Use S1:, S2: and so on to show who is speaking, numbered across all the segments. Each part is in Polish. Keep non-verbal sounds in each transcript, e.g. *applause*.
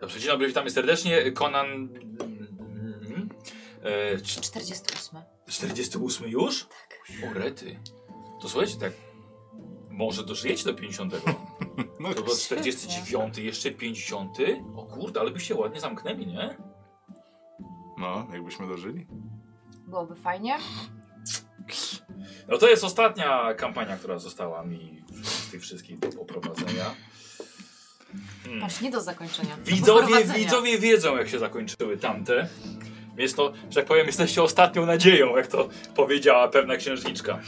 S1: Dobrze, dzień dobry, witamy serdecznie. Konan. mm, E, cz-
S2: 48.
S1: 48 już?
S2: Tak.
S1: O, rety. To słuchajcie, tak. Może dożyjecie do 50.
S3: *laughs* No,
S1: To było 49, jeszcze 50. O kurde, ale byście ładnie zamknęli, nie?
S3: no, jakbyśmy dożyli.
S2: Byłoby fajnie.
S1: No to jest ostatnia kampania, która została mi z tych wszystkich do poprowadzenia. Hmm.
S2: Aż nie do zakończenia. Do
S1: Widzowie,
S2: poprowadzenia.
S1: widzowie wiedzą, jak się zakończyły tamte. Więc to, że tak powiem, jesteście ostatnią nadzieją, jak to powiedziała pewna księżniczka.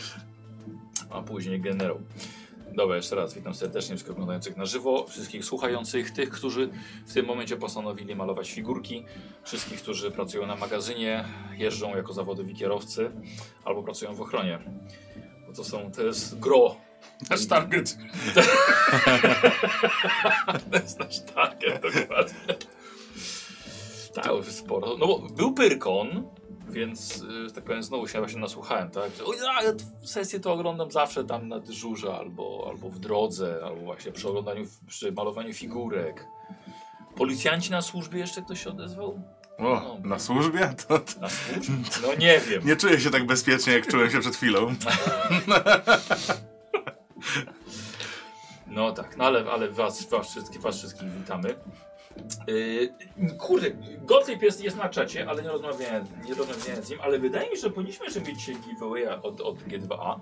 S1: A później generał. Dobra, jeszcze raz witam serdecznie wszystkich oglądających na żywo, wszystkich słuchających, tych, którzy w tym momencie postanowili malować figurki, wszystkich, którzy pracują na magazynie, jeżdżą jako zawodowi kierowcy albo pracują w ochronie. Bo to są, to jest gro
S3: *laughs* Nasz target.
S1: To jest nasz target, dokładnie. Tak, to sporo. No bo był Pyrkon, więc y, tak powiem, znowu się właśnie nasłuchałem, tak? Że, "Oj, a, ja t- sesję to oglądam zawsze tam na dyżurze, albo, albo w drodze, albo właśnie przy oglądaniu, przy malowaniu figurek. Policjanci na służbie jeszcze ktoś się odezwał? No.
S3: O, na służbie? *laughs* To, to
S1: Na służbie? No nie wiem.
S3: nie czuję się tak bezpiecznie, jak czułem się przed chwilą.
S1: No tak, no ale, ale was, was, wszystkich, was wszystkich witamy. Yy, kurde, Gottlieb jest, jest na czacie, ale nie rozmawiałem, nie rozmawiałem z nim, ale wydaje mi się, że powinniśmy jeszcze mieć dzisiaj giveawaya od, od G2A,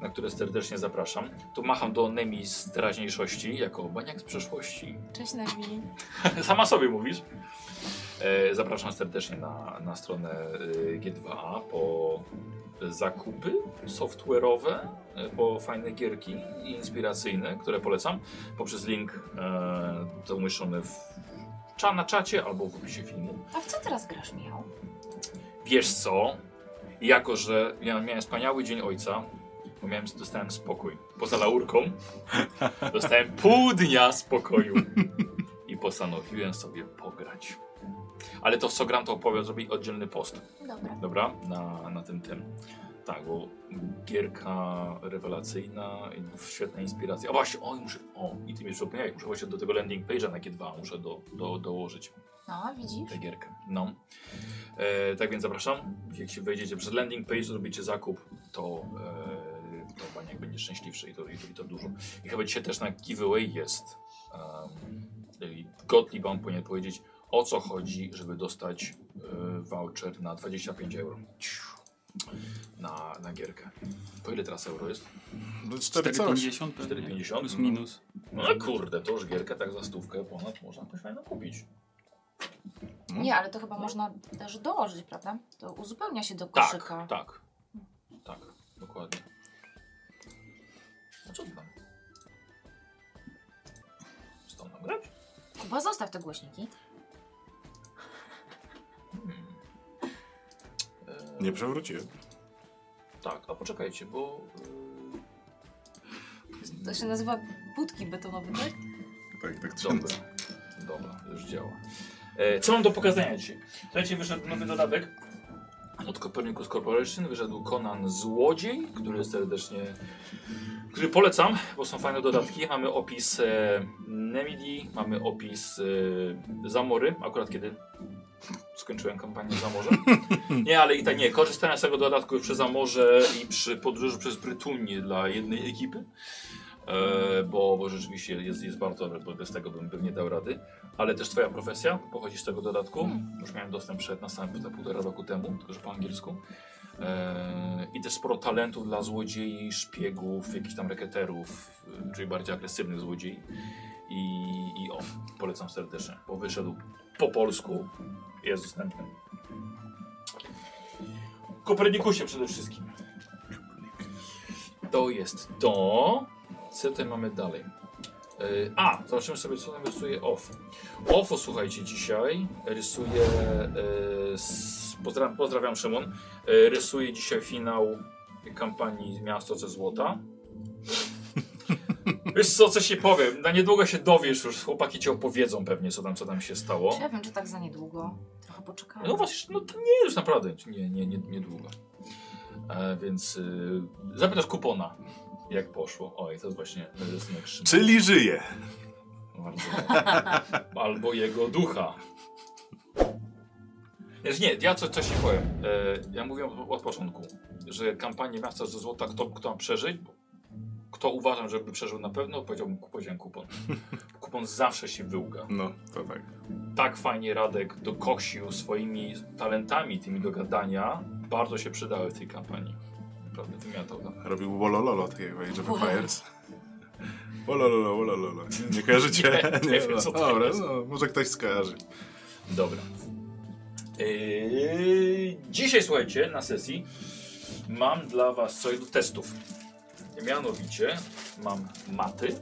S1: na które serdecznie zapraszam. Tu macham do Nemi z teraźniejszości, jako baniak z przeszłości.
S2: Cześć Nami.
S1: *laughs* Sama sobie mówisz. E, zapraszam serdecznie na, na stronę y, G2A po zakupy software'owe, y, po fajne gierki inspiracyjne, które polecam poprzez link e, to umieszczony w, cza- na czacie albo w opisie filmu.
S2: A w co teraz grasz, Michał?
S1: Wiesz co? Jako, że ja miałem wspaniały dzień ojca, bo miałem, dostałem spokój. Poza laurką dostałem pół dnia spokoju. I postanowiłem sobie pograć. Ale to, w co gram, to opowiem, zrobię oddzielny post.
S2: Dobra.
S1: Dobra? Na, na tym tym. Tak, bo gierka rewelacyjna, i świetna inspiracja. A właśnie, oj, muszę, o, i ty mi przypomniałeś, muszę właśnie do tego landing page'a na G2 muszę do, do, dołożyć
S2: No, widzisz?
S1: tę gierkę. No. E, tak więc zapraszam. Jak się wejdziecie przez landing page, zrobicie zakup, to, e, to Baniak będzie szczęśliwszy i to, i, to, i to dużo. I chyba dzisiaj też na giveaway jest. Um, i Gottlieb wam powinien powiedzieć, o co chodzi, żeby dostać e, voucher na 25 euro. Ciu. Na, na gierkę. Po ile teraz euro jest?
S3: *laughs* No, Cztery coś.
S4: 4,50 pewnie.
S1: 4,50?
S4: Plus
S1: No.
S4: minus.
S1: No kurde, to już gierkę tak za stówkę ponad można jakoś fajnie kupić.
S2: Nie, ale to chyba można też dołożyć, prawda? To uzupełnia się do
S1: Tak,
S2: koszyka.
S1: tak. Tak, dokładnie. No co ty tam? Co tam mam grać?
S2: Kuba, zostaw te głośniki.
S1: Hmm. E,
S3: Nie przewróciłem.
S1: Tak, a poczekajcie, bo... y,
S2: To się nazywa budki betonowe, tak?
S3: Tak, tak.
S1: e, Dobra, dobra, już działa. E, co mam do pokazania dzisiaj? Słuchajcie, wyszedł nowy dodatek. Od Copernicus Corporation wyszedł Conan Złodziej, który serdecznie który polecam, bo są fajne dodatki. Mamy opis e, Nemidii, mamy opis e, Zamory, akurat kiedy skończyłem kampanię Zamorze. Nie, ale i tak nie, korzystałem z tego dodatku przy Zamorze i przy podróży przez Brytunię dla jednej ekipy, e, bo, bo rzeczywiście jest, jest bardzo dobre, bo bez tego bym, bym nie dał rady. Ale też twoja profesja pochodzi z tego dodatku. Już miałem dostęp przed na samym za półtora roku temu, tylko że po angielsku. Eee, I też sporo talentów dla złodziei, szpiegów, jakichś tam reketerów, y, czyli bardziej agresywnych złodziei. I, I o, polecam serdecznie, bo wyszedł po polsku, jest dostępny. Kopernikusie przede wszystkim. To jest to. Co tutaj mamy dalej? Eee, A, zobaczymy sobie, co tam rysuje OFF. OFO, słuchajcie, dzisiaj rysuje. e, s- Pozdrawiam, pozdrawiam Szymon. E, rysuje dzisiaj finał kampanii Miasto ze Złota. Wiesz co, co się powiem, na niedługo się dowiesz już, chłopaki ci opowiedzą pewnie, co tam, co tam się stało.
S2: Czy ja wiem, czy tak za niedługo? Trochę poczekamy.
S1: No właśnie, no to nie już naprawdę, nie, nie, nie, niedługo. E, więc y, zapytasz kupona, jak poszło. Oj, to jest właśnie rysunek Szymona.
S3: Czyli żyje.
S1: No Bardzo. *laughs* Albo jego ducha. Wiesz, nie, ja co, coś ci powiem. E, ja mówię od, od początku, że kampanię Miasta ze Złota, kto, kto ma przeżyć, kto uważam, żeby przeżył na pewno, powiedziałbym kupodziałem kupon. Kupon zawsze się wyłga.
S3: No, to tak.
S1: Tak fajnie Radek dokoksił swoimi talentami, tymi do gadania, bardzo się przydały w tej kampanii. Naprawdę wymiatał no. tam.
S3: Robił wolololo, tak jak w Age of Empires. *laughs* Wolololo, wolololo. Nie- *laughs* Nie kojarzycie?
S1: Nie, nie wiem, co to
S3: Dobra,
S1: jest.
S3: no, może ktoś skojarzy.
S1: Dobra. Yy, dzisiaj, słuchajcie, na sesji mam dla Was coś do testów. Mianowicie mam maty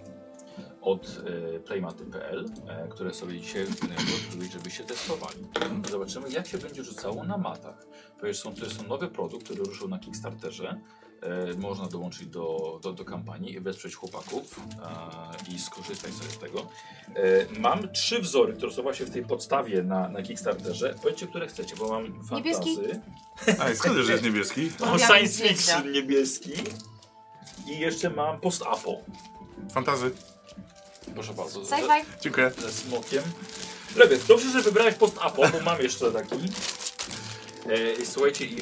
S1: od yy, playmaty.pl, e, które sobie dzisiaj będę odkryć, żebyście testowali. Zobaczymy, jak się będzie rzucało na matach. Ponieważ są, to jest nowy produkt, który ruszył na Kickstarterze. E, można dołączyć do, do, do kampanii i wesprzeć chłopaków e, i skorzystać sobie z tego. E, mam trzy wzory, które są właśnie w tej podstawie na, na Kickstarterze. Powiedzcie, które chcecie, bo mam
S2: Niebieski.
S1: fantazy.
S3: A, i skąd wiesz, że jest niebieski?
S1: Mam
S2: Lubiłam
S1: science
S2: zdjęcia.
S1: fiction niebieski. I jeszcze mam post-apo.
S3: Fantazy.
S1: Proszę bardzo. ze-
S2: Sci-fi.
S3: Dziękuję.
S1: ze smokiem. Lepiej, dobrze, że wybrałeś post-apo, bo mam jeszcze taki. E, i słuchajcie, i, i,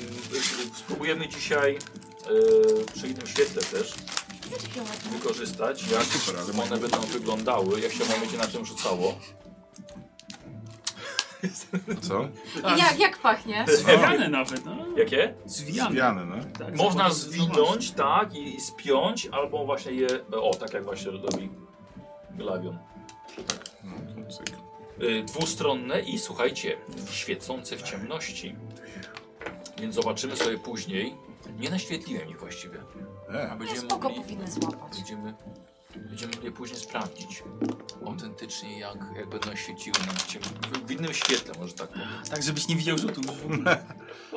S1: spróbujemy dzisiaj e, przy innym świetle też
S2: Wiecie, filmy.
S1: wykorzystać, jak
S3: Super, ale
S1: one będą wyglądały, jak się one będzie na tym rzucało.
S3: Co?
S2: I Tak. Jak, jak pachnie?
S4: Zwijane nawet, no.
S1: *laughs* Jakie?
S4: Zwijane.
S3: Pijany, no.
S4: Tak,
S1: Można
S4: zobacz, zobacz.
S1: zwinąć, tak, i, i spiąć, albo właśnie je, o, tak jak właśnie robi Glavion.
S3: No, to cyk.
S1: Y, dwustronne i słuchajcie, świecące w ciemności. Więc zobaczymy sobie później. Nie naświetliłem ich właściwie. A
S3: E,
S2: Nie,
S1: będziemy
S2: spoko
S1: mogli,
S2: powinny złapać.
S1: będziemy, będziemy mogli później sprawdzić autentycznie, jak, jak będą świeciły nam w, ciem, w, w innym świetle, może tak powiem.
S4: Tak, żebyś nie widział rzutu. w ogóle.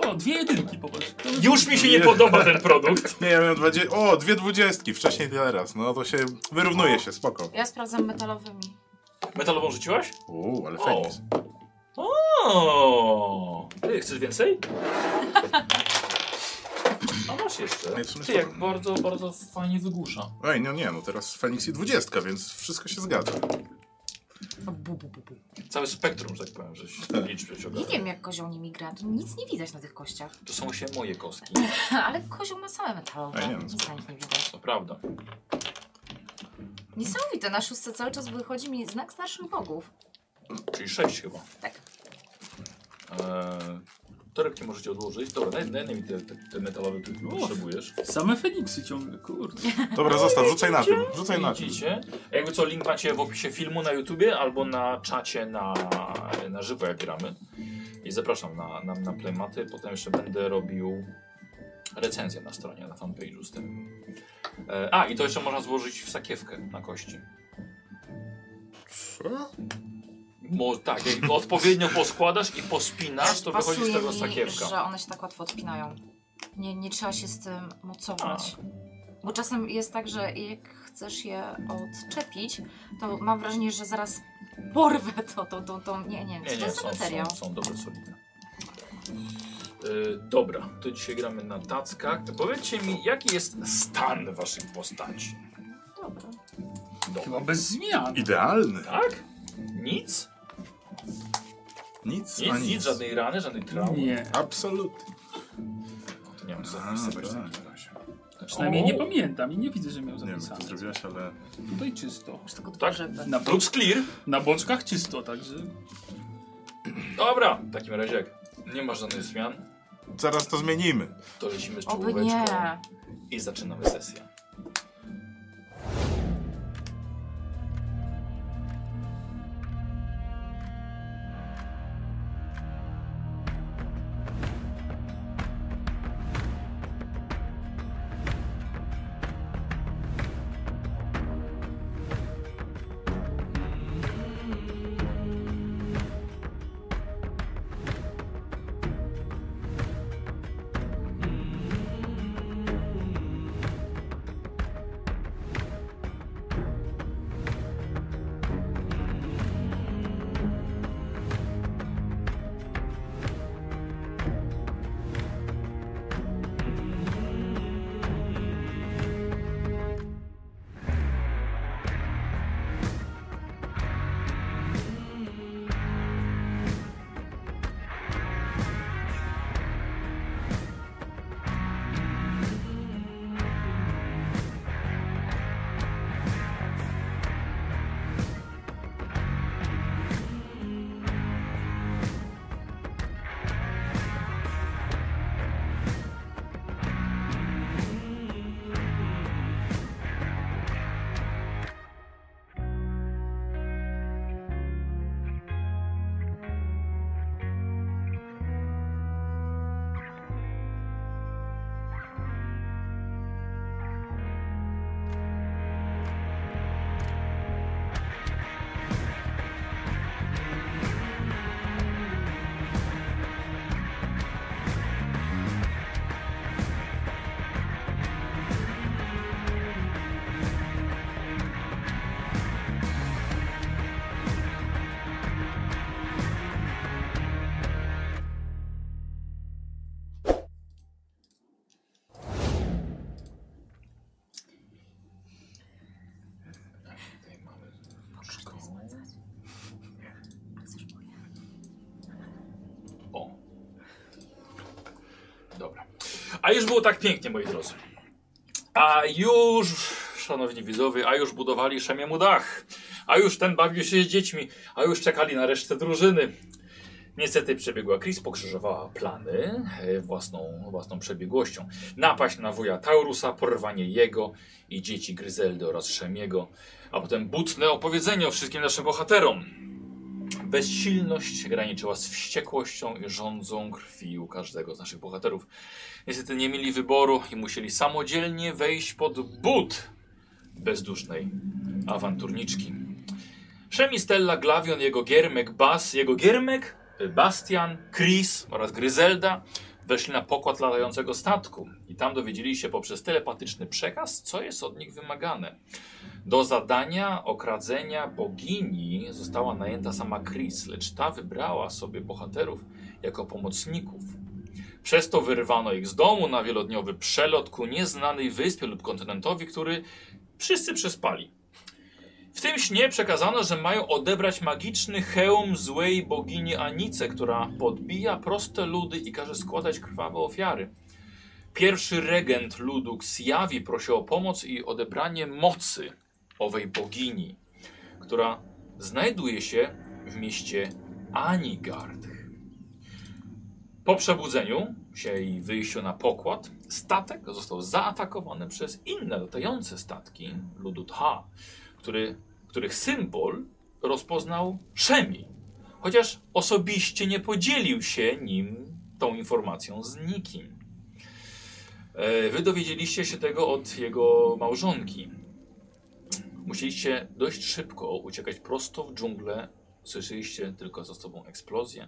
S4: O, dwie jedynki, popatrz. To
S1: Już mi się nie podoba ten produkt.
S3: Nie, ja miałem 20. O, dwie dwudziestki, wcześniej teraz. No to się
S1: No.
S3: wyrównuje się, spoko.
S2: Ja sprawdzam metalowymi.
S1: Metalową rzuciłaś?
S3: Uuu, ale
S1: O.
S3: fajnie.
S1: O, Ty chcesz więcej? A masz jeszcze.
S3: No i w sumie
S1: Ty, jak
S3: spoko.
S1: bardzo, bardzo fajnie wygłusza.
S3: Ej, no nie, no teraz Feniks i dwudziestka, więc wszystko się zgadza.
S1: Całe spektrum, że tak powiem, że się liczby
S2: Nie
S1: ciągle.
S2: wiem, jak kozioł nimi gra. Tu nic nie widać na tych kościach.
S1: To są się moje kostki.
S2: Ale kozioł ma same metalowe.
S3: A nie, no
S2: Nic na nich nie widać.
S1: To prawda.
S2: Niesamowite, na szóstce cały czas wychodzi mi znak starszych bogów.
S1: Czyli sześć chyba.
S2: Tak.
S1: Eee, torebki możecie odłożyć. Dobra, daj, daj mi te, te, te metalowe, które
S4: Uf.
S1: potrzebujesz.
S4: Same Feniksy ciągle, kurde.
S3: Dobra, zostaw, rzucaj na tym. Rzucaj na tym.
S1: Widzicie? Jakby co, link macie w opisie filmu na YouTubie albo na czacie na, na żywo, jak gramy. I zapraszam na, na, na playmaty. Potem jeszcze będę robił recenzję na stronie, na fanpage'u z tym. E, a, i to jeszcze można złożyć w sakiewkę na kości.
S3: Co?
S1: Mo, tak, jak odpowiednio poskładasz i pospinasz, to wychodzi z
S2: Pasuje
S1: tego
S2: mi,
S1: sakiewka.
S2: że one się tak łatwo odpinają. Nie, nie trzeba się z tym mocować. Bo czasem jest tak, że jak chcesz je odczepić, to mam wrażenie, że zaraz porwę to, to, to, to. Nie, nie, co
S1: Nie,
S2: to
S1: nie,
S2: jest za
S1: są,
S2: materiał?
S1: są, są dobre, solidne. Yy, dobra, to dzisiaj gramy na tackach. Powiedzcie mi, jaki jest stan waszych postaci?
S2: Dobra.
S1: Dobra.
S4: Chyba bez zmian.
S3: Idealny.
S1: Tak? Nic?
S3: Nic,
S1: Nic,
S3: a
S1: nic, żadnej rany, żadnej traumy.
S4: Nie.
S3: Absolutnie.
S1: To nie mam co
S3: Aha,
S1: zapisywać
S3: tak.
S1: w takim razie.
S4: Przynajmniej nie
S1: O,
S4: pamiętam i nie widzę, że miał
S3: Nie wiem, co
S4: zapisane.
S3: ty zrobiłaś, ale...
S4: Tutaj czysto.
S2: Masz tylko
S1: Tak?
S2: tak? żeby.
S4: Na, bo
S1: Looks clear.
S4: na boczkach czysto, także...
S1: Dobra, w takim razie jak nie ma żadnych zmian,
S3: Zaraz to zmienimy.
S1: to lecimy z
S2: Oby nie.
S1: czołóweczką i zaczynamy sesję. A już było tak pięknie, moi drodzy. A już, szanowni widzowie, a już budowali Szemiemu dach. A już ten bawił się z dziećmi. A już czekali na resztę drużyny. Niestety przebiegła Chris, pokrzyżowała plany e, własną, własną przebiegłością. Napaść na wuja Taurusa, porwanie jego i dzieci Gryzeldy oraz Szemiego, a potem butne opowiedzenie o wszystkim naszym bohaterom. Bezsilność graniczyła z wściekłością i rządzą krwi u każdego z naszych bohaterów. Niestety nie mieli wyboru i musieli samodzielnie wejść pod but bezdusznej awanturniczki. Szemi, Stella, Glavion, jego giermek Bas, jego giermek y, Bastian, Chris oraz Gryzelda weszli na pokład latającego statku i tam dowiedzieli się poprzez telepatyczny przekaz, co jest od nich wymagane. Do zadania okradzenia bogini została najęta sama Chris, lecz ta wybrała sobie bohaterów jako pomocników. Przez to wyrwano ich z domu na wielodniowy przelot ku nieznanej wyspie lub kontynentowi, który wszyscy przespali. W tym śnie przekazano, że mają odebrać magiczny hełm złej bogini Anice, która podbija proste ludy i każe składać krwawe ofiary. Pierwszy regent ludu Ksiawi prosił o pomoc i odebranie mocy owej bogini, która znajduje się w mieście Anigard. Po przebudzeniu się i wyjściu na pokład, statek został zaatakowany przez inne latające statki ludu Tha, który, których symbol rozpoznał Szemi, chociaż osobiście nie podzielił się nim tą informacją z nikim. E, Wy dowiedzieliście się tego od jego małżonki. Musieliście dość szybko uciekać prosto w dżunglę. Słyszeliście tylko za sobą eksplozję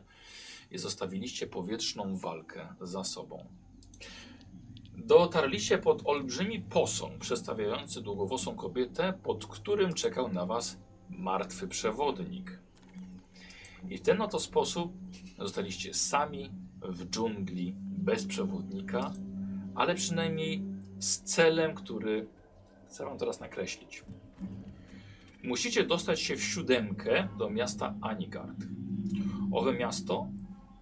S1: i zostawiliście powietrzną walkę za sobą. Dotarliście pod olbrzymi posąg przedstawiający długowłosą kobietę, pod którym czekał na was martwy przewodnik. I w ten oto sposób zostaliście sami w dżungli bez przewodnika, ale przynajmniej z celem, który chcę wam teraz nakreślić. Musicie dostać się w siódemkę do miasta Anigard. Owe miasto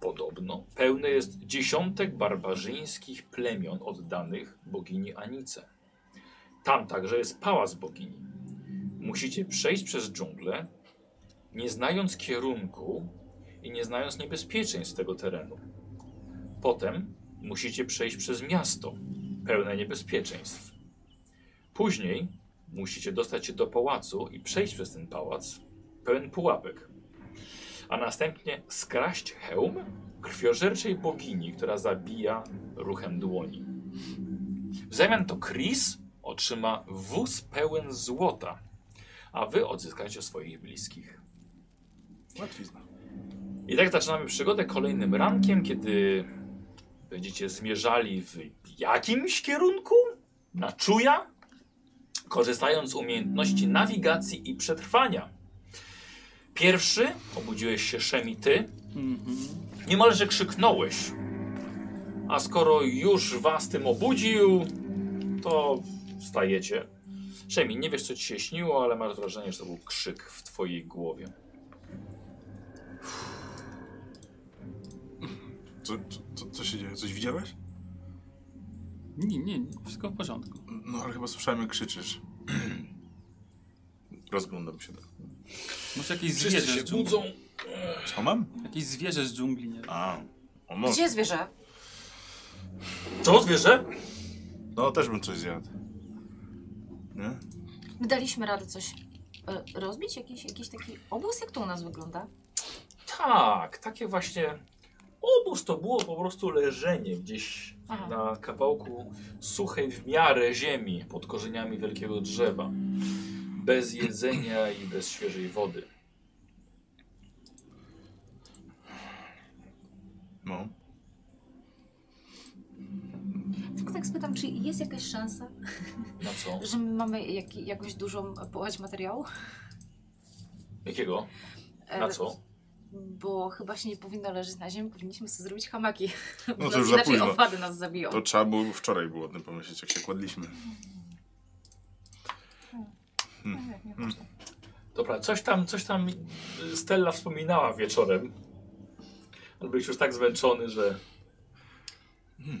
S1: podobno pełne jest dziesiątek barbarzyńskich plemion oddanych bogini Anice. Tam także jest pałac bogini. Musicie przejść przez dżunglę, nie znając kierunku i nie znając niebezpieczeństw tego terenu. Potem musicie przejść przez miasto, pełne niebezpieczeństw. Później musicie dostać się do pałacu i przejść przez ten pałac, pełen pułapek a następnie skraść hełm krwiożerczej bogini, która zabija ruchem dłoni. W zamian to Chris otrzyma wóz pełen złota, a wy odzyskacie swoich bliskich.
S3: Łatwizna.
S1: I tak zaczynamy przygodę kolejnym rankiem, kiedy będziecie zmierzali w jakimś kierunku, na czuja, korzystając z umiejętności nawigacji i przetrwania. Pierwszy obudziłeś się Szemi ty,
S4: Mhm.
S1: niemalże krzyknąłeś. A skoro już was tym obudził, to wstajecie. Szemi, nie wiesz co ci się śniło, ale masz wrażenie, że to był krzyk w twojej głowie.
S3: Co, co, co, co się dzieje? Coś widziałeś?
S4: Nie, nie, nie, wszystko w porządku.
S3: No ale chyba słyszałem jak krzyczysz. *clears throat* Rozglądam się.
S4: Może jakieś
S1: Wszyscy
S4: zwierzę
S1: się
S4: z dżungli.
S1: budzą.
S3: Co mam?
S4: Jakieś zwierzę z dżungli, nie?
S3: A, o no.
S2: Gdzie zwierzę?
S1: Co, zwierzę?
S3: no też bym coś zjadł. Nie?
S2: My daliśmy radę coś e, rozbić? Jakiś, jakiś taki obóz? Jak to u nas wygląda?
S1: Tak, takie właśnie. Obóz to było po prostu leżenie gdzieś
S2: Aha.
S1: na kawałku suchej w miarę ziemi pod korzeniami wielkiego drzewa. Bez jedzenia i bez świeżej wody.
S3: No.
S2: Tylko tak spytam, czy jest jakaś szansa,
S1: Na co?
S2: że my mamy jak, jakąś dużą płeć materiału?
S1: Jakiego?
S2: E,
S1: Na co?
S2: Bo chyba się nie powinno leżeć na ziemi, powinniśmy sobie zrobić hamaki.
S3: No to
S2: Nas
S3: już za
S2: Inaczej
S3: późno.
S2: owady nas zabiją.
S3: To trzeba było wczoraj było o tym pomyśleć, jak się kładliśmy.
S2: Tak,
S3: Hmm.
S1: Dobra, coś tam, coś tam y, Stella wspominała wieczorem. Ale byłeś już tak zmęczony, że
S3: Zaraz,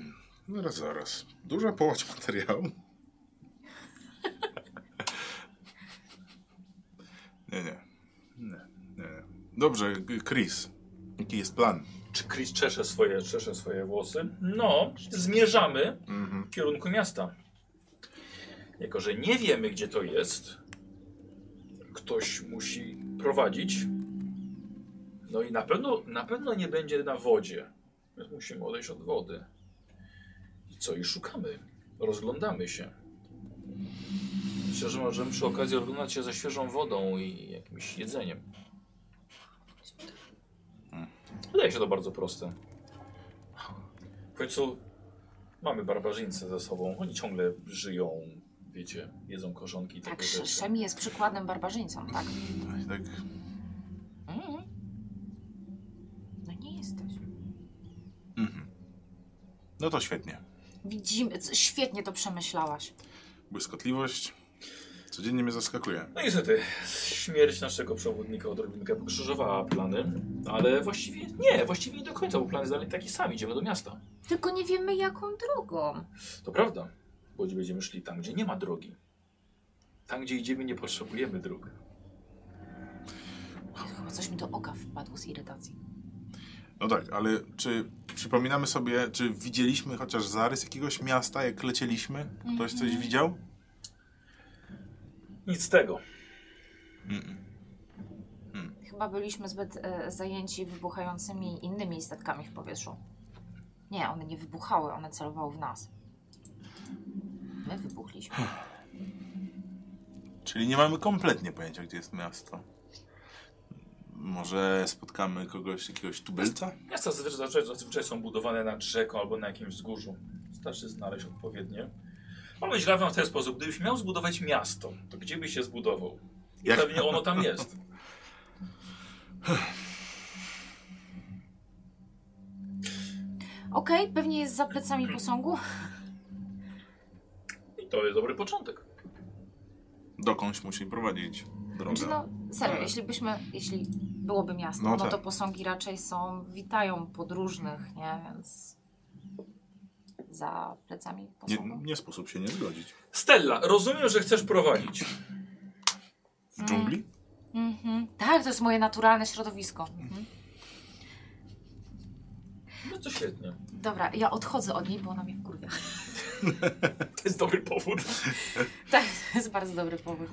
S3: No zaraz. Duża połać materiału. nie, nie. Nie, nie. nie. Dobrze, Chris. Jaki jest plan?
S1: Czy Chris czesze swoje, czesze swoje włosy? No, zmierzamy
S3: Mhm.
S1: w kierunku miasta. Jako, że nie wiemy, gdzie to jest, ktoś musi prowadzić. No i na pewno, na pewno nie będzie na wodzie. Więc musimy odejść od wody. I co? I szukamy. Rozglądamy się. Myślę, że możemy przy okazji oglądać się ze świeżą wodą i jakimś jedzeniem. Wydaje się to bardzo proste. W końcu mamy barbarzyńcy ze sobą. Oni ciągle żyją, wiecie, jedzą korzonki i
S2: Tak,
S1: takie rzeczy.
S2: Szemi jest przykładnym barbarzyńcą, tak.
S3: Tak, tak. Hmm.
S2: Mm. No nie jesteś.
S3: Mhm. No to świetnie.
S2: Widzimy, c- świetnie to przemyślałaś.
S3: Błyskotliwość. Codziennie mnie zaskakuje.
S1: No niestety, śmierć naszego przewodnika odrobinkę pokrzyżowała plany, ale właściwie nie, właściwie nie do końca, bo plany dalej taki sam, idziemy do miasta.
S2: Tylko nie wiemy jaką drogą.
S1: To prawda, bo będziemy szli tam, gdzie nie ma drogi. Tam, gdzie idziemy, nie potrzebujemy dróg.
S2: Chyba coś mi do oka wpadło z irytacji.
S3: No tak, ale czy przypominamy sobie, czy widzieliśmy chociaż zarys jakiegoś miasta, jak lecieliśmy? Ktoś coś widział?
S1: Nic z tego.
S2: Chyba byliśmy zbyt e, zajęci wybuchającymi innymi statkami w powietrzu. Nie, one nie wybuchały, one celowały w nas. My wybuchliśmy.
S3: Czyli nie mamy kompletnie pojęcia, gdzie jest miasto. Może spotkamy kogoś, jakiegoś tubelca?
S1: Miasta zazwy- zazwyczaj, zazwyczaj są budowane nad rzeką albo na jakimś wzgórzu. Starczy znaleźć odpowiednie. Mam myśl w ten sposób, gdybyś miał zbudować miasto, to gdzie byś się zbudował? I
S3: Jak-
S1: pewnie ono tam jest.
S2: Okej, pewnie jest za plecami posągu.
S1: I to jest dobry początek.
S3: Dokądś musi prowadzić
S2: Czy
S3: drogę.
S2: no, serio,
S3: Ale-
S2: jeśli byśmy, jeśli byłoby miasto,
S3: Tak. No
S2: no,
S3: tak.
S2: to posągi raczej są, witają podróżnych, nie? Więc za plecami
S3: Nie,
S2: posągu.
S3: nie sposób się nie zgodzić.
S1: Stella, rozumiem, że chcesz prowadzić. Mm.
S3: W dżungli?
S2: Mhm. Tak, to jest moje naturalne środowisko. Mhm.
S1: No to świetnie.
S2: Dobra, ja odchodzę od niej, bo ona mnie wkurwia.
S1: To jest dobry powód.
S2: *laughs* Tak, to jest bardzo dobry powód.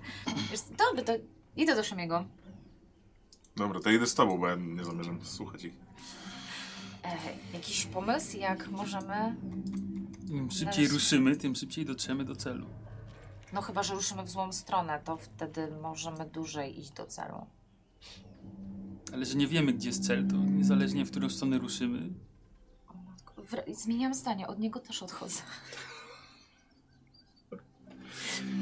S2: Wiesz, co, dobra, to idę do Szemiego.
S3: Dobra, to idę z tobą, bo ja nie zamierzam słuchać ich.
S2: E, jakiś pomysł, jak możemy...
S4: Im szybciej
S2: Zaraz.
S4: ruszymy, tym szybciej dotrzemy do celu.
S2: No chyba, że ruszymy w złą stronę, to wtedy możemy dłużej iść do celu.
S4: Ale że nie wiemy, gdzie jest cel, to niezależnie w którą stronę ruszymy.
S2: O matko, wr- Zmieniam zdanie, od niego też odchodzę.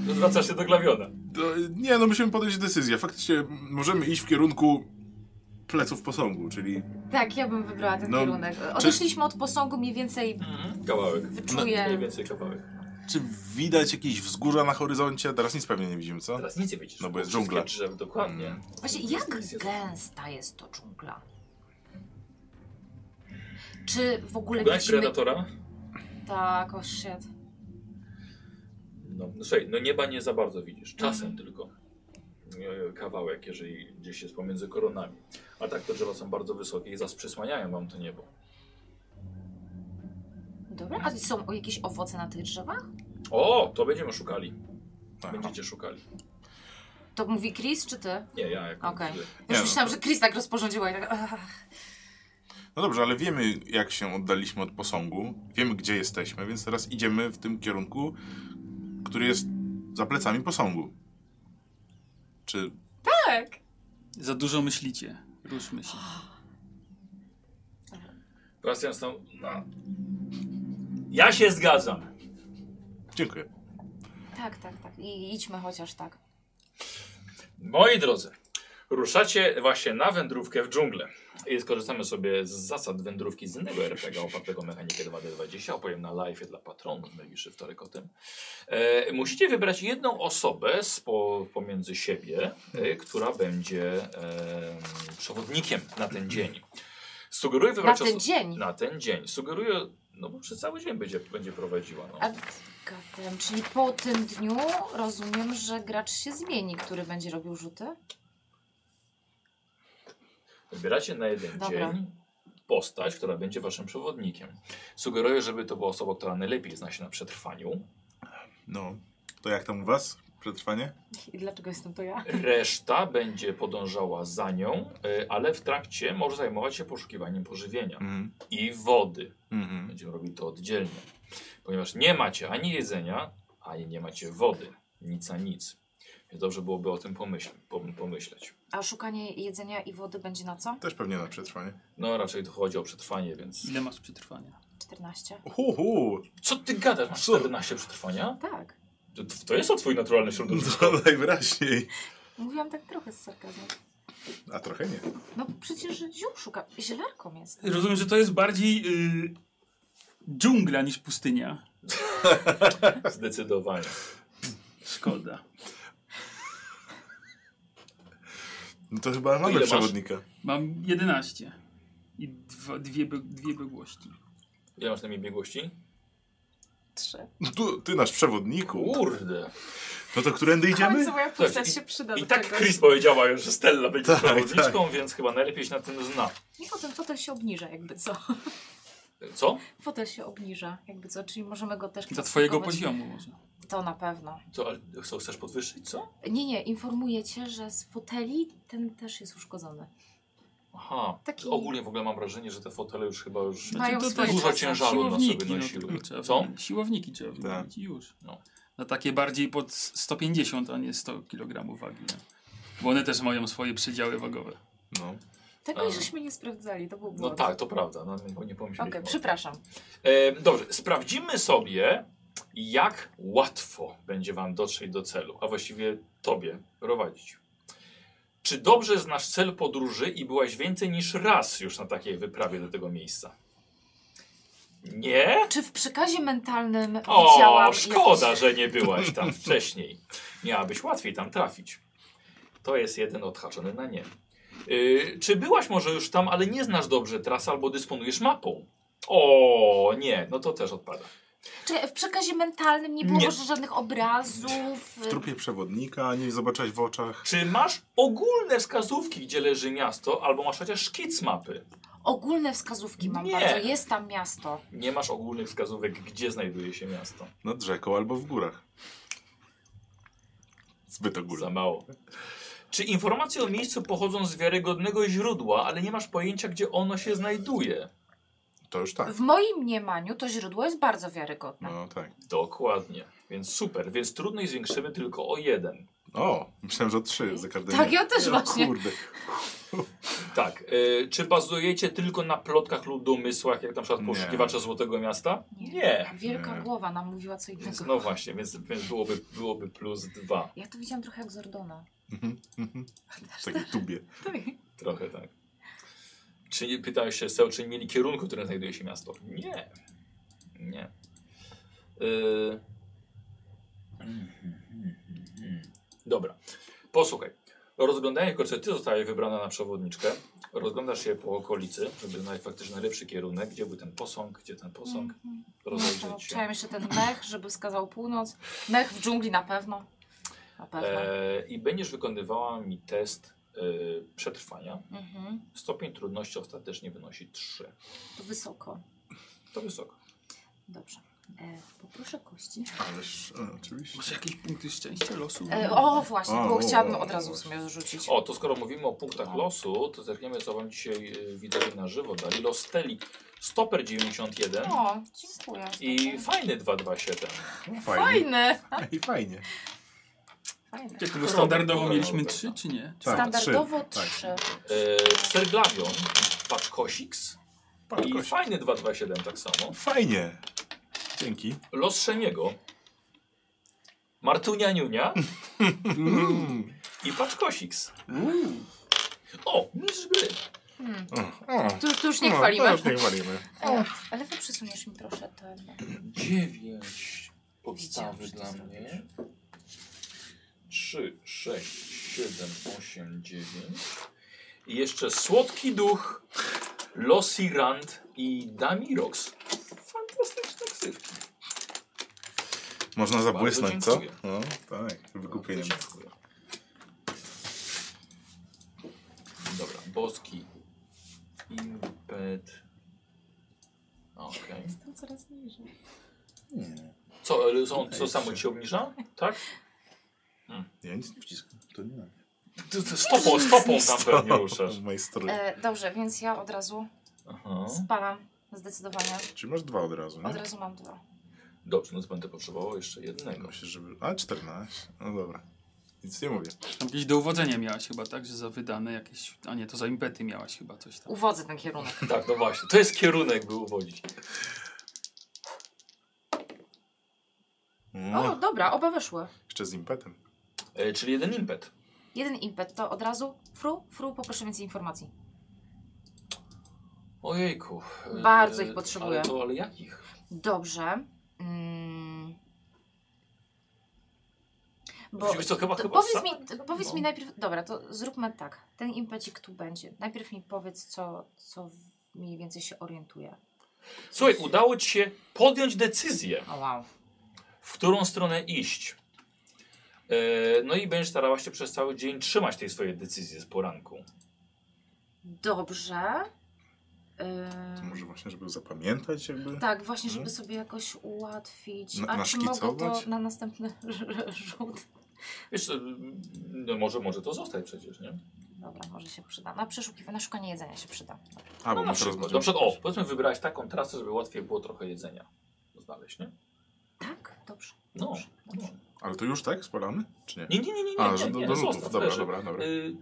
S1: Zwracasz się do glawiona.
S3: To, nie, no musimy podjąć decyzję. Faktycznie możemy iść w kierunku pleców posągu, czyli
S2: Tak, ja bym wybrała ten
S3: No,
S2: kierunek. Odeszliśmy od posągu mniej więcej
S1: Kawałek. Mniej
S2: wyczuję.
S1: więcej kawałek.
S3: czy widać jakieś wzgórza na horyzoncie? Teraz nic pewnie nie widzimy, co?
S1: Teraz nic nie widzisz.
S3: No bo jest
S1: Wszystkie
S3: dżungla. Mm.
S1: Drzew, dokładnie.
S2: Właśnie jak gęsta jest to dżungla? Czy w ogóle
S1: Głaś
S2: widzimy...
S1: predatora?
S2: Tak, oh shit.
S1: No, no słuchaj, no nieba nie za bardzo widzisz.
S2: Mhm.
S1: Czasem tylko. E, Kawałek, jeżeli gdzieś jest pomiędzy koronami. A tak te drzewa są bardzo wysokie i zas przysłaniają wam to niebo.
S2: Dobra, a są jakieś owoce na tych drzewach?
S1: O, to będziemy szukali.
S3: Aha.
S1: Będziecie szukali.
S2: To mówi Chris, czy ty?
S1: Nie, ja jako.
S2: Okej.
S1: że-
S2: Już
S3: no
S2: myślałam,
S3: to-
S2: że Chris tak rozporządziła i tak... ach.
S3: No dobrze, ale wiemy, jak się oddaliśmy od posągu, wiemy, gdzie jesteśmy, więc teraz idziemy w tym kierunku, który jest za plecami posągu. Czy
S2: Tak.
S4: Za dużo myślicie. Ruszmy się.
S1: Sebastian stał. No. Ja się zgadzam.
S3: Dziękuję.
S2: Tak, tak, tak. I idźmy chociaż tak.
S1: Moi drodzy, ruszacie właśnie na wędrówkę w dżunglę. I skorzystamy sobie z zasad wędrówki z innego RPG opartego o mechanikę 2D20. Opowiem na live dla patronów najbliższy wtorek o tym. E, musicie wybrać jedną osobę spo, pomiędzy siebie, e, która będzie e, przewodnikiem na ten dzień. Sugeruję
S2: Na
S1: wybrać
S2: ten
S1: osobę.
S2: dzień.
S1: Na ten dzień. Sugeruję, no bo przez cały dzień będzie, będzie prowadziła. No.
S2: A Gatem, czyli po tym dniu rozumiem, że gracz się zmieni, który będzie robił rzuty?
S1: Wybieracie na jeden
S2: Dobra.
S1: dzień postać, która będzie waszym przewodnikiem. Sugeruję, żeby to była osoba, która najlepiej zna się na przetrwaniu.
S3: No, to jak tam u was? Przetrwanie?
S2: I dlaczego jestem to ja?
S1: Reszta będzie podążała za nią, y, ale w trakcie może zajmować się poszukiwaniem pożywienia
S3: Mhm.
S1: i wody.
S3: Mhm.
S1: Będziemy robili to oddzielnie, ponieważ nie macie ani jedzenia, ani nie macie wody. Nic a nic. Więc dobrze byłoby o tym pomyśl, pom- pomyśleć.
S2: A szukanie jedzenia i wody będzie na co?
S3: Też pewnie na przetrwanie.
S1: No raczej tu chodzi o przetrwanie, więc...
S4: Ile masz przetrwania?
S2: 14.
S3: Uhu,
S1: Co ty gadasz? Masz
S3: Co?
S1: 14 przetrwania?
S2: Tak.
S1: To, to jest o twój naturalny *laughs*
S3: *laughs*
S1: środowisko.
S3: to najwyraźniej.
S2: Mówiłam tak trochę z sarkazmem.
S3: A trochę nie.
S2: No przecież ziół szuka. Zielarką jest.
S4: Rozumiem, że to jest bardziej yy, dżungla niż pustynia.
S1: Zdecydowanie.
S4: Szkoda.
S3: No to chyba mamy
S1: ile masz?
S3: przewodnika.
S4: *laughs* Mam 11 i dwa, dwie, bieg- dwie biegłości.
S1: Ile masz na mnie biegłości?
S2: Trzy.
S3: No Tu, ty nasz przewodniku.
S1: Kurde.
S3: No to którędy
S2: W końcu
S3: idziemy?
S2: moja
S1: Słuchaj,
S2: postać
S1: i-
S2: się przyda
S1: I
S2: do
S1: tak
S2: czegoś.
S1: Chris powiedziała już, że Stella będzie
S3: Tak,
S1: przewodniczką, więc chyba najlepiej się na tym zna.
S2: Michał, ten fotel się obniża jakby co.
S1: Co?
S2: Fotel się obniża jakby co, czyli możemy go też
S4: Dla twojego
S2: klasyfikować.
S4: poziomu może.
S2: To na pewno.
S1: Co, ale co, chcesz podwyższyć, co?
S2: Nie, nie, informuję cię, że z foteli ten też jest uszkodzony.
S1: Aha.
S2: Taki-
S1: Ogólnie w ogóle mam wrażenie, że te fotele już chyba już...
S2: Mają
S4: Znaczy,
S2: swoje
S1: dużo
S2: czasy.
S1: ciężaru. Żalu na sobie
S4: Siłowniki, no,
S1: nosiły.
S4: tylko trzeba
S1: Co?
S4: wymienić. Siłowniki trzeba
S3: Tak.
S4: wymienić i już.
S1: No.
S4: Na takie bardziej pod 150, a nie 100 kg wagi. Nie? Bo one też mają swoje przedziały wagowe.
S3: No.
S2: Tego
S1: A.
S2: żeśmy nie sprawdzali, to był
S1: No
S2: błąd.
S1: tak, to prawda. No, nie pomyśleliśmy.
S2: Okej, przepraszam.
S1: E, dobrze, sprawdzimy sobie, jak łatwo będzie Wam dotrzeć do celu, a właściwie Tobie prowadzić. Czy dobrze znasz cel podróży i byłaś więcej niż raz już na takiej wyprawie do tego miejsca? Nie?
S2: Czy w przekazie mentalnym
S1: O,
S2: widziałam
S1: szkoda,
S2: jakieś-
S1: że nie byłaś tam *laughs* wcześniej. Miałabyś łatwiej tam trafić. To jest jeden odhaczony na nie. Y, czy byłaś może już tam, ale nie znasz dobrze tras albo dysponujesz mapą? O, nie, no to też odpada.
S2: Czy w przekazie mentalnym nie było
S1: Nie.
S2: może żadnych obrazów?
S3: W trupie przewodnika, nie zobaczyłaś w oczach.
S1: Czy masz ogólne wskazówki, gdzie leży miasto, albo masz chociaż szkic mapy?
S2: Ogólne wskazówki mam
S1: Nie.
S2: bardzo. Jest tam miasto.
S1: Nie masz ogólnych wskazówek, gdzie znajduje się miasto.
S3: Nad rzeką albo w górach. Zbyt
S1: Za
S3: ogólnie.
S1: mało. Czy informacje o miejscu pochodzą z wiarygodnego źródła, ale nie masz pojęcia, gdzie ono się znajduje?
S3: To już tak.
S2: W moim mniemaniu to źródło jest bardzo wiarygodne.
S3: No tak.
S1: Dokładnie. Więc super, więc trudność zwiększymy tylko o jeden.
S3: O, myślałem, że o trzy za każdym
S2: Tak,
S3: razem.
S2: ja też
S3: O
S2: właśnie.
S3: Kurde.
S1: Tak. y, czy bazujecie tylko na plotkach lub domysłach, jak na przykład
S3: Nie.
S1: poszukiwacze Złotego Miasta?
S2: Nie.
S1: Nie.
S2: Wielka
S3: Nie.
S2: głowa nam mówiła co
S1: Więc,
S2: innego.
S1: no właśnie, więc, więc byłoby, byłoby plus dwa.
S2: Ja to widziałam trochę jak Zordona.
S3: Mhm, mhm. W
S2: tak.
S3: takiej tubie.
S1: Trochę tak. Czy nie- pytałeś się, Seo, czy nie mieli kierunku, w którym znajduje się miasto? Nie. Nie. Y... Dobra. Posłuchaj. Rozglądanie koce, ty zostaje wybrana na przewodniczkę. Rozglądasz się po okolicy, żeby znaleźć faktycznie najlepszy kierunek, gdzie był ten posąg, gdzie ten posąg.
S2: Mm.
S1: Rozejrzeć się.
S2: Chciałem jeszcze ten mech, żeby wskazał północ. Mech w dżungli na pewno. Na pewno.
S1: E, I będziesz wykonywała mi test e, przetrwania.
S2: Mhm.
S1: Stopień trudności ostatecznie wynosi 3.
S2: To wysoko.
S1: To wysoko.
S2: Dobrze. E, poproszę kości.
S3: Ależ, e, oczywiście.
S4: Może jakieś punkty szczęścia, losu?
S2: E, o właśnie,
S3: O,
S2: bo
S3: o,
S2: chciałabym
S3: o,
S2: od razu w
S3: właśnie.
S2: sumie zrzucić.
S1: O, to skoro mówimy o punktach
S2: O.
S1: losu, to zerkniemy co wam dzisiaj y, widzowie na żywo dali. Los Steli Stoper 91
S2: O, dziękuję.
S1: i fajny 227.
S3: No, Fajnie.
S2: Fajne.
S3: I fajnie.
S2: Fajne.
S4: Jak tego
S1: Choroba,
S4: standardowo
S1: choroba,
S4: mieliśmy
S1: tak.
S4: trzy, czy nie?
S3: Tak,
S2: Standardowo
S3: trzy. Tak.
S2: trzy.
S1: E, Serglavion, Patch Kosiks
S3: Patrz,
S1: i
S3: Kościół.
S1: fajny 227 tak samo.
S3: Fajnie. Dzięki.
S1: Los Szemiego, Martunia Niunia
S2: *laughs*
S3: Mm.
S1: i Patch Kosiks. O, mistrz gry.
S2: Hmm.
S3: O,
S2: Tu, tu już nie
S3: no,
S2: chwalimy.
S3: to już nie chwalimy.
S2: E, ale wy przysuniesz mi proszę ten.
S1: 9 podstawy
S2: że to
S1: dla
S2: zrobisz.
S1: mnie. 3, 6, 7, 8, 9. I jeszcze słodki duch Losirant i Damirox. Fantastyczne ksywki.
S3: Można zabłysnąć, co?
S1: dziękuję.
S3: No, tak, wykupieniem.
S1: Dziękuję. Dobra, boski. Impet. Okej.
S2: Jestem coraz niżej. No,
S3: Nie,
S1: Co, ale są, co samo ci się obniża? Tak?
S3: ja nic nie wciskam. To nie na mnie.
S1: Ty, ty stopą, stopą tam pewnie ruszasz.
S3: Z mojej
S1: No.
S3: strony.
S2: E, dobrze, więc ja od razu
S1: Aha.
S2: spalam zdecydowanie.
S3: Czyli masz dwa od razu,
S2: Od
S1: No.
S3: nie?
S2: razu mam dwa.
S1: Dobrze, no to będę potrzebował jeszcze *laughs* jednego.
S3: Myślę, żeby... A, 14. No dobra. Nic nie mówię.
S4: Tam jakieś do uwodzenia miałaś chyba, tak? Że za wydane jakieś... A nie, to za impety miałaś chyba coś tam.
S2: Uwodzę ten kierunek.
S1: Tak, no właśnie. To jest kierunek, by uwodzić.
S2: O,
S3: No,
S2: dobra, oba wyszły.
S3: jeszcze z impetem.
S1: E, czyli jeden impet.
S2: Jeden impet to od razu. Fru, fru, poproszę więcej informacji.
S1: Ojejku. e,
S2: Bardzo ich potrzebuję.
S1: Ale, to, ale jakich?
S2: Dobrze. Mm. Bo,
S1: Bo, co, chyba,
S2: to
S1: chyba
S2: powiedz
S1: sam-
S2: mi, to powiedz
S1: No.
S2: mi najpierw, dobra, to zróbmy tak. Ten impecik tu będzie. Najpierw mi powiedz, co, co w- mniej więcej się orientuje.
S1: Słuchaj, udało ci się podjąć decyzję.
S2: O wow.
S1: w którą stronę iść. E, No i będziesz starała się przez cały dzień trzymać tej swojej decyzji z poranku.
S2: Dobrze.
S3: To
S2: Ym,
S3: może właśnie, żeby zapamiętać jakby?
S2: tak, właśnie, żeby
S3: Mhm.
S2: sobie jakoś ułatwić.
S3: Na-
S2: A czy mogę to
S3: naszkicować?
S2: na następny *laughs* rzut?
S1: Wiesz, e, no może, może to zostać przecież, nie?
S2: Dobra, może się przyda. Na przeszukiwanie, na szukanie jedzenia się przyda.
S3: A,
S1: No na
S3: bo my teraz
S1: przykład,
S3: będziemy-
S1: na przykład, o, powiedzmy wybrałaś taką trasę, żeby łatwiej było trochę jedzenia znaleźć, nie?
S2: Tak? Dobrze.
S1: No.
S2: Dobrze,
S1: no.
S2: dobrze.
S3: Ale to już tak? Spalamy? Czy nie?
S1: Nie, nie, nie, nie, nie,
S3: A,
S1: nie,
S3: że do,
S1: nie,
S3: do
S1: zostaw,
S3: rzutów. Dobra,
S1: leży.
S3: dobra, dobra.
S1: Y,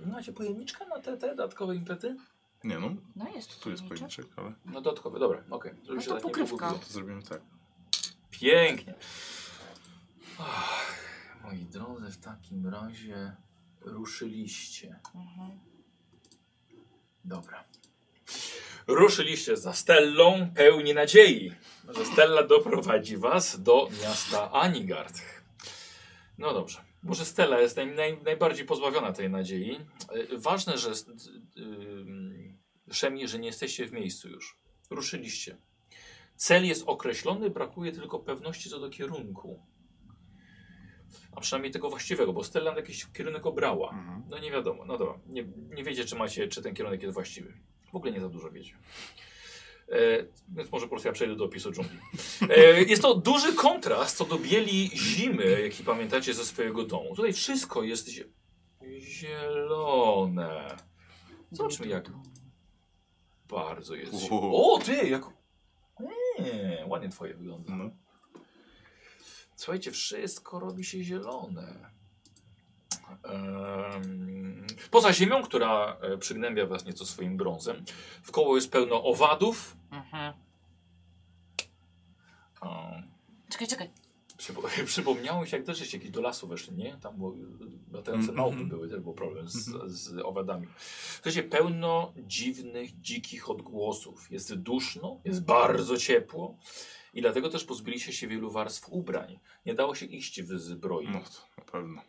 S1: nie macie pojemniczka na te, te dodatkowe impety?
S3: Nie no,
S2: No jest.
S3: tu jest
S2: pojemniczek.
S3: pojemniczek, ale
S1: No dodatkowe, dobra, okej. żeby
S2: No
S1: się
S2: to
S1: tak nie
S2: pokrywka.
S1: pogubiło.
S3: to zrobimy tak.
S1: Pięknie. Ach, moi drodzy, w takim razie ruszyliście.
S2: Mhm.
S1: Dobra. Ruszyliście za Stellą pełni nadziei, że Stella doprowadzi was do miasta Anigard. No dobrze. Może Stella jest naj, naj, najbardziej pozbawiona tej nadziei. Y, Ważne, że s- y, y, Szemi, że nie jesteście w miejscu już. Ruszyliście. Cel jest określony, brakuje tylko pewności co do kierunku. A przynajmniej tego właściwego, bo Stella jakiś kierunek obrała.
S3: Mhm.
S1: No nie wiadomo, no dobra. Nie, nie wiecie, czy macie, czy ten kierunek jest właściwy. W ogóle nie za dużo wiecie. E, więc może po prostu ja przejdę do opisu dżungli. E, jest to duży kontrast co do bieli zimy, jaki pamiętacie ze swojego domu. Tutaj wszystko jest zie- zielone. Zobaczmy jak bardzo jest zielone.
S3: Wow.
S1: O, ty, jak... Nie, ładnie twoje wygląda.
S3: No.
S1: Słuchajcie, wszystko robi się zielone. Em, Poza ziemią, która e, przygnębia was nieco swoim brązem, wkoło jest pełno owadów.
S2: Mhm.
S1: O,
S2: Czekaj, czekaj.
S1: przypo- *laughs* Przypomniało mi się, jak też żeście kiedyś do lasu weszli, nie? Tam było, latające
S3: Mhm.
S1: małpy były, też był problem z, z owadami. Słuchajcie, pełno dziwnych, dzikich odgłosów. Jest duszno, jest bardzo ciepło i dlatego też pozbyliście się wielu warstw ubrań. Nie dało się iść w zbroi.
S3: No to na pewno.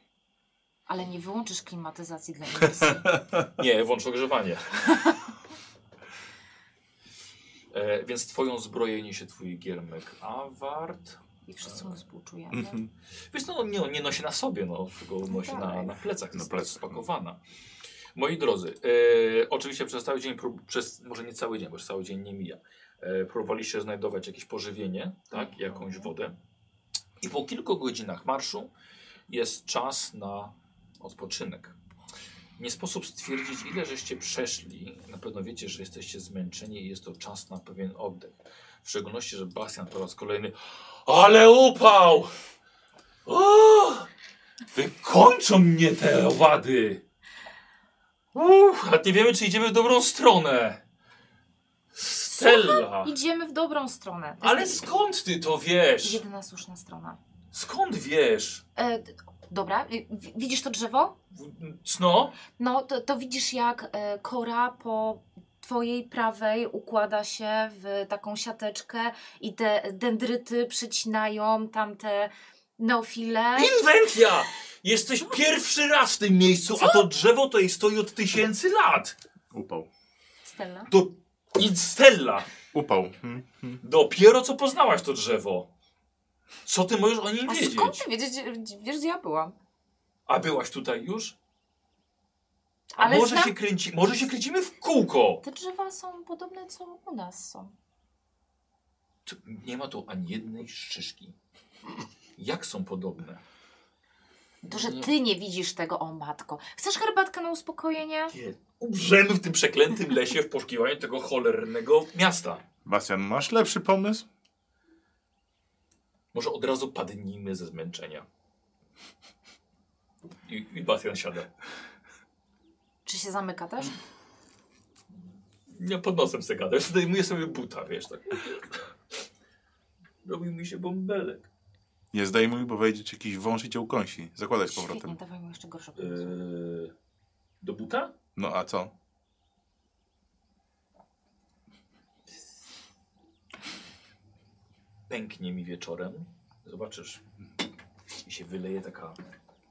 S2: Ale nie wyłączysz klimatyzacji dla imersji.
S3: *laughs*
S1: Nie, włącz ogrzewanie. e, więc twoją zbroję niesie twój giermek Award.
S2: I wszyscy mu współczujemy.
S3: Mhm.
S1: Wiesz, no nie, nie nosi na sobie, no, tylko nosi na,
S2: tak.
S1: na plecach,
S3: Na
S1: jest
S3: plecach, no.
S1: spakowana. Moi drodzy, e, oczywiście przez cały dzień, prób, przez, może nie cały dzień, bo już cały dzień nie mija, e, próbowaliście znajdować jakieś pożywienie, tak, i jakąś wodę. I po kilku godzinach marszu jest czas na odpoczynek. Nie sposób stwierdzić, ile żeście przeszli. Na pewno wiecie, że jesteście zmęczeni i jest to czas na pewien oddech. W szczególności, że Bastian po raz kolejny. Ale upał! O! Wykończą mnie te owady! Uff, a nie wiemy, czy idziemy w dobrą stronę. Stella!
S2: Idziemy w dobrą stronę. To
S1: Ale
S2: jest
S1: skąd ty to wiesz?
S2: Jedyna słuszna strona.
S1: Skąd wiesz?
S2: E, d- dobra, y, wi- widzisz to drzewo?
S1: W- No,
S2: No, to, to widzisz jak e, kora po twojej prawej układa się w taką siateczkę i te dendryty przycinają tamte neofile.
S1: inwentia! Jesteś pierwszy raz w tym miejscu, a to drzewo to stoi od tysięcy lat.
S3: Upał.
S2: Stella.
S1: Do... I Stella!
S3: Upał. Hmm.
S1: Dopiero co poznałaś to drzewo. Co ty możesz o nim
S2: A
S1: wiedzieć?
S2: skąd ty wiedzieć, gdzie- wiesz, gdzie ja byłam?
S1: A byłaś tutaj już? A
S2: Ale
S1: może,
S2: znam-
S1: się kręci... może się kręcimy w kółko?
S2: Te drzewa są podobne, co u nas są.
S1: Tu Nie ma tu ani jednej szyszki. Jak są podobne?
S2: To, że ty nie widzisz tego, o matko. Chcesz herbatkę na uspokojenie?
S1: Nie. Umrzemy w tym przeklętym lesie w poszukiwaniu tego cholernego miasta.
S3: Bastian, masz lepszy pomysł?
S1: Może od razu padnijmy ze zmęczenia. I, i Bastian siada.
S2: Czy się zamyka też?
S3: Mm,
S1: Ja pod nosem se gadam. Zdejmuję sobie buta, wiesz, tak. Robił mi się bąbelek.
S3: Nie zdejmuj, bo wejdzie ci jakiś wąż i cię ukąsi. Zakładaj z
S2: Świetnie,
S3: powrotem. E.
S2: dawaj mu jeszcze gorsze pomysł.
S1: Yy, do buta?
S3: No a co?
S1: Pęknie mi wieczorem. Zobaczysz. I się wyleje taka,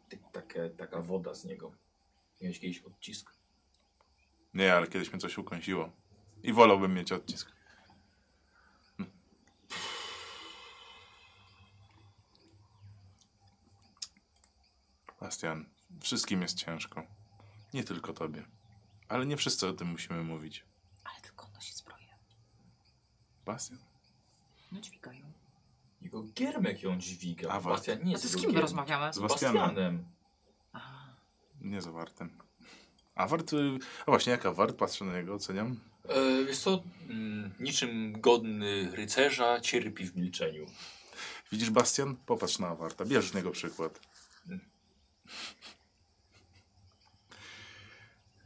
S1: ty- takie, taka woda z niego. Miałeś jakiś odcisk?
S3: Nie, ale kiedyś mnie coś ukąsiło. I wolałbym mieć odcisk. Bastian, wszystkim jest ciężko. Nie tylko tobie. Ale nie wszyscy o tym musimy mówić.
S2: Ale tylko nosi zbroję.
S3: Bastian?
S2: No dźwigają.
S1: Jego giermek ją dźwiga.
S3: A, wa-
S1: Bastian nie
S2: A
S1: jest
S2: ty z
S1: jego
S2: kim my
S1: giermek.
S2: rozmawiamy?
S1: Z
S3: Z Bastianem.
S1: Bastianem.
S3: Nie zawartym. A wart... y, A właśnie, jak wart? Patrzę na niego, oceniam.
S1: E, Jest to mm, niczym godny rycerza, cierpi w milczeniu.
S3: Widzisz, Bastian? Popatrz na Awarta. Bierz z niego przykład.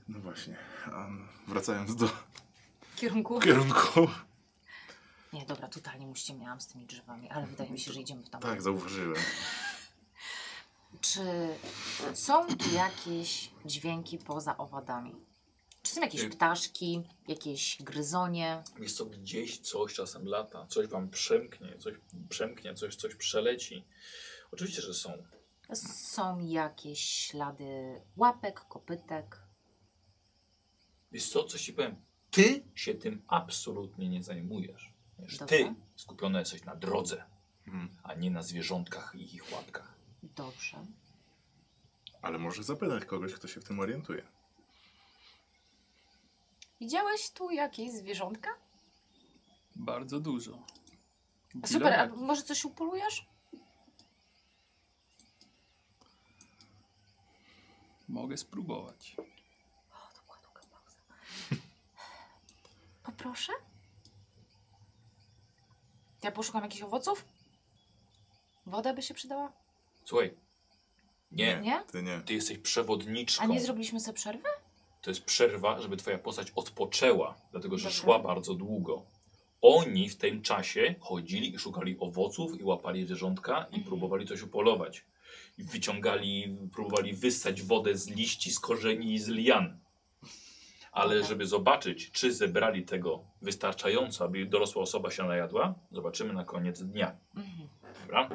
S3: No właśnie. a Wracając do
S2: W kierunku?
S3: kierunku.
S2: Nie, dobra, totalnie mu się miałam z tymi drzewami, ale wydaje mi się, że idziemy w tam.
S3: Tak, zauważyłem.
S2: Czy są tu jakieś dźwięki poza owadami? Czy są jakieś
S1: Y-
S2: ptaszki, jakieś gryzonie?
S1: Jest to gdzieś coś czasem lata, coś wam przemknie, coś przemknie, coś, coś przeleci. Oczywiście, że są.
S2: Są jakieś ślady łapek, kopytek?
S1: Jest to, coś ci powiem, ty się tym absolutnie nie zajmujesz. Wiesz,
S2: Dobra.
S1: ty skupiona jesteś na drodze,
S3: Hmm.
S1: a nie na zwierzątkach i ich łapkach.
S2: Dobrze.
S3: Ale może zapytać kogoś, kto się w tym orientuje.
S2: Widziałeś tu jakieś zwierzątka?
S4: Bardzo dużo.
S2: Super, a
S4: Bilorek.
S2: może coś upolujesz?
S4: Mogę spróbować.
S2: O, to była długa pauza. *laughs* Poproszę? Ja poszukam jakichś owoców? Woda by się przydała?
S1: Słuchaj, nie,
S2: Nie?
S3: Ty nie.
S1: ty jesteś
S2: A
S1: przewodniczką.
S2: nie zrobiliśmy sobie przerwy?
S1: To jest przerwa, żeby twoja postać odpoczęła, dlatego że
S2: Dobra.
S1: szła bardzo długo. Oni w tym czasie chodzili i szukali owoców i łapali zwierzątka
S2: Mhm.
S1: i próbowali coś upolować. I wyciągali, próbowali wyssać wodę z liści, z korzeni i z lian. Ale
S2: Dobra.
S1: żeby zobaczyć, czy zebrali tego wystarczająco, aby dorosła osoba się najadła, zobaczymy na koniec dnia.
S2: Mhm.
S1: Dobra?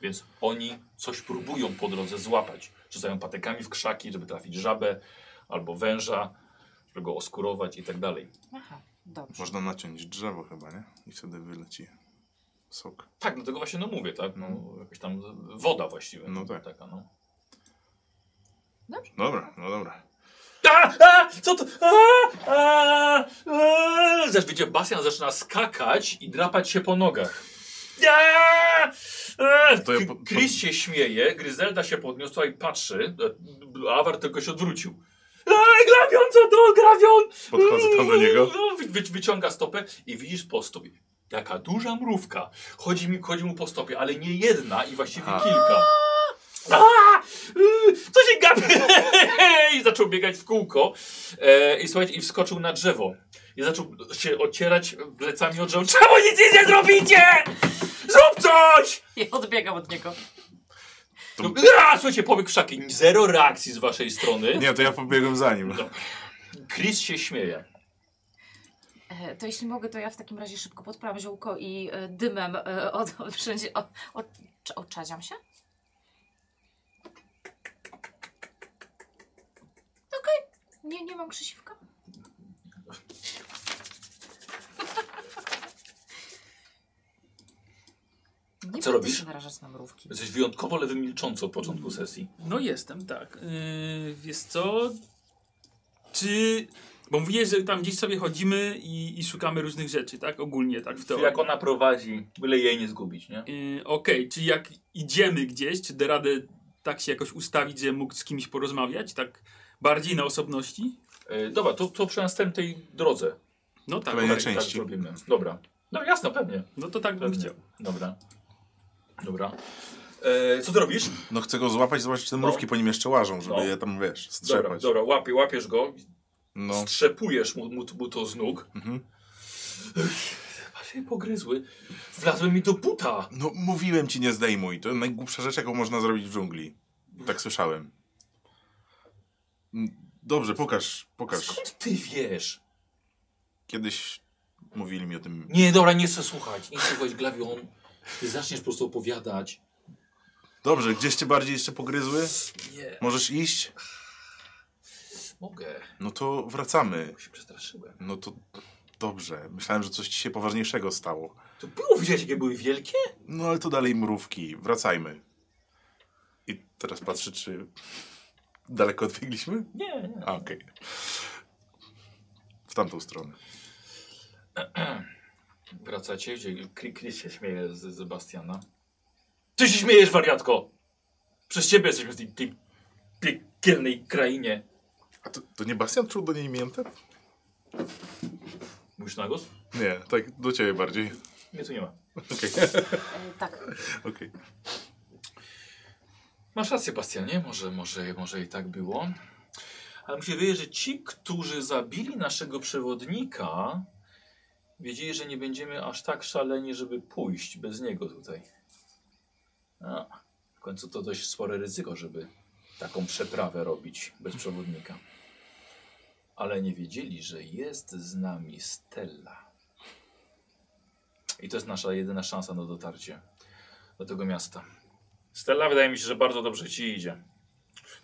S1: Więc oni coś próbują po drodze złapać. Rzucają patykami w krzaki, żeby trafić żabę albo węża, żeby go oskurować i tak dalej.
S2: Aha, dobrze. *laughs*
S3: Można naciąć drzewo chyba, nie? I wtedy wyleci sok.
S1: Tak, dlatego właśnie no mówię, tak? No, jakaś tam woda właściwie.
S3: Mhm. No tak.
S1: Taka, no.
S3: Dobra, no dobra.
S1: A, a, co to? A, a, a. Zaś widzicie, Bastian zaczyna skakać i drapać się po nogach. A, a.
S3: To ja po- po-
S1: Chris się śmieje, Gryzelda się podniosła i patrzy. E, Awar tylko się odwrócił. Ej, grawion, co to? Grawion!
S3: Podchodzę tam do niego.
S1: Wy, wy, wyciąga stopę i widzisz po stopie. Jaka duża mrówka. Chodzi, mi, chodzi mu po stopie, ale nie jedna i właściwie
S3: A.
S1: kilka. A! Yy, Co się gapi? I zaczął biegać w kółko. E, I słuchajcie, i wskoczył na drzewo. I zaczął się ocierać plecami o drzewo. Czemu nic nie zrobicie? Zrób coś!
S2: I odbiegam od niego.
S1: No, a, słuchajcie, pobiegł w szaki. Zero reakcji z waszej strony.
S3: Nie, to ja pobiegłem za nim.
S1: No. Chris się śmieje.
S2: E, To jeśli mogę, to ja w takim razie szybko podprawię ziółko i e, dymem e, od, od wszędzie o- o- czy odczadziam się. *laughs* Okej, nie, nie mam krzesiwka.
S1: Co
S2: Ty
S1: robisz?
S2: się narażasz na mrówki.
S1: Jesteś wyjątkowo lewy milcząco od początku sesji.
S4: No jestem, tak. Yy, wiesz co? Czy... Bo mówiłeś, że tam gdzieś sobie chodzimy i, i szukamy różnych rzeczy, tak? Ogólnie, tak w
S1: Czy
S4: teorii.
S1: jak ona prowadzi, byle jej nie zgubić, nie?
S4: Yy, Okej, czyli jak idziemy gdzieś, czy da radę tak się jakoś ustawić, że mógł z kimś porozmawiać, tak bardziej na osobności?
S1: E, dobra, to, to przy następnej drodze.
S4: No tak,
S3: Kolejne
S4: okej.
S1: Tak, tak
S3: części.
S1: robimy. Dobra. No jasno, pewnie.
S4: no to tak bym
S1: pewnie.
S4: chciał.
S1: Dobra. Dobra. E, co ty robisz?
S3: No chcę go złapać, zobaczyć, czy te mrówki po nim jeszcze łażą, żeby
S1: No.
S3: je tam, wiesz,
S1: Dobra,
S3: strzepać.
S1: dobra, łapie, łapiesz go,
S3: No.
S1: strzepujesz mu, mu, mu to z nóg.
S3: Mhm.
S1: A się pogryzły. Wlazły mi do buta.
S3: no, mówiłem ci, nie zdejmuj. To najgłupsza rzecz, jaką można zrobić w dżungli. Tak słyszałem. Mm, Dobrze, pokaż, pokaż.
S1: Skąd ty wiesz?
S3: Kiedyś mówili mi o tym.
S1: Nie, dobra, nie chcę słuchać. Nie słuchać glawion. Ty zaczniesz po prostu opowiadać.
S3: Dobrze, gdzieś cię bardziej jeszcze pogryzły?
S1: Nie,
S3: Możesz iść?
S1: mogę.
S3: No to wracamy.
S1: Bo się przestraszyłem.
S3: No to dobrze. Myślałem, że coś ci się poważniejszego stało.
S1: To było widać, jakie były wielkie?
S3: No ale to dalej mrówki. Wracajmy. I teraz patrzę, czy daleko odbiegliśmy?
S1: Nie, nie.
S3: A, okej. W tamtą stronę.
S1: Wracacie, gdzie Kri- Chris się śmieje z Sebastiana. Ty się śmiejesz, wariatko! Przez ciebie jesteśmy w tej, tej piekielnej krainie.
S3: A to, to nie Bastian czuł do niej miętę?
S1: Mówisz na głos?
S3: Nie, tak do ciebie bardziej.
S1: Mnie tu nie ma.
S3: Okej,
S2: E, tak.
S3: okej.
S1: Masz rację, Bastianie, może, może, może i tak było. Ale mi się wydaje, że ci, którzy zabili naszego przewodnika, wiedzieli, że nie będziemy aż tak szaleni, żeby pójść bez niego tutaj. A, w końcu to dość spore ryzyko, żeby taką przeprawę robić bez przewodnika. Ale nie wiedzieli, że jest z nami Stella. I to jest nasza jedyna szansa na dotarcie do tego miasta. Stella wydaje mi się, że bardzo dobrze ci idzie.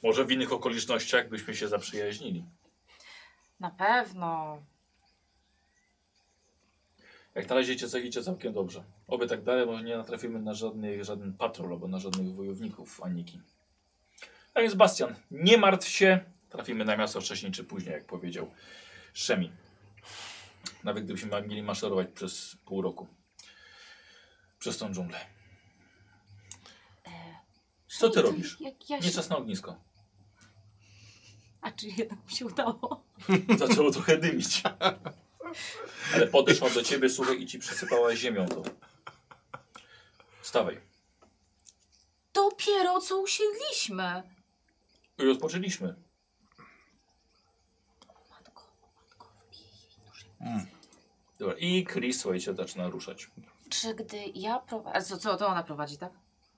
S1: Może w innych okolicznościach byśmy się zaprzyjaźnili.
S2: Na pewno.
S1: Jak na razie idzie, cał- idzie całkiem dobrze. Oby tak dalej, może nie natrafimy na żadnych, żaden patrol albo na żadnych wojowników Aniki. A więc Bastian, nie martw się. Trafimy na miasto wcześniej czy później, jak powiedział Szemi. Nawet gdybyśmy ma- mieli maszerować przez pół roku. Przez tą dżunglę. Co ty
S2: To
S1: robisz?
S2: Jak ja
S1: Nie
S2: się...
S1: czas na ognisko.
S2: A czy jednak mi się udało?
S1: Zaczęło trochę dymić. Ale podeszła do ciebie, słuchaj, i ci przysypała ziemią to. Stawaj.
S2: Dopiero co usiedliśmy.
S1: I rozpoczęliśmy.
S2: Matko, matko, wbij jej nóż.
S1: Dobra. I Chris, słuchajcie, zaczyna ruszać.
S2: Czy gdy ja prowadzę... Co, co, to ona prowadzi, tak?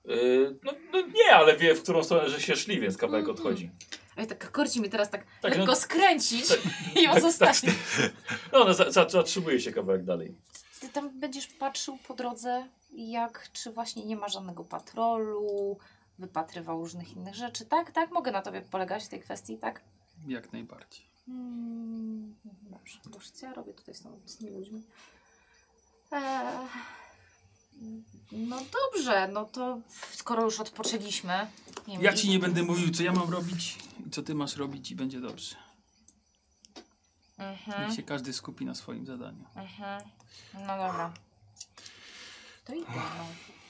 S1: Yy, no, no nie, ale wie, w którą stronę, że się szli, więc kawałek
S2: Mhm.
S1: odchodzi.
S2: Ej, tak korci mi teraz tak,
S1: Tak,
S2: lekko
S1: no-
S2: skręcić
S1: tak,
S2: i ją zostawić.
S1: No, ona za, za, zatrzymuje się kawałek dalej.
S2: Ty tam będziesz patrzył po drodze, jak czy właśnie nie ma żadnego patrolu, wypatrywał różnych innych rzeczy, tak? Tak? Mogę na tobie polegać w tej kwestii, tak?
S4: Jak najbardziej.
S2: Mm, dobrze, proszę, co ja robię tutaj z, tą, z tymi ludźmi? Eee, no dobrze, no to skoro już odpoczęliśmy... nie wiem,
S4: Ja
S2: idź-
S4: ci nie będę mówił, co ja mam robić, i co ty masz robić i będzie dobrze.
S2: Mhm, No.
S4: Niech się każdy skupi na swoim zadaniu.
S2: mhm. No dobra. To idę, no,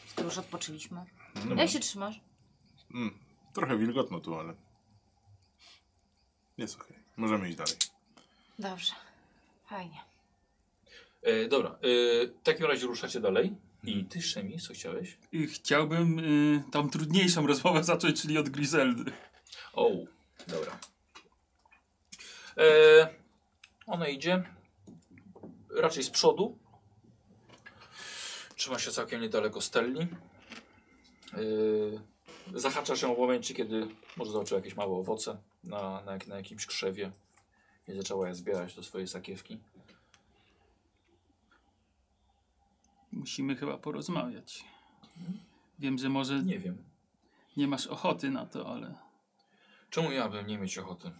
S2: skoro już odpoczęliśmy.
S1: Dobra.
S2: Jak się trzymasz?
S3: Mm, trochę wilgotno tu, ale. Jest okej. Możemy iść dalej.
S2: Dobrze,
S1: *laughs*
S2: fajnie.
S1: Yy, dobra, yy, w takim razie ruszacie dalej. I ty, Szemi, co chciałeś?
S4: I chciałbym y, tam trudniejszą *laughs* rozmowę zacząć, czyli od Griseldy.
S1: O, dobra. E, ona idzie raczej z przodu. Trzyma się całkiem niedaleko Stelli. E, zahacza się w momencie, kiedy może zobaczyła jakieś małe owoce na, na, jak- na jakimś krzewie i zaczęła je zbierać do swojej sakiewki.
S4: Musimy chyba porozmawiać. Wiem, że może
S1: Nie wiem,
S4: nie masz ochoty na to, ale
S1: czemu ja bym nie mieć ochoty.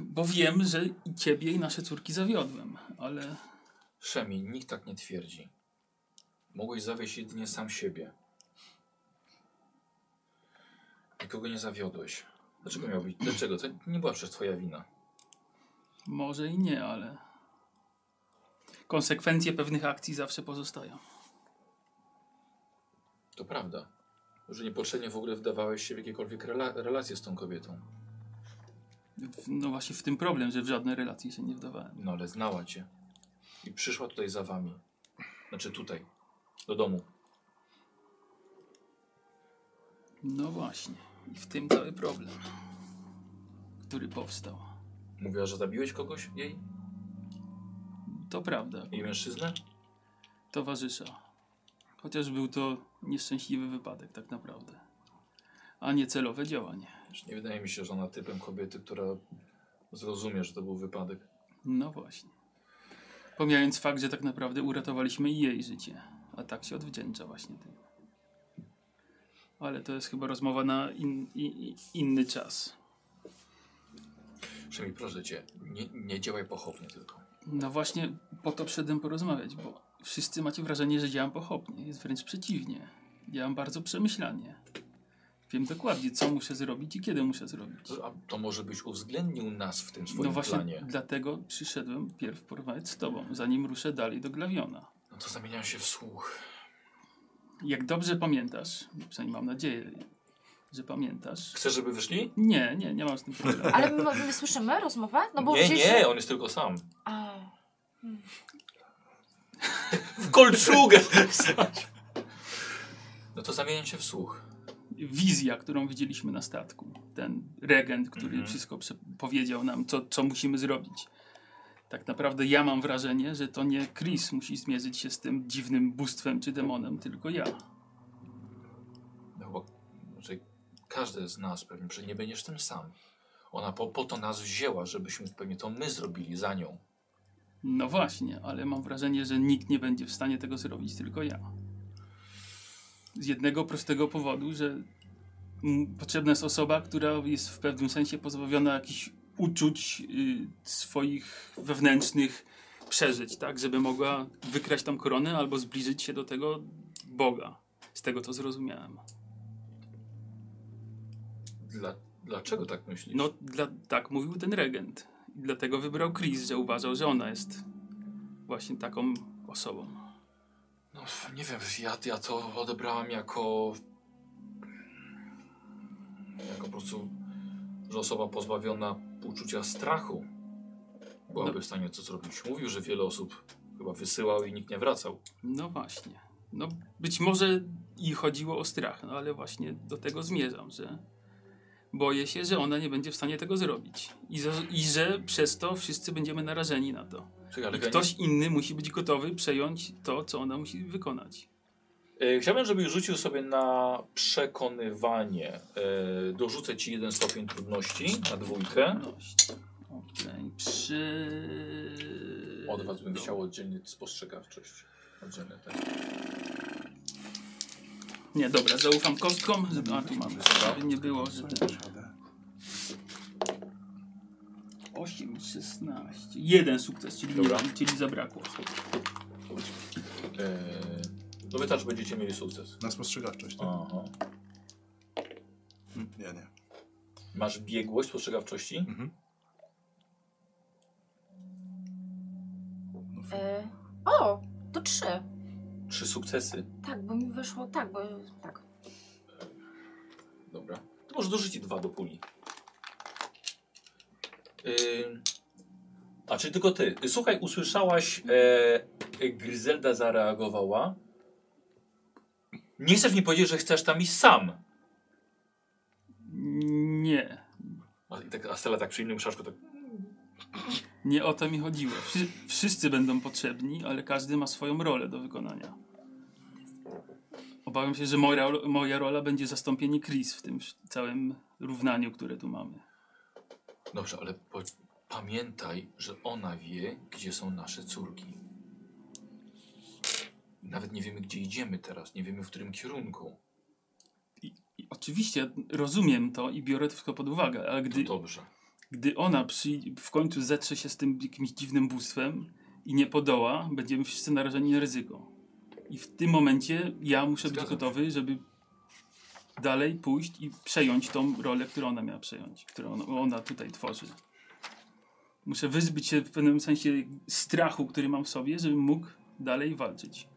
S4: Bo wiem, że i ciebie i nasze córki zawiodłem, ale
S1: Szemi, nikt tak nie twierdzi. Mogłeś zawieść jedynie sam siebie. Nikogo nie zawiodłeś. Dlaczego miał być? Dlaczego? To nie była przecież twoja wina.
S4: Może i nie, ale. Konsekwencje pewnych akcji zawsze pozostają.
S1: To prawda. Że niepotrzebnie w ogóle wdawałeś się w jakiekolwiek rela- relacje z tą kobietą.
S4: W- No właśnie w tym problem, że w żadne relacje się nie wdawałem.
S1: No ale znała cię. I przyszła tutaj za wami. Znaczy tutaj. Do domu.
S4: No właśnie. I w tym cały problem, który powstał.
S1: Mówiła, że zabiłeś kogoś jej?
S4: To prawda,
S1: Jej mężczyznę?
S4: towarzysza. Chociaż był to nieszczęśliwy wypadek, tak naprawdę. A nie celowe działanie.
S1: Wiesz, nie wydaje mi się, że ona typem kobiety, która zrozumie, że to był wypadek.
S4: No właśnie. Pomijając fakt, że tak naprawdę uratowaliśmy jej życie, a tak się odwdzięcza właśnie tym. Ale to jest chyba rozmowa na in, i- i- inny czas.
S1: Przynajmniej proszę cię, nie, nie działaj pochopnie tylko.
S4: No właśnie po to przyszedłem porozmawiać, bo wszyscy macie wrażenie, że działam pochopnie. Jest wręcz przeciwnie. Działam bardzo przemyślanie. Wiem dokładnie, co muszę zrobić i kiedy muszę zrobić.
S1: To- A to może byś uwzględnił nas w tym swoim
S4: No właśnie
S1: planie.
S4: dlatego przyszedłem pierw porozmawiać z tobą, zanim ruszę dalej do Glawiona.
S1: No to zamieniam się w słuch.
S4: Jak dobrze pamiętasz, przynajmniej mam nadzieję, że pamiętasz.
S1: Chcesz, żeby wyszli?
S4: Nie, nie, nie mam z tym problemu.
S2: Ale my, my słyszymy rozmowę? No bo
S1: nie,
S2: gdzieś...
S1: nie, on jest tylko sam.
S2: A,
S1: W kolczugę! *laughs* no to zamieniam się w słuch.
S4: Wizja, którą widzieliśmy na statku. Ten regent, który
S1: Mhm.
S4: wszystko prze- powiedział nam, co, co musimy zrobić. Tak naprawdę ja mam wrażenie, że to nie Chris musi zmierzyć się z tym dziwnym bóstwem czy demonem, tylko ja.
S1: No chyba, znaczy, każdy z nas pewnie, że nie będziesz tym sam. Ona po, po to nas wzięła, żebyśmy pewnie to my zrobili za nią.
S4: No właśnie, ale mam wrażenie, że nikt nie będzie w stanie tego zrobić, tylko ja. Z jednego prostego powodu, że mm, potrzebna jest osoba, która jest w pewnym sensie pozbawiona jakichś uczuć y, swoich wewnętrznych przeżyć, tak? Żeby mogła wykraść tam koronę albo zbliżyć się do tego Boga. Z tego co zrozumiałem.
S1: Dla, dlaczego tak myślisz?
S4: No, dla, tak mówił ten regent. I dlatego wybrał Chris, że uważał, że ona jest właśnie taką osobą.
S1: No, nie wiem, ja, ja to odebrałam jako. jako po prostu, że osoba pozbawiona uczucia strachu byłaby
S4: No.
S1: w stanie to zrobić. Mówił, że wiele osób chyba wysyłał i nikt nie wracał.
S4: No właśnie. No być może i chodziło o strach, no ale właśnie do tego zmierzam, że boję się, że ona nie będzie w stanie tego zrobić. I, za, i że przez to wszyscy będziemy narażeni na to.
S1: Czekaj, ale
S4: I ktoś inny musi być gotowy przejąć to, co ona musi wykonać.
S1: E, Chciałbym, żebyś rzucił sobie na przekonywanie. E, dorzucę ci jeden stopień trudności na dwójkę.
S4: Dość. Okej, przy...
S1: Od was bym chciał oddzielnie spostrzegawczość. Oddzielnie tak.
S4: Nie, dobra, zaufam kostkom, żeby... A, tu mamy, żeby nie było, że...
S3: Przesadę.
S4: 8, 16... Jeden sukces, czyli,
S1: Dobra.
S4: czyli zabrakło.
S1: E, no wy też będziecie mieli sukces.
S3: Na spostrzegawczość, tak?
S1: Aha.
S3: Mm, Ja nie.
S1: Masz biegłość spostrzegawczości?
S2: y, o, to trzy.
S1: Trzy sukcesy.
S2: Tak, bo mi wyszło tak, bo tak.
S1: Dobra. To może dorzucić dwa do puli. Yy, a czy tylko ty? Słuchaj, usłyszałaś, e, e, Gryzelda zareagowała. Nie chcesz mi powiedzieć, że chcesz tam iść sam.
S4: Nie,
S1: A, i tak, a Stella tak przy innym szaszku tak.
S4: Nie o to mi chodziło. Wszy wszyscy będą potrzebni, ale każdy ma swoją rolę do wykonania. Obawiam się, że moja, ro- moja rola będzie zastąpienie Chris w tym wsz- całym równaniu, które tu mamy.
S1: Dobrze, ale po, pamiętaj, że ona wie, gdzie są nasze córki. Nawet nie wiemy, gdzie idziemy teraz, nie wiemy, w którym kierunku.
S4: I oczywiście rozumiem to i biorę to wszystko pod uwagę, ale
S1: To
S4: gdy,
S1: dobrze.
S4: gdy ona przy, w końcu zetrze się z tym jakimś dziwnym bóstwem i nie podoła, będziemy wszyscy narażeni na ryzyko. I I w tym momencie ja muszę być
S1: Zgadzam się.
S4: gotowy, żeby dalej pójść i przejąć tą rolę, którą ona miała przejąć, którą ona, ona tutaj tworzy. Muszę wyzbyć się w pewnym sensie strachu, który mam w sobie, żebym mógł dalej walczyć.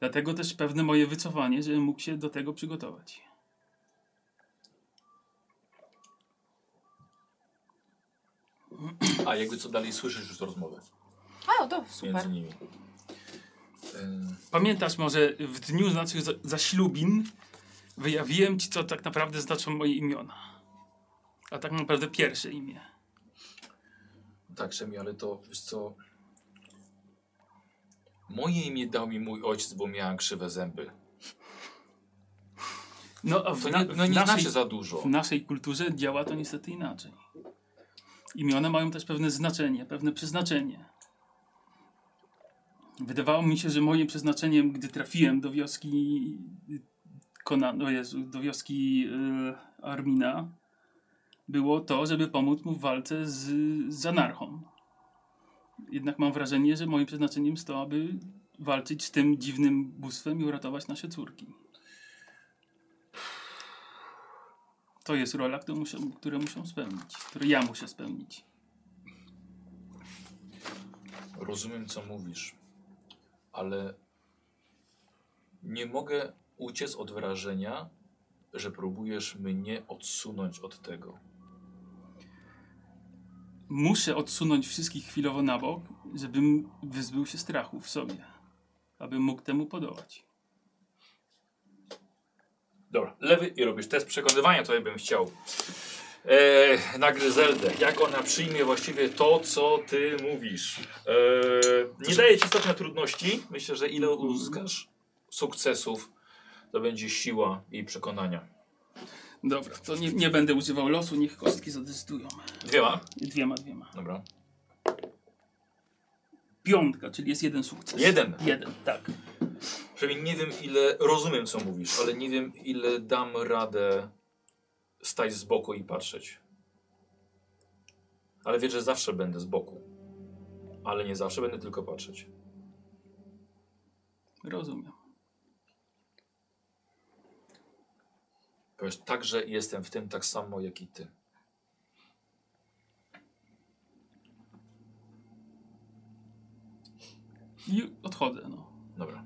S4: Dlatego też pewne moje wycofanie, żebym mógł się do tego przygotować.
S1: A jakby co dalej słyszysz już rozmowę
S2: A, to
S1: między
S2: super.
S1: nimi. E,
S4: Pamiętasz może w dniu naszych za- zaślubin wyjawiłem ci, co tak naprawdę znaczą moje imiona. A tak naprawdę pierwsze imię.
S1: Tak, Szemi, ale to wiesz co. Moje imię dał mi mój ojciec, bo miałem krzywe zęby.
S4: No a w,
S1: To
S4: na,
S1: nie,
S4: w,
S1: no nie
S4: naszej,
S1: znaczy za dużo.
S4: w naszej kulturze działa to niestety inaczej. Imiona mają też pewne znaczenie, pewne przeznaczenie. Wydawało mi się, że moim przeznaczeniem, gdy trafiłem do wioski Konan, o Jezu, do wioski y, Armina, było to, żeby pomóc mu w walce z, z anarchą. Jednak mam wrażenie, że moim przeznaczeniem jest to, aby walczyć z tym dziwnym bóstwem i uratować nasze córki. To jest rola, którą muszę, którą muszę spełnić, którą ja muszę spełnić.
S1: Rozumiem, co mówisz, ale nie mogę uciec od wrażenia, że próbujesz mnie odsunąć od tego.
S4: Muszę odsunąć wszystkich chwilowo na bok, żebym wyzbył się strachu w sobie, abym mógł temu podołać.
S1: Dobra, lewy i robisz test przekonywania, to ja bym chciał. E, na Gryzeldę. Jak ona przyjmie właściwie to, co ty mówisz? E, nie daje ci stopnia trudności. Myślę, że ile uzyskasz sukcesów, to będzie siła jej przekonania.
S4: Dobra, to nie, nie będę używał losu, niech kostki zadecydują.
S1: Dwiema.
S4: Dwiema, dwiema.
S1: Dobra.
S4: Piątka, czyli jest jeden sukces.
S1: Jeden.
S4: Jeden, tak.
S1: Przynajmniej nie wiem, ile rozumiem, co mówisz, ale nie wiem, ile dam radę stać z boku i patrzeć. Ale wiem, że zawsze będę z boku. Ale nie zawsze będę tylko patrzeć.
S4: Rozumiem.
S1: Powiesz, także jestem w tym tak samo jak i ty.
S4: I odchodzę, no.
S1: Dobra.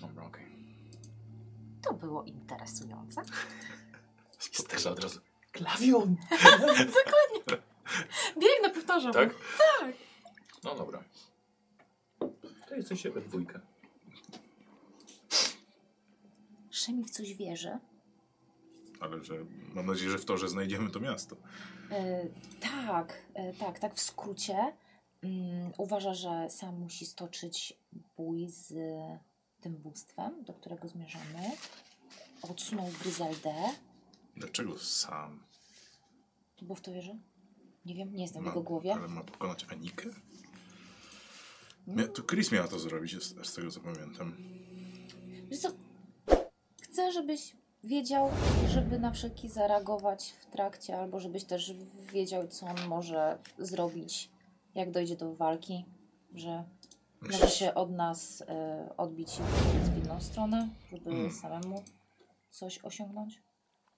S1: Dobra, okej. Okay.
S2: To było interesujące.
S1: Stara tak, od razu. Klawion!
S2: Biegnę, powtarzam.
S1: Tak?
S2: Tak.
S1: No dobra. To jesteście we dwójkę.
S2: Szemi w coś wierzy.
S3: Ale że mam nadzieję, że w to, że znajdziemy to miasto.
S2: E, tak, e, tak, tak w skrócie. Mm, uważa, że sam musi stoczyć bój z tym bóstwem, do którego zmierzamy. Odsunął Gryzeldę,
S3: Dlaczego sam
S2: bo w to wierzy. Nie wiem, nie jestem w
S3: ma,
S2: jego głowie.
S3: ale ma pokonać Anikę? Mia,
S2: Mm,
S3: to Chris miała to zrobić, z, z tego co pamiętam.
S2: wiesz co, chcę, żeś wiedział, żeby na wszelki zareagować w trakcie, albo żebyś też wiedział, co on może zrobić, jak dojdzie do walki, że Może Znaczy się od nas y, odbić i pójść w inną stronę, żeby
S3: Mm.
S2: samemu coś osiągnąć?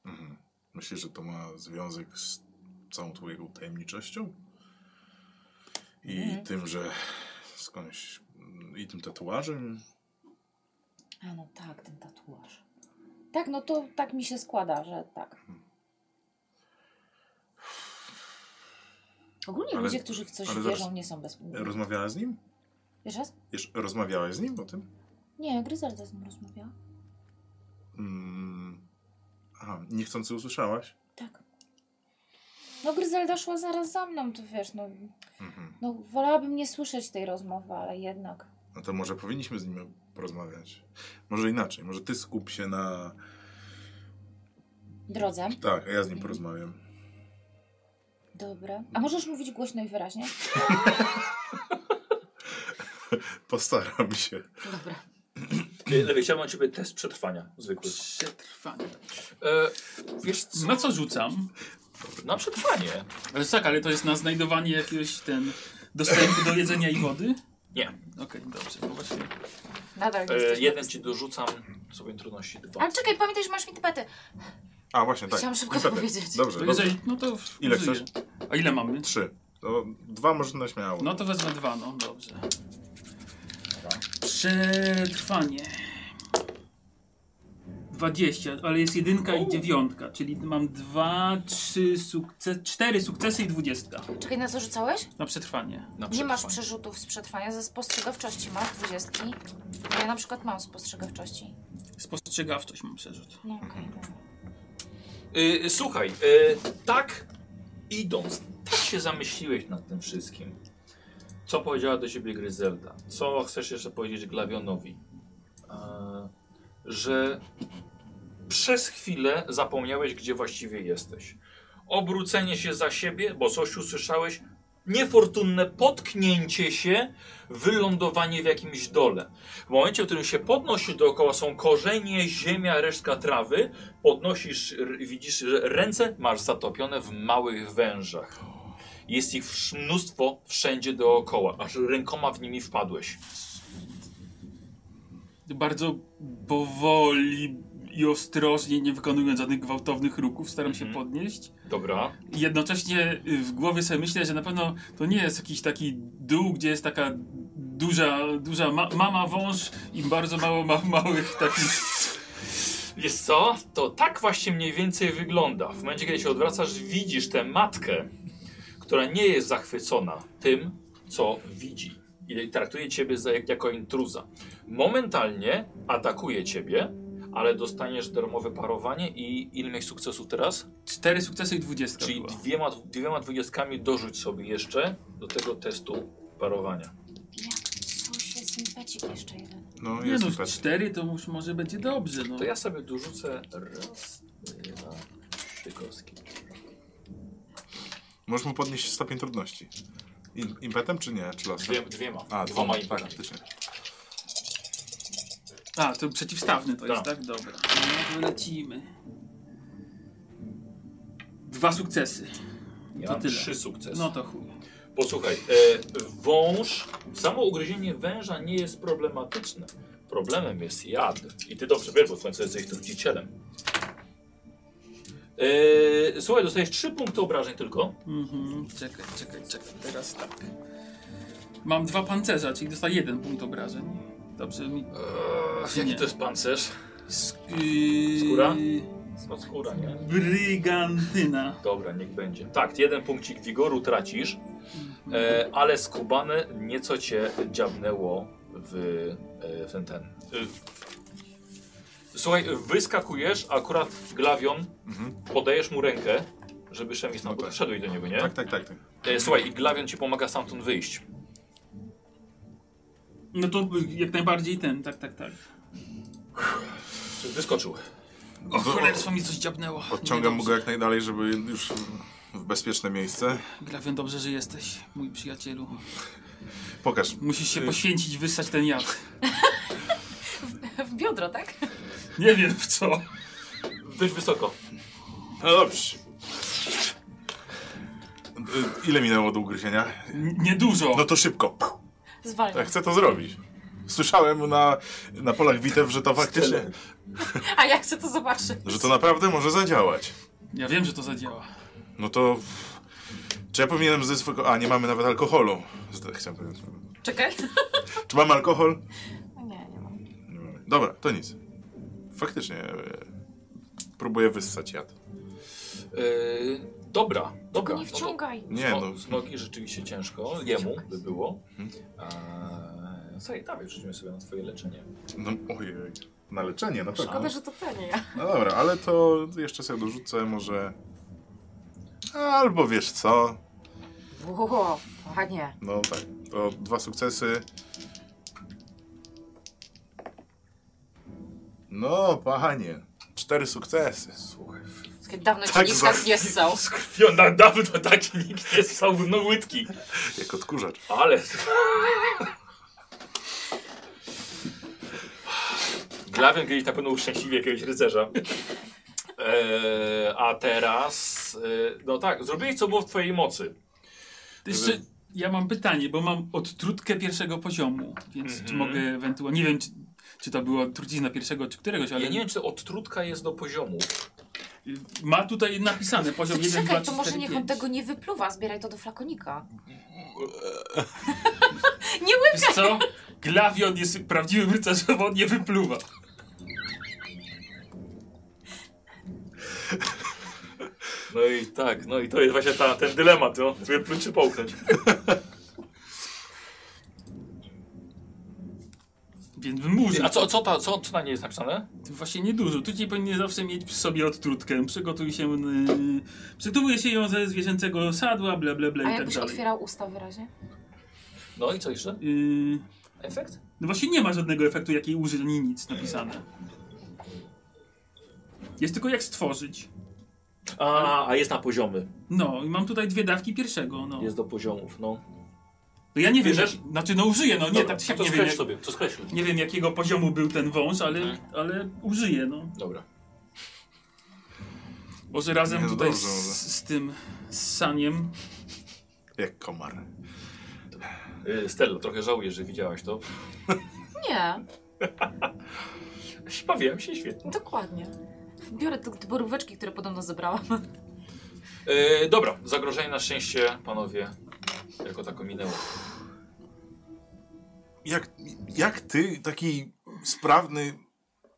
S3: Mhm. Myślisz, że to ma związek z całą twoją tajemniczością? I
S2: Mhm.
S3: tym, że skądś... I tym tatuażem?
S2: A no tak, ten tatuaż. Tak, no to tak mi się składa, że tak. Ogólnie
S3: Ale-
S2: ludzie, którzy w coś
S3: ale
S2: wierzą,
S3: zaraz-
S2: nie są bez...
S3: Rozmawiałaś z nim?
S2: Wiesz raz?
S3: Jeszcze rozmawiałaś z nim o tym?
S2: Nie, Gryzelda z nim rozmawiała.
S3: Mm. Aha, niechcący usłyszałaś?
S2: Tak. No Gryzelda szła zaraz za mną, to wiesz, no,
S3: Mhm.
S2: no wolałabym nie słyszeć tej rozmowy, ale jednak.
S3: No to może powinniśmy z nim porozmawiać. Może inaczej, może ty skup się na...
S2: Drodze.
S3: Tak, a ja z
S2: Mhm.
S3: nim porozmawiam.
S2: Dobra. A możesz mówić głośno i wyraźnie?
S3: Postaram się.
S2: Dobra.
S1: Lewy, chciałbym od ciebie test przetrwania zwykły.
S4: Przetrwanie.
S1: E, wiesz co?
S4: Na co rzucam?
S1: Na przetrwanie.
S4: Ale tak, ale to jest na znajdowanie jakiegoś ten dostępu do jedzenia i wody?
S1: Nie.
S4: Okej, dobrze, bo właśnie
S2: Nadal nie
S1: E,
S2: jesteśmy
S1: jeden
S2: bez-
S1: ci dorzucam sobie trudności dwa.
S2: Ale czekaj, pamiętaj, że masz mi tybety.
S3: A właśnie, tak.
S2: Chciałam szybko
S3: Niestety.
S2: powiedzieć.
S3: Dobrze,
S4: To
S3: dobrze.
S4: jeżeli, no to w-
S3: Ile
S4: użyję.
S3: chcesz?
S4: A ile mamy?
S3: Trzy. To dwa może na śmiało.
S4: No to wezmę dwa, no dobrze.
S1: Dobra.
S4: Przetrwanie. 20, ale jest jedynka i dziewiątka, czyli mam dwa, trzy sukcesy, cztery sukcesy i dwudziestka
S2: Czekaj, na co rzucałeś?
S4: na przetrwanie.
S1: Na
S2: Nie masz
S1: przetrwanie.
S2: przerzutów z przetrwania, ze spostrzegawczości masz dwudziestki. Ja na przykład mam spostrzegawczości.
S4: Spostrzegawczość mam przerzut.
S2: No okej, dobra.
S1: Y, słuchaj, y, tak idąc, tak się zamyśliłeś nad tym wszystkim. Co powiedziała do ciebie Gryzelda? Co chcesz jeszcze powiedzieć Glawionowi? E, że przez chwilę zapomniałeś, gdzie właściwie jesteś. Obrócenie się za siebie, bo coś usłyszałeś, niefortunne potknięcie się, wylądowanie w jakimś dole. W momencie, w którym się podnosi dookoła, są korzenie, ziemia, resztka trawy, podnosisz, r- widzisz, że ręce masz zatopione w małych wężach. Jest ich wsz- mnóstwo wszędzie dookoła, aż rękoma w nimi wpadłeś.
S4: Bardzo powoli i ostrożnie, nie wykonując żadnych gwałtownych ruchów, staram się
S1: Mhm.
S4: podnieść.
S1: Dobra.
S4: I Jednocześnie y, w głowie sobie myślę, że na pewno to nie jest jakiś taki dół, gdzie jest taka duża, duża ma mama wąż i bardzo mało ma małych takich
S1: Jest co? To tak właśnie mniej więcej wygląda. W momencie, kiedy się odwracasz, widzisz tę matkę, która nie jest zachwycona tym, co widzi. I traktuje ciebie za, jako intruza. Momentalnie atakuje ciebie, ale dostaniesz darmowe parowanie i ile miałeś sukcesów teraz?
S4: Cztery sukcesy i
S3: Tak
S4: dwudziestka
S1: Czyli
S4: była.
S1: dwiema, dwiema dwudziestkami dorzuć sobie jeszcze do tego testu parowania.
S2: Jak coś jest impecik jeszcze jeden.
S3: No
S4: Nie
S3: jest
S4: no,
S3: też.
S4: cztery to już może będzie dobrze, no.
S1: To ja sobie dorzucę raz, dwa, trzy kostki.
S3: Możesz mu podnieść stopień trudności. Im, impetem czy nie? Czy losem?
S1: Dwie, dwiema. dwoma
S3: A, dwoma,
S1: i
S3: tak, faktycznie.
S4: A, to przeciwstawny to jest,
S1: Tak.
S4: tak? Dobra. No to lecimy. Dwa sukcesy.
S1: Ja
S4: To
S1: mam
S4: tyle.
S1: trzy sukcesy.
S4: No to chuj.
S1: Posłuchaj, e, wąż, samo ugryzienie węża nie jest problematyczne. Problemem jest jad. I ty dobrze wiesz, bo w końcu jesteś trucicielem. E, słuchaj, dostajesz trzy punkty obrażeń tylko.
S4: Mhm. Czekaj, czekaj, czekaj. Teraz tak. Mam dwa pancerza, czyli dostaję jeden punkt obrażeń. Dobrze mi...
S1: Eee,
S4: jaki
S1: jaki
S4: to
S1: to jest pancerz?
S4: Sk yy...
S1: Skóra? No skóra, nie?
S4: Brygantyna.
S1: Dobra, niech będzie. Tak, jeden punkcik wigoru tracisz, e, ale skubane nieco cię dziabnęło w, e, w ten ten. e, w- Słuchaj, wyskakujesz, akurat Glawion,
S3: Mhm.
S1: podajesz mu rękę, żeby szemis tam
S3: No tak.
S1: wszedł do niego, nie?
S3: Tak, tak, tak. tak.
S1: E, słuchaj, i Glawion ci pomaga stamtąd wyjść.
S4: No to jak najbardziej ten, tak, tak, tak.
S1: Wyskoczył.
S3: Do-
S4: O cholerstwo mi coś dziabnęło.
S3: Podciągam mu
S4: Niedobrze.
S3: go jak najdalej, żeby już w bezpieczne miejsce.
S4: Grawion, dobrze, że jesteś, mój przyjacielu.
S3: Pokaż.
S4: Musisz się
S3: Y,
S4: poświęcić, wyssać ten jad.
S2: W biodro, tak?
S4: Nie wiem w co.
S1: Dość wysoko.
S3: No dobrze. Y, Ile minęło do ugryzienia?
S4: N- Niedużo.
S3: No to szybko.
S2: Zwalnia.
S3: Tak, chcę to zrobić. Słyszałem na, na polach bitew, że to faktycznie,
S2: A ja chcę to zobaczyć.
S3: że to naprawdę może zadziałać.
S4: Ja wiem, że to zadziała.
S3: No to... Czy ja powinienem ze swojego... A, nie mamy nawet alkoholu. Zda- Chciałem powiedzieć.
S2: Czekaj.
S3: Czy mamy alkohol?
S2: No Nie, nie mam.
S3: Nie mamy. Dobra, to nic. Faktycznie. e, Próbuję wyssać jad.
S1: E, dobra, dobra.
S2: Nie
S1: no to-
S2: wciągaj.
S3: Nie,
S1: No,
S3: no.
S1: Z nogi rzeczywiście ciężko, jemu by było.
S3: Mhm.
S1: Eee, Słuchaj, dawaj, rzućmy sobie na twoje leczenie.
S3: no ojej. Na leczenie, no tak. na pewno.
S2: Szkoda, że to te nie ja.
S3: No dobra, ale to jeszcze sobie dorzucę może... Albo wiesz co,
S2: Ło, panie.
S3: no tak, to dwa sukcesy. No, panie, cztery sukcesy.
S1: Słuchaj.
S2: Słuchaj, Dawno ci
S3: Tak
S2: nikt
S3: za-
S2: tak nie ssał.
S1: Skrwiona dawno taki nikt nie ssał w łydki.
S3: Jak odkurzacz.
S1: Ale... Glawion kiedyś na pewno uszczęśliwie jakiegoś rycerza. E, Eee, a teraz... eee, no tak, zrobiłeś co było w twojej mocy.
S4: Ty jeszcze Ja mam pytanie, bo mam odtrutkę pierwszego poziomu, więc
S1: Mhm.
S4: czy mogę ewentualnie. Nie wiem, czy, czy to była trucizna pierwszego, czy któregoś, ale
S1: Ja nie wiem, czy odtrutka jest do poziomu.
S4: ma tutaj napisane poziom 1, 2,
S2: Czekaj,
S4: 3,
S2: to może
S4: 4,
S2: niech
S4: 5.
S2: on tego nie wypluwa, zbieraj to do flakonika.
S4: Wiesz co? Glawion jest prawdziwym rycerzem, on nie wypluwa.
S1: No i tak, no i to jest właśnie ta, ten dylemat, no. Czy pluć czy połknąć.
S4: Więc może.
S1: A co, co, ta, co, co na niej jest napisane?
S4: Właśnie niedużo. Tutaj powinien zawsze mieć przy sobie odtrutkę. Przygotuj się. Yy, przygotowuje się ją ze zwierzęcego sadła, bla bla
S2: A
S4: bla i tak
S2: jakbyś
S4: dalej.
S2: otwierał usta wyraźnie?
S1: No i co jeszcze?
S4: Yy,
S1: Efekt?
S4: no właśnie nie ma żadnego efektu, jakiej użyć, ani nic napisane. Jest tylko jak stworzyć.
S1: A, a jest na poziomy.
S4: No, i mam tutaj dwie dawki pierwszego. No.
S1: Jest do poziomów, no.
S4: No ja nie wiem,
S1: Bierzesz?
S4: jak- znaczy no użyję, no nie,
S1: Dobra,
S4: tak się
S1: to Mhm.
S4: nie wiem,
S1: skreśl
S4: jak,
S1: sobie, to skreśl.
S4: nie wiem jakiego poziomu był ten wąż, ale, ale użyję, no.
S1: Dobra.
S4: Może razem
S3: Nie, no
S4: tutaj
S3: dobrze, może.
S4: z, z tym, z Saniem.
S3: Jak komar.
S1: Yy, Stella, trochę żałuję, że widziałaś to.
S2: Nie,
S1: Bawiłem się świetnie.
S2: dokładnie. Biorę te, te boróweczki, które podobno zebrałam.
S1: Yy, dobra, zagrożenie na szczęście, panowie, jako tako minęło.
S3: Jak, jak ty, taki sprawny...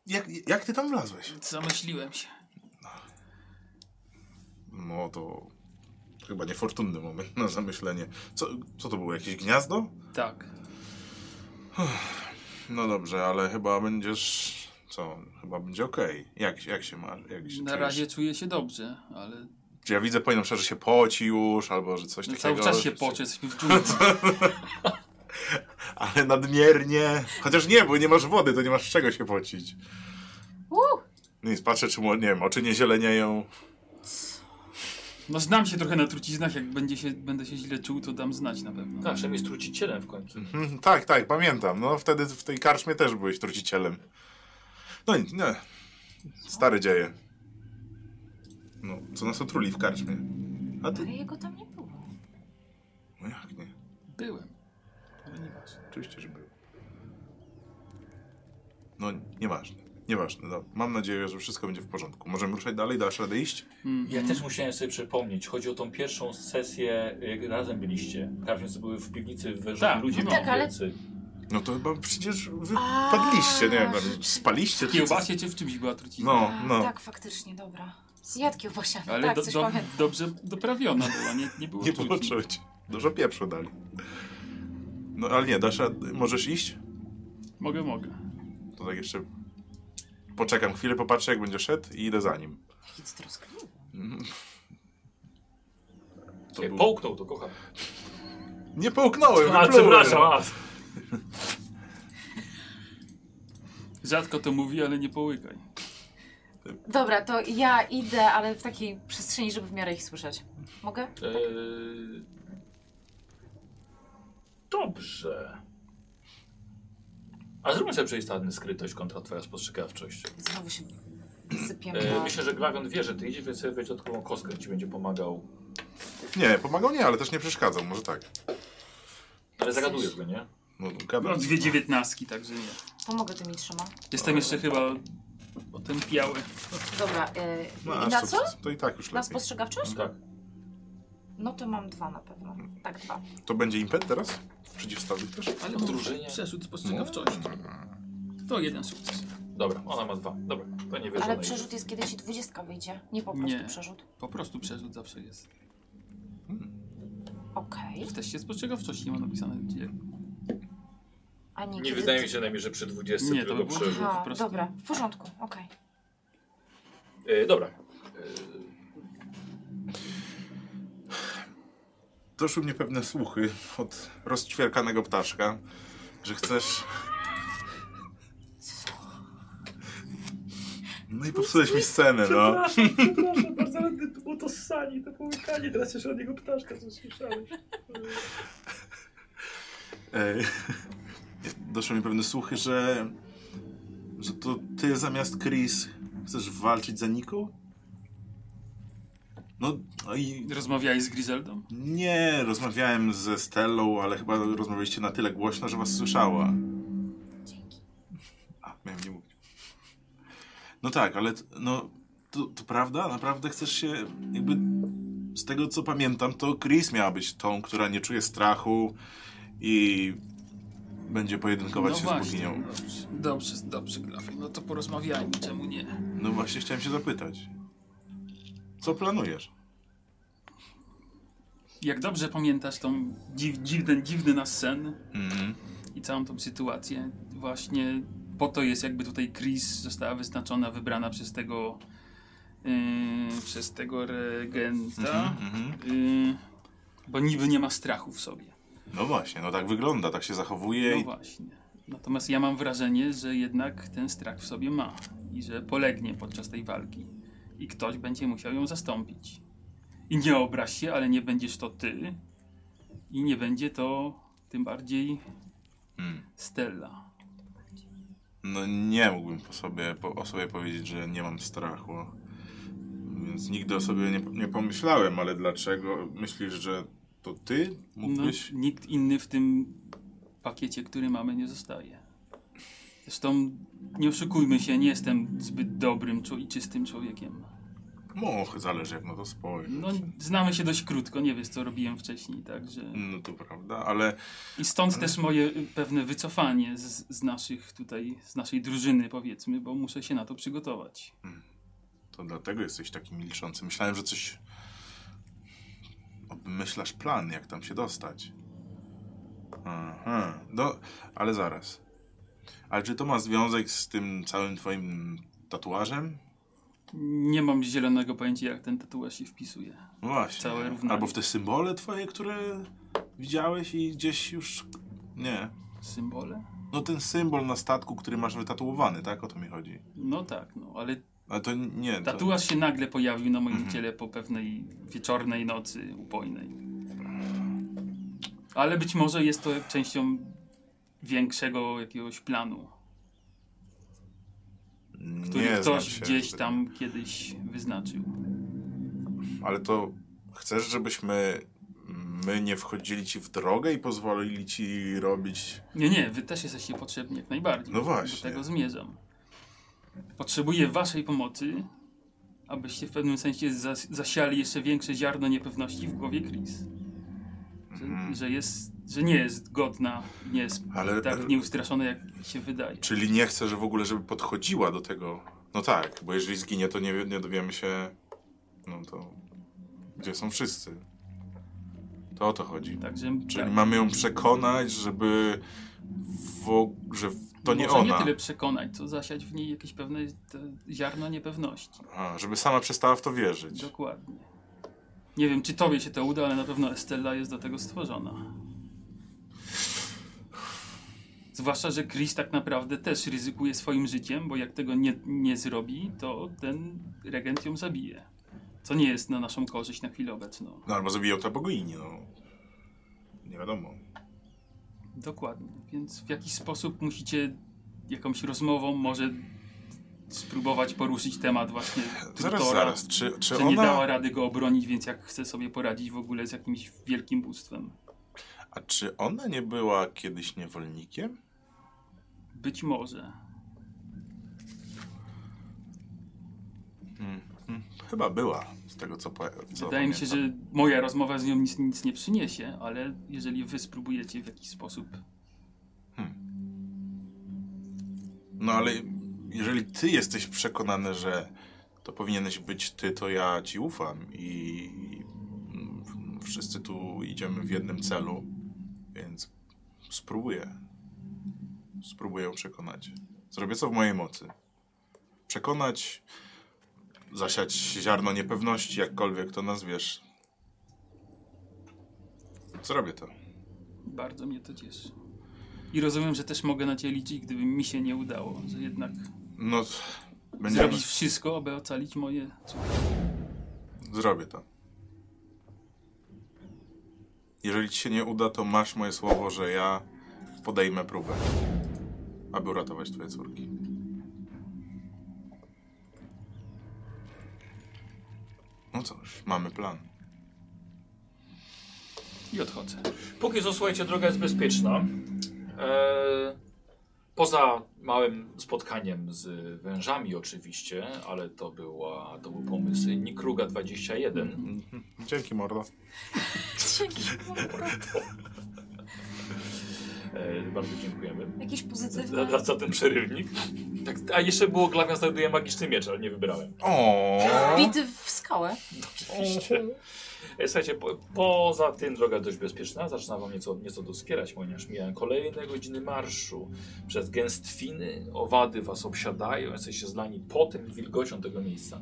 S3: Jak, jak ty tam wlazłeś?
S4: Zamyśliłem się.
S3: No to... Chyba niefortunny moment na zamyślenie. Co, co to było? Jakieś gniazdo?
S4: Tak.
S3: No dobrze, ale chyba będziesz... Co? Chyba będzie okej. Jak, jak się masz? Jak się
S4: Na
S3: czujesz?
S4: razie czuję się dobrze, ale
S3: Czy ja widzę po nim, na przykład, że się poci już, albo że coś
S4: no,
S3: takiego.
S4: cały czas się
S3: że-
S4: pocie, jesteśmy w dżungli.
S3: Ale nadmiernie. Chociaż nie, bo nie masz wody, to nie masz z czego się pocić.
S2: Uh,
S3: Nic, patrzę, czy mu, nie wiem, oczy nie zielenieją.
S4: No znam się trochę na truciznach, jak będzie się, będę się źle czuł, to dam znać na pewno.
S1: Tak, Szem jest trucicielem w końcu.
S3: Mhm, tak, tak, pamiętam. No wtedy w tej karczmie też byłeś trucicielem. No nic, nie. Stary dzieje. No, co nas otruli w karczmie? A
S2: ale
S3: ty?
S2: jego tam nie było.
S3: No jak nie? No
S4: Byłem. Ale nieważne.
S3: Oczywiście, że był. No, nieważne. Nieważne, no. Mam nadzieję, że wszystko będzie w porządku. Możemy ruszać dalej, dasz radę iść?
S4: Mm.
S1: Ja też musiałem sobie przypomnieć, chodzi o tą pierwszą sesję, jak razem byliście. Karcznicy były w piwnicy w żonie
S4: Tak,
S1: ludzie
S4: no.
S2: Tak, ale-
S1: więc-
S3: No to chyba przecież wypadliście, nie wiem, tam spaliście
S4: W
S3: czy coś.
S4: kiełbasie czy w czymś była trucizna?
S3: No,
S2: A,
S3: no.
S2: Tak, faktycznie, dobra. Zjadł kiełbasia,
S4: Ale
S2: tak,
S4: do,
S2: coś
S4: do,
S2: pamiętam.
S4: dobrze doprawiona była, nie, nie było
S3: Nie było
S4: trucizn.
S3: czuć. Dużo pieprzu dali. No ale nie, dasz rad- możesz iść?
S4: Mogę, mogę.
S3: To tak jeszcze poczekam chwilę, popatrzę jak będzie szedł i idę za nim.
S2: Jaki to troskliwy.
S3: To
S1: Ej,
S3: był-
S1: Połknął to, kocham.
S3: Nie połknąłem,
S1: A,
S3: wyplułem.
S1: przepraszam, a.
S4: Rzadko to mówi, ale nie połykaj.
S2: Dobra, to ja idę, ale w takiej przestrzeni, żeby w miarę ich słyszeć. Mogę?
S1: Eee, Dobrze. A zróbmy sobie przejść na skrytość kontra twoja spostrzegawczość.
S2: Znowu się sypiemy.
S1: Eee,
S2: na-
S1: myślę, że Glawion wie, że ty idziesz, więc sobie weź dodatkową kostkę, ci będzie pomagał.
S3: Nie, pomagał nie, ale też nie przeszkadzał, może tak.
S1: Ale zagadujesz go, nie?
S3: No,
S4: Mam
S3: gadam.
S4: dwie dziewiętnastki, także nie.
S2: Pomogę tymi trzema.
S4: Jestem jeszcze chyba otępiały.
S2: Dobra, e,
S3: No,
S2: i
S3: aż
S2: na
S3: to,
S2: co?
S3: To i tak już
S2: Na
S3: lepiej.
S2: spostrzegawczość?
S1: Tak.
S2: No to mam dwa na pewno. Tak, dwa.
S3: To będzie impet teraz? Przeciwstawny też? No,
S4: Ale
S1: W drużynie.
S4: Przeszód spostrzegawczości. To jeden sukces.
S1: Dobra, ona ma dwa. Dobra, to nie wiesz.
S2: Ale przerzut jest kiedyś i dwudziestka wyjdzie. Nie po prostu
S4: Nie.
S2: przerzut.
S4: Po prostu przerzut zawsze jest.
S2: Okej.
S4: W teście spostrzegawczości nie ma napisane gdzie.
S2: A nie,
S1: Nie
S2: kiedy-
S1: wydaje mi się najmniej, że przy 20
S4: Nie, to
S1: tylko
S4: by było-
S1: przerzut.
S2: Aha,
S4: po prostu.
S2: dobra, w porządku, okej.
S1: Eee, dobra.
S3: Doszły mnie pewne słuchy od rozćwierkanego ptaszka, że chcesz. No i popsułeś mi scenę, no.
S1: przepraszam bardzo, ale to było to sani, to połykanie, teraz jeszcze od niego ptaszka co słyszałeś.
S3: Ej. *laughs* Doszły mi pewne słuchy, że. że to ty zamiast Chris chcesz walczyć za Niku? No no i
S4: Rozmawiałeś z Griseldą?
S3: nie, rozmawiałem ze Stellą, ale chyba rozmawialiście na tyle głośno, że was słyszała.
S2: Dzięki.
S3: A, miałem nie mówić. No tak, ale t- no, to, to prawda? Naprawdę chcesz się jakby... Z tego co pamiętam, to Chris miała być tą, która nie czuje strachu i będzie pojedynkować się z boginią.
S4: No Dobrze, dobrze, Grafie. No to porozmawiajmy, czemu nie?
S3: No właśnie chciałem się zapytać. Co planujesz?
S4: Jak dobrze pamiętasz tą dziw, dziwny, dziwny nas sen
S3: Mhm.
S4: i całą tą sytuację, właśnie po to jest jakby tutaj Chris została wyznaczona, wybrana przez tego yy, przez tego regenta,
S3: Mhm, mhm.
S4: yy, bo niby nie ma strachu w sobie.
S3: No właśnie, no tak wygląda, tak się zachowuje
S4: No
S3: i
S4: właśnie. Natomiast ja mam wrażenie, że jednak ten strach w sobie ma i że polegnie podczas tej walki i ktoś będzie musiał ją zastąpić. I nie obraź się, ale nie będziesz to ty i nie będzie to tym bardziej
S3: Mm.
S4: Stella.
S3: No nie mógłbym po sobie, po, o sobie powiedzieć, że nie mam strachu. Więc nigdy o sobie nie, nie pomyślałem, ale dlaczego myślisz, że to ty
S4: No,
S3: mógłbyś?
S4: nikt inny w tym pakiecie, który mamy, nie zostaje. Zresztą nie oszukujmy się, nie jestem zbyt dobrym czu- i czystym człowiekiem.
S3: Moch, zależy jak na to spojrzeć.
S4: No, znamy się dość krótko, nie wiesz co robiłem wcześniej, także...
S3: No to prawda, ale
S4: I stąd też moje y, pewne wycofanie z, z naszych tutaj, z naszej drużyny powiedzmy, bo muszę się na to przygotować.
S3: to dlatego jesteś taki milczący. Myślałem, że coś... Obmyślasz plan, jak tam się dostać. Aha, no, ale zaraz. Ale czy to ma związek z tym całym twoim tatuażem?
S4: Nie mam zielonego pojęcia jak ten tatuaż się wpisuje.
S3: No Właśnie.
S4: Całe równanie.
S3: Albo w te symbole twoje, które widziałeś i gdzieś już... Nie.
S4: Symbole?
S3: No ten symbol na statku, który masz wytatuowany, tak? O to mi chodzi.
S4: No tak, no ale
S3: Ale to nie... To...
S4: tatuaż się nagle pojawił na moim
S3: Mhm.
S4: ciele po pewnej wieczornej nocy upojnej. Ale być może jest to częścią większego jakiegoś planu, który
S3: nie znam
S4: ktoś
S3: się
S4: gdzieś
S3: zbyt-
S4: tam kiedyś wyznaczył.
S3: Ale to chcesz, żebyśmy my nie wchodzili ci w drogę i pozwolili ci robić...
S4: Nie, nie, wy też jesteście potrzebni jak najbardziej.
S3: No właśnie.
S4: Do tego zmierzam. Potrzebuję waszej pomocy, abyście w pewnym sensie zas zasiali jeszcze większe ziarno niepewności w głowie Chris. Że,
S3: Mhm.
S4: że, jest, że nie jest godna, nie jest
S3: Ale-
S4: tak nieustraszona, jak się wydaje.
S3: Czyli nie chcesz w ogóle, żeby podchodziła do tego... No tak, bo jeżeli zginie, to nie, wie- nie dowiemy się... No to... Gdzie są wszyscy? To o to chodzi.
S4: Także
S3: Czyli
S4: tak.
S3: mamy ją przekonać, żeby w, że w- to nie
S4: Może
S3: ona.
S4: nie tyle przekonać, co zasiać w niej jakieś pewne te ziarno niepewności.
S3: A, żeby sama przestała w to wierzyć.
S4: Dokładnie. Nie wiem, czy tobie się to uda, ale na pewno Estella jest do tego stworzona. Zwłaszcza, że Chris tak naprawdę też ryzykuje swoim życiem, bo jak tego nie, nie zrobi, to ten regent ją zabije. Co nie jest na naszą korzyść na chwilę obecną.
S3: No albo zabiją to bogini, no. Nie wiadomo.
S4: Dokładnie. Więc w jakiś sposób musicie jakąś rozmową może spróbować poruszyć temat właśnie
S3: Zaraz,
S4: Tutora.
S3: zaraz. Czy, czy
S4: że nie dała
S3: ona...
S4: rady go obronić, więc jak chce sobie poradzić w ogóle z jakimś wielkim bóstwem.
S3: A czy ona nie była kiedyś niewolnikiem?
S4: Być może.
S3: Hmm, Chyba była, z tego co, po, co
S4: Mm, Wydaje mi się, że
S3: pamiętam.
S4: moja rozmowa z nią nic, nic nie przyniesie, ale jeżeli wy spróbujecie w jakiś sposób.
S3: No ale jeżeli ty jesteś przekonany, że to powinieneś być ty, to ja ci ufam i mm, wszyscy tu idziemy w jednym celu, więc spróbuję. Spróbuję ją przekonać. Zrobię co w mojej mocy. Przekonać, zasiać ziarno niepewności, jakkolwiek to nazwiesz. Zrobię to.
S4: Bardzo mnie to cieszy. I rozumiem, że też mogę na ciebie liczyć, gdyby mi się nie udało, że jednak
S3: No, będziemy.
S4: zrobisz wszystko, aby ocalić moje córki.
S3: Zrobię to. Jeżeli ci się nie uda, to masz moje słowo, że ja podejmę próbę, aby uratować twoje córki. No cóż, mamy plan.
S4: I odchodzę.
S1: Póki co, słuchajcie, droga jest bezpieczna. E, poza małym spotkaniem z wężami oczywiście, ale to, była, to był pomysł Nikruga 21.
S3: Dzięki, mordo.
S2: Dzięki.
S1: E, bardzo dziękujemy
S2: Jakieś
S1: za,
S2: pozytywne.
S1: za, za ten przerywnik. Tak, a jeszcze było Glawian znajduje magiczny miecz, ale nie wybrałem.
S3: O.
S2: Bity w skałę.
S1: Oczywiście. E, Słuchajcie, po, poza tym droga dość bezpieczna. Zaczyna wam nieco, nieco doskierać, ponieważ mijają kolejne godziny marszu. Przez gęstwiny owady was obsiadają, jesteście zlani potem i wilgocią tego miejsca.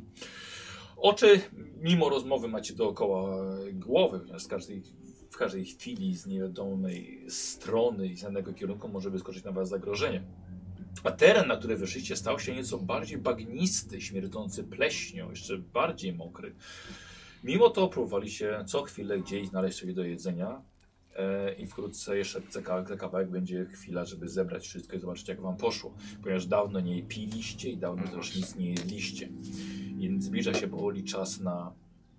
S1: Oczy, mimo rozmowy, macie dookoła e, głowy, ponieważ z każdej, w każdej chwili z niewiadomej strony i z danego kierunku może wyskoczyć na was zagrożenie. A teren, na który wyszliście, stał się nieco bardziej bagnisty, śmierdzący pleśnią, jeszcze bardziej mokry. Mimo to próbowali się co chwilę gdzieś znaleźć sobie do jedzenia e, i wkrótce jeszcze za ka- za kawałek będzie chwila, żeby zebrać wszystko i zobaczyć jak wam poszło, ponieważ dawno nie piliście i dawno też nic nie jedliście. I zbliża się powoli czas na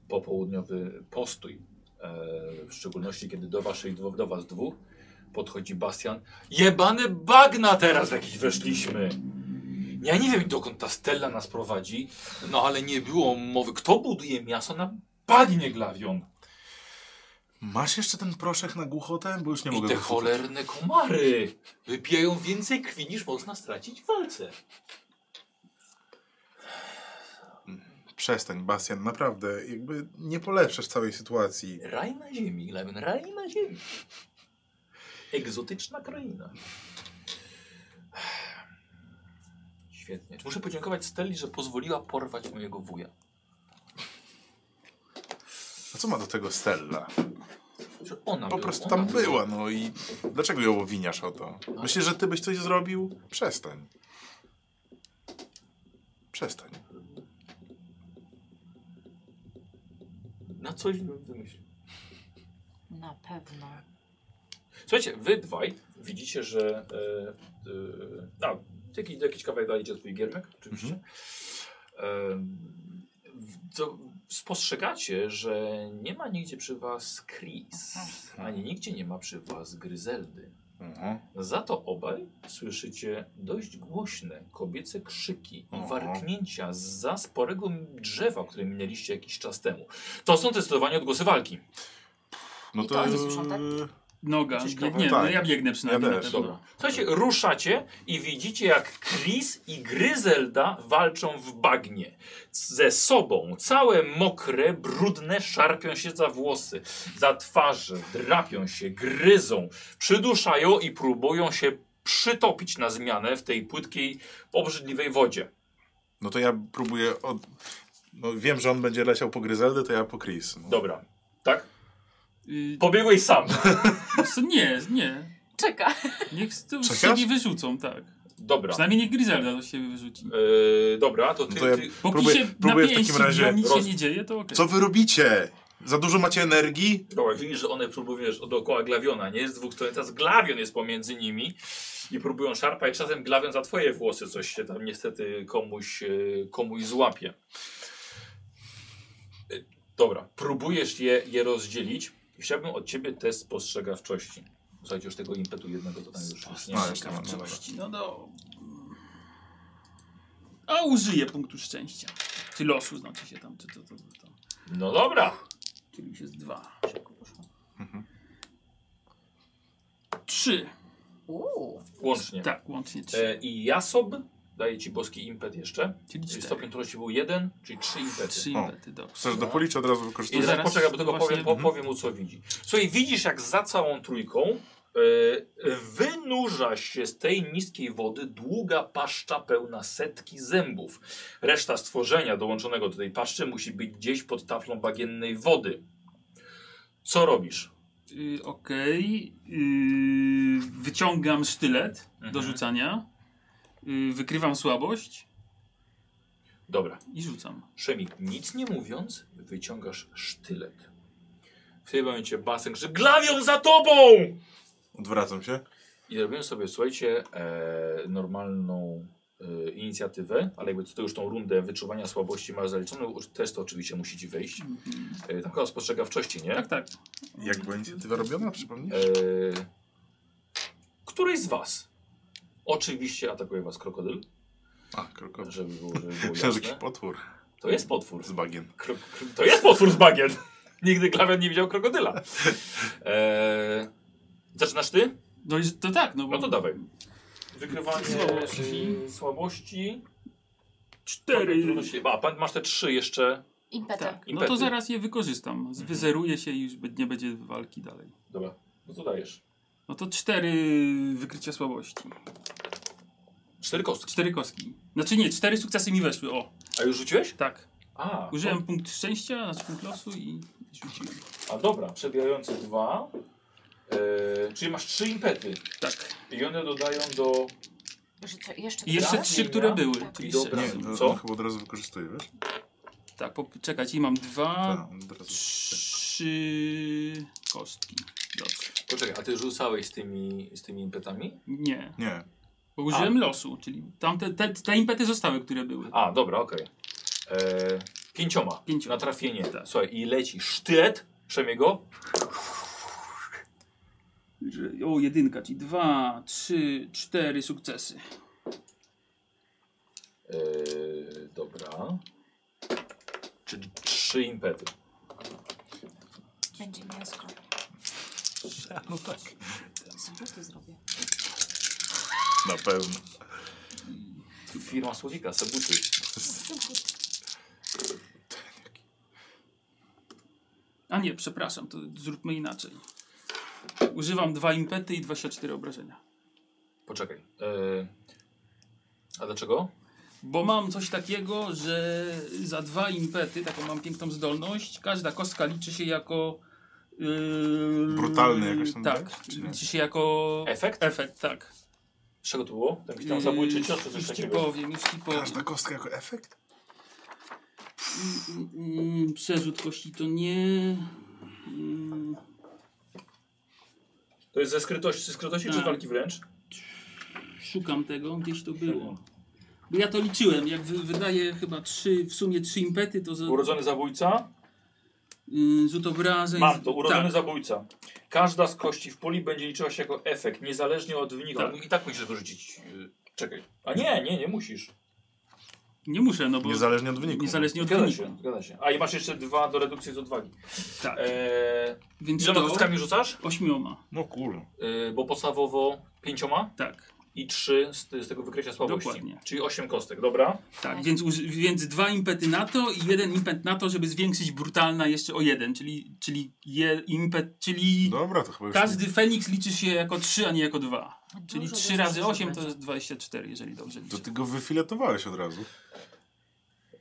S1: popołudniowy postój, e, w szczególności kiedy do waszej dwóch, do was dwóch podchodzi Bastian. Jebane bagna teraz jakieś weszliśmy! Ja nie wiem dokąd ta stella nas prowadzi, no ale nie było mowy, kto buduje miasto na bagnie glawion.
S3: Masz jeszcze ten proszek na głuchotę? Bo już nie
S1: I
S3: mogę
S1: te
S3: wysłuchać.
S1: cholerne komary wypijają więcej krwi niż można stracić w walce.
S3: Przestań, Bastian, naprawdę. Jakby nie polepszasz całej sytuacji.
S1: Raj na ziemi, Glawion, raj na ziemi. Egzotyczna kraina. Świetnie. Muszę podziękować Stelli, że pozwoliła porwać mojego wuja.
S3: A co ma do tego Stella?
S1: Że ona
S3: Po
S1: była,
S3: prostu
S1: ona
S3: tam była, no i dlaczego ją obwiniasz o to? Myślisz, że ty byś coś zrobił? Przestań. Przestań.
S1: Na coś bym wymyślił.
S2: Na pewno.
S1: Słuchajcie, wy dwaj widzicie, że. E, e, a, jakiś, jakiś kawałek dalej idzie twój giermek, oczywiście. Em, w- to spostrzegacie, że nie ma nigdzie przy was Chris, ani nigdzie nie ma przy was Gryzeldy.
S3: Mhm.
S1: Za to obaj słyszycie dość głośne kobiece krzyki i
S3: Aha.
S1: warknięcia za sporego drzewa, które minęliście jakiś czas temu. To są zdecydowanie odgłosy walki.
S3: No
S2: I to oni słyszą, tak?
S4: Noga,
S1: Gdzieś
S4: biegniemy.
S3: kawałek.
S4: No ja biegnę przynajmniej.
S3: Tak. Ja
S4: na
S3: też.
S4: pewno.
S1: Dobra. Słuchajcie, ruszacie i widzicie, jak Chris i Gryzelda walczą w bagnie. Ze sobą, całe mokre, brudne, szarpią się za włosy, za twarze, drapią się, gryzą, przyduszają i próbują się przytopić na zmianę w tej płytkiej, obrzydliwej wodzie.
S3: No to ja próbuję od... No wiem, że on będzie leciał po Gryzeldę, to ja po Chris. No.
S1: Dobra, tak?
S4: Y,
S1: Pobiegłeś sam.
S4: wiesz co, nie, nie.
S2: Czeka.
S4: Niech z to
S3: Czekasz?
S4: siebie wyrzucą, tak.
S1: Dobra.
S4: Przynajmniej niech Griselda do siebie wyrzuci.
S1: Yy, dobra, to ty,
S3: No to ja-
S1: ty...
S4: Póki
S3: Próbuję-
S4: się
S3: próbuję w
S4: na pięści
S3: takim razie
S4: biją, nic się
S1: roz-
S4: nie dzieje, to okej.
S3: Co wy robicie? Za dużo macie energii?
S1: Dobra, widzisz, że one próbują, wiesz, dookoła glawiona, nie? Z dwóch stron, teraz glawion jest pomiędzy nimi i próbują szarpać, czasem glawion za twoje włosy coś się tam niestety komuś, e, komuś złapie. E, Dobra, próbujesz je, je rozdzielić. Chciałbym od ciebie test spostrzegawczości. Słuchajcie, już tego impetu jednego to tam już jest, nie ma.
S3: No, jeszcze mam, dobra.
S4: No do... A użyję punktu szczęścia. Czy losu znaczy się tam, czy to, to, to, to.
S1: No dobra,
S4: Czyli już jest dwa.
S1: Mhm.
S4: Trzy.
S2: Uuu.
S1: łącznie.
S4: Tak, łącznie trzy.
S1: E, I Jasob daje ci boski impet jeszcze.
S4: Czyli
S1: Czyli
S4: cztery.
S1: stopień trudności był jeden, czyli trzy impety.
S4: Trzy impety, dobrze.
S3: Chcesz dopolić, od razu
S1: I
S3: wykorzystać?
S1: zaraz
S4: zaraz
S1: poczekaj, bo tego
S4: właśnie- Mhm.
S1: powiem, po, powiem mu co widzi. Słuchaj, widzisz jak za całą trójką e, wynurza się z tej niskiej wody długa paszcza pełna setki zębów. Reszta stworzenia dołączonego do tej paszczy musi być gdzieś pod taflą bagiennej wody. Co robisz?
S4: Y, Okej. y, wyciągam sztylet
S1: Mhm.
S4: do rzucania. Y, wykrywam słabość
S1: Dobra,
S4: i rzucam.
S1: Szemik, nic nie mówiąc, wyciągasz sztylet. W tym momencie basen krzyczy, glawią za tobą!
S3: Odwracam się.
S1: I robimy sobie, słuchajcie, e, normalną y, inicjatywę, ale jakby tutaj już tą rundę wyczuwania słabości masz zaliczoną, już też to oczywiście musi ci wejść.
S4: Mhm.
S1: Y, tam chyba spostrzegawczości, nie?
S4: Tak, tak.
S3: Jak była inicjatywa robiona, przypomnij?
S1: E, któryś z was oczywiście atakuje was krokodyl,
S3: A, krokodyl.
S1: żeby było, żeby było
S3: Myślałem, że jakiś
S1: jasne.
S3: potwór
S1: To jest potwór.
S3: z bagien.
S1: Kro, kro, to jest potwór z bagien. *laughs* Nigdy klawiat nie widział krokodyla. E, zaczynasz ty?
S4: No, i- to tak, no bo...
S1: No to dawaj. Wykrywanie
S4: Słabości.
S1: y, słabości.
S4: cztery...
S1: Trudności- A, pan- masz te trzy jeszcze.
S2: Impetem.
S4: Tak, no
S1: Impety.
S4: to zaraz je wykorzystam.
S3: Mhm.
S4: Wyzeruję się i już by- nie będzie walki dalej.
S1: Dobra, no to dajesz.
S4: No to cztery wykrycia słabości.
S1: Cztery kostki.
S4: Cztery kostki. Znaczy nie, cztery sukcesy mi weszły, o.
S1: A już rzuciłeś?
S4: Tak.
S1: A,
S4: Użyłem punkt szczęścia, znaczy punkt losu i rzuciłem.
S1: a dobra, przebijające dwa. E, czyli masz trzy impety.
S4: Tak.
S1: I one dodają do
S2: Jeszcze, jeszcze,
S4: I jeszcze
S1: Raz,
S4: trzy,
S1: nie
S4: które
S1: miałem.
S4: były.
S2: Tak.
S4: Czyli
S1: Dobra.
S4: sześć.
S3: Nie, no. to,
S1: Co?
S3: to chyba od razu wykorzystuję, wiesz?
S4: Tak, po, czekać i mam dwa,
S3: Tak, od razu.
S4: trzy kostki. Dobrze.
S1: Poczekaj, a ty rzucałeś z tymi, z tymi impetami?
S4: Nie.
S3: Nie,
S4: Bo użyłem losu, czyli tamte, te, te impety zostały, które były.
S1: A, dobra, okej. E, Pięcioma.
S3: No,
S4: Pięcioma.
S1: Na trafienie.
S4: Tak.
S1: Słuchaj, i leci sztylet Przemiego.
S4: Że- O, jedynka, czyli dwa, trzy, cztery sukcesy.
S1: E, dobra. Czyli trzy impety.
S2: będzie mięsko. Soboty zrobię.
S3: na pewno.
S1: Firma Słowika, Sebuty.
S4: A nie, przepraszam, to zróbmy inaczej. Używam dwa impety i 24 obrażenia.
S1: Poczekaj. E, a dlaczego?
S4: Bo mam coś takiego, że za dwa impety, taką mam piękną zdolność, każda kostka liczy się jako. Yy,
S3: Brutalny jakaś tam
S4: Tak,
S3: dać, czy nie?
S4: liczy się jako.
S1: Efekt?
S4: Efekt, tak.
S1: Z czego to było? Tam jakiś tam
S4: Yy,
S1: zabójczy cios czy coś
S4: Już ci
S1: takiego?
S4: powiem, już ci
S3: Każda
S4: powiem.
S3: kostka jako efekt?
S4: Mm, mm, Przerzut kości to nie. Mm,
S1: To jest ze skrytości, ze skrytości czy
S4: Tak.
S1: walki wręcz?
S4: Szukam tego, gdzieś to było. Bo ja to liczyłem, jak wy, wydaje chyba trzy, w sumie trzy impety, to za,
S1: Urodzony zabójca?
S4: yy, rzut obrażeń.
S1: Mam to, urodzony
S4: tak.
S1: zabójca. Każda z kości w puli będzie liczyła się jako efekt, niezależnie od wyniku.
S4: Tak.
S1: I tak musisz wyrzucić. y, Czekaj. A nie, nie, nie musisz.
S4: Nie muszę, no bo.
S3: Niezależnie od wyniku.
S4: Niezależnie od
S1: Zgadza
S4: wyniku.
S1: się, zgadza się. A i masz jeszcze dwa do redukcji z odwagi.
S4: Tak.
S3: E,
S1: Eee,
S4: Więc
S1: iloma
S4: to
S1: kostkami rzucasz?
S4: ośmioma.
S3: No kurwa.
S1: Y, bo podstawowo pięcioma
S4: Tak,
S1: i trzy z, ty- z tego wykrycia słabości.
S4: Dokładnie.
S1: Czyli osiem kostek, dobra?
S4: tak. Więc, uży- więc dwa impety na to i jeden impet na to, żeby zwiększyć brutalna jeszcze o jeden, czyli, czyli je, impet, czyli
S3: Dobra, to chyba już...
S4: każdy Feniks liczy się jako trzy, a nie jako dwa.
S2: Dużo
S4: Czyli
S2: dużo
S4: trzy razy
S2: rzeczy
S4: osiem to
S2: zrobić.
S4: jest 24, jeżeli dobrze
S3: To
S4: liczę.
S3: ty go wyfiletowałeś od razu.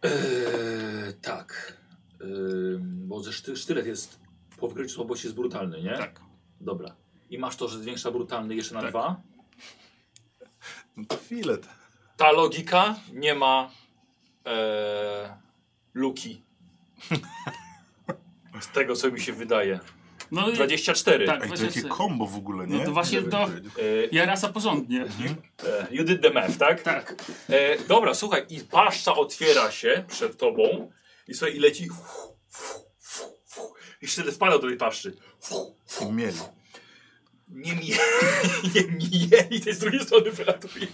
S1: Eee, tak. Eee, bo ze szty sztylet jest po wykryciu słabości jest brutalny, nie?
S4: Tak.
S1: Dobra. I masz to, że zwiększa brutalny jeszcze na
S4: Tak.
S1: dwa?
S3: No to filet.
S1: ta logika nie ma e, luki. *laughs* Z tego co mi się wydaje.
S4: No i
S1: 24.
S4: Tak.
S3: Ej, to
S4: właśnie
S3: jakie
S4: se-
S3: kombo w ogóle, nie?
S4: No to właśnie
S3: Nie
S4: to-
S3: wiem,
S1: E,
S4: ja rasa porządnie.
S1: e, you did the math, tak?
S4: Tak.
S1: E, dobra, słuchaj, i paszcza otwiera się przed tobą i słuchaj, i leci. I wtedy wpada do tej paszczy.
S3: I mieli.
S1: Nie mije, *laughs* nie mije i tej z drugiej strony wylatuje.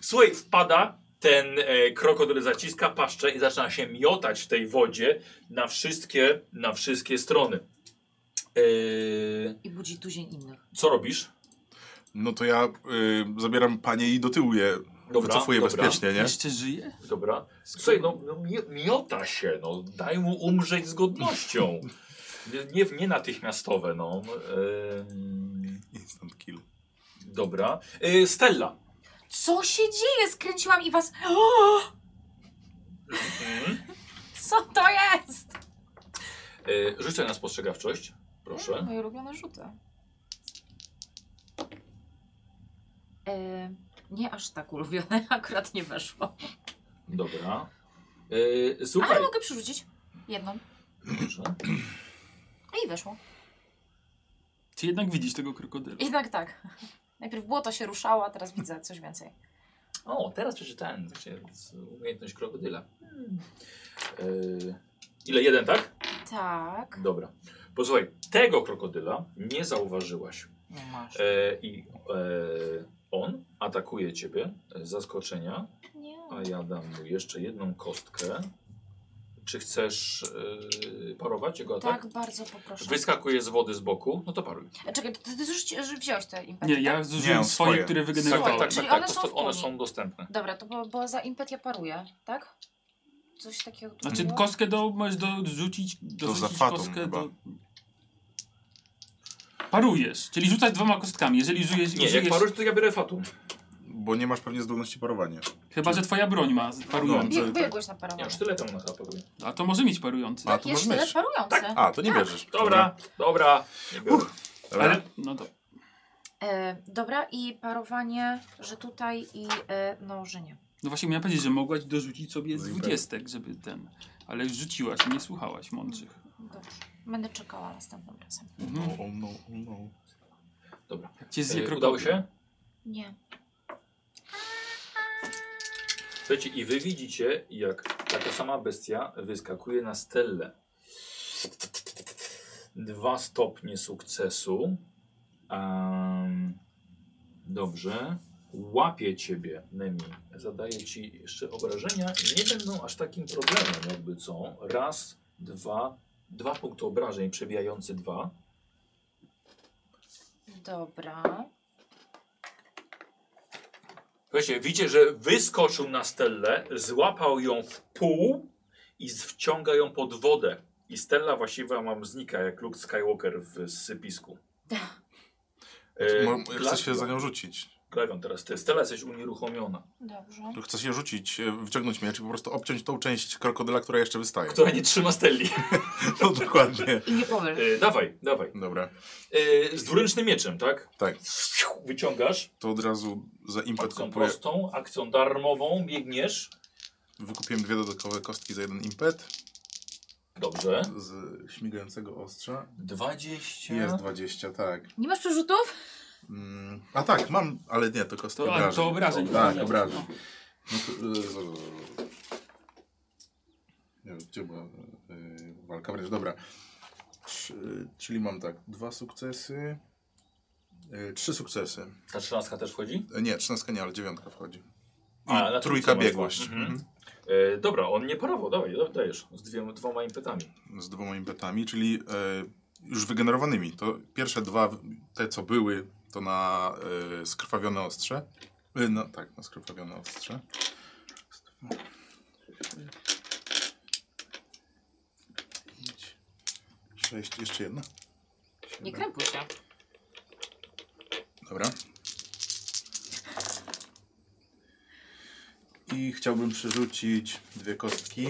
S1: Słuchaj, wpada ten e, krokodyl zaciska paszczę i zaczyna się miotać w tej wodzie na wszystkie, na wszystkie strony. E,
S2: I budzi tuzin innych.
S1: co robisz?
S3: No to ja y, zabieram panie i do tyłu je
S1: Dobra,
S3: wycofuję
S1: dobra.
S3: bezpiecznie, nie?
S4: Jeszcze żyje?
S1: Dobra. Słuchaj, no, no mi- miota się, no daj mu umrzeć z godnością. Nie, nie, nie natychmiastowe, no. Em,
S3: Instant kill.
S1: dobra. E, Stella.
S2: Co się dzieje? Skręciłam i was... *gasps*
S1: Mhm.
S2: Co to jest?
S1: E, rzucaj na spostrzegawczość, proszę.
S2: Moje ulubione rzuty. E, nie aż tak ulubione, *laughs* akurat nie weszło.
S1: Dobra. Yy, słuchaj.
S2: Ale mogę przerzucić jedną.
S1: Dobrze.
S2: I weszło.
S4: Czy jednak widzisz tego krokodyla?
S2: Jednak tak. Najpierw błoto się ruszało, a teraz widzę coś więcej.
S1: O, teraz przeczytałem właśnie z- umiejętność krokodyla. Hmm. E, ile? Jeden, tak?
S2: Tak.
S1: Dobra. Posłuchaj, tego krokodyla nie zauważyłaś.
S2: No masz.
S1: E, I e, on atakuje ciebie z zaskoczenia,
S2: Nie.
S1: a ja dam mu jeszcze jedną kostkę. Czy chcesz e, parować jego atak?
S2: Tak, bardzo poproszę.
S1: Wyskakuje z wody z boku, no to paruj.
S2: E, Czekaj, ty, ty już ci- że wziąłeś te impety,
S4: Nie, ja
S2: tak?
S4: zużyłem
S3: Nie,
S4: swoje,
S3: swoje.
S4: które
S1: Tak,
S4: wygenerowałem.
S1: tak, tak, tak,
S2: Czyli
S1: tak.
S2: one
S1: to
S2: są
S1: sto-
S2: w
S1: one
S2: puli.
S1: są dostępne.
S2: Dobra, to bo, bo za impet ja paruję, tak? Coś takiego tu
S4: Znaczy
S2: było?
S4: kostkę do, możesz dorzucić,
S3: za
S4: dorzucić
S3: fatą
S4: kostkę
S3: chyba.
S4: do... Parujesz, czyli rzucać dwoma kostkami. Jeżeli żyjesz,
S1: Nie, jak
S4: żyjesz
S1: parujesz, to ja biorę fatum.
S3: Bo nie masz pewnie zdolności parowania.
S4: chyba że twoja broń ma parujący.
S2: Bie,
S3: tak.
S2: biegłeś na
S1: Ja
S2: parowanie.
S1: już tyle tam na paruję.
S4: A to może mieć parujący.
S3: A,
S2: Tak,
S3: to
S2: jeszcze
S3: masz mieć.
S2: parujące.
S3: A, to nie
S2: Tak.
S3: bierzesz.
S1: Dobra, dobra. Nie biorę.
S3: Dobra.
S4: Ale, no to,
S2: E, dobra, i parowanie, że tutaj i e, no, że nie.
S4: no właśnie miałem powiedzieć, że mogłaś dorzucić sobie z
S3: No i
S4: dwudziestek, żeby ten... Ale już rzuciłaś, nie słuchałaś mądrych.
S2: Dobrze. Będę czekała następnym razem.
S4: Mhm.
S3: No, oh no, oh no.
S1: Dobra.
S4: Jak cię zje
S1: E, udało
S4: krokodyl.
S1: się?
S2: Nie.
S1: Słuchajcie, i wy widzicie, jak taka sama bestia wyskakuje na stelę. Dwa stopnie sukcesu. Em, dobrze. Łapie ciebie, Nemi. Zadaje ci jeszcze obrażenia. Nie będą aż takim problemem, jakby co. Raz, dwa, dwa punkty obrażeń, przebijający dwa.
S2: Dobra.
S1: Słuchajcie, widzicie, że wyskoczył na Stellę, złapał ją w pół i z- wciąga ją pod wodę. I Stella właściwie mam znika, jak Luke Skywalker w sypisku. E,
S3: Mo- Chcesz się
S1: Glawion-
S3: za nią rzucić.
S1: Glawion teraz ty. Stella jesteś unieruchomiona.
S2: Dobrze.
S3: Tu Chcesz je rzucić, e, wyciągnąć miecz i po prostu obciąć tą część krokodyla, która jeszcze wystaje.
S1: Która nie trzyma Stelli.
S3: *laughs* No dokładnie.
S2: I nie powiem.
S1: E, dawaj, dawaj.
S3: Dobra,
S1: E, z dwuręcznym mieczem, tak?
S3: tak.
S1: Wyciągasz.
S3: To od razu za impet
S1: Akcją
S3: kupuję.
S1: prostą, akcją darmową, biegniesz.
S3: Wykupiłem dwie dodatkowe kostki za jeden impet
S1: Dobrze.
S3: z śmigającego ostrza.
S1: 20.
S3: Jest 20, tak.
S2: Nie masz przerzutów?
S3: Mm, a tak, mam, ale nie, to kostki
S4: To, a,
S3: obrażeń.
S4: to obrażeń.
S3: Tak,
S4: No.
S3: obrażeń. No to, y, z- z- nie wiem, gdzie była y, walka wręcz, dobra. Trzy- czyli mam tak, dwa sukcesy, y, trzy sukcesy.
S1: Ta trzynastka też wchodzi?
S3: E, Nie, 13 nie, ale dziewiątka wchodzi. I
S1: A, na trójce
S3: trójka
S1: masz
S3: biegłość.
S1: dwa. Mhm.
S3: Mhm.
S1: E, dobra, on nie parował, dawaj, da- dajesz. Z dwiema, dwoma impetami.
S3: Z dwoma impetami, czyli e, już wygenerowanymi. To pierwsze dwa, te co były, to na e, skrwawione ostrze. E, no tak, na skrwawione ostrze. Pięć, Sześć, jeszcze jedna.
S2: Nie krępuj się.
S3: Dobra. I chciałbym przerzucić dwie kostki.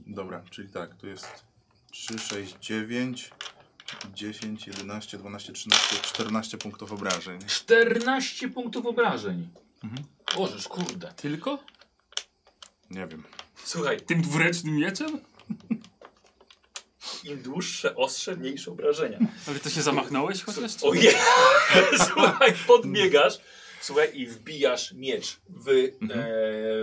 S3: Dobra, czyli tak, tu jest 3, 6, 9, 10, 11, 12, 13, 14 punktów obrażeń.
S1: 14 punktów obrażeń.
S3: Mhm.
S1: Bożeż, kurde.
S4: Tylko?
S3: Nie wiem.
S1: Słuchaj,
S4: Tym dwuręcznym mieczem?
S1: im dłuższe, ostrze, mniejsze obrażenia.
S4: Ale to się zamachnąłeś chociaż? czy-
S1: Ojej! *laughs* Słuchaj, podbiegasz. Słuchaj, i wbijasz miecz w, e,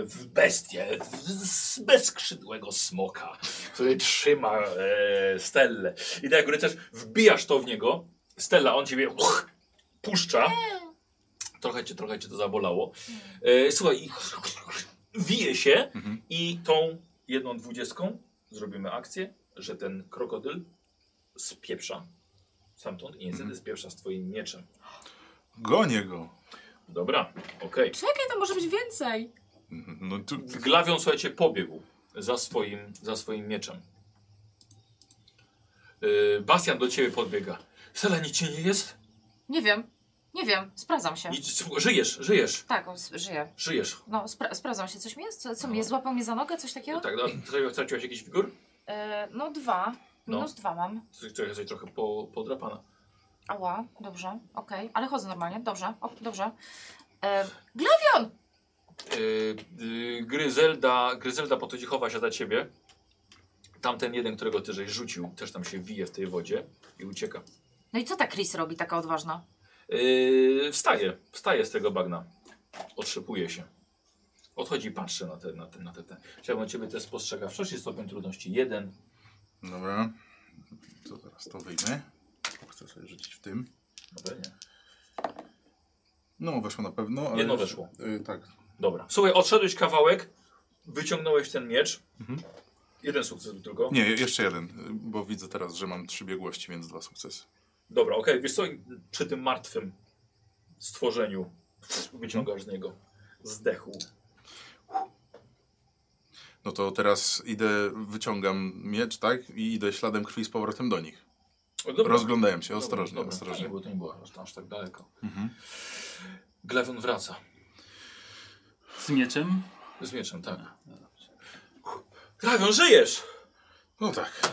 S1: w bestię, w, z bezskrzydłego smoka, który trzyma e, Stellę. I tak jak rycerz, wbijasz to w niego, Stella, on ciebie uch, puszcza. Trochę cię, trochę cię to zabolało. E, słuchaj, i wije się
S3: Mhm.
S1: i tą jedną dwudziestką zrobimy akcję, że ten krokodyl spieprza stamtąd i niestety spieprza z twoim mieczem.
S3: Gonię go.
S1: Dobra, okej.
S2: Czekaj, to może być więcej.
S3: Mhm, No tu,
S1: Glawion, słuchajcie, pobiegł za swoim, za swoim mieczem. Yy, Bastian do ciebie podbiega. Sela, nic ci nie jest?
S2: Nie wiem. Nie wiem. Sprawdzam się.
S1: Nic, żyjesz, żyjesz,
S2: Tak, o, s- żyję.
S1: żyjesz.
S2: No, spra- sprawdzam się. Coś mi jest? Co, co mi
S3: No.
S2: jest? Złapał mnie za nogę? Coś takiego?
S1: No tak, a traciłaś- straciłaś jakiś wigor?
S2: E, no dwa.
S1: No.
S2: Minus dwa mam.
S1: Coś, coś, coś trochę po, podrapana.
S2: Ała, dobrze, okej, ale chodzę normalnie, dobrze, o, dobrze. E, Glawion!
S1: Yy, yy, Gryzelda, Gryzelda podchodzi, chowa się za ciebie. Tamten jeden, którego ty żeś rzucił, też tam się wije w tej wodzie i ucieka.
S2: No i co ta Chris robi, taka odważna?
S1: Yy, wstaje, wstaje z tego bagna. Otrzepuje się. Odchodzi, patrzy na te, na te, na te, te. Chciałbym od ciebie też spostrzegawczość, jest stopień trudności jeden.
S3: Dobra. To teraz to wyjmę. Chcę sobie rzucić w tym.
S1: No pewnie.
S3: No, weszło na pewno. Ale
S1: Jedno weszło.
S3: Y, tak.
S1: Dobra. Słuchaj, odszedłeś kawałek, wyciągnąłeś ten miecz.
S3: Mhm.
S1: Jeden sukces był tylko.
S3: Nie, jeszcze jeden, y, bo widzę teraz, że mam trzy biegłości, więc dwa sukcesy.
S1: Dobra, okej, wiesz co, przy tym martwym stworzeniu wyciągasz z niego. Zdechł.
S3: No to teraz idę, wyciągam miecz, tak? I idę śladem krwi z powrotem do nich.
S1: O, No dobra.
S3: Rozglądałem się,
S1: Dobra,
S3: ostrożnie,
S1: dobra. To nie
S3: ostrożnie.
S1: było, to nie było aż, aż tak daleko.
S3: Mhm.
S1: Glewion wraca.
S4: Z mieczem?
S1: Z mieczem, tak. Glewion, żyjesz!
S3: No tak.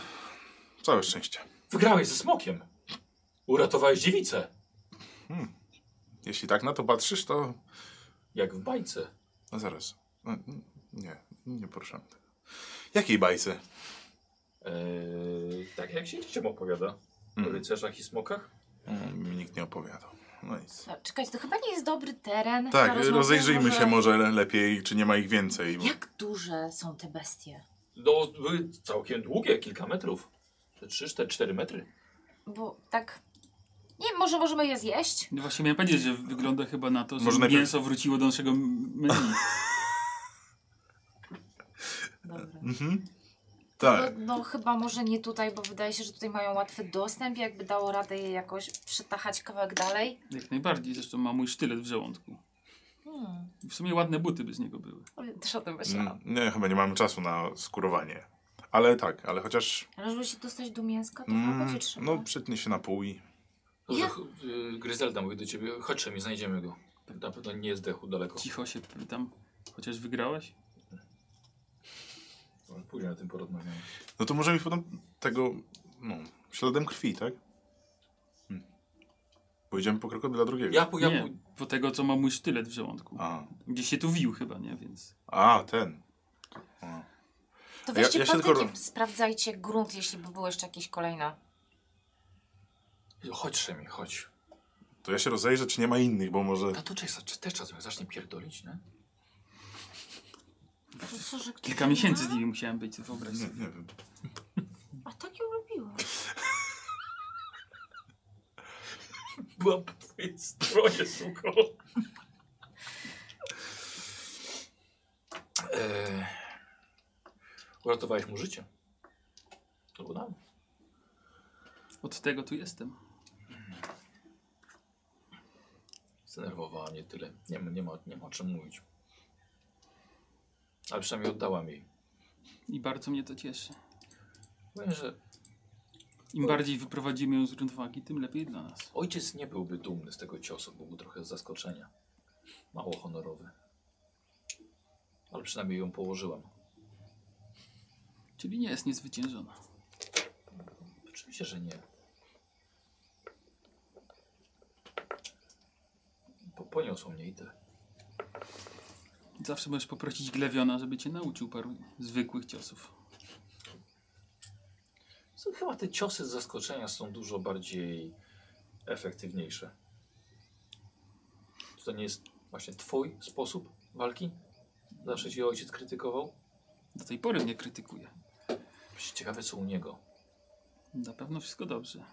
S3: Całe szczęście.
S1: Wygrałeś ze smokiem. Uratowałeś dziewicę.
S3: Jeśli tak na to patrzysz, to...
S1: Jak w bajce.
S3: No zaraz. No, n- nie, nie poruszamy tego. Jakiej bajce?
S1: Eee, tak jak się dzieciom opowiada. O
S3: Mhm.
S1: rycerzach i smokach.
S3: Mm, Mi nikt nie opowiadał. No nic.
S2: No, Czekaj, to chyba nie jest dobry teren. na
S3: Tak,
S2: rozmowę,
S3: rozejrzyjmy się może lepiej, czy nie ma ich więcej.
S2: Jak duże są te bestie?
S1: No, były całkiem długie, kilka metrów. Te 3, 4, 4 metry.
S2: Bo tak. Nie wiem, może możemy je zjeść?
S4: No właśnie miałem powiedzieć, że wygląda chyba na to, że
S3: Może najpierw-
S4: mięso wróciło do naszego m- menu. *laughs*
S2: Dobra.
S3: Mhm.
S2: No,
S3: Tak.
S2: no chyba może nie tutaj, bo wydaje się, że tutaj mają łatwy dostęp. Jakby dało radę je jakoś przytachać kawałek dalej.
S4: Jak najbardziej, zresztą ma mój sztylet w żołądku.
S2: Hmm.
S4: W sumie ładne buty by z niego były.
S2: ale Też o tym
S3: Mm,
S2: myślałam.
S3: Nie, chyba nie mamy czasu na skurowanie. Ale tak, ale chociaż...
S2: Ale żeby się dostać do mięska, to tak.
S3: mm,
S2: chyba będzie trzeba.
S3: no, przytnie się na pół i...
S1: Dobrze,
S2: Ja-
S1: ch- y, Gryzelda mówi do ciebie, chodź mi znajdziemy go. Na pewno nie zdechł daleko.
S4: Cicho się pytam, chociaż wygrałeś?
S1: Później na tym porozmawiamy.
S3: No to może mi potem tego, no, śladem krwi, tak? Hmm. Pojedziemy po krokodyla drugiego.
S1: Ja, pój- No ja,
S4: nie,
S1: pój-
S4: po tego co ma mój sztylet w żołądku.
S3: A,
S4: Gdzieś się tu wił chyba, nie? Więc
S3: a ten. A.
S2: To
S3: Ja-
S2: weźcie
S3: ja się
S2: patyki,
S3: tylko-
S2: sprawdzajcie grunt, jeśli by było jeszcze jakieś kolejne.
S1: chodź Szemi, chodź.
S3: To ja się rozejrzę, czy nie ma innych, bo może...
S1: A to czas, czy też czasem zacznie pierdolić, nie?
S2: To co, że ktoś
S4: kilka
S2: nie
S4: miesięcy
S2: ma?
S4: z nimi musiałem być, wyobraź
S3: Nie,
S4: sobie.
S3: nie wiem.
S2: A tak ją lubiłam.
S1: Byłam po twojej stronie, suko. Eee, uratowałeś mu życie. To było nam.
S4: Od tego tu jestem.
S1: Zdenerwowała mnie tyle. Nie, ma- nie, ma, nie ma o czym mówić. Ale przynajmniej oddałam jej.
S4: I bardzo mnie to cieszy.
S1: Powiem, że
S4: Im bardziej wyprowadzimy ją z równowagi, tym lepiej dla nas.
S1: ojciec nie byłby dumny z tego ciosu, byłby trochę z zaskoczenia. Mało honorowy. Ale przynajmniej ją położyłam.
S4: Czyli nie jest niezwyciężona.
S1: Oczywiście, że nie. Po, poniosło mnie i tyle.
S4: Zawsze możesz poprosić Glewiona, żeby cię nauczył paru zwykłych ciosów.
S1: So, chyba te ciosy z zaskoczenia są dużo bardziej efektywniejsze. Czy to nie jest właśnie twój sposób walki? Zawsze cię ojciec krytykował?
S4: Do tej pory mnie krytykuje.
S1: Ciekawe co u niego.
S4: Na pewno wszystko dobrze.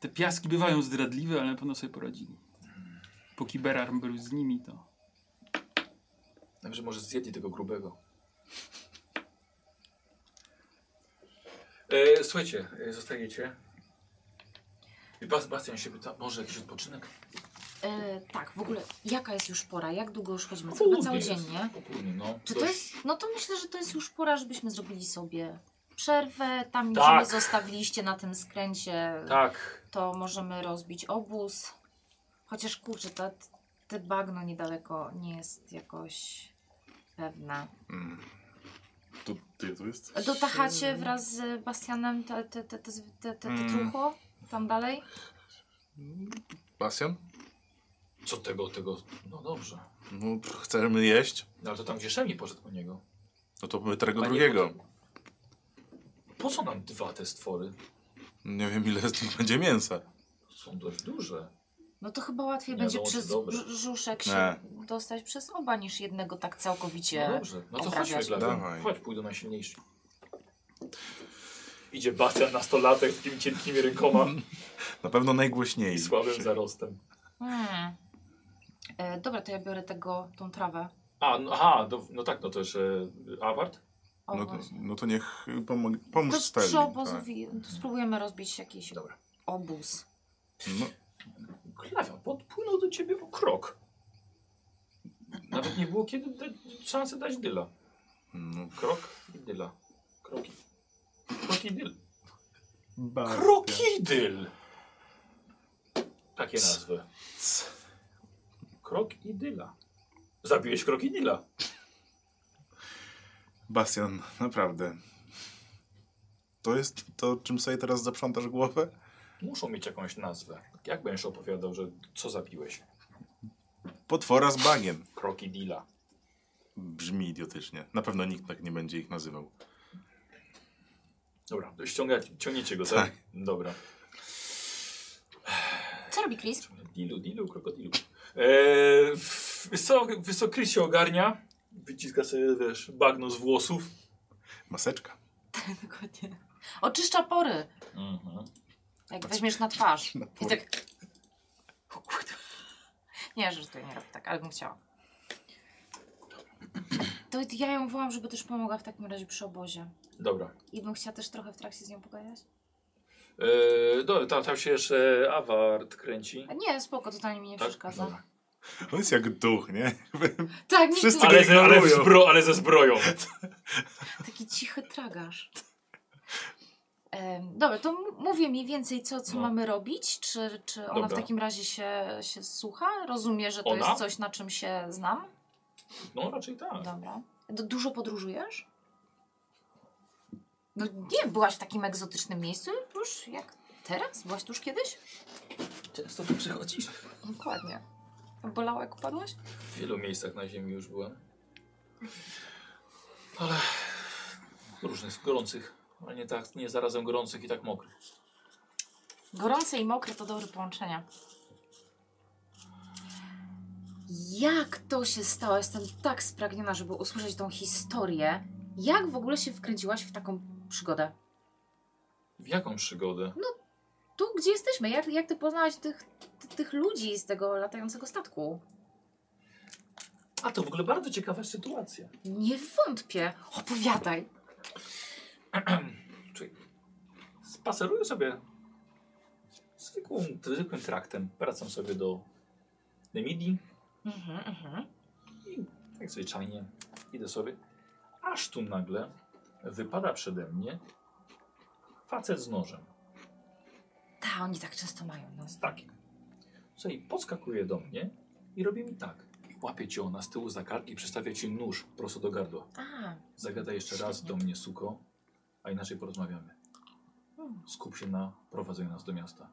S4: Te piaski bywają zdradliwe, ale na pewno sobie poradzili. Póki Berarm był z nimi, to
S1: Także może zjedli tego grubego. E, słuchajcie, e, zostajecie. I Bas- Bastian się pyta, może jakiś odpoczynek?
S2: E, tak, w ogóle jaka jest już pora? Jak długo już chodzimy? To
S1: Południe
S2: No, Chyba cały
S1: jest.
S2: dzień, nie?
S1: Południe, no.
S2: Czy to
S1: Dość-
S2: jest, no to myślę, że to jest już pora, żebyśmy zrobili sobie przerwę. Tam, gdzie
S1: Tak.
S2: mnie zostawiliście na tym skręcie,
S1: Tak.
S2: to możemy rozbić obóz. Chociaż kurczę, to, te bagno niedaleko nie jest jakoś pewne.
S3: Mm. To ty tu jest?
S2: Do Tachacie wraz z Bastianem te, te, te, te, te, te, te
S3: Mm.
S2: trucho tam dalej?
S3: Bastian?
S1: Co tego, tego. No dobrze.
S3: No, pff, chcemy jeść?
S1: No ale to tam gdzie Szemi poszedł po niego.
S3: No to my tego
S1: A nie
S3: drugiego.
S1: Po co nam dwa te stwory?
S3: *laughs* Nie wiem, ile z nich będzie mięsa.
S1: są dość duże.
S2: No to chyba łatwiej
S1: Nie
S2: będzie
S1: wiadomo,
S2: przez
S1: czy dobre.
S2: brzuszek się
S3: Nie.
S2: dostać przez oba niż jednego tak całkowicie.
S1: No dobrze, no to
S2: Obrabiać.
S1: chodźmy Glawion.
S3: Dawaj.
S1: Chodź, pójdę na silniejszy. Idzie Batia nastolatek z takimi cienkimi rękoma
S3: Na pewno
S1: i
S3: najgłośniej.
S1: słabym zarostem.
S2: Hmm. E, dobra, to ja biorę tego, tą trawę.
S1: A, no, aha, do, no tak, no to jeszcze e, Awart?
S2: O,
S3: No, to-
S2: właśnie.
S3: no to niech pomog, pomóż
S2: to
S3: Steli.
S2: przy
S3: tak.
S2: obozowi, to spróbujemy rozbić jakiś
S1: Dobra.
S2: obóz.
S3: No,
S1: Klawion podpłynął do ciebie o krok. Nawet nie było kiedy da, szansy dać dyla.
S3: no.
S1: Krok i dyla. Kroki. Kroki dyl.
S3: Bardzo.
S1: Krokidyl! Takie nazwy. Krok i dyla. Zabiłeś krokidyla.
S3: Bastian, naprawdę. To jest to, czym sobie teraz zaprzątasz głowę?
S1: Muszą mieć jakąś nazwę. Jak będziesz opowiadał, że co zabiłeś?
S3: Potwora z bagiem.
S1: Krokidyla.
S3: Brzmi idiotycznie. Na pewno nikt tak nie będzie ich nazywał.
S1: Dobra, to ściąga, ciągniecie go, tak? Dobra.
S2: Co robi Chris?
S1: Dilu, dilu, krokodilu. Eee, wysok, wysokry się ogarnia. Wyciska sobie, wiesz, bagno z włosów.
S3: Maseczka.
S2: Dokładnie. Oczyszcza pory,
S1: Mhm.
S2: jak weźmiesz na twarz.
S3: Na
S2: I
S3: pół.
S2: tak... O kurde. Nie, że tutaj nie robi tak, ale bym chciała. To ja ją wołam, żeby też pomogła w takim razie przy obozie.
S1: Dobra.
S2: I bym chciała też trochę w trakcie z nią pogadać.
S1: Eee, dobra, tam, tam się jeszcze awart kręci.
S2: A nie, spoko, totalnie mi nie
S1: Tak?
S2: przeszkadza.
S1: Dobra.
S3: On jest jak duch, nie?
S2: Tak, nie,
S3: Wszyscy
S2: no,
S1: Ale, ze, ale, w
S3: Ignorują.
S1: zbro, ale ze zbroją.
S2: taki cichy tragarz. Em, Dobra, to m- mówię mniej więcej, co, co
S1: No.
S2: mamy robić. Czy, czy ona
S1: Dobra.
S2: w takim razie się, się słucha? Rozumie, że to
S1: Ona?
S2: jest coś, na czym się znam?
S1: No raczej tak.
S2: Dobra. D- Dużo podróżujesz? No nie byłaś w takim egzotycznym miejscu już jak teraz? Byłaś tu już kiedyś?
S1: Często tu przychodzisz?
S2: Dokładnie. Bolało jak upadłaś?
S1: W wielu miejscach na ziemi już byłem. Ale różnych gorących, ale nie, tak, nie zarazem gorących i tak mokrych.
S2: Gorące i mokre to dobre połączenia. Jak to się stało? Jestem tak spragniona, żeby usłyszeć tą historię. Jak w ogóle się wkręciłaś w taką przygodę?
S1: W jaką przygodę?
S2: No. Tu, gdzie jesteśmy? Jak, jak ty poznałaś tych, ty, tych ludzi z tego latającego statku?
S1: A to w ogóle bardzo ciekawa sytuacja.
S2: Nie wątpię. Opowiadaj.
S1: Czyli spaceruję sobie zwykłym, zwykłym traktem. Wracam sobie do Nemidii.
S2: Mhm, mhm.
S1: I tak zwyczajnie idę sobie. Aż tu nagle wypada przede mnie facet z nożem.
S2: Ta, oni tak często mają. No.
S1: Z takim. Słuchaj, podskakuje do mnie i robi mi tak. Łapie cię ona z tyłu za kark i przestawia ci nóż prosto do gardła.
S2: A,
S1: Zagadaj jeszcze raz do mnie, suko, a inaczej porozmawiamy.
S2: hmm,
S1: Skup się na prowadzeniu nas do miasta.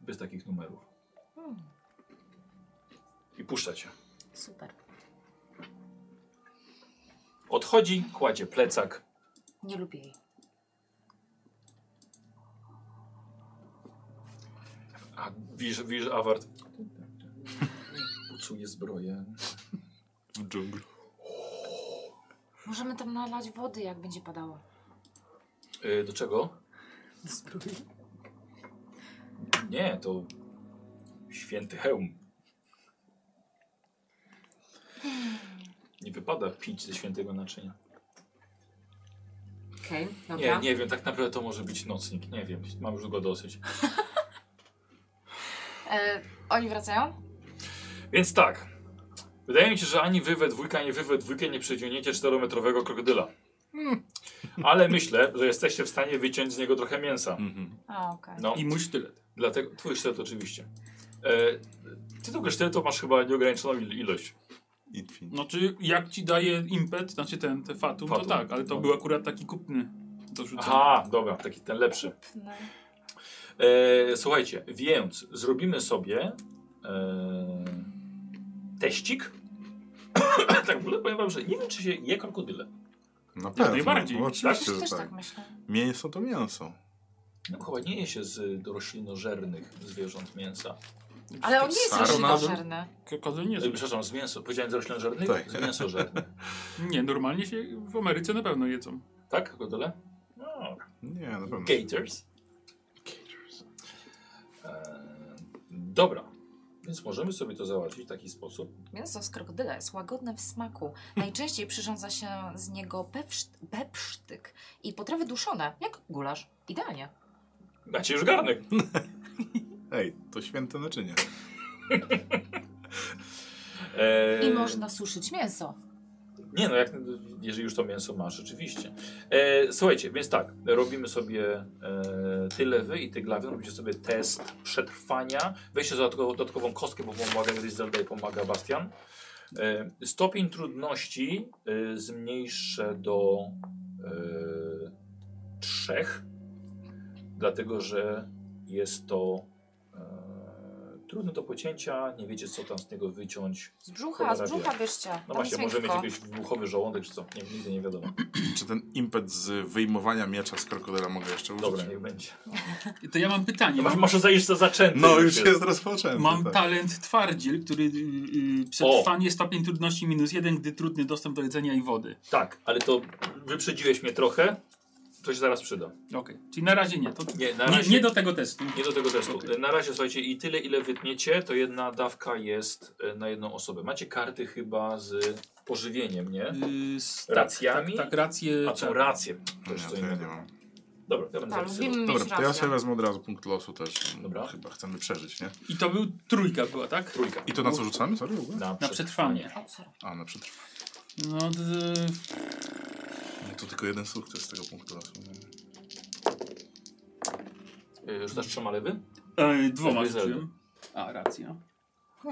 S1: Bez takich numerów.
S2: hmm.
S1: I puszcza cię.
S2: super.
S1: Odchodzi, kładzie plecak.
S2: Nie lubię jej.
S1: A widzisz, widzisz awart. *laughs* Pucuje zbroję.
S3: W dżungli.
S2: Możemy tam nalać wody, jak będzie padało.
S1: Y, do czego? Nie, to święty hełm. Nie wypada pić ze świętego naczynia.
S2: Okej,
S1: Nie, nie wiem, tak naprawdę to może być nocnik. Nie wiem, mam już go dosyć.
S2: E, oni wracają?
S1: Więc tak. Wydaje mi się, że ani wy we dwójkę, ani wy we dwójkę nie przeciągniecie czterometrowego krokodyla. Hmm. Ale myślę, że jesteście w stanie wyciąć z niego trochę mięsa.
S3: Mhm.
S2: A, okej.
S1: No.
S4: I mój sztylet.
S1: Dlatego, twój sztylet oczywiście. E, ty tego sztyletu masz chyba nieograniczoną il- ilość.
S3: Infinity.
S4: Znaczy, jak ci daje impet, znaczy ten, te fatum,
S1: Fatum.
S4: to tak, ale to
S1: No.
S4: był akurat taki kupny do rzucenia.
S1: Aha, dobra, taki ten lepszy.
S2: No.
S1: E, słuchajcie, więc zrobimy sobie e, teścik. *coughs* tak w ogóle powiem wam, że nie wiem, czy się je krokodyle.
S3: Na pewno.
S4: najbardziej.
S3: no,
S4: Tak?
S3: Oczywiście,
S2: Też
S3: że
S2: tak.
S3: tak.
S2: myślę.
S3: Mięso to mięso.
S1: No chyba nie je się z roślinożernych zwierząt mięsa.
S2: Ale on nie jest
S3: Sarna-
S2: roślinożerny.
S4: Krokodyl nie
S1: E,
S4: żyje.
S1: Przepraszam, z mięso. Powiedziałem z roślinożernych?
S3: Tak.
S1: Z mięsożernych.
S4: Nie, normalnie się w Ameryce na pewno jedzą.
S1: Tak, krokodyle? No,
S3: Nie, na pewno.
S1: Gators. E, dobra, więc możemy sobie to załatwić w taki sposób.
S2: Mięso z krokodyla jest łagodne w smaku. Najczęściej przyrządza się z niego pepszt, pepsztyk i potrawy duszone, jak gulasz. Idealnie.
S1: Macie już garnek.
S3: Ej, to święte naczynie.
S1: E,
S2: I można suszyć mięso.
S1: Nie no, jak, jeżeli już to mięso masz, rzeczywiście. E, słuchajcie, więc tak, robimy sobie e, ty lewy i ty glawy, robicie sobie test przetrwania. Weźcie dodatkową, dodatkową kostkę, bo pomaga Griselda i pomaga Bastian. E, stopień trudności e, zmniejszę do e, trzech, dlatego że jest to e, trudne do pocięcia, nie wiecie co tam z tego wyciąć.
S2: Z brzucha, z
S1: Dobra,
S2: brzucha bierzcie. Tam
S1: No właśnie,
S2: jest
S1: może mieć
S2: miętko.
S1: jakiś wybuchowy żołądek czy co, nie, nigdy nie wiadomo.
S3: Czy ten impet z wyjmowania miecza z krokodyla mogę jeszcze użyć?
S1: Dobra, niech będzie.
S4: I To ja mam pytanie.
S1: Masz,
S4: Mam,
S1: masz zajść za zaczęty. *laughs*
S3: No już jest rozpoczęty.
S4: mam
S3: tak.
S4: talent twardziel, który y, y, przetrwanie stopień trudności minus jeden, gdy trudny dostęp do jedzenia i wody.
S1: Tak, ale to wyprzedziłeś mnie trochę. To się zaraz przyda.
S4: Okej, czyli na razie nie. To,
S1: Nie, na
S4: nie,
S1: razie,
S4: nie do tego testu.
S1: nie do tego testu.
S4: Okej.
S1: Na razie słuchajcie, i tyle ile wytniecie, to jedna dawka jest e, na jedną osobę. Macie karty chyba z pożywieniem, nie?
S4: Y, z,
S1: Racjami?
S4: Tak, tak racje.
S1: A są
S4: tak.
S1: racje. To
S3: Nie,
S1: jest co
S3: to ja nie
S1: innego.
S3: mam.
S1: Dobra, ja będę
S2: Tak,
S1: zapisywał.
S2: lubimy
S3: Dobra,
S2: mieć
S3: to ja
S2: rację.
S3: sobie wezmę od razu punkt losu też.
S1: Dobra.
S3: Chyba chcemy przeżyć, nie?
S4: I to był trójka była, tak?
S1: Trójka.
S3: I to na co rzucamy? Sorry, w ogóle?
S4: Na przetrwanie.
S2: O, sorry.
S3: A, na przetrwanie.
S4: No, d-
S3: No to tylko jeden sukces z tego punktu losu.
S1: Mhm. Y, Rzucasz trzema lewy?
S4: e, dwoma
S1: Jakby Zelda.
S4: rzuciłem. A, racja.
S3: O,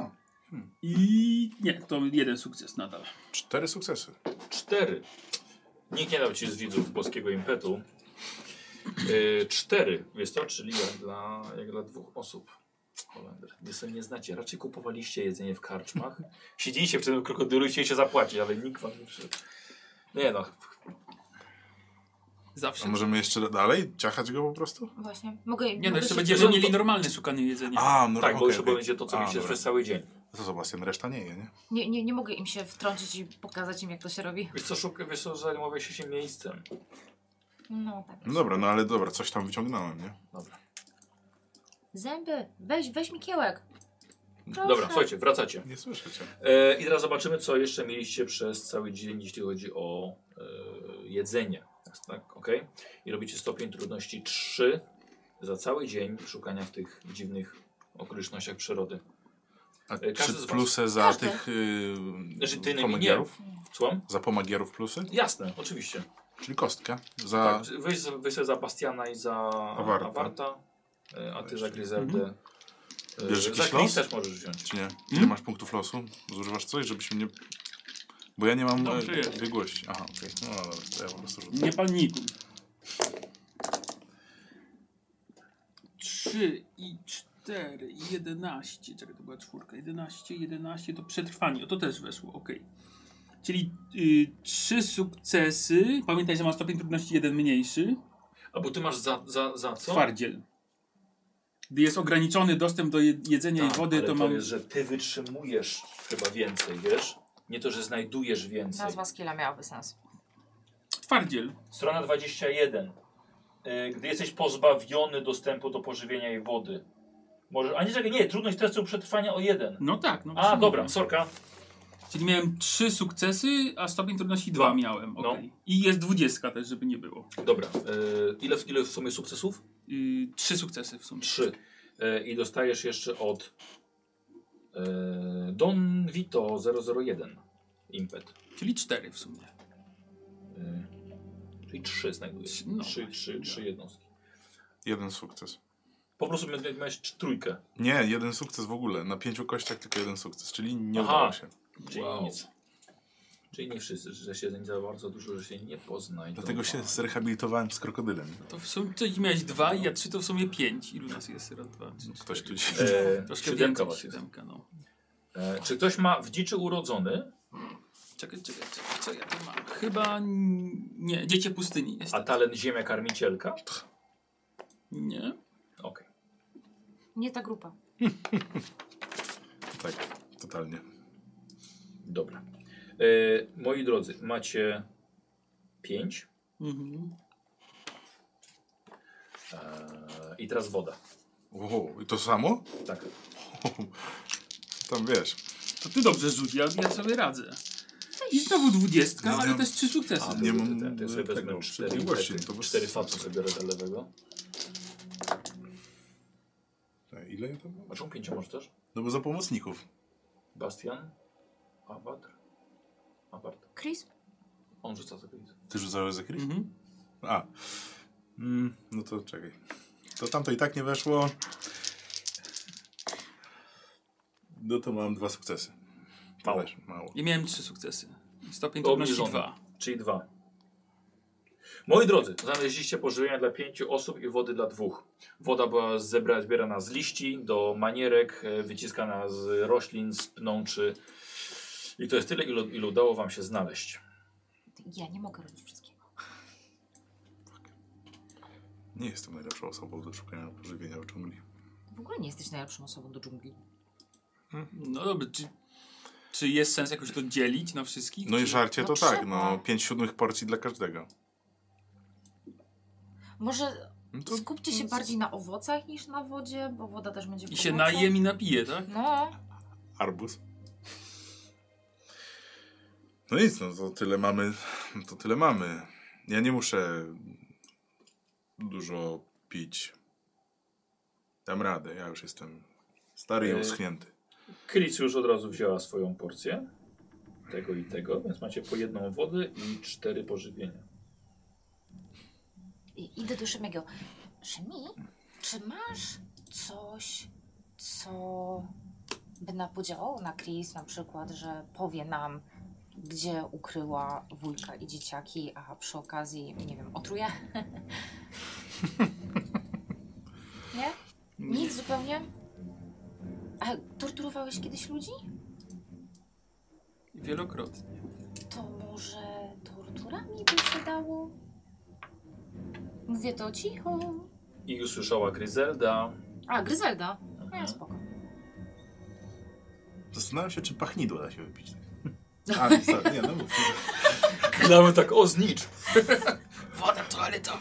S3: hmm.
S4: I nie, to jeden sukces nadal.
S3: cztery sukcesy.
S1: Cztery. Nikt nie dał ci z widzów polskiego impetu. Yy, cztery, jest to, czyli jak dla, jak dla dwóch osób. Holender. Wy sobie nie znacie. Raczej kupowaliście jedzenie w karczmach. Siedzieliście w tym krokodylu i chcieliście zapłacić, ale nikt wam nie przyszedł. Nie no,
S4: Zawsze.
S3: A możemy jeszcze dalej ciachać go po prostu?
S2: Właśnie. Mogę,
S4: Nie, no
S2: mogę
S4: jeszcze
S2: się-
S4: będziemy
S1: Jeżeli
S4: mieli
S1: to-
S4: normalne szukanie jedzenia.
S3: A, no
S1: tak, bo
S3: okej,
S1: już
S3: okej.
S1: będzie to, co
S3: A,
S1: mieliście
S3: dobra.
S1: przez cały dzień.
S3: To Sebastian, reszta nie je, nie?
S2: nie, nie, nie mogę im się wtrącić i pokazać im, jak to się robi.
S1: Wiesz co, szukaj, wiesz co, zajmowaj się się miejscem.
S2: No tak.
S3: No dobra, no ale dobra, coś tam wyciągnąłem, nie?
S1: Dobra.
S2: Zęby, weź, weź mi kiełek. Proszę.
S1: Dobra, słuchajcie, wracacie.
S3: Nie słyszę cię.
S1: E, I teraz zobaczymy, co jeszcze mieliście przez cały dzień, jeśli chodzi o e, jedzenie. Tak, Tak, ok? I robicie stopień trudności 3 za cały dzień szukania w tych dziwnych okolicznościach przyrody.
S3: A
S1: każdy
S3: czy
S1: z was.
S3: plusy za
S2: Każdy.
S3: tych yy,
S1: Znaczy, ty nie-
S3: pomagierów?
S1: Słucham?
S3: Za pomagierów plusy?
S1: Jasne, oczywiście.
S3: Czyli kostkę. Za...
S1: Tak, weź, za- weź sobie za Bastiana i za
S3: Awarta.
S1: Awarta, e, a ty za Gryzeldę.
S4: Mhm.
S1: E,
S3: Bierzesz
S1: za
S3: jakiś
S1: Chris
S3: los?
S1: też możesz wziąć.
S3: Czy nie? Ile masz punktów losu? Zużywasz coś, żebyś mnie... Bo ja nie mam
S4: Dobrze
S3: e,
S4: jest.
S3: biegłości. Aha, okej. No dobra, to ja po prostu rzucę.
S4: Nie panikuj. Trzy i cztery i jedenaście. Czekaj, to była czwórka. Jedenaście, jedenaście to przetrwanie. O, to też weszło, okej. Czyli y, trzy sukcesy. Pamiętaj, że ma stopień trudności jeden mniejszy.
S1: A bo ty masz za, za, za co?
S4: Twardziel. Gdy jest ograniczony dostęp do je- jedzenia
S1: Tak,
S4: i wody,
S1: ale
S4: to mam...
S1: jest, że ty wytrzymujesz chyba więcej, wiesz? Nie to, że znajdujesz więcej.
S2: Nazwa skilla miałaby sens.
S4: Twardziel.
S1: Strona 21. Y, Gdy jesteś pozbawiony dostępu do pożywienia i wody. Może, a nie, czekaj, nie, trudność testu przetrwania o jeden.
S4: No tak. No
S1: A,
S4: właśnie
S1: dobra,
S4: mówię.
S1: sorka.
S4: Czyli miałem trzy sukcesy, a stopień trudności dwa miałem.
S1: No.
S4: okej. I jest dwudziestka też, żeby nie było.
S1: Dobra, y, ile, w- ile w sumie sukcesów?
S4: Yy, trzy sukcesy w sumie.
S1: Trzy. Y, I dostajesz jeszcze od y, Don Vito 001 impet.
S4: Czyli cztery w sumie.
S1: Y, Czyli trzy znajdujesz.
S4: Trzy, no
S1: Trzy,
S4: właśnie,
S1: trzy,
S4: dobra.
S1: trzy jednostki.
S3: Jeden sukces.
S1: Po prostu miałeś- miałeś trójkę.
S3: Nie, jeden sukces w ogóle. Na pięciu kościach tylko jeden sukces, czyli nie
S1: Aha.
S3: udało się.
S1: Czyli
S4: Wow.
S1: nic. Czyli nie wszyscy, że się nie za bardzo dużo, że się nie poznaj.
S3: Dlatego się zrehabilitowałem z krokodylem.
S4: To w sumie coś miałeś dwa, ja trzy to w sumie pięć. Ilu nas jest? Raz, dwa, trzy,
S3: Ktoś
S4: cztery.
S3: tu się...
S1: E,
S4: Troszkę
S1: siódemka
S4: więcej,
S1: was jest.
S4: siódemka, no.
S1: E, czy ktoś ma w dziczy urodzony,
S4: Czekaj, czekaj, czekaj, co ja tu mam? Chyba... n- Nie, Dziecię Pustyni jest.
S1: a talent ziemia karmicielka?
S4: Nie?
S1: Okej.
S2: Nie ta grupa.
S3: *laughs* Tak, totalnie.
S1: Dobra. Y, moi drodzy, macie 5
S4: Mhm.
S1: i teraz woda.
S3: Wow, i to samo?
S1: Tak.
S3: Tam wiesz.
S4: To ty dobrze rzuć, ja, ja sobie radzę. I znowu dwudziestka, ale też trzy sukcesy.
S3: No, A, nie mam
S1: Te, te sobie
S3: tego,
S1: wezmę 4
S3: przebiegłości, to bez
S1: cztery
S3: sensu.
S1: fatu sobie biorę dla lewego.
S3: E, Ile ja tam mam?
S1: A czemu 5 masz też?
S3: No bo za pomocników.
S1: Bastian? Abatr? Abart?
S2: Chris?
S1: On rzuca sobie nic.
S3: Ty rzucałeś za Chris?
S4: Mhm.
S3: A. Mm, no to czekaj. To tamto i tak nie weszło. No to mam dwa sukcesy.
S1: Mało.
S3: Wiesz, mało.
S4: Ja miałem trzy sukcesy. Stopień
S1: To
S4: trudności
S1: obniżony.
S4: dwa.
S1: Czyli dwa. Moi drodzy, znaleźliście pożywienia dla pięciu osób i wody dla dwóch. Woda była zebra, zbierana z liści do manierek, e, wyciskana z roślin, z pnączy. I to jest tyle, ile, ile udało wam się znaleźć.
S2: Ja nie mogę robić wszystkiego.
S3: Nie jestem najlepszą osobą do szukania pożywienia w dżungli.
S2: W ogóle nie jesteś najlepszą osobą do dżungli.
S4: No dobra, czy, czy jest sens jakoś to dzielić na wszystkich?
S3: No i
S4: Czy-
S3: żarcie
S2: No
S3: to tak,
S2: trzeba.
S3: no. pięć siódmych porcji dla każdego.
S2: Może
S3: No to
S2: skupcie się bardziej na owocach niż na wodzie, bo woda też będzie w
S4: I się
S2: owocach.
S4: najem i napiję, tak?
S2: No,
S3: arbuz. No nic, no to tyle mamy. To tyle mamy. Ja nie muszę dużo pić. Dam radę, ja już jestem stary i
S1: Yy.
S3: uschnięty.
S1: Kric już od razu wzięła swoją porcję tego i tego, więc macie po jedną wodę i cztery pożywienia.
S2: I idę do Szymiego. Szymi, czy masz coś, co by nam podziałało na Chris, na przykład, że powie nam, gdzie ukryła wujka i dzieciaki, a przy okazji, nie wiem, otruje? nie? Nic zupełnie? A torturowałeś kiedyś ludzi?
S4: Wielokrotnie.
S2: To może torturami by się dało? Mówię to cicho.
S1: I usłyszała Gryzelda.
S2: A, Gryzelda. No ja
S1: Mhm.
S2: spoko.
S3: Zastanawiam się, czy pachnidło da się wypić. *laughs* A, nie, sorry, nie, no mów.
S1: Nawet tak, o znicz!
S4: Woda, toaleta!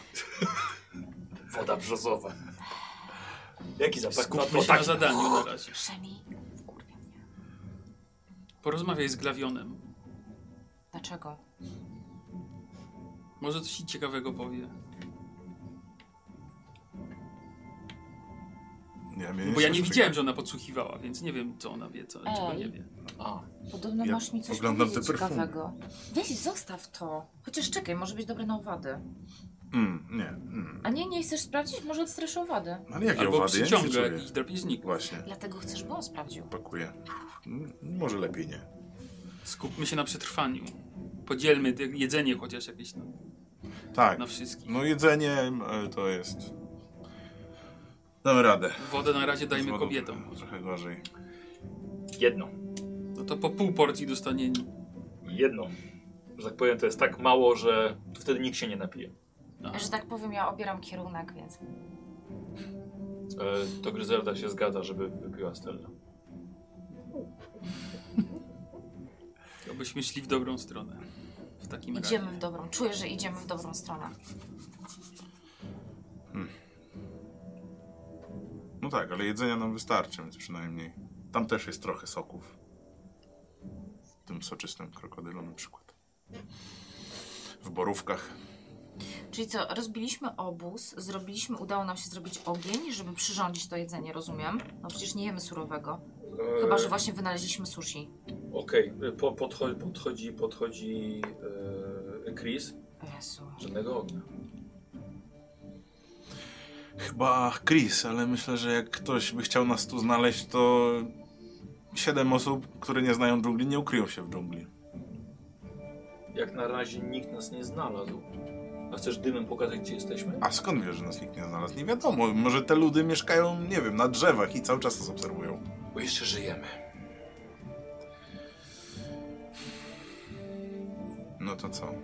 S1: Woda brzozowa. Jaki zapach? No,
S4: Skupmy się na zadaniu na razie.
S2: Szemi, wkurwia mnie.
S4: Porozmawiaj z Glawionem.
S2: Dlaczego?
S4: Może coś ci ciekawego powie.
S3: No Nie, mnie
S4: Bo ja nie
S3: śmieszy.
S4: widziałem, że ona podsłuchiwała, więc nie wiem, co ona wie, co, czego
S2: Ej.
S4: nie wie.
S1: A,
S2: Podobno
S3: Ja
S2: masz mi coś
S3: oglądam
S2: powiedzieć
S3: te perfumy.
S2: ciekawego. Weź, zostaw to. Chociaż czekaj, może być dobre na owady.
S3: Mm, nie. Mm.
S2: A nie, nie chcesz sprawdzić? Może odstrasz owady.
S3: Ale jak ja
S4: Albo
S3: uwadę, ja nic nie
S4: przyciąga
S3: czuję.
S4: jakichś drapieżników.
S3: Właśnie,
S2: Dlatego chcesz, by on sprawdził.
S3: pakuję. Mm, Może lepiej nie.
S4: Skupmy się na przetrwaniu. Podzielmy te- jedzenie chociaż jakieś na,
S3: Tak,
S4: na wszystkich.
S3: no jedzenie e, to jest... Dam radę.
S4: Wodę na razie
S3: Z
S4: dajmy
S3: wodą
S4: kobietom.
S3: Trochę gorzej.
S1: jedno.
S4: No to po pół porcji dostanie
S1: Jedno. Że tak powiem, to jest tak mało, że wtedy nikt się nie napije.
S4: Aha.
S2: Że tak powiem, ja obieram kierunek, więc...
S1: E, to Gryzelda się zgadza, żeby wypiła Stella.
S4: Obyśmy szli w dobrą stronę. W takim razie.
S2: Idziemy w dobrą. Czuję, że idziemy w dobrą stronę.
S3: No tak, ale jedzenia nam wystarczy, więc przynajmniej. Tam też jest trochę soków. W tym soczystym krokodylu na przykład. W borówkach.
S2: Czyli co, rozbiliśmy obóz, zrobiliśmy, udało nam się zrobić ogień, żeby przyrządzić to jedzenie, rozumiem? No przecież nie jemy surowego. Chyba, że właśnie wynaleźliśmy sushi.
S1: E, Okej, e, po, podchodzi, podchodzi, podchodzi e, Chris.
S2: Jezu.
S1: Żadnego ognia.
S3: Chyba Chris, ale myślę, że jak ktoś by chciał nas tu znaleźć, to siedem osób, które nie znają dżungli, nie ukryją się w dżungli.
S1: Jak na razie nikt nas nie znalazł. A chcesz dymem pokazać, gdzie jesteśmy?
S3: A skąd wiesz, że nas nikt nie znalazł? Nie wiadomo, może te ludy mieszkają, nie wiem, na drzewach i cały czas nas obserwują.
S1: Bo jeszcze żyjemy.
S3: No to co?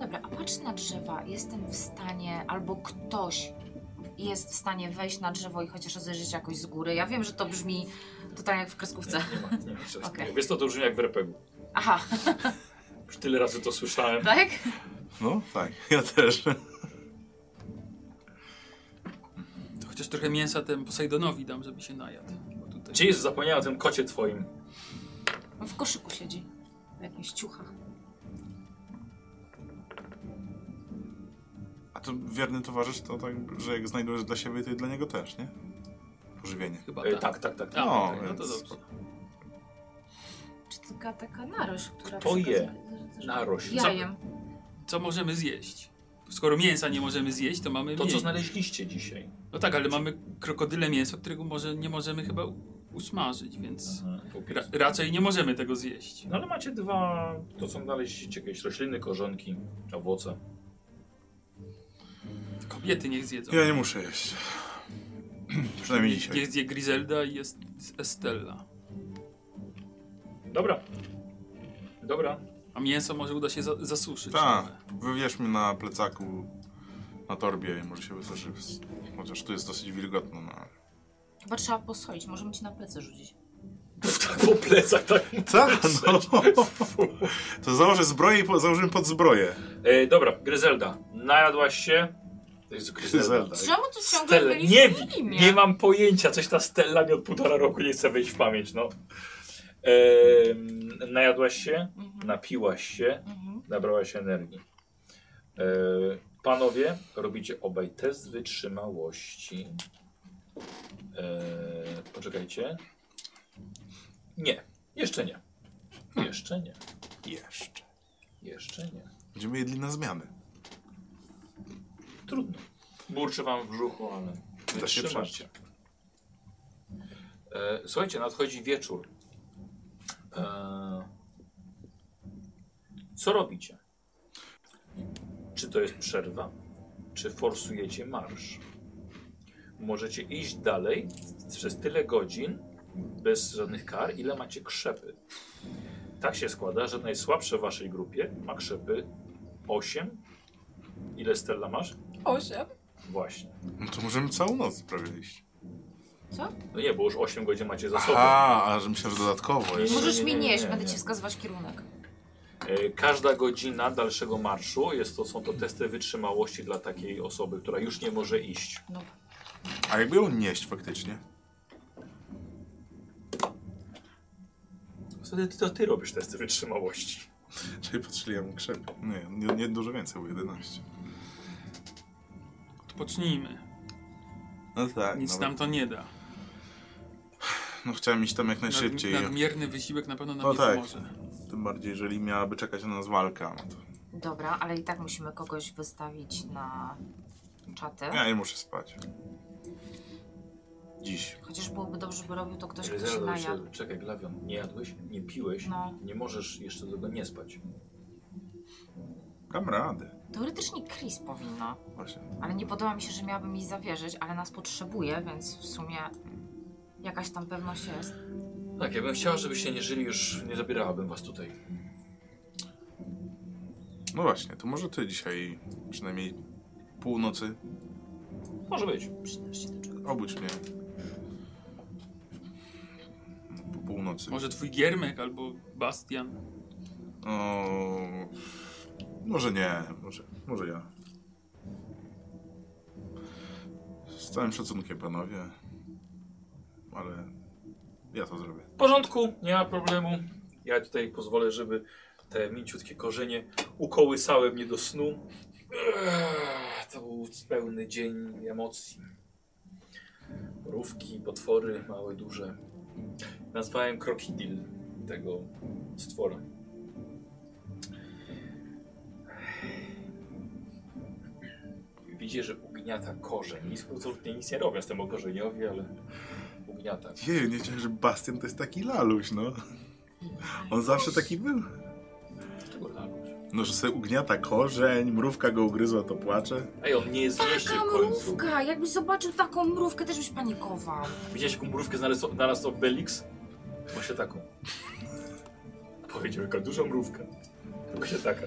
S2: Dobra, a patrz na drzewa. Jestem w stanie, albo ktoś jest w stanie wejść na drzewo i chociaż rozejrzeć jakoś z góry. Ja wiem, że to brzmi tutaj jak w kreskówce.
S1: Nie, nie ma,
S2: *laughs*
S1: nie ma czegoś
S2: Okej.
S1: takiego. Wiesz co, to brzmi jak w RPG.
S2: Aha, *laughs*
S1: Już tyle razy to słyszałem.
S2: tak?
S3: No tak, *laughs* ja też.
S4: To chociaż trochę mięsa temu Posejdonowi dam, żeby się najadł. Bo tutaj...
S1: Gdzie jest zapomniałem o tym kocie twoim? E,
S2: On w koszyku siedzi. W jakichś ciuchach.
S3: A to wierny towarzysz to tak, że jak znajdujesz dla siebie, to i dla niego też, nie? Pożywienie.
S4: Chyba
S1: E, tak, tak, tak.
S4: A,
S3: No,
S4: okej, no to
S3: więc-
S4: dobrze.
S2: Czy taka, taka narość, która...
S1: Kto je?
S2: przekazuje-
S1: Narość.
S2: Jajem.
S4: Co możemy zjeść? Skoro mięsa nie możemy zjeść, to
S1: To,
S4: mamy
S1: co Znaczy-
S4: mięs-
S1: znaleźliście dzisiaj.
S4: No tak, ale mamy krokodyle mięso, którego może nie możemy chyba u- usmażyć, więc
S1: Mhm.
S4: ra
S1: Ra-
S4: raczej nie możemy tego zjeść.
S1: No ale macie dwa, to są znaleźliście jakieś rośliny, korzonki, owoce.
S4: Kobiety niech zjedzą.
S3: Ja nie muszę jeść. *clears throat* Przynajmniej
S4: niech,
S3: dzisiaj.
S4: niech zje Griselda i jest Estella.
S1: Dobra. Dobra. *laughs*
S4: A mięso może uda się za zasuszyć.
S3: Tak,
S4: trochę.
S3: wywierzmy na plecaku, na torbie i może się wysuszy. w- Chociaż tu jest dosyć wilgotno, no ale...
S2: Chyba trzeba posolić, możemy ci na plecy rzucić.
S1: Tak po plecach, tak.
S3: Tak, *laughs* no. To założę zbroję i po, założymy pod zbroję.
S1: E, dobra, Gryzelda, najadłaś się. To jest
S3: Gryzelda. Tak.
S2: Czemu tu ciągle
S1: Stella,
S2: byliśmy
S1: nie,
S2: w
S1: wi-
S2: imię?
S1: nie mam pojęcia, coś ta Stella mi od półtora roku nie chce wejść w pamięć, no. E, najadłaś się,
S2: Mhm.
S1: napiłaś się,
S2: Mhm.
S1: nabrałaś energii. E, panowie, robicie obaj test wytrzymałości. E, poczekajcie. Nie, jeszcze nie. Jeszcze nie,
S3: Jeszcze.
S1: jeszcze nie.
S3: Będziemy jedli na zmiany.
S1: Trudno. Burczy wam w brzuchu, ale
S3: Da się
S1: wytrzymacie. E, słuchajcie, nadchodzi wieczór. E, co robicie? Czy to jest przerwa? Czy forsujecie marsz? Możecie iść dalej przez tyle godzin bez żadnych kar, ile macie krzepy. Tak się składa, że najsłabsze w waszej grupie ma krzepy 8. Ile Stella masz?
S2: Osiem.
S1: Właśnie.
S3: No to możemy całą noc prawie iść.
S2: Co?
S1: No nie, bo już 8 godzin macie za sobą.
S3: Aha, a że myślę, że dodatkowo
S1: Nie,
S3: jeszcze.
S1: nie,
S2: Możesz
S1: nie,
S2: mi
S1: nie,
S2: nieść,
S1: nie,
S2: będę
S1: nie.
S2: ci wskazywać kierunek.
S1: E, Każda godzina dalszego marszu jest to, są to testy wytrzymałości dla takiej osoby, która już nie może iść.
S2: No.
S3: A jakby ją nieść faktycznie?
S1: Wtedy ty- to ty robisz testy wytrzymałości.
S3: Czyli potrzeliłem krzep. Nie, nie, nie dużo więcej, bo 11.
S4: Odpocznijmy.
S3: No tak.
S4: Nic
S3: nawet-
S4: nam to nie da.
S3: No chciałem iść tam jak najszybciej.
S4: Nad, nadmierny wysiłek na pewno nam
S3: No
S4: nie
S3: tak.
S4: pomoże.
S3: Tym bardziej, jeżeli miałaby czekać na nas walka. No to...
S2: Dobra, ale i tak musimy kogoś wystawić na czatę.
S3: Ja nie muszę spać. Dziś.
S2: Chociaż byłoby dobrze, by robił to ktoś, kto się
S1: Zjadłeś,
S2: najadł.
S1: czekaj, Glawion, nie jadłeś, nie piłeś,
S2: No.
S1: nie możesz jeszcze do tego nie spać.
S3: Dam radę.
S2: Teoretycznie Chris powinna,
S3: Właśnie.
S2: ale nie podoba mi się, że miałabym jej zawierzyć, ale nas potrzebuje, więc w sumie jakaś tam pewność jest.
S1: Tak, ja bym chciała, żebyście nie żyli już, nie zabierałabym was tutaj.
S3: No właśnie, to może ty dzisiaj przynajmniej północy
S1: Może być.
S2: Przydasz się do czego.
S3: obudź mnie. Po północy.
S4: Może twój Giermek albo Bastian.
S3: O... Może nie, może, może ja. Z całym szacunkiem, panowie. Ale ja to zrobię.
S1: W porządku, nie ma problemu. Ja tutaj pozwolę, żeby te mięciutkie korzenie ukołysały mnie do snu. Eee, To był pełny dzień emocji. Mrówki, potwory, małe, duże. Nazwałem krokodil tego stwora. Widzicie, że ugniata korzeń. Nic, absolutnie nic nie robię, jestem o korzeniowi, ale ugniata.
S3: Jeju, nie wiedziałem, że Bastian to jest taki laluś, no. On zawsze taki był.
S1: Czego laluś?
S3: No, że sobie ugniata korzeń, mrówka go ugryzła, to płacze.
S1: Ej, on nie jest mieście
S2: Taka
S1: w końcu.
S2: mrówka! Jakbyś zobaczył taką mrówkę, też byś panikował.
S1: Widziałeś jaką mrówkę znalazł, znalazł Obelix? Właśnie taką. Powiedział, jaka duża mrówka. Właśnie taka.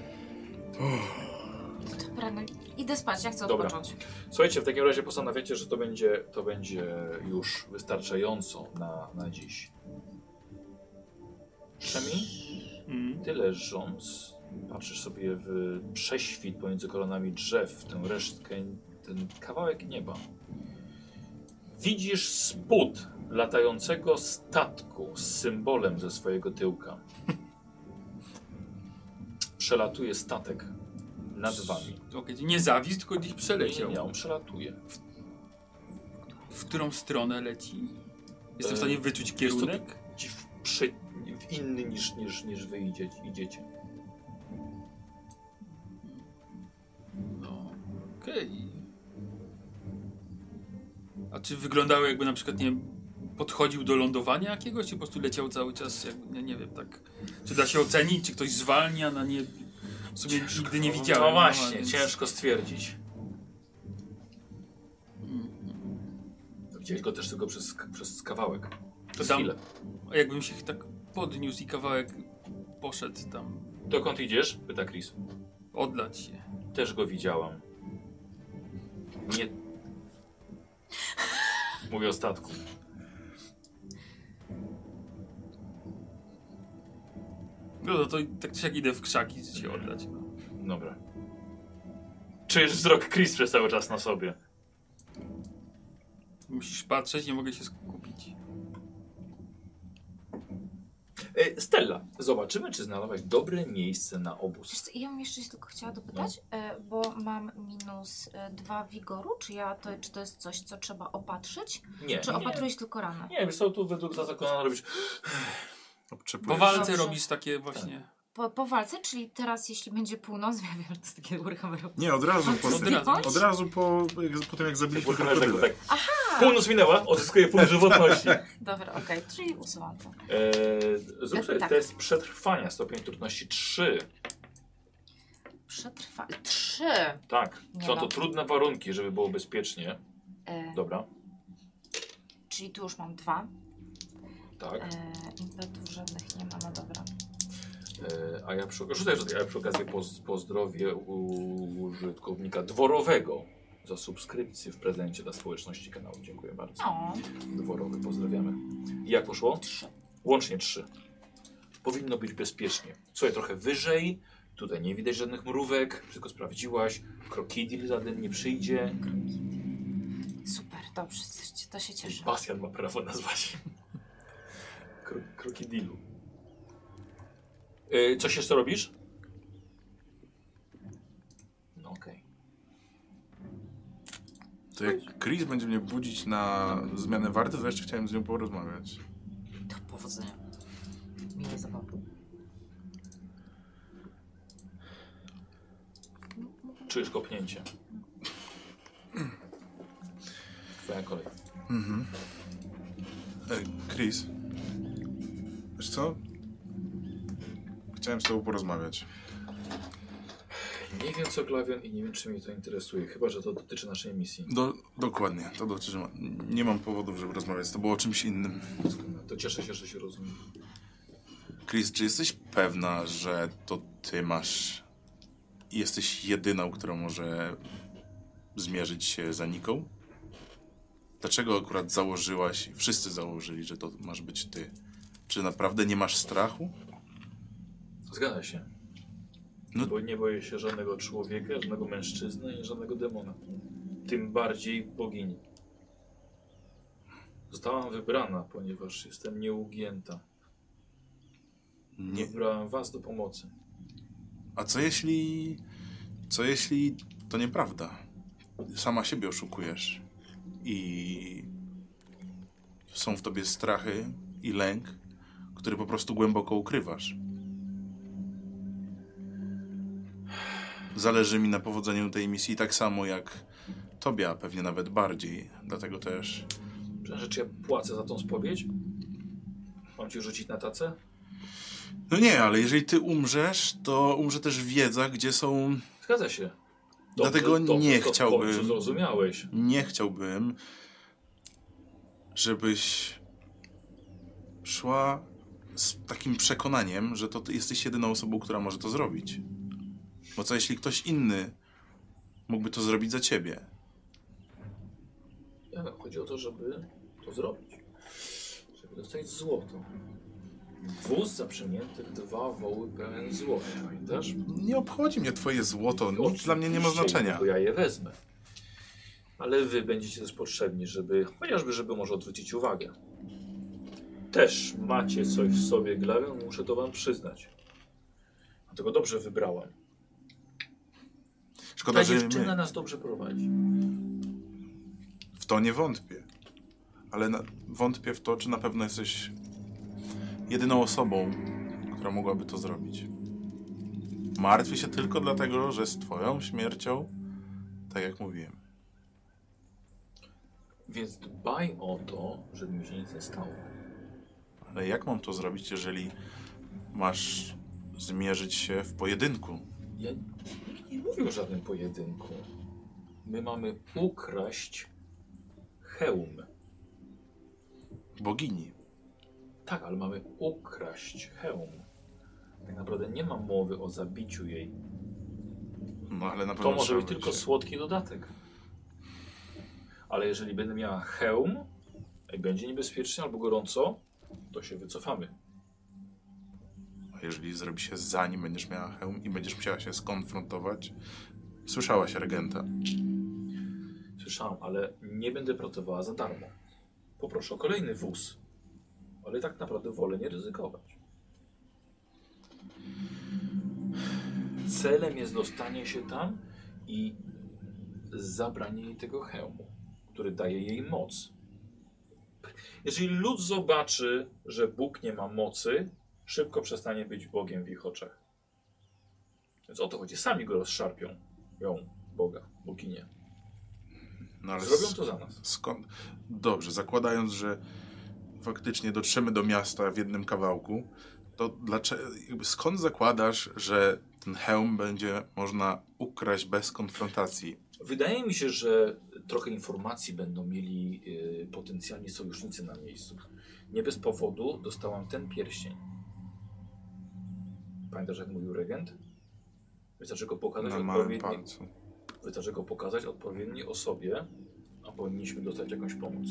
S2: To prany. no Idę spać, ja chcę
S1: Dobra.
S2: odpocząć.
S1: Słuchajcie, w takim razie postanawiacie, że to będzie, to będzie już wystarczająco na, na dziś. Przemi,
S4: Mm.
S1: ty leżąc, patrzysz sobie w prześwit pomiędzy koronami drzew, tę resztkę, ten kawałek nieba. Widzisz spód latającego statku z symbolem ze swojego tyłka. Przelatuje statek nad wami.
S4: Okej, nie zawisł, tylko gdzieś przeleciał.
S1: Nie, on przelatuje.
S4: W którą stronę leci? Jestem
S1: E,
S4: w stanie wyczuć
S1: Jest
S4: kierunek?
S1: to ci w, przy, w inny niż, niż, niż wy idzie, idziecie.
S4: No, okej. A czy wyglądało jakby na przykład, nie wiem, podchodził do lądowania jakiegoś, czy po prostu leciał cały czas, jakby, nie, nie wiem, tak... Czy da się ocenić, czy ktoś zwalnia na nie... W sumie nigdy nie widziałem.
S1: No właśnie,
S4: więc-
S1: ciężko stwierdzić.
S4: Mm.
S1: Widziałeś go też tylko przez, przez kawałek. Przez
S4: dam-
S1: chwilę.
S4: A jakbym się tak podniósł i kawałek poszedł tam,
S1: Dokąd idziesz? Pyta Chris.
S4: odlać się.
S1: Też go widziałam. Nie. Mówię o statku.
S4: No, no to tak czy siak idę w krzaki i się oddać. No.
S1: Dobra. Czujesz wzrok Chris przez cały czas na sobie.
S4: Musisz patrzeć, nie mogę się skupić.
S1: E, Stella, zobaczymy, czy znalazłaś dobre miejsce na
S2: Wiesz
S1: obóz.
S2: co, ja bym jeszcze się tylko chciała dopytać,
S1: No.
S2: e, bo mam minus e, dwa wigoru, czy, ja to, czy to jest coś, co trzeba opatrzyć?
S1: Nie,
S2: Czy
S1: nie,
S2: opatrujesz tylko ranę?
S1: Nie, wiesz co, tu według zakona robisz
S4: Po
S3: Obczepujesz.
S4: walce
S2: Dobrze.
S4: robisz takie
S1: Tak.
S4: właśnie.
S2: Po, po walce, czyli teraz jeśli będzie północ, *laughs* ja wiem, że to jest takie uruchomienie.
S3: Nie, od razu po
S4: Od
S3: tym.
S4: razu.
S3: Od razu po, jak- po tym, jak zabiliśmy
S1: Wykonasz
S3: krokodyle.
S1: tak. Północ minęła, odzyskuje punkt żywotności.
S2: Tak.
S1: E,
S2: Dobra, okej, czyli usuwam to.
S1: zrób sobie
S2: Tak.
S1: test przetrwania, stopień trudności 3.
S2: Przetrwa... Trzy!
S1: Tak,
S2: Nie
S1: są
S2: ma.
S1: to trudne warunki, żeby było bezpiecznie.
S2: E,
S1: Dobra,
S2: czyli tu już mam dwa.
S1: tak.
S2: E, impetu żadnych nie ma, no dobra.
S1: E, a ja przy, rzucaj, rzucaj, a ja przy okazji poz, pozdrowię u- użytkownika dworowego za subskrypcję w prezencie dla społeczności kanału. Dziękuję bardzo.
S2: O,
S1: Dworowy, pozdrawiamy. I jak poszło?
S2: trzy.
S1: Łącznie trzy. Powinno być bezpiecznie. Słuchaj, trochę wyżej. Tutaj nie widać żadnych mrówek. Wszystko sprawdziłaś. Krokodil żaden nie przyjdzie.
S2: Super, dobrze, coś- to się cieszę.
S1: Basjan ma prawo nazwać. *laughs* Kro krokodilu. Yy, coś jeszcze robisz? No okej.
S3: To jak Chris będzie mnie budzić na zmianę warty, to jeszcze chciałem z nią porozmawiać.
S2: Do powodzenia. Miłej zabawy.
S1: Czujesz kopnięcie. Twoja kolej.
S3: Mhm. Ej, Chris. Wiesz co? Chciałem z tobą porozmawiać.
S1: Nie wiem co Glawion i nie wiem czy mnie to interesuje. Chyba, że to dotyczy naszej misji.
S3: Do, dokładnie, to dotyczy. Nie mam powodów, żeby rozmawiać z tobą o czymś innym.
S1: To cieszę się, że się rozumiem.
S3: Chris, czy jesteś pewna, że to ty masz. i Jesteś jedyną, która może zmierzyć się za Niką? Dlaczego akurat założyłaś, wszyscy założyli, że to masz być ty? Czy naprawdę nie masz strachu?
S1: Zgadza się.
S3: No-
S1: Bo nie boję się żadnego człowieka, żadnego mężczyzny i żadnego demona. Tym bardziej bogini. Zostałam wybrana, ponieważ jestem nieugięta.
S3: Nie.
S1: Wybrałam was do pomocy.
S3: A co jeśli. Co jeśli to nieprawda? Sama siebie oszukujesz i są w tobie strachy i lęk, który po prostu głęboko ukrywasz. Zależy mi na powodzeniu tej misji tak samo jak tobie, a pewnie nawet bardziej. Dlatego też
S1: Przepraszam, czy ja płacę za tą spowiedź? Mam ci rzucić na tacę?
S3: No nie, ale jeżeli ty umrzesz, to umrze też wiedza, gdzie są.
S1: Zgadza się.
S3: Dlatego nie
S1: to w
S3: chciałbym.
S1: końcu zrozumiałeś.
S3: Nie chciałbym, żebyś szła z takim przekonaniem, że to ty jesteś jedyną osobą, która może to zrobić. Bo co jeśli ktoś inny mógłby to zrobić za ciebie.
S1: Ja, E, chodzi o to, żeby to zrobić. Żeby dostać złoto. Wóz zaprzęgnięty w dwa woły pełen złota, pamiętasz?
S3: Nie obchodzi mnie twoje złoto, nic
S1: Oczywiście,
S3: dla mnie nie ma znaczenia.
S1: Bo ja je wezmę. Ale wy będziecie też potrzebni, żeby, chociażby, żeby może odwrócić uwagę. Też macie coś w sobie, Glawion, muszę to wam przyznać. Dlatego dobrze wybrałam. Ta
S3: Szkoda, że
S1: Tak, dziewczyna
S3: my.
S1: nas dobrze prowadzi.
S3: w to nie wątpię. Ale na... wątpię w to, czy na pewno jesteś jedyną osobą, która mogłaby to zrobić. Martwię się tylko dlatego, że z twoją śmiercią, tak jak mówiłem,
S1: Więc dbaj o to, żeby mi się nic nie stało.
S3: Ale jak mam to zrobić, jeżeli masz zmierzyć się w pojedynku?
S1: Ja nikt nie mówił o żadnym pojedynku. My mamy ukraść hełm.
S3: Bogini.
S1: Tak, ale mamy ukraść hełm. Tak naprawdę nie ma mowy o zabiciu jej.
S3: No ale na pewno
S1: To może
S3: trzeba
S1: być tylko
S3: będzie-
S1: słodki dodatek. Ale jeżeli będę miała hełm, jak będzie niebezpiecznie albo gorąco, to się wycofamy.
S3: A jeżeli zrobi się zanim będziesz miała hełm i będziesz musiała się skonfrontować? Słyszałaś regenta.
S1: Słyszałam, ale nie będę pracowała za darmo. Poproszę o kolejny wóz. Ale tak naprawdę wolę nie ryzykować. Celem jest dostanie się tam i zabranie jej tego hełmu, który daje jej moc. Jeżeli lud zobaczy, że Bóg nie ma mocy, szybko przestanie być Bogiem w ich oczach. Więc o to chodzi. Sami go rozszarpią. Ją, Boga, Boginie.
S3: No ale
S1: Zrobią to za nas.
S3: skąd? Dobrze, zakładając, że faktycznie dotrzemy do miasta w jednym kawałku, to dlaczego, skąd zakładasz, że ten hełm będzie można ukraść bez konfrontacji?
S1: Wydaje mi się, że trochę informacji będą mieli y, potencjalni sojusznicy na miejscu. Nie bez powodu dostałam ten pierścień. Pamiętasz, jak mówił regent? Wystarczy go pokazać,
S3: Na małym
S1: odpowiedni,
S3: palcu.
S1: wystarczy go pokazać odpowiedniej osobie, a powinniśmy dostać jakąś pomoc.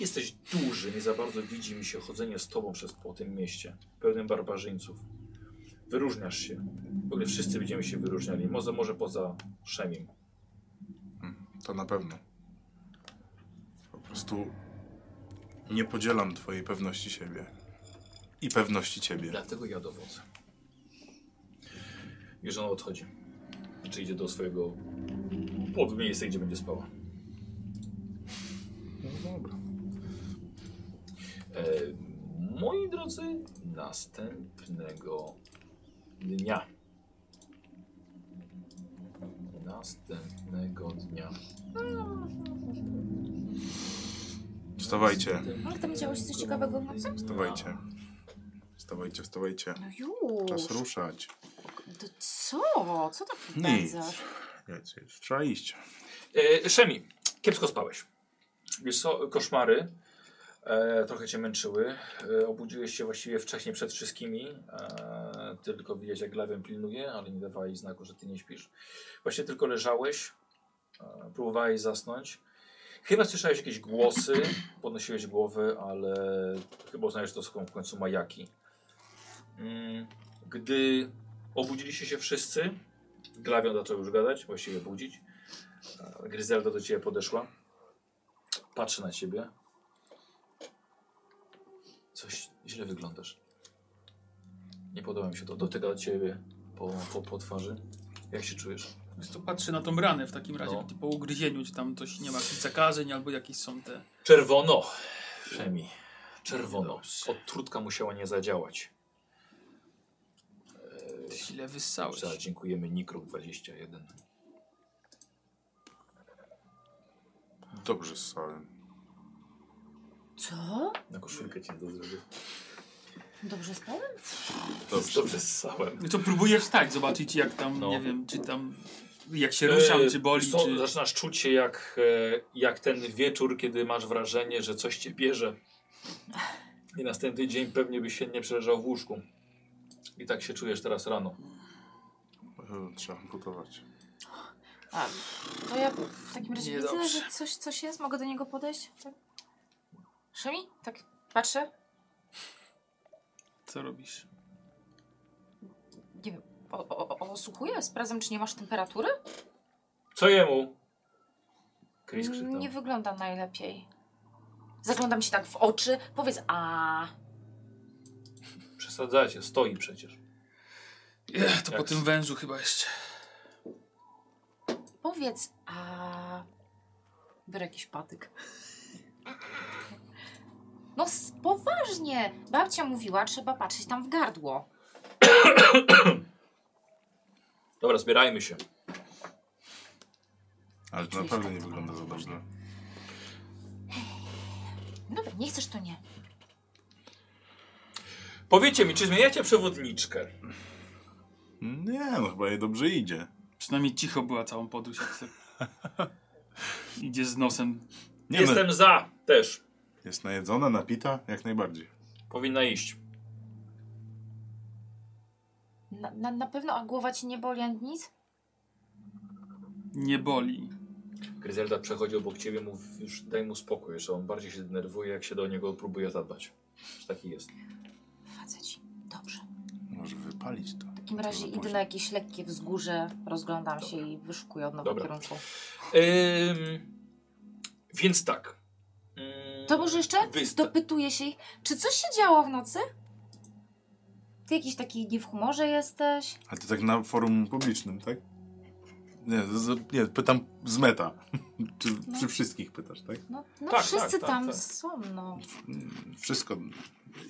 S1: Jesteś duży, nie za bardzo widzi mi się chodzenie z tobą przez, po tym mieście, pełnym barbarzyńców. Wyróżniasz się. W ogóle wszyscy będziemy się wyróżniali, może, może poza Szemim.
S3: To na pewno. Po prostu nie podzielam twojej pewności siebie. I pewności ciebie.
S1: Dlatego ja dowodzę. Już ona odchodzi. Czy idzie do swojego pod miejsca, gdzie będzie spała.
S3: No dobra.
S1: E, moi drodzy, następnego dnia. Następnego dnia.
S3: Wstawajcie,
S2: Ale tam działo się coś ciekawego w nocy?
S3: wstawajcie. Wstawajcie, wstawajcie.
S2: No już.
S3: Czas ruszać.
S2: To co? Co tak
S3: Nic.
S2: wpędzasz?
S3: Nic, nic. Trzeba iść.
S1: E, Szemi, kiepsko spałeś. Wiesz co, koszmary e, trochę cię męczyły. E, obudziłeś się właściwie wcześniej przed wszystkimi. E, ty tylko widziałeś, jak Glawion pilnuje, ale nie dawałeś znaku, że ty nie śpisz. Właściwie tylko leżałeś, e, próbowałeś zasnąć. Chyba słyszałeś jakieś *clears throat* głosy, podnosiłeś głowę, ale chyba uznajesz, że to są w końcu majaki. Mm, Gdy obudziliście się wszyscy, Glawion zaczął już gadać, właściwie budzić. Gryzelda do ciebie podeszła. Patrzy na ciebie. Coś źle wyglądasz. Nie podoba mi się to. Dotyka ciebie po, po, po twarzy. Jak się czujesz?
S4: Więc to patrzę na tą ranę w takim razie,
S1: No.
S4: po ugryzieniu, czy tam coś nie ma, jakichś zakażeń albo jakieś są te...
S1: Czerwono! Szemi. Czerwono. Odtrutka musiała nie zadziałać.
S4: Źle wyssałeś.
S1: Za, dziękujemy Nikruk 21.
S3: Dobrze z Salem.
S2: Co?
S1: Na koszulkę cię to zrobił.
S2: Dobrze spałem?
S3: Dobrze.
S1: Dobrze ssałem.
S4: No to próbuję wstać, zobaczyć jak tam,
S1: No.
S4: nie wiem, czy tam, jak się ruszam,
S1: E,
S4: czy boli,
S1: co,
S4: czy...
S1: Zaczynasz czuć się jak, e, jak ten wieczór, kiedy masz wrażenie, że coś cię bierze. I następny dzień pewnie byś się nie przeleżał w łóżku. I tak się czujesz teraz rano.
S3: E, Trzeba amputować.
S2: A, to ja w takim razie widzę,
S1: Niedobrze.
S2: że coś, coś jest, mogę do niego podejść? Tak. Szymi? Tak, patrzę.
S4: Co robisz?
S2: Nie wiem, o, o, o, osłuchuję, sprawdzam, czy nie masz temperatury?
S1: Co jemu? Chris krzyknął.
S2: Mm, Nie wygląda najlepiej. Zaglądam się tak w oczy, powiedz a.
S1: Przesadzacie, stoi przecież.
S4: Ech, to
S1: Jak
S4: po tym
S1: z-
S4: wężu chyba jeszcze.
S2: Powiedz a. Biorę jakiś patyk. No s- poważnie, babcia mówiła, trzeba patrzeć tam w gardło.
S1: Dobra, zbierajmy się.
S3: Ale to
S2: Oczywiście.
S3: naprawdę nie wygląda za dobrze.
S2: Dobra, nie chcesz to nie.
S1: Powiedzcie mi, czy zmieniacie przewodniczkę?
S3: Nie, no chyba jej dobrze idzie.
S4: Przynajmniej cicho była całą podróż. Jak
S1: *laughs*
S4: se... Idzie z nosem.
S3: Nie
S1: Jestem
S3: No,
S1: za też.
S3: jest najedzona, napita, jak najbardziej.
S1: Powinna iść.
S2: Na, na, na pewno, a głowa ci nie boli ani nic?
S4: Nie boli.
S1: Gryzelda przechodzi obok ciebie, mów, już daj mu spokój, jeszcze on bardziej się denerwuje, jak się do niego próbuje zadbać. Że Taki jest.
S2: Faceci. Dobrze.
S3: Może wypalić to.
S2: W takim razie idę na jakieś lekkie wzgórze, rozglądam się i wyszukuję od nowego
S1: Dobra.
S2: kierunku.
S1: Ym, więc tak. Ym,
S2: To może jeszcze
S1: wysta-
S2: dopytuję się ich, czy coś się działo w nocy? Ty jakiś taki nie w humorze jesteś?
S3: Ale to tak na forum publicznym, tak? Nie, z, z- nie pytam z meta. *laughs* czy,
S2: No.
S3: czy wszystkich pytasz, tak?
S2: No, no
S1: Tak,
S2: wszyscy
S1: tak, tak,
S2: tam
S1: tak.
S2: są, no.
S3: Mm, Wszystko.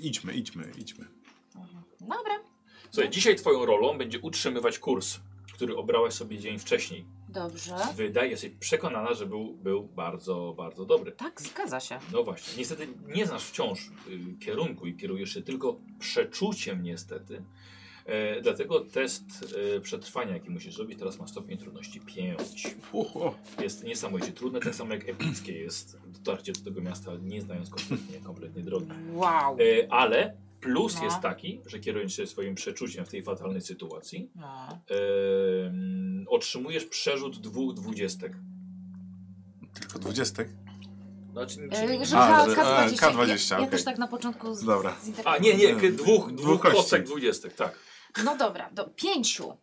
S3: Idźmy, idźmy, idźmy.
S2: Mhm. Dobra,
S1: Słuchaj, dzisiaj twoją rolą będzie utrzymywać kurs, który obrałaś sobie dzień wcześniej.
S2: dobrze.
S1: Wydaje się przekonana, że był, był bardzo, bardzo dobry.
S2: Tak, zgadza się.
S1: No właśnie, niestety nie znasz wciąż y, kierunku i kierujesz się tylko przeczuciem niestety. E, dlatego test e, przetrwania, jaki musisz zrobić, teraz ma stopień trudności 5.
S3: Oho.
S1: Jest niesamowicie trudne, tak samo jak epickie jest dotarcie do tego miasta, nie znając kompletnie, kompletnie drogi.
S2: Wow.
S1: E, ale plus
S2: No.
S1: jest taki, że kierując się swoim przeczuciem w tej fatalnej sytuacji,
S2: No.
S1: e, mm, otrzymujesz przerzut dwóch dwudziestek.
S3: Tylko dwudziestek?
S1: Znaczy, nic się nie-
S2: E, że
S3: A,
S2: K-
S3: że-
S2: K20.
S3: a, K20,
S2: ja, ja
S3: okej.
S2: też tak na początku z,
S3: Dobra.
S2: z inter-
S1: A, nie, nie, k- dwóch,
S3: Dwóch
S1: dwóch
S3: kości.
S1: kostek dwudziestek, tak.
S2: No dobra, do pięciu.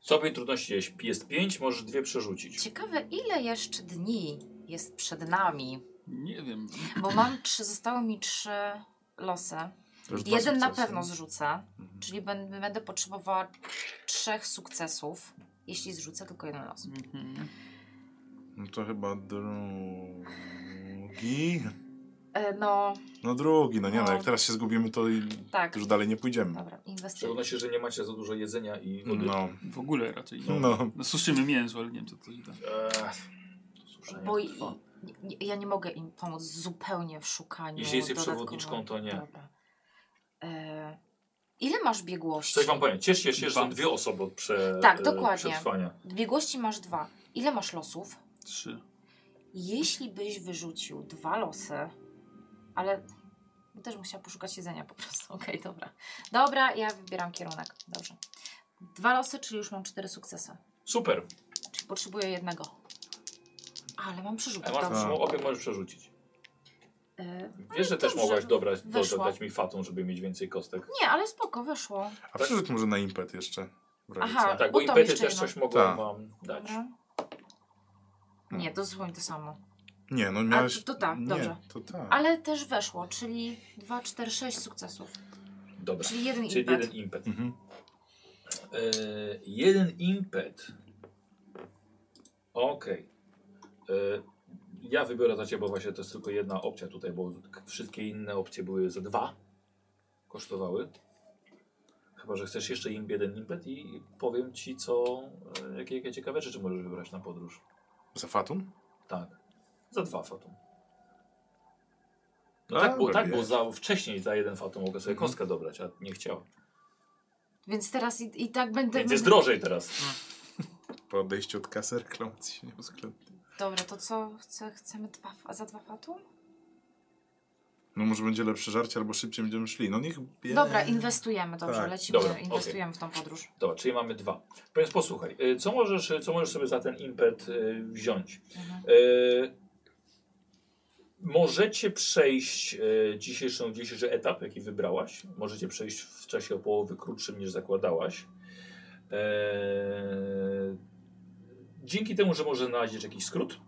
S1: Stopień trudności jest- jest 5, możesz dwie przerzucić.
S2: Ciekawe, ile jeszcze dni jest przed nami?
S4: Nie wiem.
S2: Bo mam trzy, zostały mi trzy losy.
S3: To już dwa
S2: Jeden na
S3: sukcesy.
S2: pewno zrzucę,
S3: Mhm.
S2: czyli będę, będę potrzebowała trzech sukcesów, jeśli zrzucę tylko jeden los.
S4: Mhm.
S3: No to chyba drugi.
S2: E, no,
S3: No drugi, no nie no,
S2: No.
S3: jak teraz się zgubimy, to i
S2: tak.
S3: już dalej nie pójdziemy.
S2: Dobra,
S1: Szczególnie,
S2: inwestuję.
S1: że nie macie za dużo jedzenia i wody.
S3: No,
S4: W ogóle raczej nie.
S3: no.
S4: No suszymy mięso, ale nie wiem co to da.
S1: Ech, to słuszenie
S2: Bo i,
S1: trwa.
S2: i- nie, ja nie mogę im pomóc zupełnie w szukaniu.
S1: Jeśli jesteś
S2: dodatkowo-
S1: przewodniczką, to nie.
S2: Dobra. E, ile masz biegłości?
S1: Coś wam powiem, cieszcie się, że są
S4: Dwa.
S1: dwie osoby od prze,
S2: Tak,
S1: e,
S2: dokładnie.
S1: przetrwania.
S2: Biegłości masz dwa. Ile masz losów?
S4: Trzy.
S2: Jeśli byś wyrzucił dwa losy, ale też musiała poszukać jedzenia po prostu. *laughs* Okej, dobra. Dobra, ja wybieram kierunek. Dobrze. Dwa losy, czyli już mam cztery sukcesy.
S1: Super,
S2: Czyli potrzebuję jednego. Ale mam przerzut.
S1: a masz
S2: Dobrze.
S3: Tak.
S1: no, obie możesz przerzucić.
S2: Y,
S1: Wiesz, że też
S2: dobrze,
S1: mogłaś dobrać, do,
S2: weszło.
S1: dodać mi fatą, żeby mieć więcej kostek.
S2: nie, ale spoko, wyszło.
S3: A przerzuć może na impet jeszcze. w razie
S2: Aha.
S3: co.
S1: No tak, bo
S2: bo tam
S1: impety
S2: jeszcze
S1: też
S2: jedno.
S1: coś mogą
S3: Tak.
S1: wam dać.
S2: Dobra. Nie, to zupełnie to samo.
S3: Nie, no miałeś...
S2: to tak,
S3: nie,
S2: dobrze.
S3: to tak.
S2: Ale też weszło, czyli 2, 4, 6 sukcesów.
S1: Dobra,
S2: Czyli jeden
S1: czyli
S2: impet.
S1: jeden impet.
S3: Mhm.
S1: E, jeden impet. Okej. E, Ja wybiorę za ciebie, bo właśnie to jest tylko jedna opcja tutaj, bo k- wszystkie inne opcje były za dwa. Kosztowały. Chyba, że chcesz jeszcze im jeden impet i powiem ci, co. e, Jakie, jakie ciekawe rzeczy możesz wybrać na podróż.
S3: Za Fatum?
S1: Tak. Za dwa fatum. No
S3: A,
S1: tak, Mhm. bo, tak,
S3: lepiej.
S1: bo za, wcześniej za jeden fatum mogę sobie kostkę dobrać, a nie chciałem.
S2: Więc teraz i, i tak będę.
S1: Więc jest drożej teraz.
S3: Po odejściu od kasy reklamacji się nie uwzględni.
S2: Dobra, to co chce, chcemy dwa, fa- za dwa fatum?
S3: No może będzie lepsze żarcie, albo szybciej będziemy szli. No niech... bie-
S2: Dobra, inwestujemy, dobrze,
S3: Tak.
S2: lecimy,
S1: Dobra,
S2: inwestujemy w tą podróż.
S1: Dobra, czyli mamy dwa. Więc posłuchaj, y, co możesz, y, co możesz sobie za ten impet y, wziąć?
S2: Mhm.
S1: Y, Możecie przejść y, dzisiejszą, dzisiejszy etap, jaki wybrałaś. Możecie przejść w czasie o połowy krótszym niż zakładałaś. Y, Dzięki temu, że może znaleźć jakiś skrót,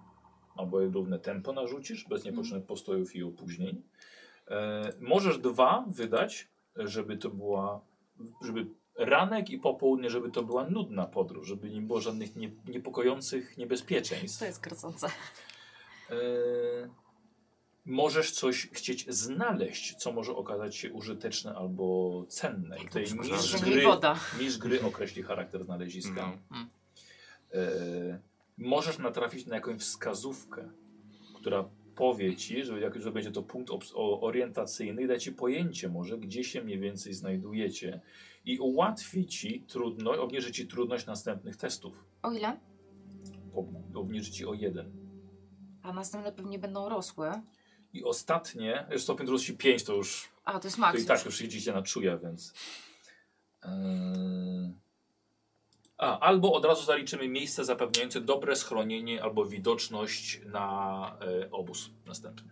S1: albo równe tempo narzucisz,
S2: Mhm.
S1: bez niepotrzebnych postojów i opóźnień. E, możesz dwa wydać, żeby to była, żeby ranek i popołudnie, żeby to była nudna podróż, żeby nie było żadnych nie, niepokojących niebezpieczeństw.
S2: To jest kręcące.
S1: E, możesz coś chcieć znaleźć, co może okazać się użyteczne albo cenne.
S2: Tak,
S1: I Tutaj
S3: przykład
S1: mistrz
S3: żarcie.
S2: Że nie
S1: gry,
S2: woda.
S1: mistrz gry określi charakter znaleziska.
S3: No.
S1: E, możesz natrafić na jakąś wskazówkę, która powie ci, że, jak, że będzie to punkt obs- o- orientacyjny i da ci pojęcie może, gdzie się mniej więcej znajdujecie i ułatwi ci trudność, obniży ci trudność następnych testów.
S2: O ile?
S1: Ob- Obniży ci o jeden.
S2: A następne pewnie będą rosły.
S1: I ostatnie, już stopień trudności 5 to już,
S2: A, to jest
S1: to i
S2: maks.
S1: tak już idziecie na czuja, więc... Yy... A, albo od razu zaliczymy miejsce zapewniające dobre schronienie albo widoczność na e, obóz następny.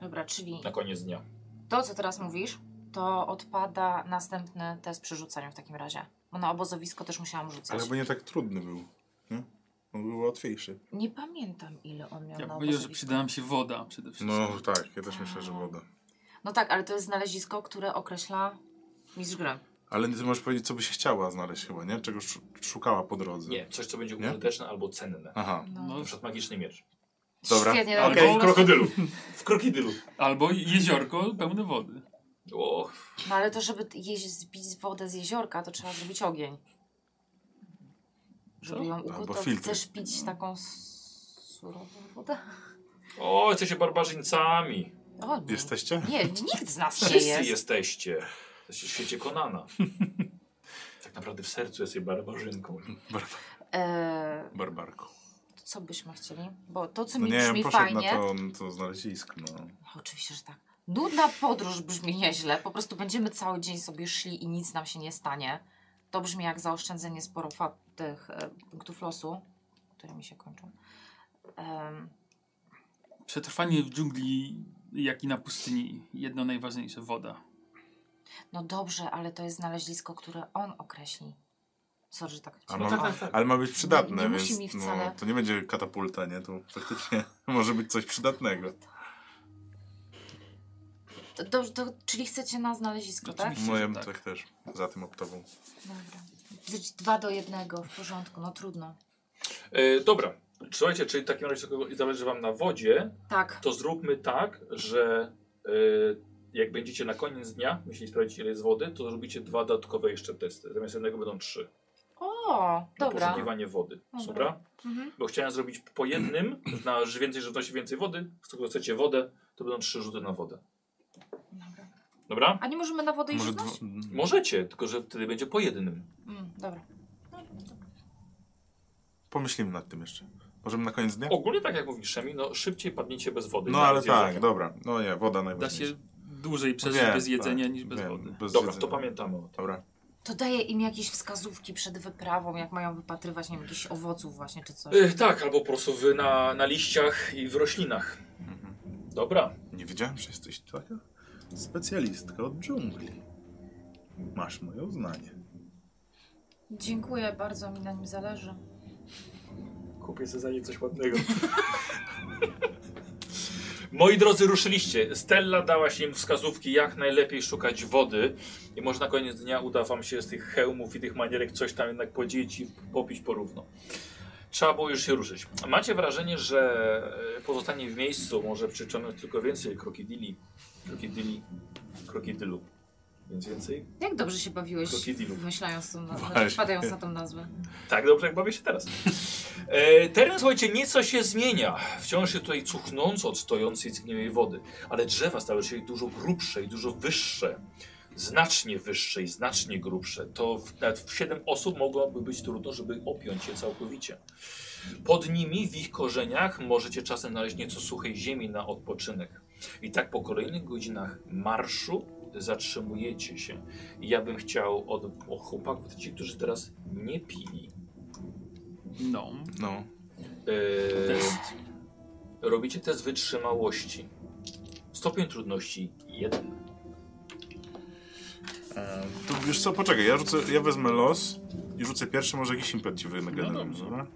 S2: Dobra, czyli
S1: na koniec dnia.
S2: to, co teraz mówisz, to odpada następny test przy rzucaniu w takim razie. Bo na obozowisko też musiałam rzucać.
S3: Ale bo nie tak trudny był. Nie? On był łatwiejszy.
S2: Nie pamiętam, ile on miał
S4: Ja
S2: na
S4: bym powiedział, że
S2: obozowisko.
S4: przydała mi się woda przede wszystkim.
S3: No tak, ja też myślę, że woda.
S2: No tak, ale to jest znalezisko, które określa mistrz gry.
S3: Ale ty możesz powiedzieć, co by się chciała znaleźć chyba, nie? Czego szu- szukała po drodze.
S1: Nie, coś co będzie
S3: Nie?
S1: użyteczne albo cenne.
S3: Aha.
S2: No.
S1: Na
S4: No,
S1: przykład magiczny miecz.
S3: Dobra.
S2: Świetnie,
S4: Okej.
S2: dobra.
S1: Albo w krokodylu. W krokodylu.
S4: albo jeziorko pełne wody.
S1: O,
S2: No ale to, żeby jeź- zbić wodę z jeziorka, to trzeba zrobić ogień. Żeby ją
S3: Albo
S2: ugotować.
S3: filtry.
S2: Chcesz pić taką s- surową wodę?
S1: o jesteście barbarzyńcami.
S2: O, nie.
S3: Jesteście?
S2: Nie, nikt z nas nie
S1: Wszyscy
S2: jest.
S1: jesteście. Jesteście w świecie Konana. Tak naprawdę w sercu jesteś barbarzynką.
S3: Barbar-
S2: E,
S3: barbarką.
S2: to co byśmy chcieli? Bo to, co
S3: No
S2: mi
S3: nie,
S2: brzmi
S3: poszedł
S2: fajnie...
S3: na to, to znalezisko. No.
S2: No, Oczywiście, że tak. Nudna podróż brzmi nieźle. Po prostu będziemy cały dzień sobie szli i nic nam się nie stanie. To brzmi jak zaoszczędzenie sporo fa- tych e, punktów losu, które mi się kończą. Em,
S4: Przetrwanie w dżungli, jak i na pustyni. Jedno najważniejsze, woda.
S2: no dobrze, ale to jest znalezisko, które on określi. Sorry, że tak.
S3: A
S1: No
S3: ma-
S1: tak, tak, tak.
S3: Ale ma być przydatne,
S2: Nie musi
S3: więc
S2: mi wcale.
S3: no, to nie będzie katapulta, nie? To faktycznie *laughs* może być coś przydatnego.
S2: To, dobrze, to, czyli chcecie na znalezisko, tak?
S4: Oczywiście.
S3: No ja bym
S4: tak.
S3: tak też za tym optową.
S2: Dobra. Być Dwa do jednego, w porządku, no trudno.
S1: E, dobra. Słuchajcie, czyli w takim razie skoro zależy wam na wodzie,
S2: Tak,
S1: to zróbmy tak, że e, jak będziecie na koniec dnia, jeśli sprawdzicie ile jest wody, to zrobicie dwa dodatkowe jeszcze testy. Zamiast jednego będą trzy.
S2: o,
S1: Na
S2: dobra.
S1: Poszukiwanie wody.
S2: Dobra.
S1: Dobra?
S2: Mhm.
S1: Bo chciałem zrobić po jednym, na że więcej żywności, więcej wody. Skoro chcecie wodę, to będą trzy rzuty na wodę.
S2: Dobra.
S1: Dobra?
S2: A nie możemy na wodę iść?
S3: Może
S2: Dwa...
S3: dwa-
S1: Możecie, tylko że wtedy będzie po jednym.
S2: Mm, dobra.
S3: Pomyślimy nad tym jeszcze. Możemy na koniec dnia?
S1: Ogólnie tak jak mówi Szemi, no szybciej padniecie bez wody.
S3: No
S1: Nawet
S3: ale
S1: z jedzenia.
S3: tak, dobra. No nie, woda
S4: Da się
S3: najważniejsza.
S4: dłużej przeżyć
S3: Wiem,
S4: bez jedzenia
S3: tak,
S4: niż bez
S3: wiem,
S4: wody.
S3: Bez
S1: Dobra,
S3: jedzenia.
S1: to pamiętamy o tym.
S3: Dobra.
S2: To daje im jakieś wskazówki przed wyprawą, jak mają wypatrywać, nie wiem, jakichś owoców właśnie, czy coś.
S1: Y, tak, albo po prostu wy na, na liściach i w roślinach.
S3: Mhm.
S1: Dobra.
S3: Nie wiedziałem, że jesteś taka specjalistka od dżungli. Masz moje uznanie.
S2: Dziękuję, bardzo mi na nim zależy.
S1: Kupię sobie za nie coś ładnego. Moi drodzy, ruszyliście. Stella dała się im wskazówki, jak najlepiej szukać wody. I może na koniec dnia uda wam się z tych hełmów i tych manierek coś tam jednak podzielić i popić porówno. Trzeba było już się ruszyć. Macie wrażenie, że e, pozostanie w miejscu może przyciągnąć tylko więcej krokodili. Krokodili. Krokodylu. Więc więcej?
S2: Jak dobrze się bawiłeś
S1: Krokodilów.
S2: wymyślając tą nazwę,
S3: Właśnie.
S2: znaczy, wpadając na tą nazwę.
S1: Tak dobrze, jak bawię się teraz. E, teren, słuchajcie, nieco się zmienia. Wciąż się tutaj cuchnąco od stojącej zgniłej wody, ale drzewa stały się dużo grubsze i dużo wyższe. Znacznie wyższe i znacznie grubsze. To w, nawet w 7 osób mogłoby być trudno, żeby opiąć je całkowicie. Pod nimi, w ich korzeniach, możecie czasem znaleźć nieco suchej ziemi na odpoczynek. I tak po kolejnych godzinach marszu zatrzymujecie się. I ja bym chciał od od chłopaków, ci, którzy teraz nie pili,
S4: No.
S3: No.
S1: e,
S4: Test.
S1: robicie test wytrzymałości. Stopień trudności jeden.
S3: E, to wiesz co, poczekaj, ja, rzucę, ja wezmę los i rzucę pierwszy, może jakiś impet ci
S1: No
S3: wygeneruję,
S4: dobrze.
S3: dobra?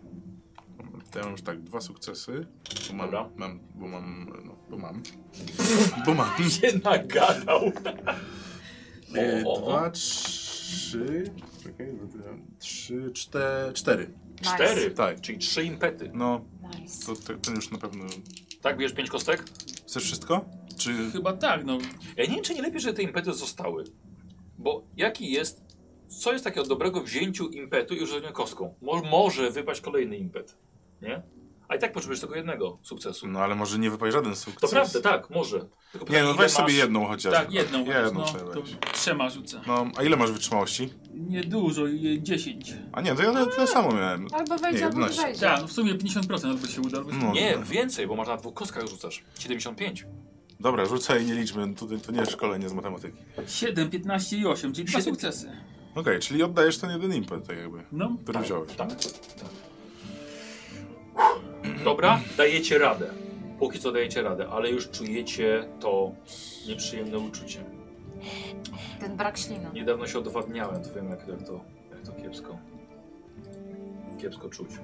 S3: To ja mam już tak, dwa sukcesy, bo mam,
S1: Dobra.
S3: mam bo mam, no, bo mam,
S1: *laughs*
S3: bo mam.
S1: Nie nagadał.
S3: E,
S1: O, o, o.
S3: dwa, trzy, czekaj, no trzy, cztery, cztery.
S2: Nice.
S1: Cztery,
S3: Tak.
S1: czyli trzy impety.
S3: No,
S2: Nice.
S3: to te- ten już na pewno,
S1: Tak, bierzesz pięć kostek?
S3: chcesz wszystko? Czy,
S4: Chyba tak, no.
S1: Ja nie wiem, czy nie lepiej, że te impety zostały. Bo jaki jest, co jest takiego dobrego w wzięciu impetu i rzuceniu kostką? Mo może wypaść kolejny impet, nie? A i tak potrzebujesz tylko jednego sukcesu.
S3: no ale może nie wypaść żaden
S1: To
S3: sukces.
S1: prawda, tak, może. Tylko
S3: Nie,
S1: pytanie,
S3: no
S1: ile
S3: weź sobie
S1: masz-
S3: jedną chociaż.
S4: Tak, jedną.
S3: Jedną
S4: no,
S3: sobie
S4: to
S3: weź.
S4: trzema rzucę.
S3: No, a ile masz wytrzymałości?
S4: Niedużo, je- 10.
S3: A nie, to ja tyle samo miałem.
S2: Albo wejdzie,
S3: Nie,
S2: albo nie
S3: 11.
S2: wejdzie.
S4: Tak, no w sumie 50% albo się uda, albo się
S3: No,
S1: Nie, więcej, bo masz na dwóch kostkach rzucasz. 75.
S3: Dobra, rzucaj, nie liczmy, to, to nie jest szkolenie z matematyki.
S4: 7, 15 i 8, czyli dwa
S1: Siedem.
S4: sukcesy.
S3: Okej, czyli oddajesz ten jeden impet, tak jakby,
S4: No,
S3: który wziąłeś.
S1: Tak? Dobra, dajecie radę. Póki co dajecie radę, ale już czujecie to nieprzyjemne uczucie.
S2: Ten brak śliny.
S1: Niedawno się odwadniałem, to wiem jak, jak, to, jak to kiepsko. Kiepsko czuć. Eee,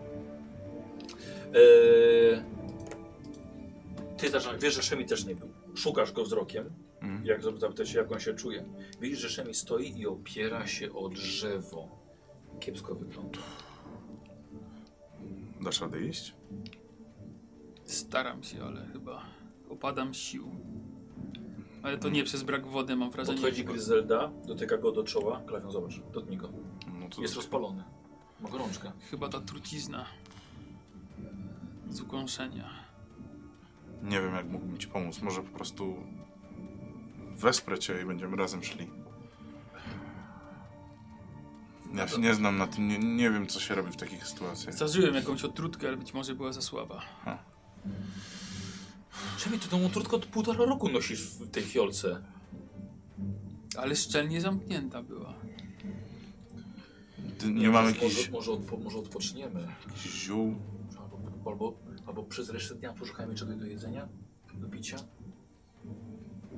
S1: ty zaczynasz, wiesz, że Szemi też nie był. Szukasz go wzrokiem,
S3: Mhm.
S1: jak zapytać się, jak on się czuje. Widzisz, że Szemi stoi i opiera się o drzewo. Kiepsko wygląda.
S3: Dasz radę iść?
S4: staram się, ale chyba opadam z sił. Ale to nie przez brak wody, mam wrażenie.
S1: Podchodzi Gryzelda, dotyka go do czoła. Klawią, zobacz, dotknij go.
S3: No to
S1: Jest rozpalony. Ma gorączkę.
S4: Chyba ta trucizna z ukąszenia.
S3: nie wiem, jak mógłbym ci pomóc. Może po prostu wesprę cię i będziemy razem szli. Ja się nie znam na tym, nie, nie wiem, co się robi w takich sytuacjach.
S4: Zdarzyłem jakąś otrutkę, ale być może była za słaba.
S1: Szemi, ty tą trudko od półtora roku nosisz w tej fiolce.
S4: Ale szczelnie zamknięta była.
S3: Ty, nie mam
S1: może-
S3: jakichś
S1: Może, może, odpo, może odpoczniemy.
S3: jakichś ziół?
S1: Albo, albo, albo przez resztę dnia poszukajmy czegoś do jedzenia, do picia.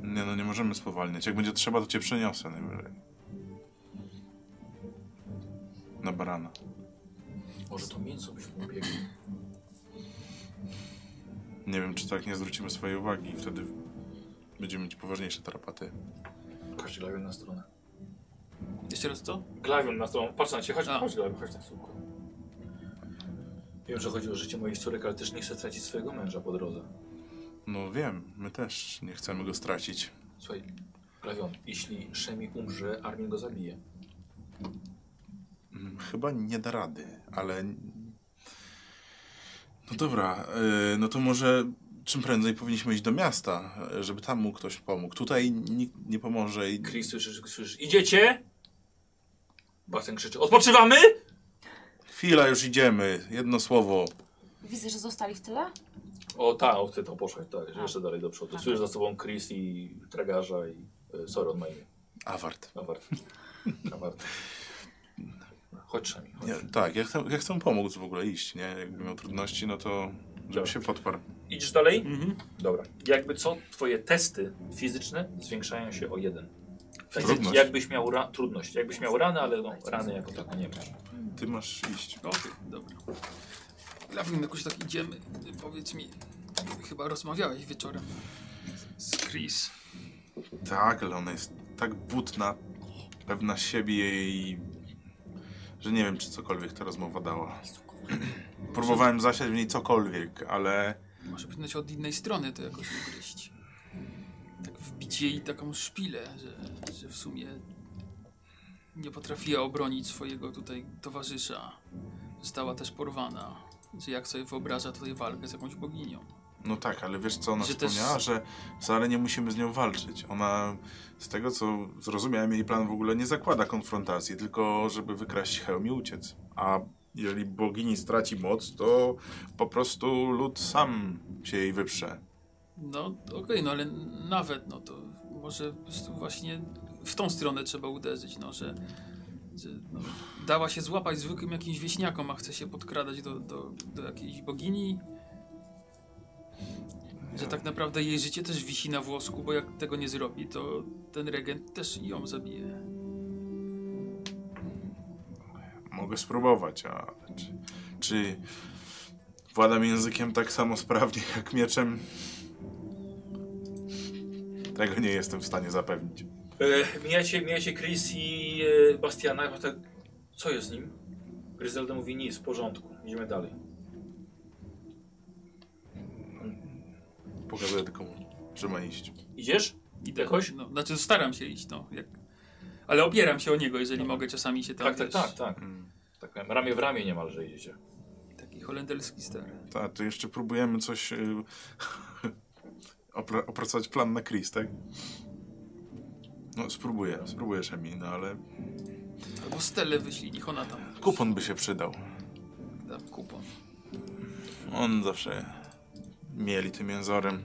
S3: Nie no, nie możemy spowalniać. Jak będzie trzeba, to cię przeniosę najwyżej. Na barana.
S1: Może to mięso byśmy upiekli.
S3: Nie wiem, czy tak nie zwrócimy swojej uwagi i wtedy będziemy mieć poważniejsze tarapaty.
S1: Chodź glawion na stronę.
S4: Jeszcze raz co?
S1: Glawion na stronę, patrz na ciebie, chodź,
S4: A.
S1: chodź glawion, chodź na słupku. Wiem, że chodzi o życie moich córek, ale też nie chcę tracić swojego męża po drodze.
S3: No wiem, my też nie chcemy go stracić.
S1: Słuchaj, glawion, jeśli Szemi umrze, Armin go zabije.
S3: Mm, Chyba nie da rady, ale... No dobra, y, no to może czym prędzej powinniśmy iść do miasta, y, żeby tam mu ktoś pomógł. Tutaj nikt nie pomoże i...
S1: Chris, słyszysz, słyszysz, idziecie? Basen krzyczy, odpoczywamy?
S3: Chwila, już idziemy. Jedno słowo.
S2: Widzę, że zostali w tyle?
S1: O tak, o ty to poszłaś, tak,
S2: A.
S1: jeszcze dalej do przodu.
S2: Aha.
S1: Słyszysz za sobą Chris i tragarza i... y, Sorry, on ma imię.
S3: Awart.
S1: Nawart. Nawart. Chodź Szemi, chodź.
S3: Nie, tak, jak chcę, jak chcę pomóc w ogóle iść, nie? Jakby miał trudności, no to żeby
S1: Dobra.
S3: się podparł.
S1: Idziesz dalej?
S4: Mhm.
S1: Dobra. Jakby co, twoje testy fizyczne zwiększają się o jeden. Tak,
S3: Trudność.
S1: Jakbyś miał ra- trudność. Jakbyś miał rany, ale no, rany jako tako nie masz.
S3: Ty masz iść.
S4: Okej, dobra. Lawin, jakoś tak idziemy. Powiedz mi, chyba rozmawiałeś wieczorem z Chris.
S3: Tak, ale ona jest tak butna, pewna siebie i... że nie wiem, czy cokolwiek ta rozmowa dała. Próbowałem zasiać w niej cokolwiek, ale
S4: Może powinno się od innej strony to jakoś ugryźć. Tak wbić jej taką szpilę, że, że w sumie nie potrafiła obronić swojego tutaj towarzysza. Została też porwana. Że jak sobie wyobraża tutaj walkę z jakąś boginią.
S3: No tak, ale wiesz co ona
S4: Że też-
S3: wspomniała, że wcale nie musimy z nią walczyć. Ona, z tego co zrozumiałem, jej plan w ogóle nie zakłada konfrontacji, tylko żeby wykraść hełm i uciec. A jeżeli bogini straci moc, to po prostu lud sam się jej wyprze.
S4: No okej, no ale nawet no to może po prostu właśnie w tą stronę trzeba uderzyć, no że, że no, dała się złapać zwykłym jakimś wieśniakom, a chce się podkradać do, do, do jakiejś bogini. Że tak naprawdę jej życie też wisi na włosku, bo jak tego nie zrobi, to ten regent też ją zabije.
S3: Mogę spróbować, ale czy, czy władam językiem tak samo sprawnie jak mieczem? Tego nie jestem w stanie zapewnić.
S1: E, mijacie, mijacie Chris i e, Bastiana. Ja tak, co jest z nim? Gryzelda mówi nic, w porządku, idziemy dalej.
S3: Pokazuję tylko, mu, że ma iść.
S1: Idziesz?
S4: Idę.
S1: Jakoś?
S4: No, znaczy staram się iść, no. Jak... Ale opieram się o niego, jeżeli mogę czasami się tam,
S1: Tak, tak,
S4: wiesz,
S1: tak, tak.
S3: Mm.
S1: tak ramię w ramię niemalże idziecie.
S4: Taki holenderski ster.
S3: Tak, to jeszcze próbujemy coś... y, *laughs* opra- opracować plan na Chris, tak? No, spróbuję, spróbuję, Szemi, no ale
S4: Albo Stelę wyślij, niech ona tam
S3: kupon by się przydał.
S4: da kupon.
S3: On zawsze mieli tym jęzorem.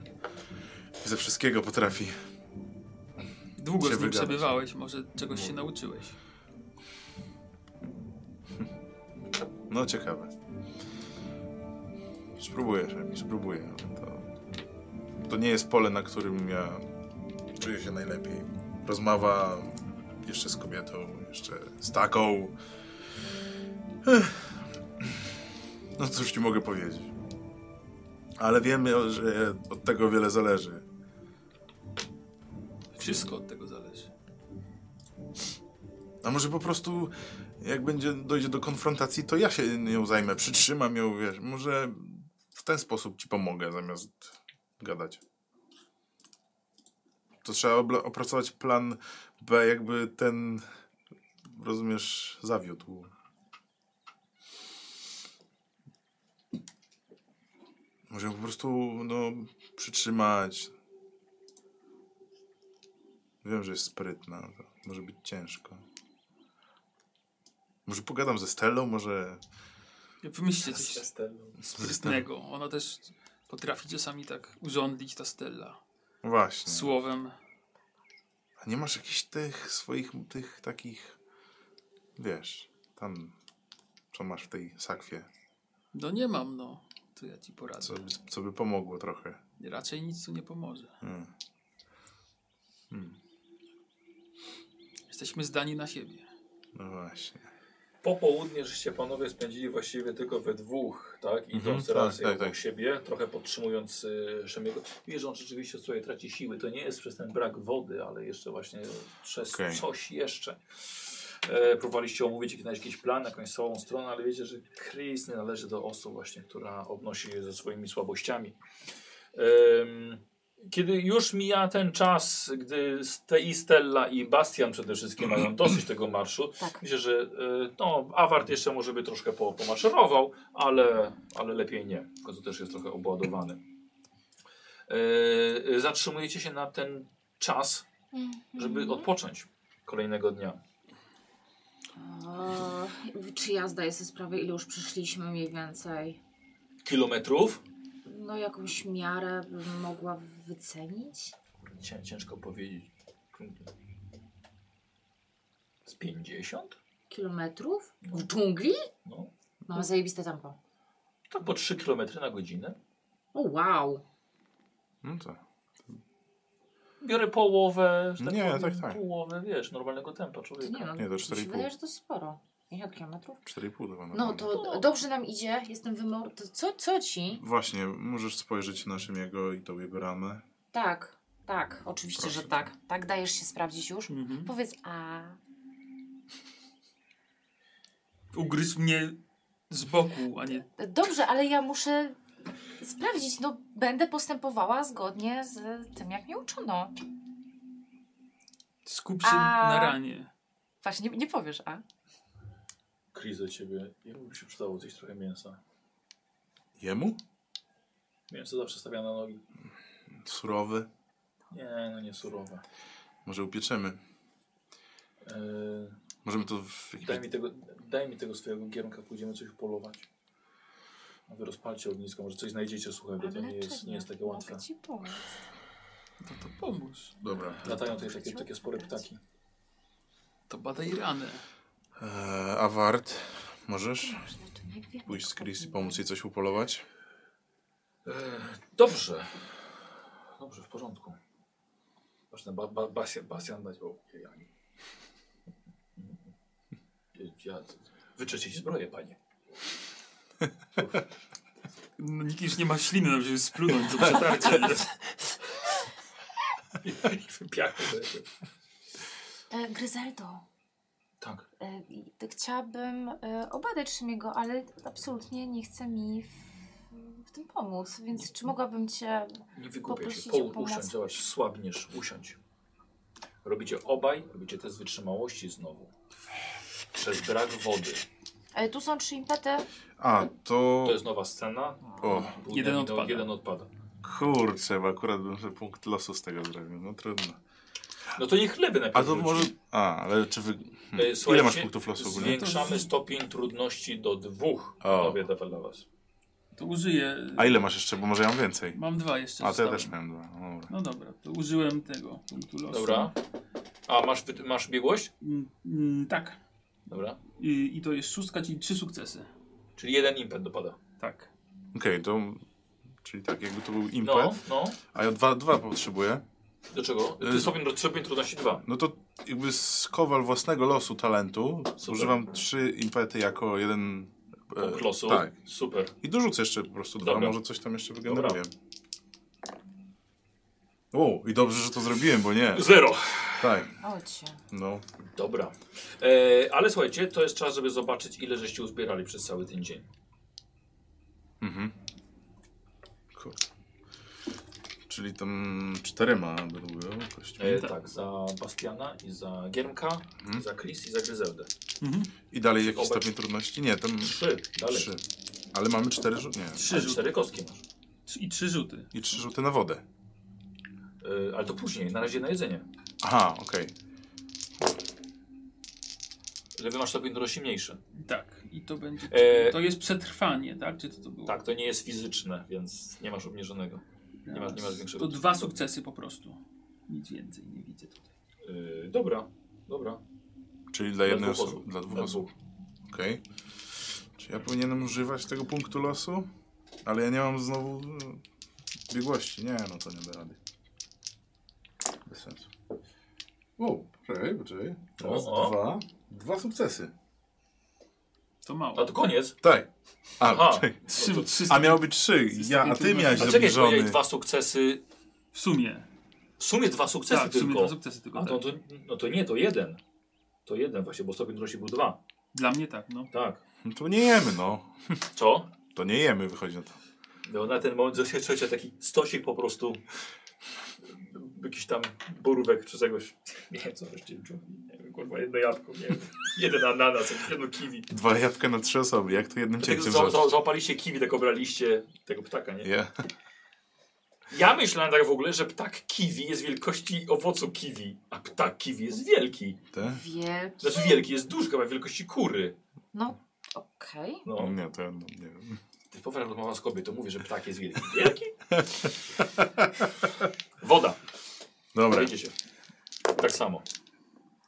S3: Ze wszystkiego potrafi.
S4: Długo z
S3: Się
S4: nim
S3: wygadać.
S4: przebywałeś, może czegoś się nauczyłeś.
S3: No ciekawe. Spróbuję, Remi, spróbuję. ale To, to nie jest pole, na którym ja czuję się najlepiej. Rozmowa jeszcze z kobietą, jeszcze z taką. Ech. No cóż ci mogę powiedzieć. Ale wiemy, że od tego wiele zależy.
S4: Wszystko od tego zależy.
S3: A może po prostu jak będzie dojdzie do konfrontacji, to ja się nią zajmę, przytrzymam ją, wiesz, może w ten sposób ci pomogę zamiast gadać. To trzeba obla- opracować plan B, jakby ten rozumiesz, zawiódł. Może ją po prostu no, przytrzymać. Wiem, że jest sprytna, to może być ciężko. Może pogadam ze Stellą, może...
S4: Wymyślcie coś
S3: Sprytna.
S4: sprytnego. Ona też potrafi czasami tak urządlić ta Stella.
S3: Właśnie.
S4: Słowem.
S3: A nie masz jakichś tych swoich, tych takich, wiesz, tam, co masz w tej sakwie,
S4: No nie mam, no. To ja ci poradzę.
S3: co, by-
S1: Mhm.
S3: co by pomogło trochę.
S4: Raczej nic tu nie pomoże.
S3: Hmm.
S4: Jesteśmy zdani na siebie.
S3: No właśnie.
S1: Popołudnie żeście panowie spędzili właściwie tylko we dwóch, tak? Idąc
S3: Mhm,
S1: raz
S3: tak, tak,
S1: obok
S3: tak.
S1: siebie, trochę podtrzymując y, Szemiego. Widzisz, że on rzeczywiście sobie traci siły. To nie jest przez ten brak wody, ale jeszcze właśnie przez
S3: Okej.
S1: coś jeszcze. E, próbowaliście omówić jakiś, jakiś plan, jakąś słabą stronę, ale wiecie, że Chris nie należy do osób właśnie, która obnosi się ze swoimi słabościami. Em, kiedy już mija ten czas, gdy Ste- i Stella i Bastian przede wszystkim mają dosyć tego marszu,
S2: Tak.
S1: Myślę, że y, no, awart jeszcze może by troszkę po, pomaszerował, ale, ale lepiej nie, tylko to też jest trochę obładowany. Y, y, zatrzymujecie się na ten czas,
S2: Mhm.
S1: żeby odpocząć kolejnego dnia.
S2: Eee, Czy ja zdaję sobie sprawę, ile już przyszliśmy mniej więcej?
S1: Kilometrów?
S2: No jakąś miarę bym mogła wycenić?
S1: Cię, ciężko powiedzieć. Z 50?
S2: Kilometrów? W dżungli?
S1: No,
S2: Mam zajebiste tempo.
S1: tak po 3 km na godzinę.
S2: O wow.
S3: No to.
S1: Biorę połowę, że tak
S3: Nie,
S1: powiem,
S3: tak, tak.
S1: połowę, wiesz, normalnego tempa
S2: To
S1: człowieka.
S2: nie no,
S3: Nie, to
S2: mi się
S3: 4,5.
S2: wydaje, że to sporo. 50 kilometrów?
S3: 4,5 to mamy.
S2: No to dobrze nam idzie, jestem wymor... to Co, co ci?
S3: Właśnie, możesz spojrzeć na Szymiego i tą jego ramę.
S2: Tak, tak, oczywiście,
S3: Proszę.
S2: że tak. Tak dajesz się sprawdzić już?
S4: Mhm.
S2: Powiedz, a...
S4: Ugryzł mnie z boku, a nie...
S2: Dobrze, ale ja muszę sprawdzić, no będę postępowała zgodnie z tym, jak mnie uczono.
S4: Skup się
S2: A.
S4: na ranie.
S2: Właśnie, nie, nie powiesz, a?
S1: Chris do ciebie, jakby mi się przydało coś trochę mięsa.
S3: Jemu?
S1: Mięso zawsze stawia na nogi.
S3: Surowy.
S1: Nie, no nie surowe.
S3: Może upieczemy.
S1: Yy,
S3: Możemy to w
S1: daj,
S3: jakiś...
S1: mi tego, daj mi tego swojego giermka, pójdziemy coś polować. A wy rozpalcie ognisko, może coś znajdziecie słuchaj, bo to nie jest, nie jest takie łatwe.
S5: Mogę ci pomóc.
S4: No To, to pomóż.
S3: Dobra.
S1: Latają tutaj takie, takie spore ptaki.
S4: To badaj ranę.
S3: Eee, Awart, możesz
S5: Masz naczynek, wiem,
S3: pójść z
S5: tylko
S3: Chris i
S5: powinnaś.
S3: pomóc jej coś upolować?
S1: E, dobrze. Dobrze, w porządku. Ważne, ba, ba, Bastian, Bastian dać, bo ja nie. Ja, wyczyścić zbroję, *laughs* panie.
S4: No, nikt już nie ma śliny, no, żeby splunąć to przetarcie. *laughs*
S1: Piach.
S2: E, Gryzeldo,
S1: Tak.
S2: e, i- to chciałabym e, obadać Szymiego, ale absolutnie nie chce mi w, w tym pomóc, więc czy mogłabym cię...
S1: Nie wygłupiaj się.
S2: Poprosić o
S1: Połóż,
S2: pomoc.
S1: usiądź, zobacz, słabniesz, usiądź. Robicie obaj, robicie test wytrzymałości znowu. Przez brak wody.
S2: E, tu są trzy impety.
S3: A, to...
S1: To jest nowa scena.
S3: O,
S1: Był
S4: Jeden
S1: Dawid-
S4: odpada.
S1: Jeden odpada.
S3: kurczę, bo akurat bym sobie punkt losu z tego zrobił. No trudno.
S1: No to niech lewy
S3: A
S1: najpierw
S3: to
S1: rzuci.
S3: może... A, ale czy wy...
S1: E,
S3: Hmm. Ile
S1: słuchajcie,
S3: masz punktów losu ogólnie?
S1: Zwiększamy
S4: To z-
S1: stopień trudności do dwóch.
S3: O.
S1: Robię dawal dla was.
S4: To użyję.
S3: A ile masz jeszcze? Bo może ja mam więcej.
S4: Mam dwa jeszcze.
S3: A, to ja
S4: zostały.
S3: też miałem dwa. No Dobra.
S4: No dobra, to użyłem tego punktu losu.
S1: Dobra. A masz, wy- masz biegłość?
S4: Mm, mm, tak.
S1: Dobra.
S4: I, I to jest szóstka, czyli trzy sukcesy.
S1: Czyli jeden impet dopada.
S4: Tak.
S3: Okej, to... Czyli tak, jakby to był impet,
S1: No, no.
S3: a ja dwa, dwa potrzebuję.
S1: Do czego? To
S3: Y-
S1: jest stopień, stopień trudności dwa.
S3: No to jakby skowal własnego losu talentu. Używam trzy impety jako jeden... e,
S1: Punkt losu.
S3: Tak.
S1: Super.
S3: I dorzucę jeszcze po prostu dwa,
S1: Dobra.
S3: może coś tam jeszcze wygeneruję. O, i dobrze, że to zrobiłem, bo nie.
S1: Zero.
S3: Tak,
S2: Ojcie.
S3: no.
S1: Dobra. E, ale słuchajcie, to jest czas, żeby zobaczyć, ile żeście uzbierali przez cały ten dzień.
S3: Mhm. Kur- Czyli tam czterema będą były kości.
S1: E,
S4: Tak.
S1: tak, za Bastiana i za Giermka,
S3: Mhm.
S1: za Chris i za Gryzeldę.
S4: Mhm.
S3: I dalej jakiś
S1: obecnie-
S3: stopień trudności? Nie, tam
S1: Trzy. Dalej.
S3: trzy. Ale mamy cztery rzuty. Nie.
S4: Trzy
S1: Ale
S4: rzuty.
S1: cztery kostki masz.
S4: Trzy- I trzy rzuty.
S3: I trzy rzuty na wodę.
S1: E, ale to później, na razie na jedzenie.
S3: Aha, okej.
S1: Lewy masz stopień trudności mniejszy.
S4: Tak. I to będzie.
S1: E,
S4: To jest przetrwanie, tak? Czy to, to było?
S1: Tak, to nie jest fizyczne, więc nie masz obniżonego. nie masz- nie masz większego.
S4: To dwa sukcesy po prostu. Nic więcej nie widzę tutaj.
S1: Yy, dobra, dobra.
S3: Czyli dla jednej
S1: dwóch
S3: osoby. Dla dwóch
S1: Dla
S3: osób. Okej. Czy ja powinienem używać tego punktu losu? Ale ja nie mam znowu mm, biegłości. Nie, no to nie da rady. Bez sensu. O, poczekaj, poczekaj. Raz,
S1: O, o.
S3: dwa. Dwa sukcesy.
S4: To
S1: A
S4: mało.
S1: to no koniec.
S3: Tak. A,
S1: Aha.
S3: czekaj.
S4: Trzy, trzy
S3: a miało być trzy. Ja, a ty miałeś
S1: A czekaj, powiedziałeś
S3: zbliżony.
S1: dwa sukcesy.
S4: W sumie.
S1: W sumie dwa sukcesy
S4: tak, w
S1: tylko.
S4: sumie dwa sukcesy tylko.
S1: A
S4: tak.
S1: to, to, no to nie, to jeden. To jeden właśnie, bo stopień trudności był dwa.
S4: Dla mnie tak, no.
S1: Tak.
S3: No to nie jemy, no.
S1: Co?
S3: To nie jemy, wychodzi na to.
S1: No na ten moment zaświadczycie taki stosik po prostu. Jakiś tam borówek czy czegoś. Nie wiem co wreszcie Nie wiem, kurwa, jedno jabłko, nie wiem. *laughs* Jeden ananas, jakieś jedno kiwi.
S3: Dwa jabłka na trzy osoby. Jak to jednym
S1: Dlatego
S3: cięciem
S1: za, za,
S3: zrobić?
S1: załapaliście kiwi, tak obraliście tego ptaka, nie?
S3: Ja.
S1: Ja myślałem tak w ogóle, że ptak kiwi jest wielkości owocu kiwi, a ptak kiwi jest wielki.
S3: Te?
S2: Wielki.
S1: Znaczy wielki jest duży, chyba wielkości kury.
S2: No, okej.
S1: No.
S3: Nie, to ja no, nie wiem.
S1: Typowa rozmowa z kobietą, mówię, że ptak jest wielki. *laughs* Wielki? Woda.
S3: Dobra.
S1: Wejdzie się. Tak samo.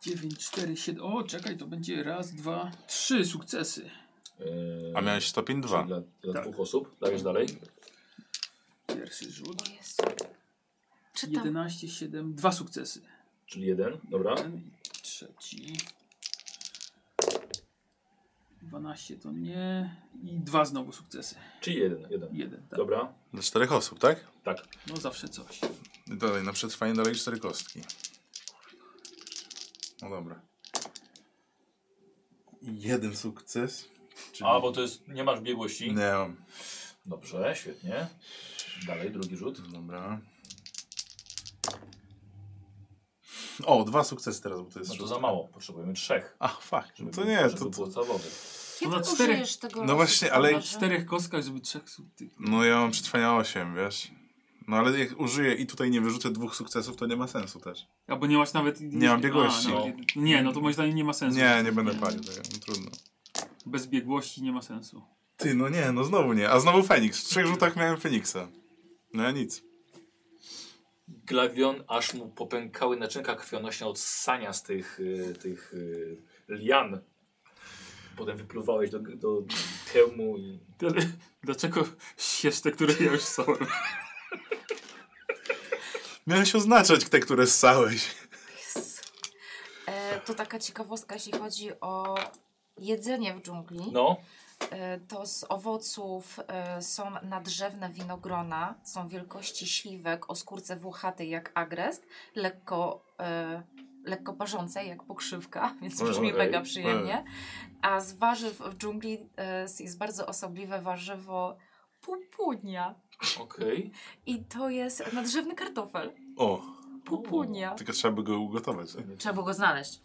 S4: 9, 4, 7. O, czekaj, to będzie raz, dwa, trzy sukcesy.
S1: Yy,
S3: A miałeś stopień dwa.
S1: Dla, dla
S4: Tak.
S1: dwóch osób. Dajesz dalej.
S4: Pierwszy rzut.
S2: O Jezu. Czytam.
S4: 11, 7, dwa sukcesy.
S1: Czyli jeden, dobra.
S4: Ten i trzeci. 12 to nie. I dwa znowu sukcesy.
S1: Czyli jeden, jeden.
S4: Jeden, tak.
S1: Dobra,
S3: Dla czterech osób, tak?
S1: tak.
S4: No zawsze coś.
S3: I Dalej, na przetrwanie dalej cztery kostki. No dobra. Jeden sukces. Czyli...
S1: A, bo to jest, nie masz biegłości.
S3: Nie mam.
S1: No. Dobrze, świetnie. Dalej, drugi rzut.
S3: Dobra. O, dwa sukcesy teraz, bo to jest
S1: No to
S3: szóstka.
S1: za mało, potrzebujemy trzech.
S3: A, fuck. No
S1: Żeby,
S3: to nie,
S1: żeby
S3: to...
S1: było całowy.
S2: Kiedy
S4: na cztery-
S2: użyjesz tego? Znaczy,
S3: No
S2: losu,
S3: właśnie, ale-
S4: Na
S2: Tomasz?
S4: czterech kostkach, żeby trzech sukcesów.
S3: No ja mam przetrwania 8, wiesz? No ale jak użyję i tutaj nie wyrzucę dwóch sukcesów, to nie ma sensu też.
S4: Albo nie masz nawet.
S3: Nie mam biegłości.
S4: A, nawet- nie, no to moim zdaniem nie ma sensu.
S3: Nie, nie będę palił tego, no trudno.
S4: Bez biegłości nie ma sensu.
S3: Ty, no nie, no znowu nie. A znowu Feniks. W trzech rzutach miałem Feniksa. No ja nic.
S1: Glawion, aż mu popękały naczynka krwionośne od ssania z tych, y, tych y, lian. Potem wypluwałeś do, do hełmu i...
S4: *laughs* Dlaczego siesz te, które ja już ssałem?
S3: Miałeś oznaczać te, które ssałeś.
S2: E, to taka ciekawostka, jeśli chodzi o jedzenie w dżungli.
S1: No,
S2: E, to z owoców e, są nadrzewne winogrona, są wielkości śliwek o skórce włochatej jak agrest, lekko, e, lekko parzącej jak pokrzywka, *laughs* więc
S3: Oj,
S2: brzmi
S1: oj,
S2: mega
S1: oj.
S2: przyjemnie. A z warzyw w dżungli e, jest bardzo osobliwe warzywo pupunia.
S1: okej.
S2: I to jest nadrzewny kartofel.
S3: O,
S2: Pupunia.
S3: tylko trzeba by go ugotować. tak?
S2: Trzeba było go znaleźć.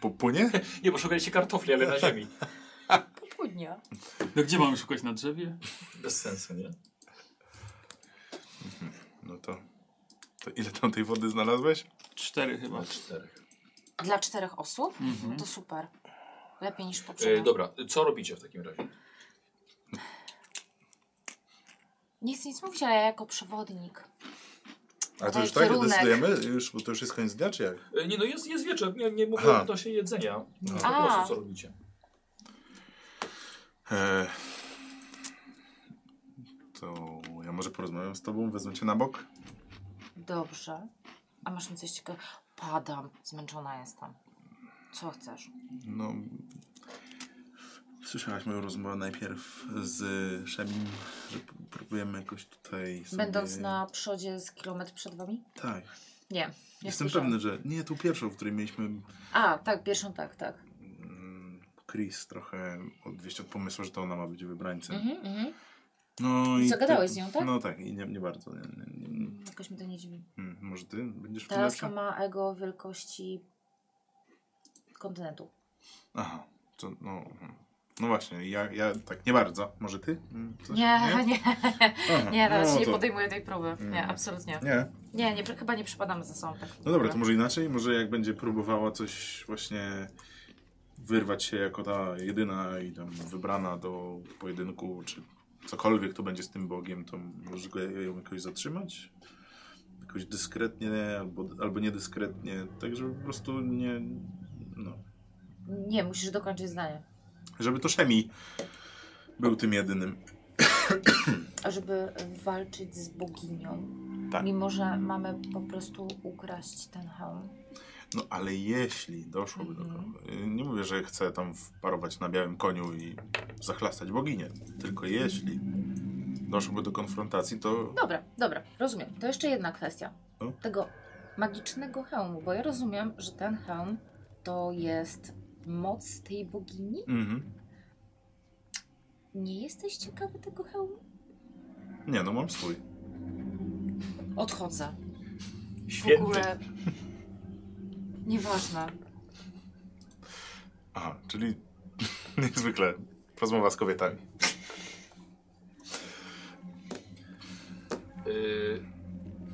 S3: Popunie?
S1: Nie, bo szukaliście kartofli, ale na ziemi.
S2: Pupunia.
S4: No gdzie mamy szukać na drzewie?
S1: Bez sensu, nie?
S3: No to... To ile tam tej wody znalazłeś?
S4: Cztery chyba.
S1: Na czterech.
S2: Dla czterech osób?
S4: Mhm.
S2: To super. Lepiej niż poprzednio.
S1: E, dobra, co robicie w takim razie?
S2: Nie chcę nic mówić, ale ja jako przewodnik.
S3: A to
S2: Daj
S3: już tak
S2: kierunek.
S3: decydujemy? Już, bo to już jest koniec dnia, czy jak?
S1: E, nie, no jest, jest wieczór, nie, nie mówię
S3: Aha.
S1: o się jedzenia. No. Po
S2: A.
S1: prostu co robicie.
S3: E, to ja może porozmawiam z tobą, wezmę cię na bok.
S2: Dobrze. A masz mi coś ciekawego? Padam, zmęczona jestem. Co chcesz?
S3: No. Słyszałaś moją rozmowę najpierw z Szemim, że p- próbujemy jakoś tutaj. Sobie...
S2: Będąc na przodzie z kilometr przed wami?
S3: Tak.
S2: Nie. nie
S3: Jestem
S2: słyszałam.
S3: pewny, że. Nie, tu pierwszą, w której mieliśmy.
S2: A, tak, pierwszą tak, tak.
S3: mm, Chris trochę odwieść od pomysłu, że to ona ma być wybrańcem.
S2: Mhm, mhm.
S3: No
S2: I co, gadałeś z nią, tak?
S3: No tak, i nie, nie bardzo. Nie, nie, nie.
S2: Jakoś mi to nie dziwi.
S3: Hmm, może ty będziesz w tym
S2: Teraz to
S3: lepsza?
S2: ma ego wielkości kontynentu.
S3: Aha, to, no, no właśnie, ja, ja tak nie bardzo. Może ty? Mm,
S2: *laughs*
S3: coś?
S2: Nie, nie,
S3: Aha,
S2: nie, teraz
S3: no
S2: się nie
S3: to-
S2: podejmuję tej próby. Nie,
S3: Mm.
S2: absolutnie.
S3: Nie,
S2: Nie, nie, chyba nie przypadamy za sobą tak.
S3: No dobra, to może inaczej? Może jak będzie próbowała coś właśnie wyrwać się jako ta jedyna i tam wybrana do pojedynku, czy cokolwiek to będzie z tym Bogiem, to może go- ją jakoś zatrzymać? Jakoś dyskretnie albo, albo niedyskretnie, tak żeby po prostu nie... No.
S2: Nie, musisz dokończyć zdanie.
S3: Żeby to Szemi był tym jedynym.
S2: A żeby walczyć z boginią.
S3: Tak.
S2: Mimo, że mamy po prostu ukraść ten hełm.
S3: No ale jeśli doszłoby do
S2: Mhm.
S3: kogo- y, Nie mówię, że chcę tam wparować na białym koniu i zachlastać boginię. Tylko jeśli doszłoby do konfrontacji, to
S2: Dobra, dobra, rozumiem. To jeszcze jedna kwestia.
S3: No.
S2: Tego magicznego hełmu, bo ja rozumiem, że ten hełm to jest moc tej bogini.
S3: mhm.
S2: Nie jesteś ciekawy tego hełmu?
S3: nie, no mam swój.
S2: Odchodzę. W
S1: Święty.
S2: ogóle. *laughs* Nieważne.
S3: Aha, czyli *laughs* jak zwykle rozmowa z kobietami.
S1: Y,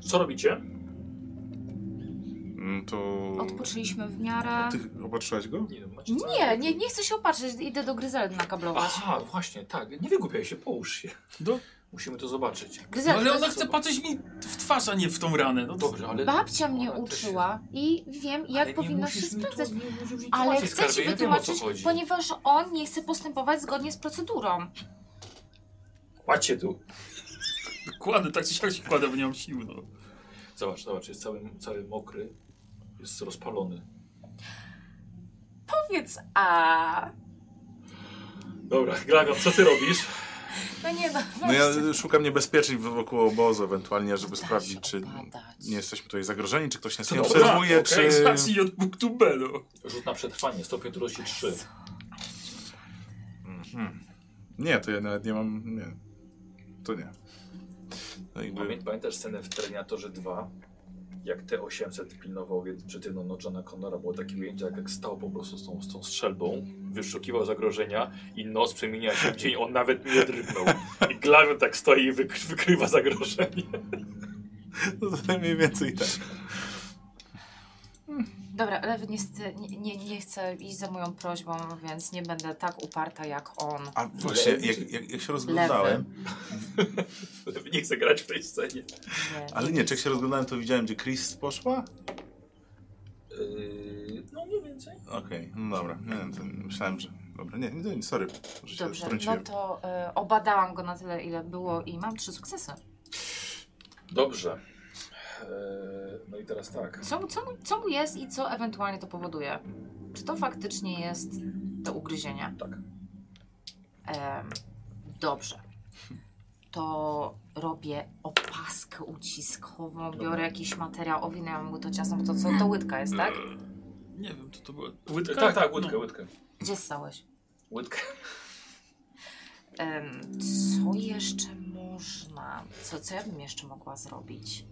S1: co robicie?
S3: Mm, To...
S2: Odpoczęliśmy w miarę.
S3: No, Ty opatrzyłaś go?
S1: Nie, wiem, macie
S2: Nie, nie, nie chcę się opatrzyć. Idę do Gryzeldy nakablować.
S1: Aha, właśnie, tak. Nie wygłupiaj się, połóż się.
S4: Do...
S1: Musimy to zobaczyć.
S4: No,
S2: Gryzelda,
S4: ale
S2: to
S4: ona
S2: jest-
S4: chce patrzeć mi w twarz, a nie w tą ranę. No dobrze.
S1: Dobrze, ale...
S2: Babcia mnie
S1: Ona też się-
S2: uczyła i wiem, jak
S1: ale nie
S2: powinno się
S1: musisz mi tu-
S2: sprawdzać.
S1: nie musisz mi
S2: Ale
S1: tłumaczyć,
S2: chcę ci
S1: skarbie, ja wiem, o co
S2: wytłumaczyć,
S1: chodzi.
S2: ponieważ on nie chce postępować zgodnie z procedurą.
S1: Kładź się tu.
S4: Kładę, tak czy siak się kładę, bo nie mam siły. No.
S1: Zobacz, zobacz, jest cały, cały mokry. Jest rozpalony.
S2: Powiedz, a...
S1: Dobra, Glawion, co ty robisz?
S2: No nie no,
S3: No ja
S2: weźcie.
S3: y, szukam niebezpieczeń wokół obozu ewentualnie,
S2: Da
S3: żeby sprawdzić,
S2: się
S3: czy
S2: opadać.
S3: nie jesteśmy tutaj zagrożeni, czy ktoś nas
S1: Co
S3: nie
S1: to
S3: obserwuje,
S1: dobra,
S3: czy...
S1: okej,
S4: Zacznij No tak, od punktu B, no.
S1: Rzut na przetrwanie, stopień trudności 3.
S3: Mhm. Nie, to ja nawet nie mam... Nie. To nie. No jakby-
S1: Pamię- Pamiętasz scenę w Terminatorze 2? Jak T-800 pilnował jed- przeciwną noc no, Johna Connora, było takie ujęcie, jak- jak stał po prostu z tą, z tą strzelbą, wyszukiwał zagrożenia i noc przemieniła się w dzień, on nawet nie drgnął. I Glawion tak stoi i wyk wykrywa zagrożenie.
S3: *laughs* No to mniej więcej tak.
S2: Dobra, ale niestety nie, nie, nie chcę iść za moją prośbą, więc nie będę tak uparta jak on.
S3: A właśnie,
S2: e,
S3: jak, jak, jak się rozglądałem,
S1: Nie chcę grać w tej scenie.
S2: Nie,
S3: ale nie, czy jak się rozglądałem, to widziałem, gdzie Chris poszła?
S1: Yy, no mniej więcej.
S3: Okej, no dobra, nie wiem, to myślałem, że... Dobra, nie, nie, nie, sorry, że się
S2: Dobrze, no
S3: wtrąciłem.
S2: to y, obadałam go na tyle, ile było i mam trzy sukcesy.
S1: Dobrze. Eee, no i teraz tak.
S2: Co, co, mu- co mu jest i co ewentualnie to powoduje? Czy to faktycznie jest to ugryzienie?
S1: Tak.
S2: Em, dobrze. To robię opaskę uciskową, biorę jakiś materiał, owinęłam go to ciasno, bo to co, to łydka jest, tak?
S4: E, Nie wiem, co to było.
S1: Łydkę? Tak, tak, łydkę, łydkę.
S2: Gdzie stałeś?
S1: Łydkę.
S2: Em, co jeszcze można? Co, co ja bym jeszcze mogła zrobić?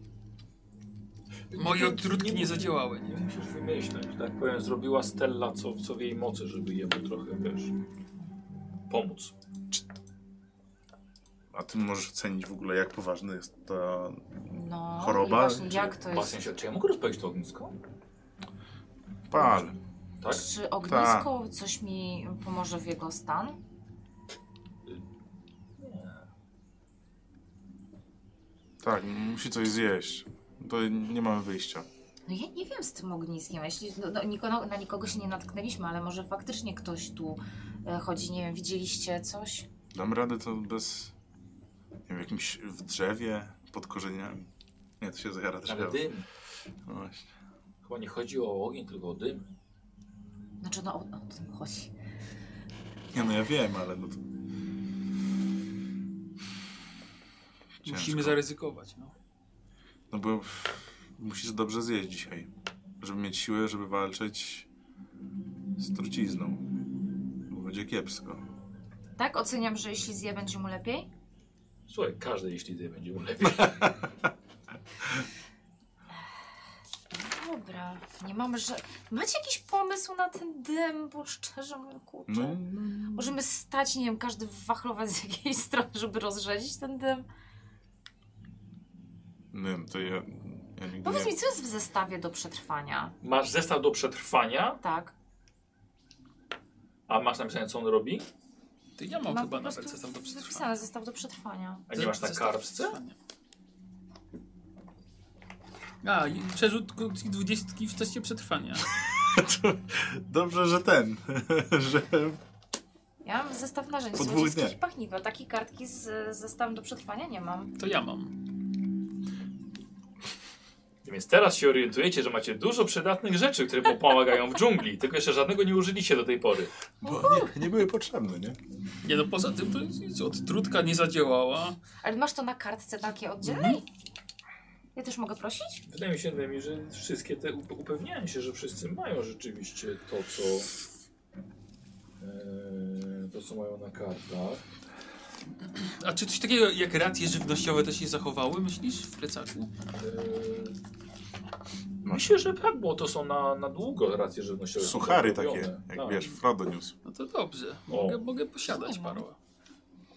S4: Tak. Moje odtrutki nie zadziałały, nie wiem.
S1: Musisz wymyśleć, tak powiem, zrobiła Stella co, co w jej mocy, żeby jemu trochę, wiesz, pomóc.
S3: A ty możesz ocenić w ogóle, jak poważny jest ta...
S2: No,
S3: Choroba?
S2: I właśnie,
S3: Czy-
S2: jak to
S1: W
S2: jest?
S1: sensie, czy ja mogę rozpalić to ognisko?
S3: Pal.
S1: Tak?
S2: Czy ognisko coś mi pomoże w jego stan?
S3: Tak, musi coś zjeść. To nie mamy wyjścia.
S2: No ja nie wiem z tym ogniskiem, jeśli no, no, nikogo, na nikogo się nie natknęliśmy, ale może faktycznie ktoś tu e, chodzi, nie wiem, widzieliście coś?
S3: Dam radę to bez... Nie wiem, jakimś w drzewie, pod korzeniami. Nie, to się zajara
S1: Ale
S3: drzewo.
S1: dym.
S3: No właśnie.
S1: Chyba nie chodzi o ogień, tylko o dym.
S2: Znaczy, no o, o tym chodzi.
S3: Nie no, ja wiem, ale no to...
S4: Musimy zaryzykować, no.
S3: No bo musisz dobrze zjeść dzisiaj, żeby mieć siłę, żeby walczyć z trucizną. Bo będzie kiepsko.
S2: Tak, oceniam, że jeśli zje, będzie mu lepiej?
S1: Słuchaj, każdy jeśli ty będzie mu lepiej. *laughs*
S2: Dobra, nie mamy, że... Macie jakiś pomysł na ten dym, bo szczerze mówiąc, kurczę...
S3: No,
S2: Możemy stać, nie wiem, każdy wachlować z jakiejś *laughs* strony, żeby rozrzedzić ten dym. No
S3: no nie wiem, to ja, ja nigdy
S2: Powiedz
S3: nie...
S2: mi, co jest w zestawie do przetrwania?
S1: Masz zestaw do przetrwania,
S2: Tak.
S1: a masz napisane co on robi,
S4: Ty ja mam
S2: Mam
S4: No, chyba
S2: No, po prostu
S4: nawet zestaw do przetrwania.
S2: Zapisane zestaw do przetrwania.
S1: a nie masz na
S4: Zestaw do
S1: kartce?
S4: przetrwania. A, i przerzut krótki dwudziestki w teście przetrwania.
S3: *laughs* Dobrze, że ten, *laughs* że...
S2: Ja mam zestaw narzędzi
S3: Po dwóch
S2: słodzieskich
S3: dniach.
S2: i pachniw, a takiej kartki z z zestawem do przetrwania nie mam.
S4: To ja mam.
S1: Więc teraz się orientujecie, że macie dużo przydatnych rzeczy, które wam pomagają w dżungli, tylko jeszcze żadnego nie użyliście do tej pory.
S3: Bo nie, nie były potrzebne, nie?
S4: Nie no, poza tym to nic, odtrutka nie zadziałała.
S2: Ale masz to na kartce takiej oddzielnej?
S1: Mhm.
S2: Ja też mogę prosić?
S1: Wydaje mi się, Demi, że wszystkie te upe- upewniałem się, że wszyscy mają rzeczywiście to, co e, to, co mają na kartach.
S4: A czy coś takiego jak racje żywnościowe też się zachowały, myślisz, w plecaku?
S1: E,
S3: Masz.
S1: Myślę, że tak, bo to są na, na długo racje żywnościowe.
S3: Suchary
S1: Robione.
S3: takie, jak
S1: Tak.
S3: wiesz, Frodo niósł.
S4: No to dobrze,
S1: O.
S4: mogę, mogę posiadać
S2: Nie.
S4: parę.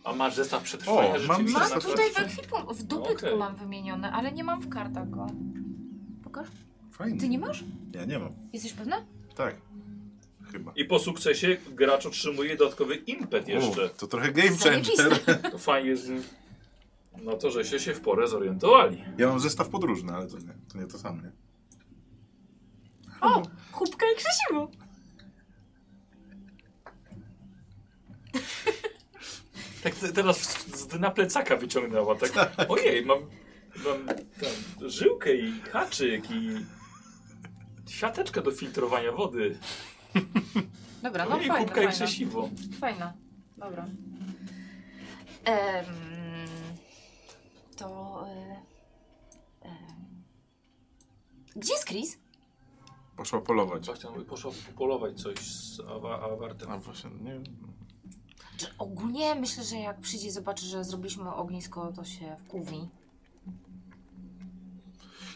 S1: A masz zestaw przetrwania
S3: O, mam
S1: rzeczywiście na
S2: Mam
S3: zestaw
S2: tutaj w
S1: kartce?
S2: ekwipunku, w dobytku
S1: Okej.
S2: mam wymienione, ale nie mam w kartach go. Pokaż.
S3: Fajnie.
S2: Ty nie masz?
S3: Ja nie mam.
S2: Jesteś pewna?
S3: Tak. Chyba.
S1: I po sukcesie gracz otrzymuje dodatkowy impet jeszcze.
S3: U, to trochę game
S2: Zajebiste.
S3: changer.
S1: To fajnie, że... No to, żeście się w porę zorientowali.
S3: Ja mam zestaw podróżny, ale to nie to, nie to samo, nie?
S2: O! Chubka i Krzysiu!
S1: Tak te- teraz z- z dna plecaka wyciągnęła, tak? Ojej, mam, mam tam żyłkę i haczyk i siateczkę do filtrowania wody.
S2: Dobra, no
S1: Ojej,
S2: fajna,
S1: kubka i
S2: fajna.
S1: krzesiwo.
S2: Fajna, dobra. Em, to... e, y, em. Gdzie jest Chris?
S3: Poszła polować.
S1: Właśnie on poszła polować coś z awa, awartem.
S3: A No właśnie, nie wiem.
S2: Czy Ogólnie myślę, że jak przyjdzie i zobaczy, że zrobiliśmy ognisko, to się wkurwi.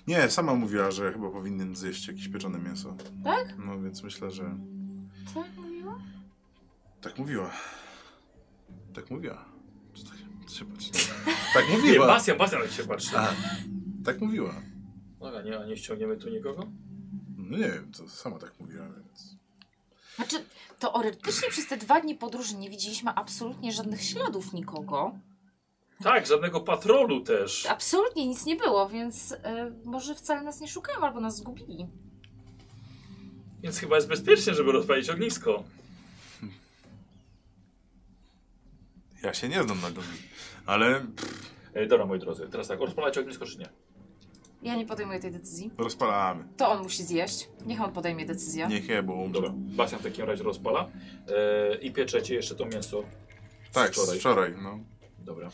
S3: Nie, sama mówiła, że chyba powinien zjeść jakieś pieczone mięso.
S2: Tak?
S3: No więc myślę, że
S2: Tak mówiła?
S3: tak mówiła. Tak mówiła. Czy tak, czy się patrzy? Tak
S1: Nie,
S3: mówiła.
S1: Bastian, Bastian na ciebie patrzy.
S3: A, tak mówiła.
S1: No, a nie, a nie ściągniemy tu nikogo?
S3: No, No nie wiem, to sama tak mówiła, więc...
S2: Znaczy, teoretycznie przez te dwa dni podróży nie widzieliśmy absolutnie żadnych śladów nikogo.
S1: Tak, żadnego patrolu też.
S2: Absolutnie nic nie było, więc y, może wcale nas nie szukają albo nas zgubili.
S1: Więc chyba jest bezpiecznie, żeby rozpalić ognisko.
S3: Ja się nie znam na goni. Ale
S1: E, dobra, moi drodzy, teraz tak, rozpalać ognisko czy nie?
S2: Ja nie podejmuję tej decyzji.
S3: rozpalamy.
S2: To on musi zjeść. Niech on podejmie decyzję.
S3: Niech je, bo umrze.
S1: Dobra, Bastian w takim razie rozpala. E, I pieczecie jeszcze to mięso. z
S3: Tak, wczoraj. wczoraj no.
S1: Dobra.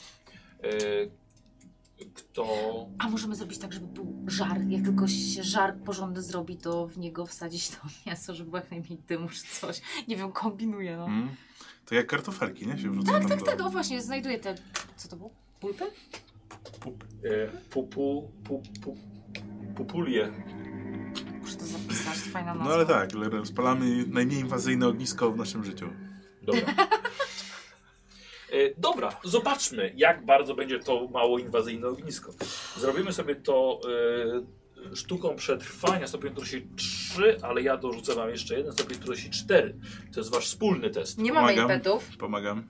S1: E, kto...
S2: A możemy zrobić tak, żeby był żar. Jak tylko się żar porządny zrobi, to w niego wsadzić to *laughs* mięso, żeby było jak najmniej dymu czy coś. Nie wiem, kombinuję, no.
S3: Mm. To jak kartofelki, nie? Się wrzuca tak, tam
S2: Tak,
S3: do...
S2: no właśnie, znajduję te... Co to było? Pulpy?
S3: Pup.
S1: E, pupu... Pu, pu, pupulie.
S2: Muszę to zapisać, to fajna nazwa.
S3: No ale tak, le- rozpalamy najmniej inwazyjne ognisko w naszym życiu.
S1: Dobra. E, Dobra, zobaczmy, jak bardzo będzie to mało inwazyjne ognisko. Zrobimy sobie to e, sztuką przetrwania, stopień trudności 3, ale ja dorzucę Wam jeszcze jeden stopień trudności 4. To jest Wasz wspólny test.
S2: Nie mamy
S3: Pomagam.
S2: impetów.
S3: Pomagam.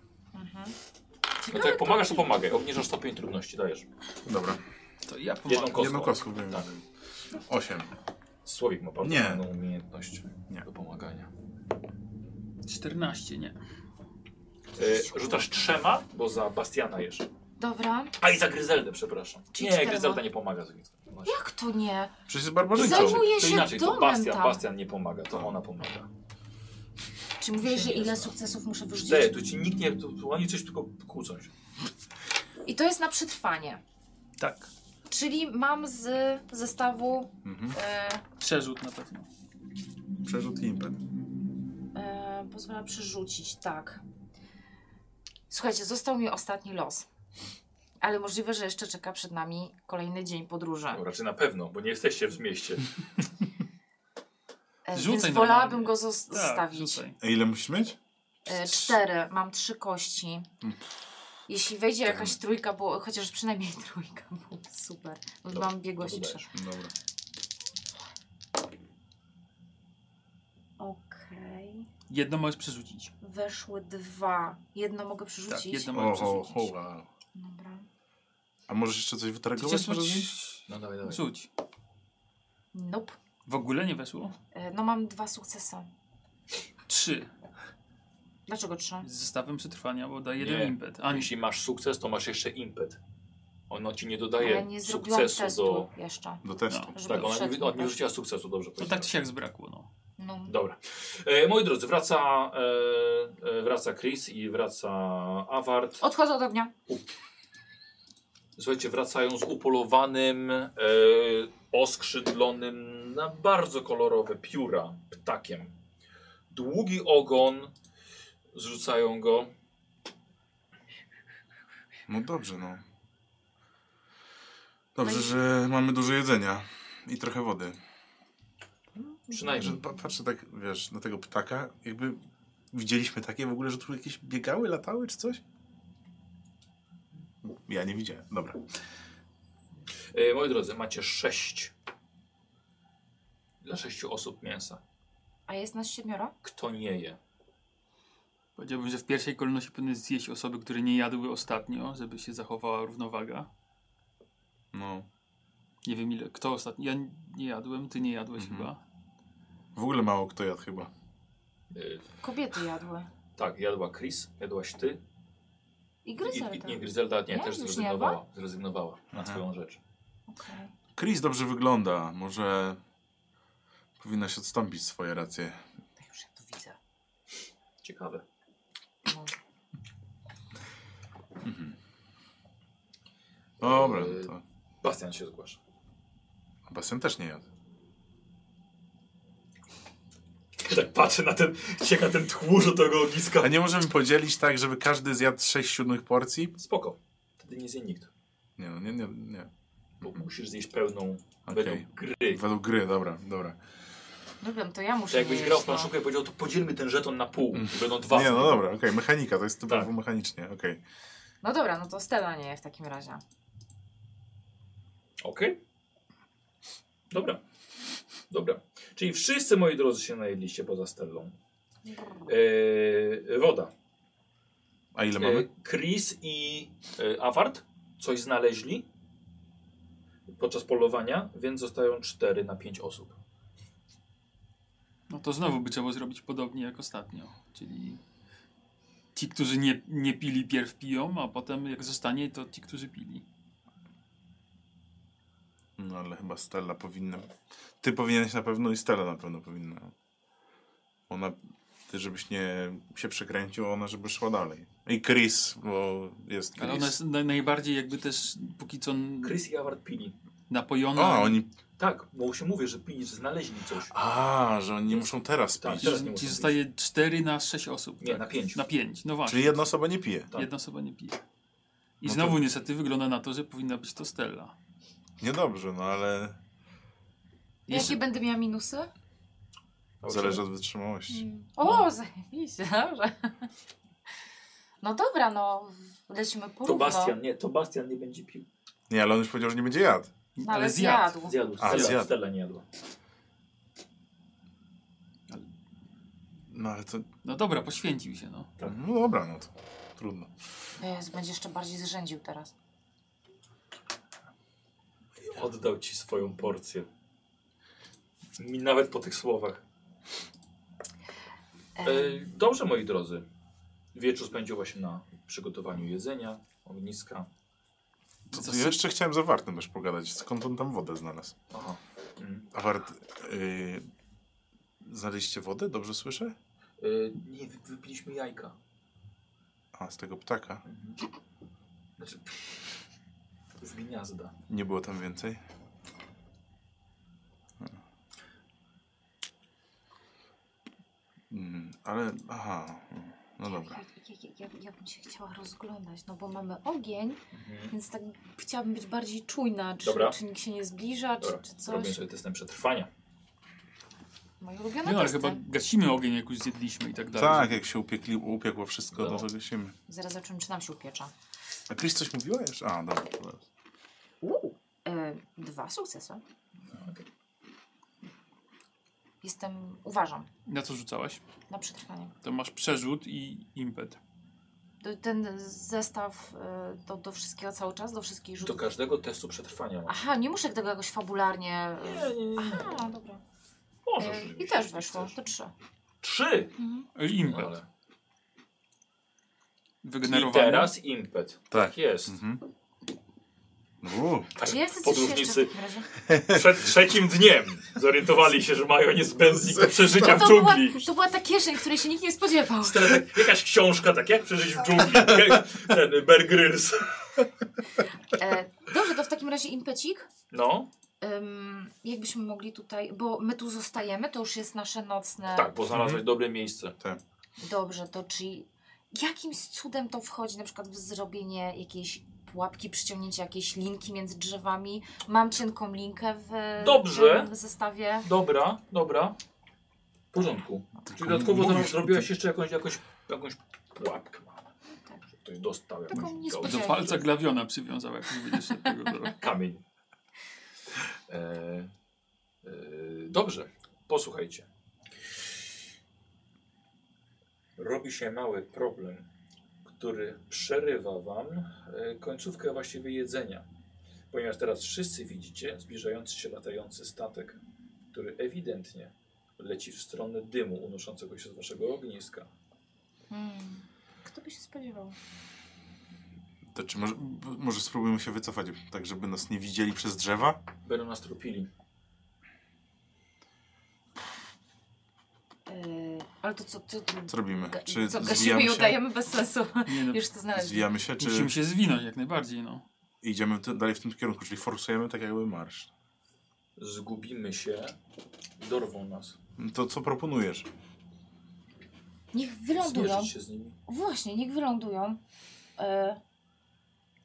S1: No to jak pomagasz, to pomagaj. Obniżasz stopień trudności, dajesz.
S3: Dobra,
S4: To ja pomogę.
S1: Jedną kostką.
S3: jedną kostką wiem.
S1: Tak.
S3: Osiem.
S1: Słowik ma bardzo
S3: Nie.
S1: fajną umiejętność
S3: Nie.
S1: do pomagania.
S4: 14, nie.
S1: E, rzucasz trzema, bo za Bastiana jeszcze.
S2: Dobra.
S1: A i za Gryzeldę, przepraszam.
S2: Czyli
S1: Nie,
S2: czterema.
S1: Gryzelda nie pomaga z ogniskiem. Właśnie.
S2: Jak to nie?
S3: Przecież jest barbarzyńcą.
S2: Zajmuj- Zajmuje
S1: to
S2: się
S1: inaczej, to
S2: domem
S1: Bastian,
S2: tam.
S1: Bastian nie pomaga, to ona pomaga.
S2: Czy mówiłeś,
S1: Się
S2: że
S1: nie
S2: ile
S1: zna.
S2: sukcesów muszę wyrzucić?
S1: Ty, tu ci nikt nie. Tu, tu oni coś tylko kłócą się.
S2: I to jest na przetrwanie.
S4: Tak.
S2: Czyli mam z zestawu
S3: Mhm.
S2: e,
S4: Przerzut na pewno. Tak,
S3: Przerzut i impet.
S2: e, pozwala przerzucić, tak. Słuchajcie, został mi ostatni los. Ale możliwe, że jeszcze czeka przed nami kolejny dzień podróży.
S1: No, raczej na pewno, bo nie jesteście w mieście.
S2: E,
S4: Rzucaj
S2: więc
S4: normalnie.
S2: wolałabym go zos-
S4: Tak,
S2: zostawić.
S4: rzucaj.
S3: A ile musisz mieć?
S2: E, cztery, mam trzy kości.
S1: Mm.
S2: Jeśli wejdzie jakaś trójka, bo chociaż przynajmniej *laughs* trójka, bo super. Bo
S1: Dobra,
S2: mam biegłość i
S1: dobra.
S2: przeszłość.
S3: Dobra.
S2: Okej.
S4: Jedno możesz przerzucić.
S2: Weszły dwa. Jedno mogę przerzucić.
S4: Tak, jedno
S3: O,
S4: możesz
S3: ho, ho,
S4: przerzucić.
S3: wow.
S2: Dobra.
S3: A możesz jeszcze coś wytargować?
S4: Chcesz
S3: może
S4: rzucić?
S3: zrobić?
S1: No dawaj, dawaj.
S4: Rzuć.
S2: Nope.
S4: W ogóle nie weszło?
S2: E, No mam dwa sukcesy.
S4: Trzy.
S2: Dlaczego trzy?
S4: Z zestawem przetrwania, bo daje
S1: Nie.
S4: jeden impet. A
S1: A
S4: nie.
S1: jeśli masz sukces, to masz jeszcze impet. Ono ci nie
S2: Ale
S1: dodaje
S2: nie zrobiłam
S1: sukcesu
S2: testu
S1: do.
S2: jeszcze.
S3: Do testu.
S2: Żeby
S1: Tak, ona nie,
S2: wszedł.
S1: ona nie rzuciła sukcesu, dobrze
S4: To
S1: powiedziałem.
S4: tak ci jak zbrakło, no.
S2: No.
S1: Dobra. E, moi drodzy, wraca, e, e, wraca Chris i wraca Awart.
S2: Odchodzę od ognia.
S1: Słuchajcie, wracają z upolowanym, e, oskrzydlonym na bardzo kolorowe pióra ptakiem. Długi ogon, zrzucają go.
S3: No dobrze, no. Dobrze, że mamy dużo jedzenia. I trochę wody. Że
S1: Przynajmniej.
S3: pa- patrzę tak, wiesz, na tego ptaka, jakby widzieliśmy takie w ogóle, że tu jakieś biegały, latały czy coś? Ja nie widziałem. Dobra.
S1: E, moi drodzy, macie sześć. Dla sześciu osób mięsa.
S2: A jest nas siedmioro?
S1: Kto nie je?
S4: Powiedziałbym, że w pierwszej kolejności powinny zjeść osoby, które nie jadły ostatnio, żeby się zachowała równowaga.
S3: No.
S4: Nie wiem ile, kto ostatni. Ja nie jadłem, ty nie jadłeś
S3: Mhm.
S4: chyba.
S3: W ogóle mało kto jadł chyba.
S1: E,
S2: Kobiety jadły.
S1: tak, jadła Chris, jadłaś ty.
S2: I
S1: I,
S2: gryzelda.
S1: i, nie, Gryzelda nie,
S2: Nie?
S1: też
S2: Już nie
S1: zrezygnowała. Zrezygnowała na
S3: Aha.
S1: swoją rzecz.
S2: Okej.
S3: Chris dobrze wygląda. Może powinnaś odstąpić swoje racje.
S2: To Już ja to widzę.
S1: Ciekawe.
S2: No.
S3: Dobra, no
S1: Yy.
S3: to.
S1: Bastian się zgłasza.
S3: A Basen też nie jadł.
S1: *laughs* Tak patrzę na ten, cieka ten tchórz tego ogniska.
S3: A nie możemy podzielić tak, żeby każdy zjadł 6 siódmych porcji?
S1: Spoko. Wtedy nie zje nikt.
S3: Nie, no nie, nie, nie.
S1: Bo musisz zjeść pełną
S3: Okej.
S1: według gry.
S3: Według gry, dobra, dobra.
S2: No wiem, to ja muszę
S1: To jakbyś
S2: jeść,
S1: grał w
S2: no.
S1: planszówkę i powiedział, to podzielmy ten żeton na pół. Będą dwa.
S3: Nie, no dobra, okej, mechanika, to jest typowo
S1: Tak.
S3: mechanicznie, okej.
S2: No dobra, no to Stella nie je w takim razie.
S1: Okej. Dobra. Dobra. Czyli wszyscy moi drodzy się najedliście poza Stellą. E, woda.
S3: A
S1: E,
S3: ile mamy?
S1: Chris i e, Awart coś znaleźli podczas polowania, więc zostają 4 na 5 osób.
S4: No to znowu by trzeba zrobić podobnie jak ostatnio. Czyli ci, którzy nie, nie pili, pierw piją, a potem jak zostanie, to ci, którzy pili.
S3: No ale chyba Stella powinna. Ty powinieneś na pewno i Stella na pewno powinna. Ona, ty żebyś nie się przekręcił, ona żeby szła dalej. I Chris, bo jest Chris.
S4: Ale ona jest na, najbardziej jakby też póki co n-
S1: Chris i Awart pili.
S4: napojona.
S3: A, oni...
S1: Tak, bo się mówię, że pili, że znaleźli coś.
S3: A, że oni nie muszą teraz
S1: Tak,
S3: pić.
S1: teraz nie
S4: Ci,
S1: muszą
S4: ci zostaje 4 na 6 osób.
S1: Nie,
S4: tak?
S1: na 5.
S4: Na 5, no właśnie.
S3: Czyli jedna osoba nie pije.
S1: tak.
S4: Jedna osoba nie pije. I
S3: No to-
S4: znowu niestety wygląda na to, że powinna być to Stella.
S3: Niedobrze, no ale
S2: Jakie będę miała minusy?
S3: zależy od wytrzymałości.
S2: O, zajebiście, dobrze. No dobra, no lecimy
S1: To
S2: porówno.
S1: Bastian, nie, to Bastian nie będzie pił.
S3: Nie, ale on już powiedział, że nie będzie jadł.
S2: No, ale zjadł.
S1: Zjadł,
S3: A,
S1: Stella,
S3: zjadł.
S1: Stella nie jadła.
S3: No ale to...
S4: No dobra, poświęcił się, no.
S1: Tak.
S3: No dobra, no to trudno.
S2: Jezu, będzie jeszcze bardziej zrzędził teraz.
S1: Oddał ci swoją porcję. Mi nawet po tych słowach.
S2: E,
S1: E, dobrze, moi drodzy. Wieczór spędził właśnie na przygotowaniu jedzenia, ogniska.
S3: To,
S4: Co
S3: to ja jeszcze chciałem z Awartem też pogadać, skąd on tam wodę znalazł.
S1: Aha. Mm.
S3: Awart, yy... znaleźliście wodę? Dobrze słyszę?
S1: E, nie, wy- wypiliśmy jajka. Mhm.
S3: A, z tego ptaka.
S1: Znaczy, *laughs* z gniazda.
S3: Nie było tam więcej? Hmm. Mm, ale, aha, no dobra.
S2: Ja, ja, ja, ja bym się chciała rozglądać, no bo mamy ogień,
S1: Mhm.
S2: więc tak chciałabym być bardziej czujna, czy,
S1: Dobra.
S2: czy nikt się nie zbliża, czy,
S1: Dobra,
S2: czy
S1: robię
S2: coś.
S1: sobie testem przetrwania.
S2: Moje
S4: Nie,
S2: ulubione
S4: no, ale
S2: testy.
S4: chyba gasimy ogień, jak już zjedliśmy i tak dalej.
S3: Tak, jak się upiekli, upiekło wszystko,
S1: No.
S3: no to gasimy.
S2: Zaraz zobaczymy, czy nam się upiecza.
S3: A Chris coś mówiła jeszcze? A, dobra. to zaraz.
S2: Uuu, e, dwa sukcesy.
S1: No, okej.
S2: Jestem, uważam,
S4: Na co rzucałaś?
S2: na przetrwanie.
S4: To masz przerzut i impet. E,
S2: To- Ten zestaw e, do, do wszystkiego cały czas, do wszystkich
S1: Do
S2: rzutów.
S1: każdego testu przetrwania. masz.
S2: Aha, nie muszę tego jakoś fabularnie. y,
S1: Nie, nie, nie.
S2: Aha, No dobra.
S1: Możesz.
S2: E, I
S1: oczywiście,
S2: też
S1: jeśli
S2: weszło,
S1: chcesz.
S2: to trzy.
S1: Trzy!
S4: E, Impet.
S1: No, ale... I
S4: Wygenerowany.
S1: teraz impet.
S3: Tak.
S1: Jest.
S3: Mhm. Uuu,
S2: Czy ja chcę
S1: Tak,
S2: coś jeszcze
S1: Podróżnicy
S2: w takim
S1: *laughs*
S2: razie?
S1: przed trzecim dniem zorientowali się, że mają niezbędnik przeżycia
S2: No To
S1: w
S2: była,
S1: dżungli.
S2: to była ta kieszeń, której się nikt nie spodziewał.
S1: Stara, tak, jakaś książka, tak jak przeżyć w dżungli. Jak Ten Bear Grylls.
S2: E, dobrze, to w takim razie impecik.
S1: No,
S2: Ym, jakbyśmy mogli tutaj, bo my tu zostajemy, to już jest nasze nocne.
S1: tak, bo znalazłeś dobre miejsce.
S2: Dobrze, to czy jakimś cudem to wchodzi na przykład w zrobienie jakiejś pułapki, przyciągnięcie jakiejś linki między drzewami? Mam cienką linkę w
S1: Dobrze.
S2: tym zestawie.
S1: Dobra, dobra. W porządku. Czyli dodatkowo
S3: mówisz,
S1: tam zrobiłaś
S3: ty-
S1: jeszcze jakąś, jakąś, jakąś pułapkę.
S2: Tak.
S1: Że Ktoś dostał
S2: Taką
S1: jakąś
S4: Do
S2: niespodziankę.
S4: palca glawiona przywiązał, jak nie będziesz szedł tego
S2: *laughs*
S4: drogi.
S1: kamień. E, e, dobrze, posłuchajcie. Robi się mały problem, który przerywa Wam e, końcówkę właściwie jedzenia. Ponieważ teraz wszyscy widzicie zbliżający się latający statek, który ewidentnie leci w stronę dymu unoszącego się z Waszego ogniska.
S2: Hmm. Kto by się spodziewał?
S3: to czy może, b- może spróbujmy się wycofać, tak żeby nas nie widzieli przez drzewa?
S1: Będą nas tropili.
S2: Yy, ale to co? To, to,
S3: Co robimy?
S2: ga-
S3: Czy
S2: co gasimy
S3: zwijamy
S2: i
S3: się?
S2: udajemy bez sensu?
S4: Nie no,
S2: Już to znaleźliśmy.
S3: Zwijamy się, czy
S4: musimy się zwinąć jak najbardziej, no.
S3: idziemy t- dalej w tym kierunku, czyli forsujemy tak jakby marsz?
S1: Zgubimy się, dorwą nas.
S3: No To co proponujesz?
S2: Niech wylądują.
S1: Zmierzyć się z nimi.
S2: Właśnie, niech wylądują. Yy,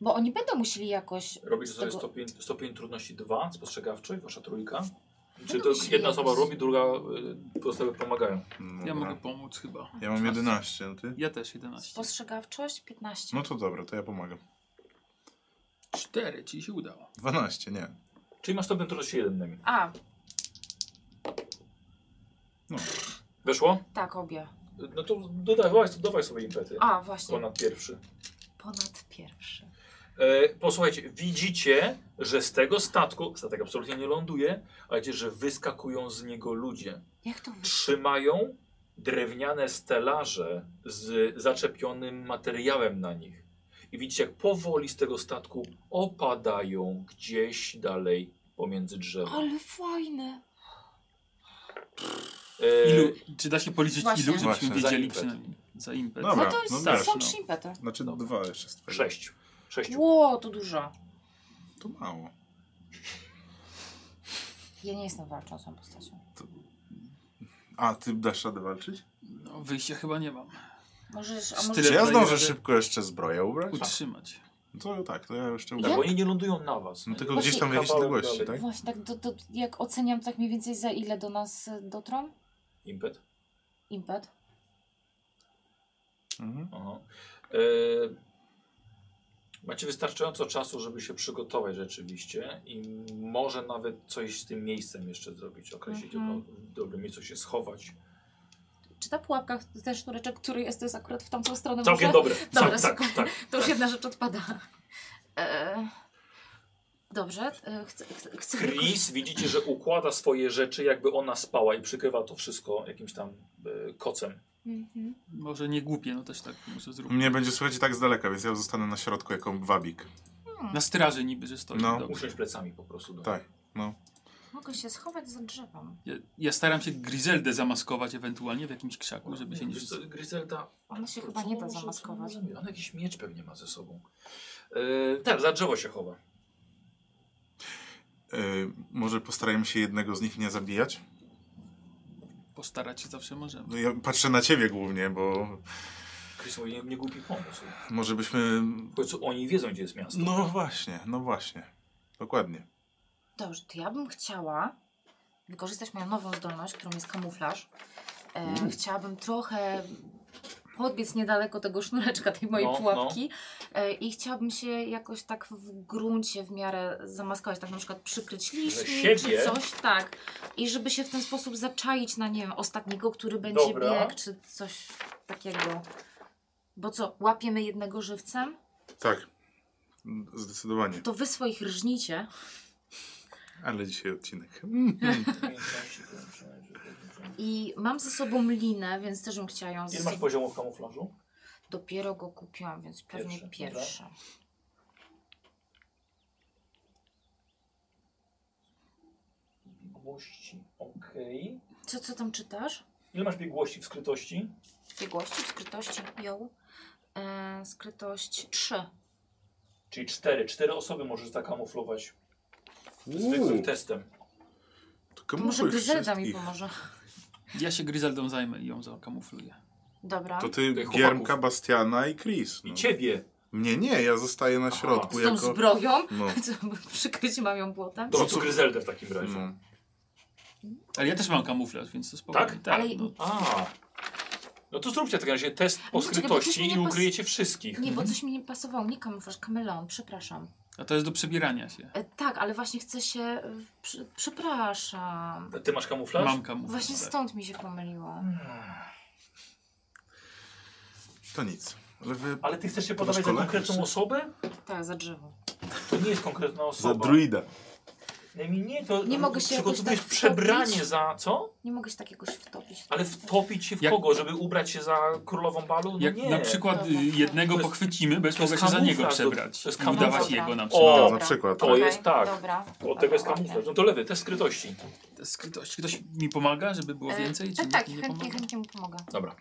S2: bo oni będą musieli jakoś.
S1: Robisz
S2: z
S1: sobie
S2: tego-
S1: stopień, stopień trudności 2, spostrzegawczy, wasza trójka. Czy
S2: Będą
S1: to
S2: musieli
S1: jedna osoba
S2: jakoś-
S1: robi, druga y, pozostałe pomagają.
S3: No
S4: Ja
S3: dobra.
S4: mogę pomóc chyba.
S3: ja mam 11, no ty?
S4: Ja też 11.
S2: Spostrzegawczość 15.
S3: No to dobra, to ja pomagam.
S4: 4, ci się udało.
S3: 12, nie.
S1: Czyli masz stopień trudności 1 na mi.
S2: A.
S1: Weszło?
S2: Tak, obie.
S1: No to dodawaj, dodawaj sobie impety.
S2: A, właśnie.
S1: Ponad pierwszy.
S2: Ponad pierwszy.
S1: E, posłuchajcie, widzicie, że z tego statku, statek absolutnie nie ląduje, ale widzicie, że wyskakują z niego ludzie.
S2: Jak to wy...
S1: Trzymają drewniane stelaże z zaczepionym materiałem na nich. I widzicie, jak powoli z tego statku opadają gdzieś dalej pomiędzy drzewa.
S2: Ale fajne.
S1: E,
S4: Ilu, czy da się policzyć
S2: Właśnie.
S4: ilu, żebyśmy
S3: Właśnie.
S1: Za
S4: wiedzieli
S1: impet.
S4: przynajmniej za impet?
S3: Dobra,
S2: no to jest,
S3: no
S2: no,
S3: wiesz,
S2: są
S1: no.
S2: trzy impety.
S3: Znaczy
S1: Dobra.
S3: dwa jeszcze z twojego.
S1: Sześciu. Sześciu.
S2: Ło, to dużo.
S3: To mało.
S2: Ja nie jestem walczącą postacią.
S3: A, ty dasz radę walczyć?
S4: No, wyjścia chyba nie mam.
S2: Możesz, a
S4: Z
S2: możesz...
S3: Czy
S4: Tyle
S3: ja
S4: daje
S3: zdążę
S4: radę.
S3: szybko jeszcze zbroję ubrać?
S4: Utrzymać.
S3: No To tak, to ja jeszcze
S1: Tak,
S3: ubrałem.
S1: bo oni nie lądują na was.
S3: No tylko
S2: Właśnie
S3: gdzieś tam w
S1: kawałek
S3: odległości,
S1: dalej.
S3: tak?
S2: Właśnie, tak do, do, jak oceniam, tak mniej więcej za ile do nas y, dotrą?
S1: Impet.
S2: Impet?
S3: Mhm.
S1: Aha. E, macie wystarczająco czasu, żeby się przygotować rzeczywiście i może nawet coś z tym miejscem jeszcze zrobić, określić
S2: Mhm.
S1: mm w dobrym miejscu się schować.
S2: Czy ta pułapka, ten sznureczek, który jest, to jest akurat w tamtą stronę?
S1: Całkiem
S2: może?
S1: dobre.
S2: Dobra,
S1: tak, tak,
S2: super.
S1: tak.
S2: To już jedna rzecz odpada. E, dobrze, e, chcę... chcę, chcę
S1: Chris widzicie, że układa swoje rzeczy, jakby ona spała i przykrywa to wszystko jakimś tam e, kocem.
S2: Mhm.
S4: Może nie głupie, no też tak muszę zrobić.
S3: Mnie będzie słuchać i tak z daleka, więc ja zostanę na środku jako wabik.
S1: Mm.
S4: Na straży niby, że stoi.
S3: No.
S4: Dobrze.
S1: Usiąść plecami po prostu. do
S3: Tak, no.
S2: Mogę się schować za drzewem.
S4: Ja, ja staram się Grizeldę zamaskować ewentualnie w jakimś krzaku,
S1: niej.
S4: żeby się nie
S1: Wiesz co,
S4: rzucać.
S1: Gryzelda
S2: Ona się
S1: Co
S2: chyba nie da
S1: może- co
S2: zamaskować.
S1: może mieć? On jakiś miecz pewnie ma ze sobą. E, tak, za drzewo się chowa.
S3: Yy, może postarajmy się jednego z nich nie zabijać?
S4: Postarać się zawsze możemy.
S3: No ja patrzę na ciebie głównie, bo
S1: Chris mówi, nie, nie głupi pomysł.
S3: może byśmy...
S1: W końcu oni wiedzą, gdzie jest miasto.
S3: No właśnie, no właśnie. Dokładnie.
S2: Dobrze, to ja bym chciała wykorzystać moją nową zdolność, którą jest kamuflaż. E, chciałabym trochę podbiec niedaleko tego sznureczka, tej mojej
S1: No, no.
S2: pułapki E, i chciałabym się jakoś tak w gruncie w miarę zamaskować, tak na przykład przykryć liśmi
S1: siebie?
S2: czy coś, tak. I żeby się w ten sposób zaczaić na, nie wiem, ostatniego, który będzie
S1: Dobra.
S2: biegł, czy coś takiego. Bo co, łapiemy jednego żywcem?
S3: Tak. Zdecydowanie.
S2: To wy swoich rżnicie.
S3: Ale dzisiaj odcinek.
S2: I mam ze sobą linę, więc też bym chciała ją
S1: *laughs* Ile masz
S2: z...
S1: poziomu w kamuflażu?
S2: Dopiero go kupiłam, więc pewnie
S1: Pierwszy,
S2: pierwszy.
S1: Biegłości, okej.
S2: Co, co tam czytasz?
S1: Ile masz biegłości w skrytości?
S2: Biegłości, skrytości, ją. E, skrytość 3.
S1: Czyli cztery. Cztery osoby możesz zakamuflować zwykłym testem.
S3: Tylko
S2: To może
S3: mój
S2: Gryzelda mi
S3: wszystkich.
S2: pomoże.
S4: Ja się Grizeldą zajmę i ją zakamufluję.
S2: Dobra.
S3: To ty,
S1: Tych
S3: Giermka,
S1: chłopaków.
S3: Bastiana i Chris.
S1: I
S3: No.
S1: ciebie.
S3: Mnie nie, ja zostaję na
S1: Aha.
S3: środku
S2: Z tą
S3: jako...
S2: zbroją?
S3: No.
S2: *laughs* Co, bo Przykryć mam ją błotem?
S1: Dobrze,
S3: Rzucę-
S1: to Gryzeldę w takim razie.
S3: no.
S4: Ale ja też mam kamuflaż, więc to spokojnie.
S1: Tak?
S2: Ale-
S4: no.
S1: A. No to zróbcie w takim razie test po
S2: No poczekaj, bo coś
S1: skrytości
S2: mi nie
S1: i
S2: pas-
S1: ukryjecie wszystkich.
S2: Nie, bo coś mi nie pasowało. Nie kamuflaż, kameleon, przepraszam.
S4: A to jest do przebierania się.
S2: E, tak, ale właśnie chcę się... e, Przy, przepraszam.
S1: Ty masz kamuflaż?
S4: Mam kamuflaż.
S2: Właśnie
S4: tak.
S2: stąd mi się pomyliło.
S3: To nic. Ale wy...
S1: Ale ty chcesz się
S3: To
S1: podawać
S3: masz
S1: za
S3: kolegów
S1: konkretną
S3: jeszcze?
S1: osobę?
S2: Tak, za drzewo.
S1: To nie jest konkretna
S3: Za
S1: osoba.
S3: druida.
S1: Nie, nie, to
S2: Nie mogę się
S1: przygotowujesz
S2: jakoś tak
S1: przebranie
S2: wtopić?
S1: za co?
S2: Nie mogę się tak jakoś wtopić. w
S1: Ale
S2: ten-
S1: wtopić się w
S4: Jak-
S1: kogo? Żeby ubrać się za królową balu? No
S4: Jak
S1: nie.
S4: na przykład y,
S2: Dobra.
S4: jednego
S1: To jest-
S4: pochwycimy, bez
S1: to jest
S4: mogę się za niego
S1: kamuflaż, to-
S4: przebrać.
S1: to jest
S4: I udawać
S2: kamuflaż.
S4: jego na
S1: O,
S4: przykład.
S3: No,
S2: Dobra.
S3: na przykład.
S1: To
S3: tak.
S2: Okej,
S1: jest tak.
S2: Dobra.
S1: Od tego jest
S2: Dobra,
S1: kamuflaż. No to lewy, test skrytości.
S4: Ktoś, ktoś mi pomaga, żeby było
S2: E,
S4: więcej?
S2: tak,
S4: Czy nikt
S2: tak,
S4: mi nie
S2: chętnie,
S4: pomaga?
S2: chętnie mu pomogę.
S1: Dobra.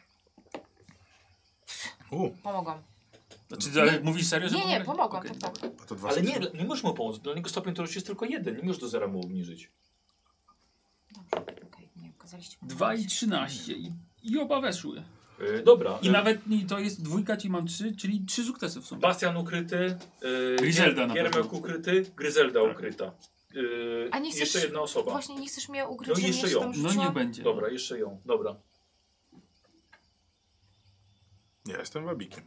S3: U,
S2: Pomogłam.
S4: Znaczy, ale mówisz serio, że
S2: Nie, nie,
S4: pomaga?
S2: pomogłam,
S4: Okej,
S2: tak, tak.
S4: dobra.
S3: a to dwa
S1: Ale nie,
S3: sukcesy.
S1: nie możesz mu pomóc. Dla niego stopień trudności jest tylko jeden. Nie możesz do zera mu obniżyć.
S2: Dobrze, okej, nie okazaliście mu
S4: Dwa i
S2: pomóc.
S4: trzynaście i, i oba weszły.
S1: Yy, dobra.
S4: I nawet nie- to jest dwójka, czyli mam trzy, czyli trzy sukcesy w sumie.
S1: Bastian ukryty. Yy,
S4: Gryzelda na pewno.
S1: Giermek ukryty. Gryzelda
S4: Tak.
S1: ukryta. Yy,
S2: A nie chcesz-
S1: jeszcze jedna osoba.
S2: Właśnie nie chcesz mnie
S1: No
S2: ukryć,
S1: i
S2: że
S1: jeszcze
S2: jeszcze
S1: ją.
S2: tam
S4: No
S2: rzuciłam?
S4: niech będzie.
S1: Dobra, jeszcze ją. Dobra.
S3: Ja jestem wabikiem.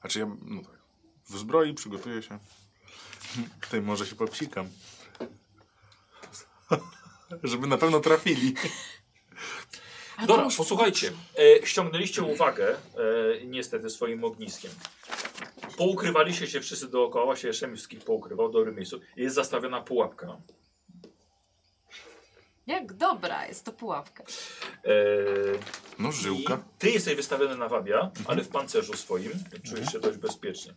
S3: Znaczy ja, no tak. W zbroi przygotuję się. *laughs* Tutaj może się popsikam. *laughs* Żeby na pewno trafili.
S2: Ale to
S1: Dobra,
S2: już
S1: posłuchajcie. E, ściągnęliście uwagę, e, niestety, swoim ogniskiem. Poukrywaliście się wszyscy dookoła, się Szemskich poukrywał w dobrym miejscu. Jest zastawiona pułapka.
S2: Jak dobra jest to pułapka.
S1: E,
S3: No, żyłka.
S1: I ty jesteś wystawiony na wabia, ale w pancerzu swoim czujesz się dość bezpiecznie.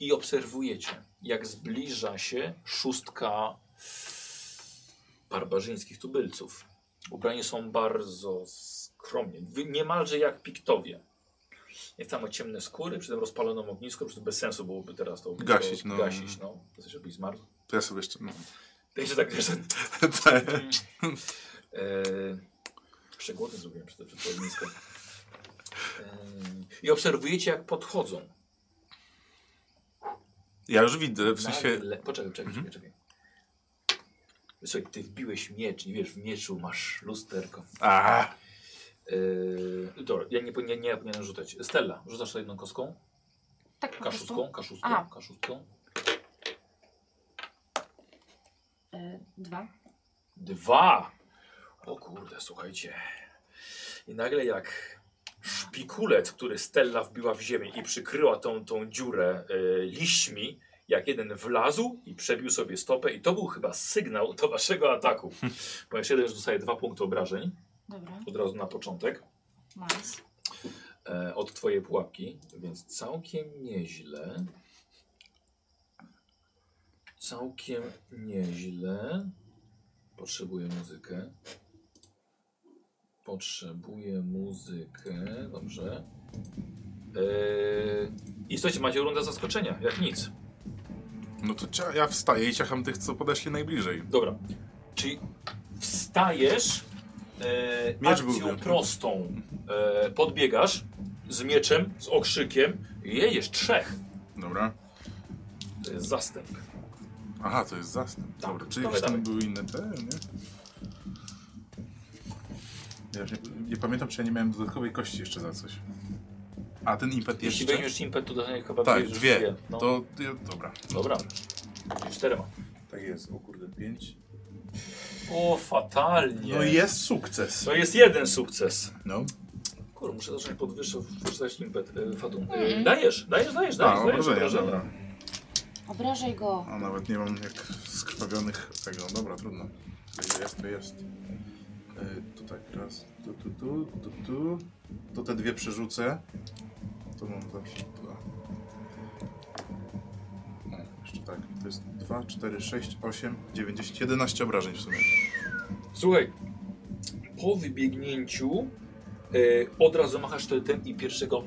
S1: I obserwujecie, jak zbliża się szóstka barbarzyńskich tubylców. Ubrani są bardzo skromnie, wy- niemalże jak piktowie. Jak tam ma ciemne skóry, przy tym rozpaloną ognisko, przy tym bez sensu byłoby teraz to ognisko
S3: Gasić, no.
S1: gasić no. Żebyś zmarł.
S3: To ja sobie jeszcze. No. *laughs*
S1: Także tak, wiesz,
S3: Te-
S1: Eee, Szczegółowy zrobiłem przed tym ogniskiem. Eee, I obserwujecie, jak podchodzą.
S3: ja już widzę, w sensie. Mhm.
S1: Nagle... Poczekaj, czekaj, czekaj, czekaj. Słuchaj, ty wbiłeś miecz i wiesz, w mieczu masz lusterko.
S3: A,
S1: Eee, dobra, ja nie, powi- nie, nie powinienem rzucać. Stella, rzucasz to jedną kostką?
S2: Tak po prostu.
S1: Kaszustką, kaszustką,
S2: Aha.
S1: kaszustką.
S2: E, dwa.
S1: Dwa! O kurde, słuchajcie. I nagle jak szpikulec, który Stella wbiła w ziemię i przykryła tą, tą dziurę y, liśćmi, jak jeden wlazł i przebił sobie stopę i to był chyba sygnał do waszego ataku. Bo jeszcze jeden dostaje dwa punkty obrażeń
S2: Dobra,
S1: od razu na początek
S2: nice.
S1: e, od twojej pułapki, więc całkiem nieźle. Całkiem nieźle. Potrzebuję muzykę. Potrzebuję muzykę. Dobrze. Eee, I słuchajcie, macie rundę zaskoczenia, jak nic.
S3: no to cia, ja wstaję i ciacham tych, co podeszli najbliżej.
S1: Dobra. Czyli wstajesz e,
S3: Miecz był
S1: akcją
S3: wyjątkowy.
S1: prostą. E, podbiegasz z mieczem, z okrzykiem. Jejesz trzech.
S3: Dobra.
S1: To jest zastęp.
S3: Aha, to jest zastęp.
S1: Tak,
S3: Dobra, czyli
S1: dawaj,
S3: już tam
S1: dawaj.
S3: były inne te, nie? Ja już nie, nie pamiętam, czy ja nie miałem dodatkowej kości jeszcze za coś. A ten impet
S1: Jeśli
S3: jeszcze?
S1: weźmiesz impet, to dostaniesz chyba
S3: tak,
S1: bierzesz
S3: dwie.
S1: No.
S3: To, ja- dobra.
S1: Dobra. Czterema.
S3: Tak jest, o kurde, pięć.
S1: O, fatalnie.
S3: No jest sukces.
S1: To jest jeden sukces.
S3: No.
S1: Kur, muszę zacząć podwyższać wrzucać impet. Y, fatum. Y, dajesz, dajesz, dajesz, dajesz.
S3: A,
S1: dajesz
S3: obrażenia,
S1: obrażenia.
S3: dobra.
S2: Obrażaj go.
S3: A nawet nie mam jak skrwawionych tego. Dobra, trudno. To jest, to jest. Yy, to tak, raz. Tu, tu, tu, tu, tu. To te dwie przerzucę. To mam zawsze dwa. No, jeszcze tak. To jest 2, 4, 6, 8, 9, 10, 11 obrażeń w sumie.
S1: Słuchaj, po wybiegnięciu y, od razu machasz sztyletem i pierwszego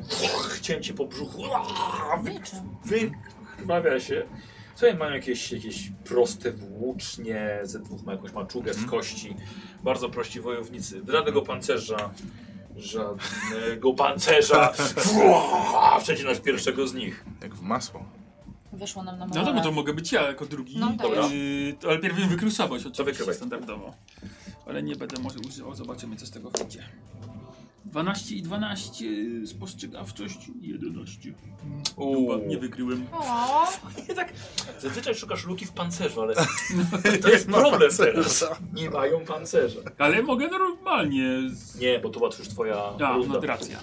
S1: cięcie po brzuchu. Ua, wy-
S2: Wieczem.
S1: Wykrwawia się. Słuchaj, mają jakieś, jakieś proste włócznie, ze dwóch ma jakąś maczugę
S4: Mhm.
S1: z kości. Bardzo prości wojownicy. Żadnego pancerza. Żadnego
S4: *laughs*
S1: pancerza. Fuaa, Przecinasz pierwszego z nich.
S3: Jak w masło.
S2: Wyszło nam na
S4: No
S2: morale.
S4: dobra, to mogę być ja jako drugi.
S2: No,
S1: Dobra. dajesz.
S4: Yy, to- ale pierw wykrusować
S1: wykrywaj.
S4: oczywiście standardowo. Ale nie będę może używał, zobaczymy co z tego wyjdzie. 12 i 12 spostrzegawczość 11. Uuu. Nie wykryłem.
S2: O,
S1: Nie tak. Zazwyczaj szukasz luki w pancerzu,
S4: *laughs*
S1: ale to jest problem teraz. Nie mają pancerza.
S4: Ale mogę normalnie. Z...
S1: Nie, bo to była już twoja
S4: A, no
S1: runda.
S4: racja.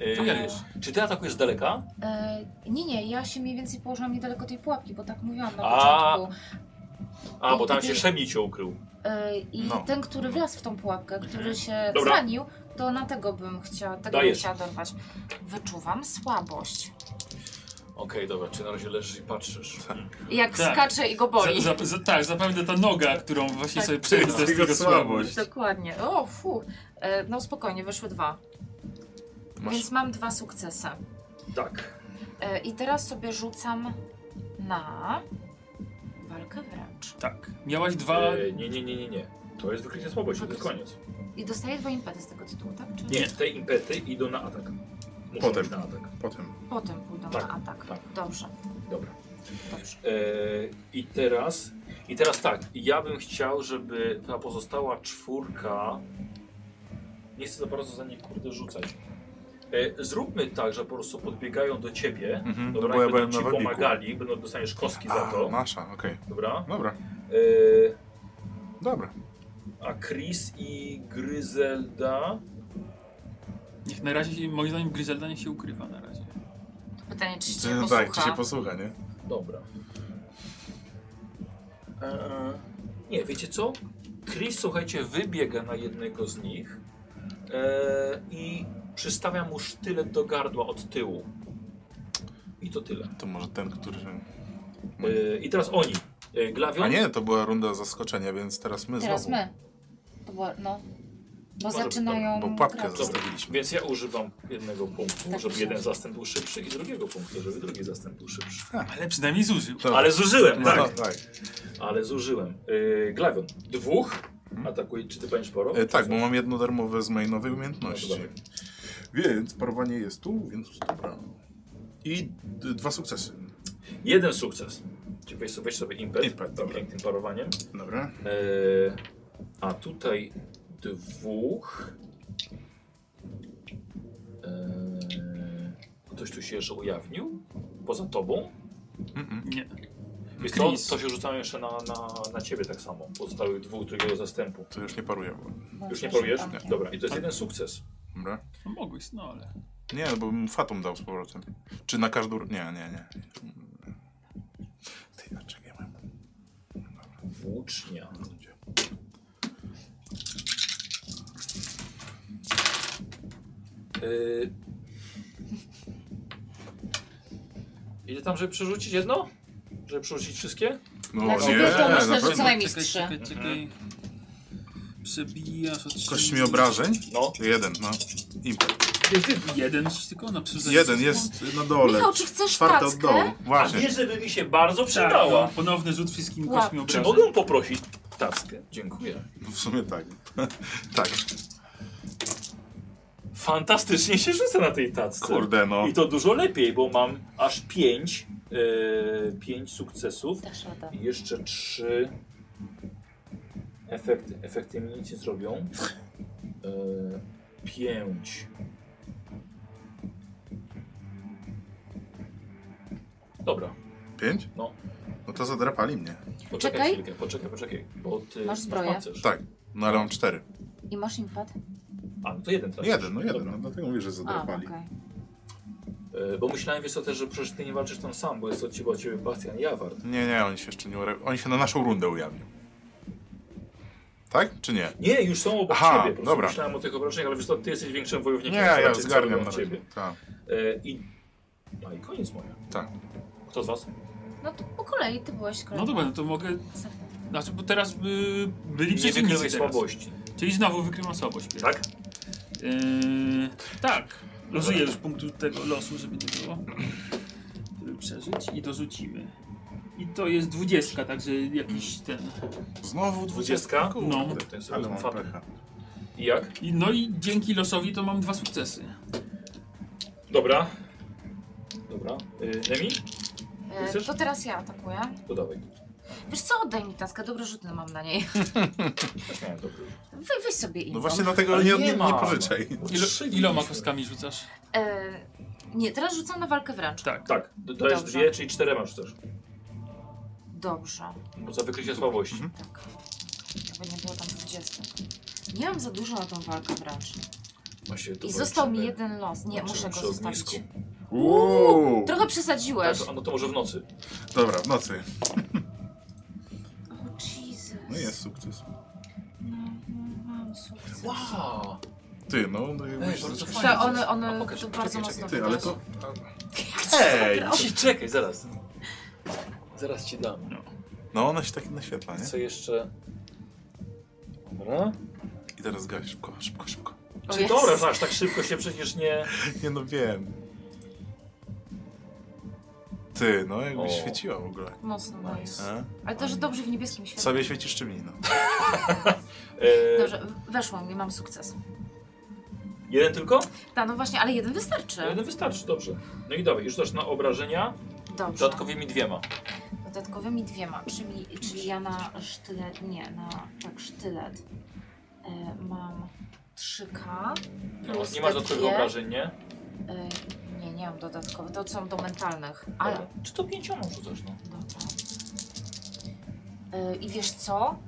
S1: Y,
S4: To ja już.
S1: Czy ty atakujesz z daleka?
S2: e, nie, nie, ja się mniej więcej położyłam niedaleko tej pułapki, bo tak mówiłam na
S1: A.
S2: początku.
S1: A, bo
S2: I-
S1: tam
S2: i-
S1: się szemni cię ukrył.
S2: E, I
S3: No.
S2: ten, który wlazł w tą pułapkę, który się
S1: Dobra.
S2: zranił, to na tego bym chciała, tego bym
S1: Dajesz.
S2: chciała dorwać. Wyczuwam słabość.
S1: Okej, dobra, czy na razie leżysz i patrzysz.
S2: Jak
S4: Tak.
S2: skacze i go boli.
S4: Za, za, za, tak, zapewne ta noga, którą właśnie
S2: Tak.
S4: sobie przejdę, to
S3: To
S4: jest
S3: jest
S4: jego
S3: jego
S4: słabość.
S2: Dokładnie. O, fu. E, no spokojnie, wyszły dwa.
S3: Masz-
S2: Więc mam dwa sukcesy.
S1: Tak.
S2: E, I teraz sobie rzucam na walkę wręcz.
S4: Tak. Miałaś dwa.
S1: Y, nie, nie, nie, nie, nie. To jest wykrycie słabości, to jest koniec.
S2: I dostaję dwa impety z tego tytułu, tak? Czy
S1: Nie, te impety idą na atak. Muszą
S3: Potem.
S1: iść na atak.
S3: Potem.
S2: potem pójdą
S1: Tak,
S2: na atak?
S1: tak.
S2: Dobrze,
S1: Dobra.
S2: dobrze.
S1: Eee, I teraz. I teraz tak, ja bym chciał, żeby ta pozostała czwórka. Nie chcę za bardzo za nie kurde rzucać. Eee, zróbmy tak, że po prostu podbiegają do ciebie.
S3: Mhm,
S1: Dobra,
S3: bo ja
S1: i
S3: byłem
S1: będą
S3: na
S1: ci
S3: wabiku.
S1: pomagali, będą dostaniesz kostki za
S3: A, no.
S1: to.
S3: masza, okej.
S1: Dobra.
S3: Dobra,
S1: Eee,
S3: dobra.
S1: A Chris i Gryzelda.
S4: Niech na razie, się- moim zdaniem, Gryzelda niech się ukrywa na razie.
S2: Pytanie, czy
S3: Czy,
S2: się
S3: no
S2: posłucha?
S3: tak, czy się posłucha, nie?
S1: Dobra. Eee, nie, wiecie co? Chris, słuchajcie, wybiega na jednego z nich eee, i przystawia mu sztylet do gardła od tyłu. I to tyle.
S3: To może ten, który...
S1: Eee, I teraz oni. Eee, Glawion.
S3: A nie, to była runda zaskoczenia, więc teraz my
S2: Teraz
S3: znowu.
S2: my. To było, no. Bo
S1: Może-
S2: zaczynają.
S3: Bo pułapkę
S2: grać.
S1: Dobra,
S3: zostawiliśmy.
S1: więc ja używam jednego punktu,
S2: Tak,
S1: żeby
S2: myślę.
S1: jeden zastęp był szybszy i drugiego punktu, żeby drugi zastęp był szybszy.
S4: Ale przynajmniej zużył.
S3: To-
S1: Ale zużyłem,
S3: No,
S1: tak.
S3: tak.
S1: Ale zużyłem. Yy, Glawion, dwóch atakuje, czy ty będziesz porą?
S3: E, tak, bo mam jedno darmowe z mojej nowej umiejętności.
S1: No to dawaj.
S3: Więc parowanie jest tu, więc dobra. I d- dwa sukcesy.
S1: Jeden sukces. Czyli weź sobie, weź sobie impet,
S3: Impet,
S1: tym
S3: dobra.
S1: pięknym parowaniem.
S3: Dobra.
S1: E, a tutaj dwóch. E, ktoś tu się jeszcze ujawnił? Poza tobą?
S3: Mm-mm.
S4: Nie.
S1: Wiesz co,
S4: Chris.
S1: to się rzucają jeszcze na, na, na ciebie tak samo. Pozostałych dwóch drugiego zastępu.
S3: To już nie paruję. bo-
S2: Bo
S1: Już nie
S2: się
S1: porujesz?
S2: tam-
S1: Dobra, i to jest jeden sukces.
S3: Dobra.
S4: No mogłeś, no ale.
S3: Nie, bo bym fatum dał z powrotem. Czy na każdą... Nie, nie, nie. Ty, dlaczego ja mam...
S1: Włócznia.
S3: Ludzie.
S1: Yy... Ile tam, żeby przerzucić jedno? Żeby przerzucić wszystkie?
S3: No
S2: Dla
S3: nie,
S2: ciebie
S3: na
S2: to myślę, że co
S3: pewno.
S2: najmniej
S4: Czekaj,
S2: mistrze.
S4: czekaj, czekaj. Przebijasz od
S3: Kość mi obrażeń?
S1: No.
S3: Jeden, no. Impet.
S4: Jeden gdzieś tylko na przykład.
S3: Jeden jest na dole.
S2: Michał, czy chcesz
S3: Czwarty od
S2: tackę?
S3: dołu.
S1: A
S3: Właśnie.
S1: wiesz, żeby mi się bardzo
S4: Tak,
S1: przydała.
S4: no, ponowny rzut wszystkim
S2: Łap.
S4: kośćmi
S1: no. Czy
S4: obrażeń.
S1: mogę poprosić tackę? Dziękuję.
S3: W sumie tak. *laughs* tak.
S1: Fantastycznie się rzucę na tej tacce.
S3: Kurde, no.
S1: I to dużo lepiej, bo mam aż pięć, yy, pięć sukcesów.
S2: Też rada.
S1: I jeszcze trzy efekty. Efekty mi nic nie zrobią. E, pięć. Dobra,
S3: Pięć?
S1: No.
S3: No to zadrapali mnie.
S1: poczekaj
S2: Czekaj.
S1: chwilkę, poczekaj, poczekaj. Bo ty
S2: Masz zbroję.
S1: pancerz.
S3: Tak. No ale mam cztery.
S2: I masz impet?
S1: A, no to jeden
S3: No
S1: trafisz.
S3: jeden, no jeden.
S1: Dobra.
S3: No, dlatego mówię, że
S2: A,
S3: zadrapali.
S2: okej.
S1: E, bo myślałem, wiesz co, też, że przecież ty nie walczysz tam sam, bo jest od ciebie, od ciebie Bastian Jawart.
S3: Nie, nie, oni się jeszcze nie ure... Oni się na naszą rundę ujawnią. Tak? Czy nie?
S1: Nie, już są obok
S3: Aha,
S1: ciebie. Po prostu
S3: dobra.
S1: myślałem o tych obrażeniach, ale wiesz co, ty jesteś większym wojownikiem.
S3: Nie,
S1: więc
S3: ja
S1: raczej celują
S3: zgarniam
S1: w
S3: na
S1: ciebie.
S3: ciebie. Tak.
S1: E, I... A i koniec moja.
S3: tak.
S1: Kto z was?
S2: No to po kolei ty byłeś
S4: No
S2: kolejny.
S4: dobra, no to mogę. Znaczy, bo teraz by byli
S1: Nie wykryłeś
S4: przeciwnicy teraz.
S1: słabości.
S4: Czyli znowu wykrywam słabość. pierwszy.
S1: Tak?
S4: Yy, tak. Losuję już punktu tego losu, żeby nie było. Żeby przeżyć i dorzucimy. I to jest dwudziestka, także jakiś ten.
S3: Znowu
S1: Dwudziestka?
S3: dwudziestka? Kurde,
S4: No.
S1: To jest
S3: ale mam
S1: fatum.
S3: pecha.
S1: I jak?
S4: I, no i dzięki losowi to mam dwa sukcesy.
S1: Dobra. Dobra. Y, Nemi?
S2: E,
S1: Chcesz?
S2: To teraz ja atakuję.
S1: To dawaj.
S3: No,
S2: Wiesz co, oddaj mi taskę, dobre rzuty mam na niej. *laughs*
S1: Też miałem dobry.
S2: Wy, weź sobie inną.
S3: No właśnie dlatego
S1: Ale
S3: nie,
S1: nie
S3: nie, nie
S1: ma.
S3: pożyczaj.
S4: Ilo,
S1: Trzy
S4: iloma
S1: mieliśmy.
S4: kostkami rzucasz?
S2: E, nie, teraz rzucam na walkę wręcz.
S4: Tak.
S1: Tak, dodajesz
S2: Dobrze.
S1: dwie, czyli czterema już też.
S2: Dobrze.
S1: Bo za wykrycie słabości.
S3: Mhm.
S2: Tak. Żeby nie było tam 20. Nie mam za dużo na tą walkę wręcz.
S1: Właśnie to
S2: I
S1: było
S2: został mi
S1: przy-
S2: jeden los. Nie,
S1: przy-
S2: muszę
S1: przy
S2: go
S1: ognisku.
S2: zostawić.
S3: Uuu.
S2: Trochę
S1: Tak,
S2: przesadziłeś.
S1: a no to może w nocy.
S3: Dobra, w nocy.
S2: O Jesus.
S3: No jest sukces.
S2: No, no, mam sukces.
S1: Wow!
S3: Ty, no. no i myślę,
S1: bardzo
S3: że-
S1: fajnie.
S2: To Tak, one, one
S1: A pokaż,
S2: to
S1: poczekaj,
S2: bardzo
S1: czekaj,
S2: mocno
S3: Ty, ale to... E!
S2: wydarzy.
S3: Ej!
S1: Ci, czekaj, zaraz. Zaraz ci dam.
S3: No ona się tak naświetla, nie?
S1: Co jeszcze? Dobra.
S3: I teraz gaj, szybko, szybko, szybko.
S2: O
S1: Czy
S2: Jezu.
S1: dobra, aż tak szybko się przecież nie...
S3: Nie no wiem. Ty, no jakby
S1: O.
S3: świeciła w ogóle.
S2: Mocno nice.
S3: E?
S2: Ale to, że dobrze w niebieskim świetle.
S3: Sobie świecisz czy mi, no.
S1: E,
S2: Dobrze, weszło mi, mam sukces.
S1: Jeden tylko?
S2: Ta, no właśnie, ale jeden wystarczy.
S1: Jeden wystarczy, dobrze. No i dawaj, już dasz na obrażenia
S2: Dobrze.
S1: dodatkowymi dwiema.
S2: Dodatkowymi dwiema, czyli, czyli ja na sztylet, nie, na tak sztylet e, mam 3K.
S1: No,
S2: plus
S1: nie
S2: te
S1: masz dodatkowych
S2: dwie.
S1: obrażeń, nie?
S2: E, nie, nie mam dodatkowych, to są do mentalnych. Ale,
S1: Dobra. Czy to pięcioma rzucasz, no?
S2: dobra. E, I wiesz co?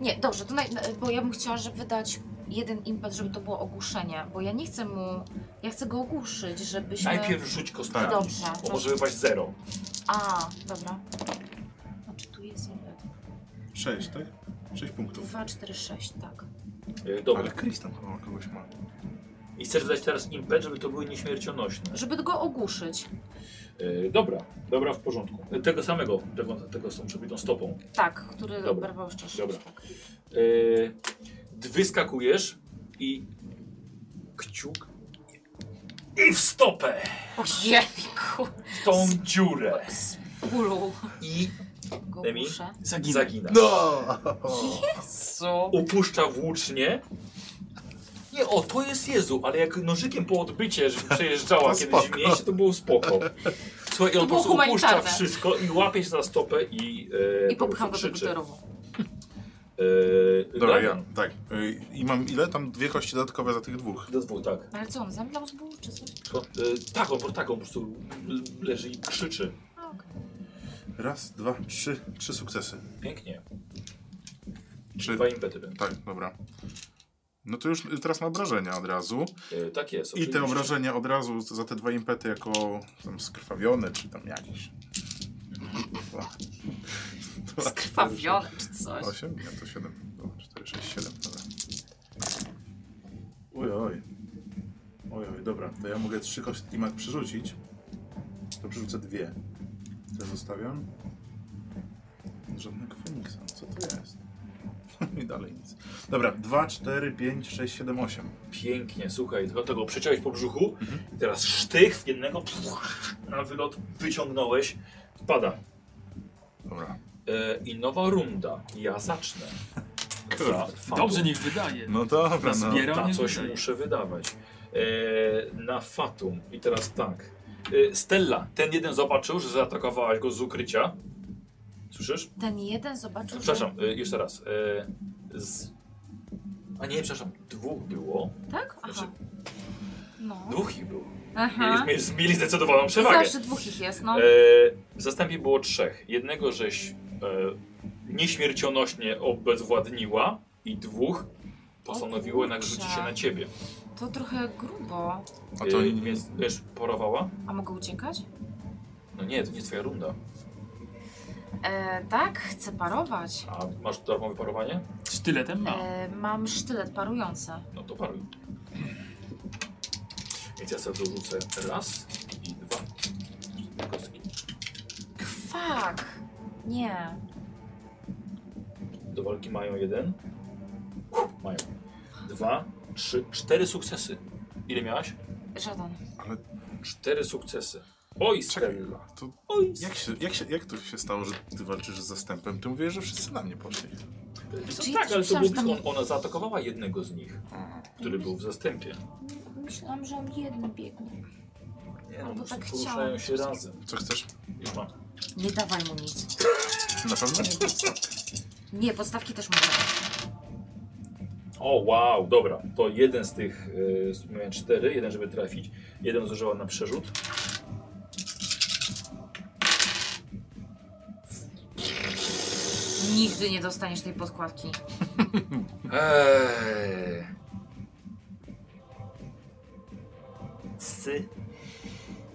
S2: Nie, dobrze, to naj... bo ja bym chciała, żeby wydać jeden impet, żeby to było ogłuszenie, bo ja nie chcę mu... Ja chcę go ogłuszyć, żebyśmy...
S1: Najpierw rzuć kostkami,
S2: Dobrze,
S1: bo
S2: to-
S1: może wypaść zero.
S2: A, dobra. Znaczy tu jest impet.
S3: 6, tak? 6 punktów.
S2: 2, 4, 6, tak.
S1: E, Dobra.
S3: Ale Chris tam chyba kogoś ma.
S1: I chcesz dać teraz impet, żeby to były nieśmiercionośne.
S2: Żeby go ogłuszyć.
S1: E, dobra, dobra, w porządku. E, tego samego, tego, tego z tą przebitą stopą.
S2: Tak, który
S1: Dobra.
S2: oberwał szczęście.
S1: Dobra.
S2: Tak.
S1: E, d- wyskakujesz i kciuk i w stopę,
S2: Ojejku,
S1: w tą dziurę
S2: z bólu
S1: i
S2: go
S1: Demi?
S2: ogłuszę.
S4: Zaginę.
S1: zaginasz.
S3: No!
S2: Jezu!
S1: Upuszcza włócznie. Nie, o, to jest Jezu, ale jak nożykiem po odbycie że przejeżdżała
S3: *laughs* To
S1: kiedyś w
S3: spoko.
S1: mieście, to było spoko. Słuchaj, i on
S2: To
S1: po prostu
S2: było
S1: upuszcza
S2: humanitarne.
S1: wszystko i łapie się za stopę i, e,
S2: I
S1: po
S2: popycham go
S1: prostu
S2: do
S1: krzyczy.
S2: buterową.
S1: E,
S3: Dobra,
S1: Damian.
S3: ja, tak. Y, I mam ile? Tam dwie kości dodatkowe za tych dwóch.
S1: Do dwóch, tak.
S2: Ale co, on zemdlał z bólu czy coś?
S1: To, y, tak, on, tak, on po prostu leży i krzyczy.
S2: A, okej.
S3: Raz, dwa, trzy. Trzy sukcesy.
S1: Pięknie.
S3: Trzy.
S1: Dwa impety będą.
S3: Tak, dobra. No to już y, teraz na obrażenia od razu.
S1: Y, tak jest.
S3: I
S1: oczywiście.
S3: te obrażenia od razu z- za te dwa impety jako tam skrwawione, czy tam *laughs* jakieś. Dwa. Dwa,
S1: Tak,
S2: Skrwawione czy
S3: cztery,
S2: coś.
S3: sześć, Osiem? Nie, to siedem. Dwa, cztery, sześć, siedem, dobra. Oj, oj. Oj, oj, dobra. To ja mogę trzy kości mat przerzucić. To przerzucę dwie. Te zostawiam. Żadnego Feniksa. Co to jest? *laughs* I dalej nic. Dobra, dwa, cztery, pięć, sześć, siedem, osiem.
S1: Pięknie, słuchaj, tylko tego przeciąłeś po brzuchu
S3: Mhm.
S1: i teraz sztych w jednego pff, na wylot wyciągnąłeś, pada.
S3: Dobra.
S1: E, I nowa runda. Ja zacznę. Za fabu.
S4: Dobrze, niech wydaje.
S3: No dobra, no.
S4: Zbiera-
S1: Na
S4: nie
S1: coś
S4: wydaje.
S1: muszę wydawać. E, na Fatum. I teraz tak. E, Stella, ten jeden zobaczył, że zaatakowałaś go z ukrycia. Słyszysz?
S2: Ten jeden zobaczył,
S1: Przepraszam, y, jeszcze raz. y, Z... A nie, przepraszam, dwóch było.
S2: Że... Tak? Aha.
S1: Znaczy,
S2: No.
S1: dwóch ich było.
S2: Aha.
S1: Mieli, mieli- mieli zdecydowaną przewagę.
S2: Mhm. Zawsze dwóch ich jest, no.
S1: E, W zastępie było trzech. Jednego żeś e, nieśmiercionośnie obezwładniła i dwóch postanowiło
S2: O
S1: jednak rzucić się
S2: kurczę.
S1: na ciebie.
S2: To trochę grubo.
S3: A to
S1: Y, Więc wiesz, porowała?
S2: A mogę uciekać?
S1: No nie, to nie jest twoja runda.
S2: E, tak, chcę parować.
S1: A masz darmowe parowanie?
S4: Sztyletem ma.
S2: E, mam sztylet parujący.
S1: No to paruj. Więc ja sobie dorzucę raz i dwa. Cztery kostki.
S2: Kwak! Nie.
S1: Do walki mają jeden. Mają. Dwa, trzy, cztery sukcesy. Ile miałaś?
S2: Żaden.
S3: ale
S1: Cztery sukcesy. Oj,
S3: czekaj, no,
S1: Stella.
S3: to
S1: Oj,
S3: jak, się, jak, się, jak to się stało, że ty walczysz z zastępem? Ty mówisz, że wszyscy na mnie poszli.
S1: Stella.
S2: Czyli
S1: Tak, ale to
S2: myślałam,
S1: było
S2: że tam-
S1: blisko. On, ona zaatakowała jednego z nich, który był w zastępie.
S2: Myślałam, że on jeden biegnie.
S1: Nie, no,
S2: A, bo
S1: po prostu
S2: tak
S1: poruszają
S2: chciałam.
S1: się razem.
S3: Co chcesz?
S1: Już mam.
S2: Nie dawaj mu nic.
S3: Na pewno?
S2: Nie, podstawki. Nie, podstawki też mogę.
S1: O, wow, dobra. To jeden z tych, y, miałem cztery, jeden żeby trafić, jeden zużyła na przerzut.
S2: Nigdy nie dostaniesz tej
S1: *laughs*
S2: podkładki.
S1: Eee. Sy.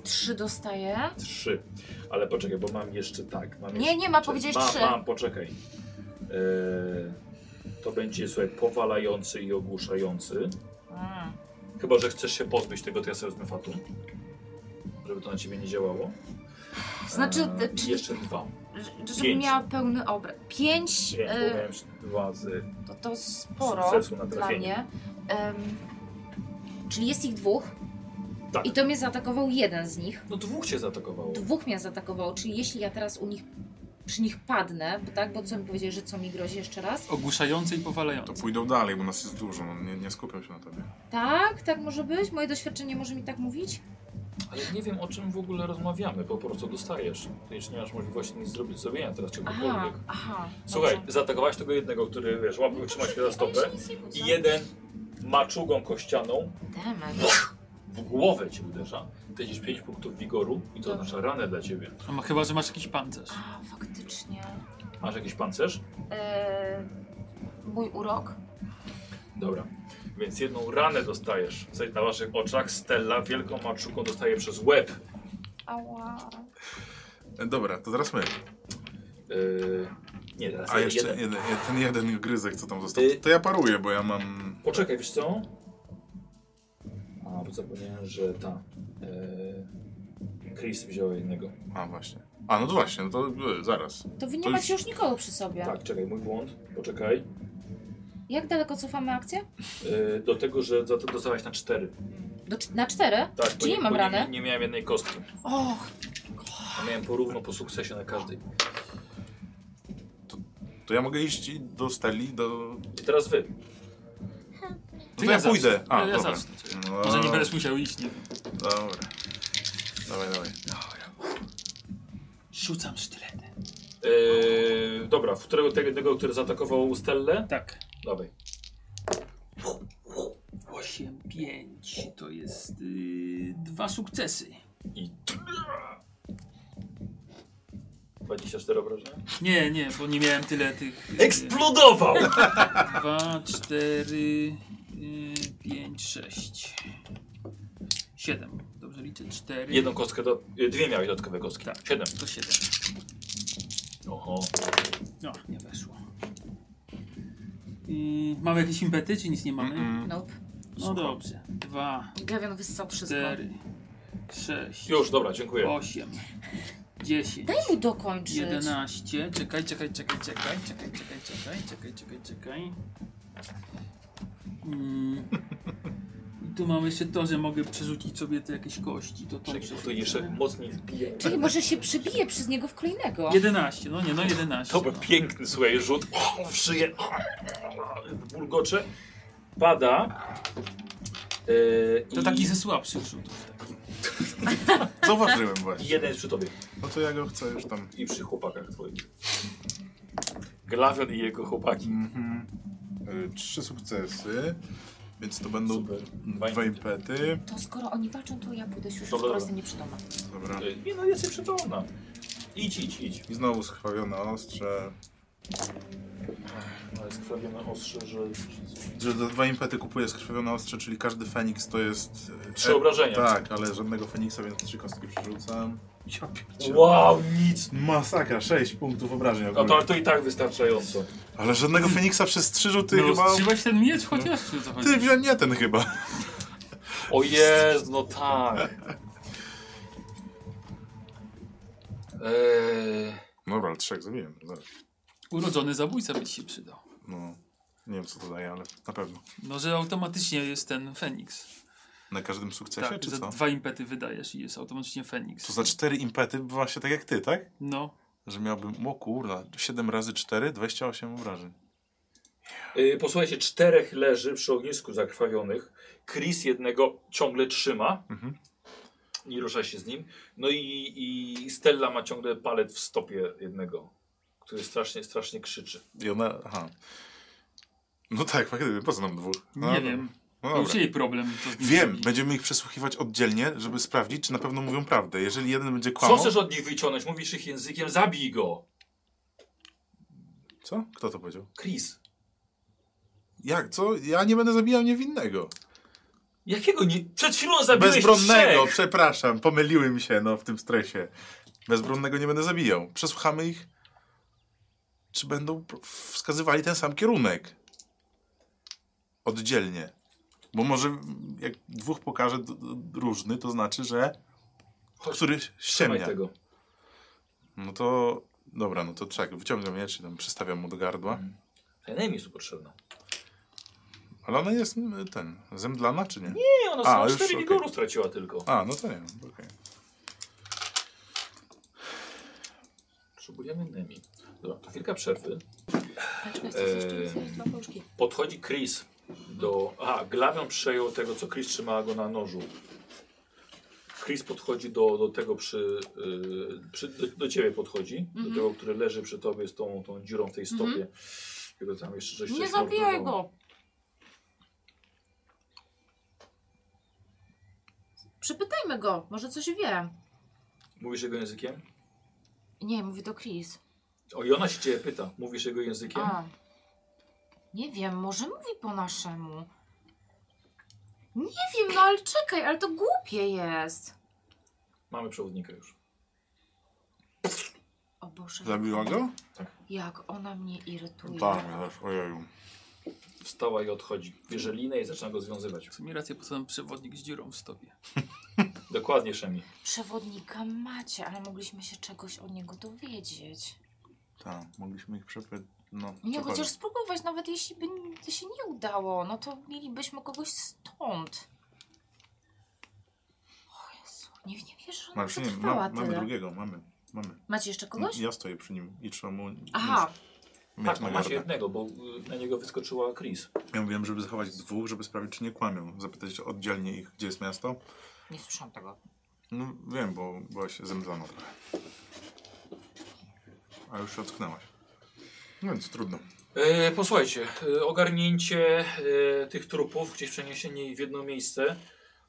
S2: Trzy dostaję.
S1: Trzy. Ale poczekaj, bo mam jeszcze tak. Mam
S2: Nie,
S1: jeszcze,
S2: nie ma, powiedziałeś
S1: mam,
S2: trzy.
S1: Mam, poczekaj. Eee, to będzie, słuchaj, powalający i ogłuszający.
S2: Mm.
S1: Chyba, że chcesz się pozbyć tego, to ja sobie wezmę fatum. Żeby to na ciebie nie działało.
S2: Znaczy,
S1: Eee,
S2: e,
S1: i
S2: czyli-
S1: Jeszcze dwa.
S2: Ż- Żebym
S1: Pięć.
S2: miała pełny obraz. Pięć,
S1: Pięć, bo
S2: e,
S1: miałem jeszcze dwa z
S2: to, to sporo
S1: sukcesu na
S2: dla
S1: trafienie.
S2: mnie. Em, czyli jest ich dwóch.
S1: Tak.
S2: I to mnie zaatakował jeden z nich.
S1: No dwóch cię zaatakowało.
S2: Dwóch mnie zaatakowało, czyli jeśli ja teraz u nich przy nich padnę, bo tak, bo co mi powiedzieli, że co mi grozi jeszcze raz?
S4: Ogłuszający i
S3: To
S4: powalający.
S3: pójdą dalej, bo nas jest dużo, no, nie, nie skupiam się na tobie.
S2: Tak, tak może być? Moje doświadczenie może mi tak mówić?
S1: Ale nie wiem o czym w ogóle rozmawiamy, po prostu dostajesz. Ty już nie masz możliwości nic zrobić, zrobienia teraz
S2: Aha,
S1: czegokolwiek.
S2: aha.
S1: Słuchaj,
S2: dobrze.
S1: zaatakowałeś tego jednego, który wiesz, łapał trzymać się za
S2: Ja
S1: stopę
S2: się nic nie kłócę.
S1: i jeden maczugą kościaną
S2: Demet.
S1: w głowę ci uderza. Tracisz 5 punktów wigoru i to
S2: Dobrze.
S1: oznacza ranę dla ciebie.
S4: A ma, chyba, że masz jakiś pancerz.
S2: A, faktycznie.
S1: Masz jakiś pancerz?
S2: Eee, mój urok.
S1: Dobra. Więc jedną ranę dostajesz. Słuchaj, na waszych oczach Stella wielką maczuką dostaje przez łeb.
S2: Ała.
S3: E, Dobra, to teraz my.
S1: Yy, nie, teraz
S3: A jeszcze
S1: jeden.
S3: jeden, je- ten jeden gryzek, co tam został.
S1: Ty-
S3: To ja paruję, bo ja mam...
S1: Poczekaj, wiesz co? A, bo zapomniałem, że ta... Yy, Chris wzięła jednego.
S3: A, właśnie. A, no to właśnie, no to e, zaraz.
S2: To wy nie
S3: To
S2: macie już nikogo przy sobie.
S1: Tak, czekaj, mój błąd. Poczekaj.
S2: Jak daleko cofamy akcję?
S1: Yy, do tego, że za to dostałaś na cztery.
S2: Do, cz- na cztery?
S1: Tak, bo
S2: Czyli nie mam
S1: bo
S2: rany?
S1: Nie, nie miałem jednej kostki.
S2: Och,
S1: A miałem porówno po sukcesie na każdej.
S3: To ja mogę iść i do Steli, do...
S1: I teraz wy.
S3: No to ja
S4: zacznę.
S3: pójdę. A,
S4: ja, ja
S3: dobra.
S4: zacznę.
S3: No.
S4: Może nie będziesz musiał iść, nie wiem.
S3: Dobra. Dawaj, dawaj.
S4: Rzucam sztylety.
S1: Yy, dobra, w którego tego, tego, który zaatakował Stellę?
S4: Tak.
S1: Dawaj.
S4: 8, 5 to jest y, dwa sukcesy.
S1: I... 24 obrażenia.
S4: Nie, nie, bo nie miałem tyle tych. y,
S1: Eksplodował!
S4: 2, 4, y, 5, 6. 7. Dobrze liczę? 4.
S1: Jedną kostkę, do... y, dwie miałeś dodatkowe kostki.
S4: Tak.
S1: Siedem.
S4: To 7.
S1: Oho.
S4: No, nie weszło. Y, mamy jakieś impety, czy nic nie mamy?
S3: Mm-mm.
S2: nope.
S4: No dobrze. 2,
S2: Glawion wyssał wszystko.
S4: 4, 6,
S1: Już, dobra, dziękuję.
S4: 8, 10.
S2: Daj mu dokończyć.
S4: 11. Czekaj, czekaj, czekaj, czekaj, czekaj, czekaj, czekaj, czekaj, czekaj, czekaj. Mm. I tu mamy jeszcze to, że mogę przerzucić sobie te jakieś kości. To to
S1: Czekaj, tu
S4: przerzucę.
S1: jeszcze mocniej wbijaj.
S2: Czyli może się przebije przez niego w kolejnego.
S4: 11, no nie, no 11.
S1: To był
S4: no.
S1: piękny, słuchaj, rzut. O, w szyję. Bulgocze. Pada. Yy,
S4: To
S1: i
S4: taki ze słabszych rzutów. taki.
S3: Zauważyłem właśnie.
S1: Jeden jest przy tobie.
S3: No to ja go chcę już tam...
S1: I przy chłopakach twoich. Glawion i jego chłopaki.
S3: Mhm. Y, Trzy sukcesy, więc to będą
S1: Super.
S3: dwa,
S1: Dwa
S3: impety.
S2: To skoro oni walczą, to ja pójdę już,
S1: Dobra.
S2: skoro jestem nieprzytomna.
S3: Dobra.
S1: Yy, Nie no, jesteś przytomna. Idź, idź, idź.
S3: I znowu skrwawione ostrze.
S1: No jest krawione ostrze, że...
S3: Że za dwa impety kupuję skrwawione ostrze, czyli każdy Feniks to jest... e,
S1: Trzy obrażenia.
S3: Tak, ale żadnego Feniksa, więc trzy kostki przerzucam. Ja pierdzielę.
S1: Wow, nic.
S3: Masakra, 6 punktów obrażeń
S1: No to,
S3: ogólnie.
S1: ale to i tak wystarczająco.
S3: Ale żadnego Feniksa przez trzy rzuty
S4: No,
S3: chyba... No.
S4: wstrzymać ten miecz chociaż, czy o co chodzi?
S3: Ty wziąłem nie ten chyba.
S1: O jest, no tak. Eee,
S3: Dobra, ale trzech zabiłem. Zaraz.
S4: Urodzony zabójca byś się przydał.
S3: No, nie wiem co to daje, ale na pewno.
S4: No, że automatycznie jest ten Feniks.
S3: Na każdym sukcesie,
S4: Tak,
S3: czy
S4: że
S3: co?
S4: dwa impety wydajesz i jest automatycznie Feniks.
S3: To znaczy- za cztery impety bywa się tak jak ty, tak?
S4: No,
S3: Że miałbym, o kurna, 7 razy 4, 28 obrażeń.
S1: Yy, posłuchajcie, czterech leży przy ognisku zakrwawionych. Chris jednego ciągle trzyma.
S3: Mhm.
S1: Nie rusza się z nim. No i, i Stella ma ciągle palet w stopie jednego, który strasznie, strasznie krzyczy.
S3: I ona, aha. No tak, faktycznie, po co nam dwóch? No,
S4: nie
S3: no,
S4: wiem.
S3: No
S4: To już
S3: dobra.
S4: jej problem. co z nim
S3: Wiem,
S4: zrobi.
S3: będziemy ich przesłuchiwać oddzielnie, żeby sprawdzić, czy na pewno mówią prawdę. Jeżeli jeden będzie
S1: Co
S3: kłamał...
S1: chcesz od nich wyciągnąć? Mówisz ich językiem, zabij go!
S3: Co? Kto to powiedział?
S1: Chris,
S3: Jak, co? Ja nie będę zabijał niewinnego.
S1: jakiego nie... Przed chwilą zabiłeś
S3: Bezbronnego,
S1: trzech!
S3: przepraszam, pomyliły mi się no, w tym stresie. Bezbronnego nie będę zabijał. Przesłuchamy ich, czy będą p- wskazywali ten sam kierunek. Oddzielnie. Bo może mm, jak dwóch pokaże d- d- różny, to znaczy, że
S1: Chodź,
S3: któryś
S1: Trzymaj
S3: ściemnia.
S1: tego.
S3: No to dobra, no to czekaj, wyciągam je, czy tam przystawiam mu do gardła.
S2: Mm.
S1: Najmniej jest tu potrzebna.
S3: Ale ona jest mm, ten, zemdlana czy nie?
S1: Nie, ona
S3: A,
S1: no, sama
S3: już,
S1: cztery
S3: okej.
S1: wigoru straciła tylko.
S3: A, no to nie, okej.
S1: Potrzebujemy Nemi. Dobra, to chwilka przerwy.
S2: Paczka chcesz jeszcze
S1: Eee.
S2: wziąć dla Bożki.
S1: Podchodzi Chris do. Aha, Glawion przejął tego, co Chris trzymała go na nożu. Chris podchodzi do, do tego przy. y, przy do, do ciebie podchodzi. Do
S2: Mhm.
S1: tego, który leży przy tobie z tą, tą dziurą w tej stopie.
S2: Mhm.
S1: Jego tam jeszcze coś no,
S2: Nie
S1: zamordowało.
S2: zabijaj go! Przepytajmy go, może coś wie.
S1: Mówisz jego językiem?
S2: Nie, mówi do Chris.
S1: O, i ona się ciebie pyta. Mówisz jego językiem?
S2: A. Nie wiem, może mówi po naszemu. Nie wiem, no ale czekaj, ale to głupie jest.
S1: Mamy przewodnika już.
S2: O Boże,
S3: Zabiła go?
S2: jak ona mnie irytuje.
S3: Tak, ja też, ojeju.
S1: Wstała i odchodzi. Bierze linę i zaczyna go związywać.
S4: W sumie rację, po co nam przewodnik z dziurą w stopie?
S1: Dokładnie, Szemi.
S2: Przewodnika macie, ale mogliśmy się czegoś od niego dowiedzieć.
S3: Tak, mogliśmy ich przepytać. No,
S2: Nie,
S3: cokolwiek.
S2: chociaż spróbować, nawet jeśli by to się nie udało, no to mielibyśmy kogoś stąd. O Jezu, nie, nie wierzę, że ona
S3: Marcin, nie,
S2: przetrwała
S3: ma, mamy
S2: tyle.
S3: drugiego, mamy. mamy.
S2: Macie jeszcze kogoś?
S3: Ja stoję przy nim i trzeba mu
S2: Aha,
S3: mieć
S1: Tak, no
S3: na
S1: macie
S3: gardę.
S1: jednego, bo y, na niego wyskoczyła Chris.
S3: Ja mówiłem, żeby zachować dwóch, żeby sprawdzić, czy nie kłamią. Zapytać oddzielnie ich, gdzie jest miasto.
S2: nie słyszałam tego.
S3: No wiem, bo byłaś zemdlana trochę. A już się ocknęłaś. No więc trudno.
S1: E, posłuchajcie, e, ogarnięcie e, tych trupów, gdzieś przeniesienie ich w jedno miejsce.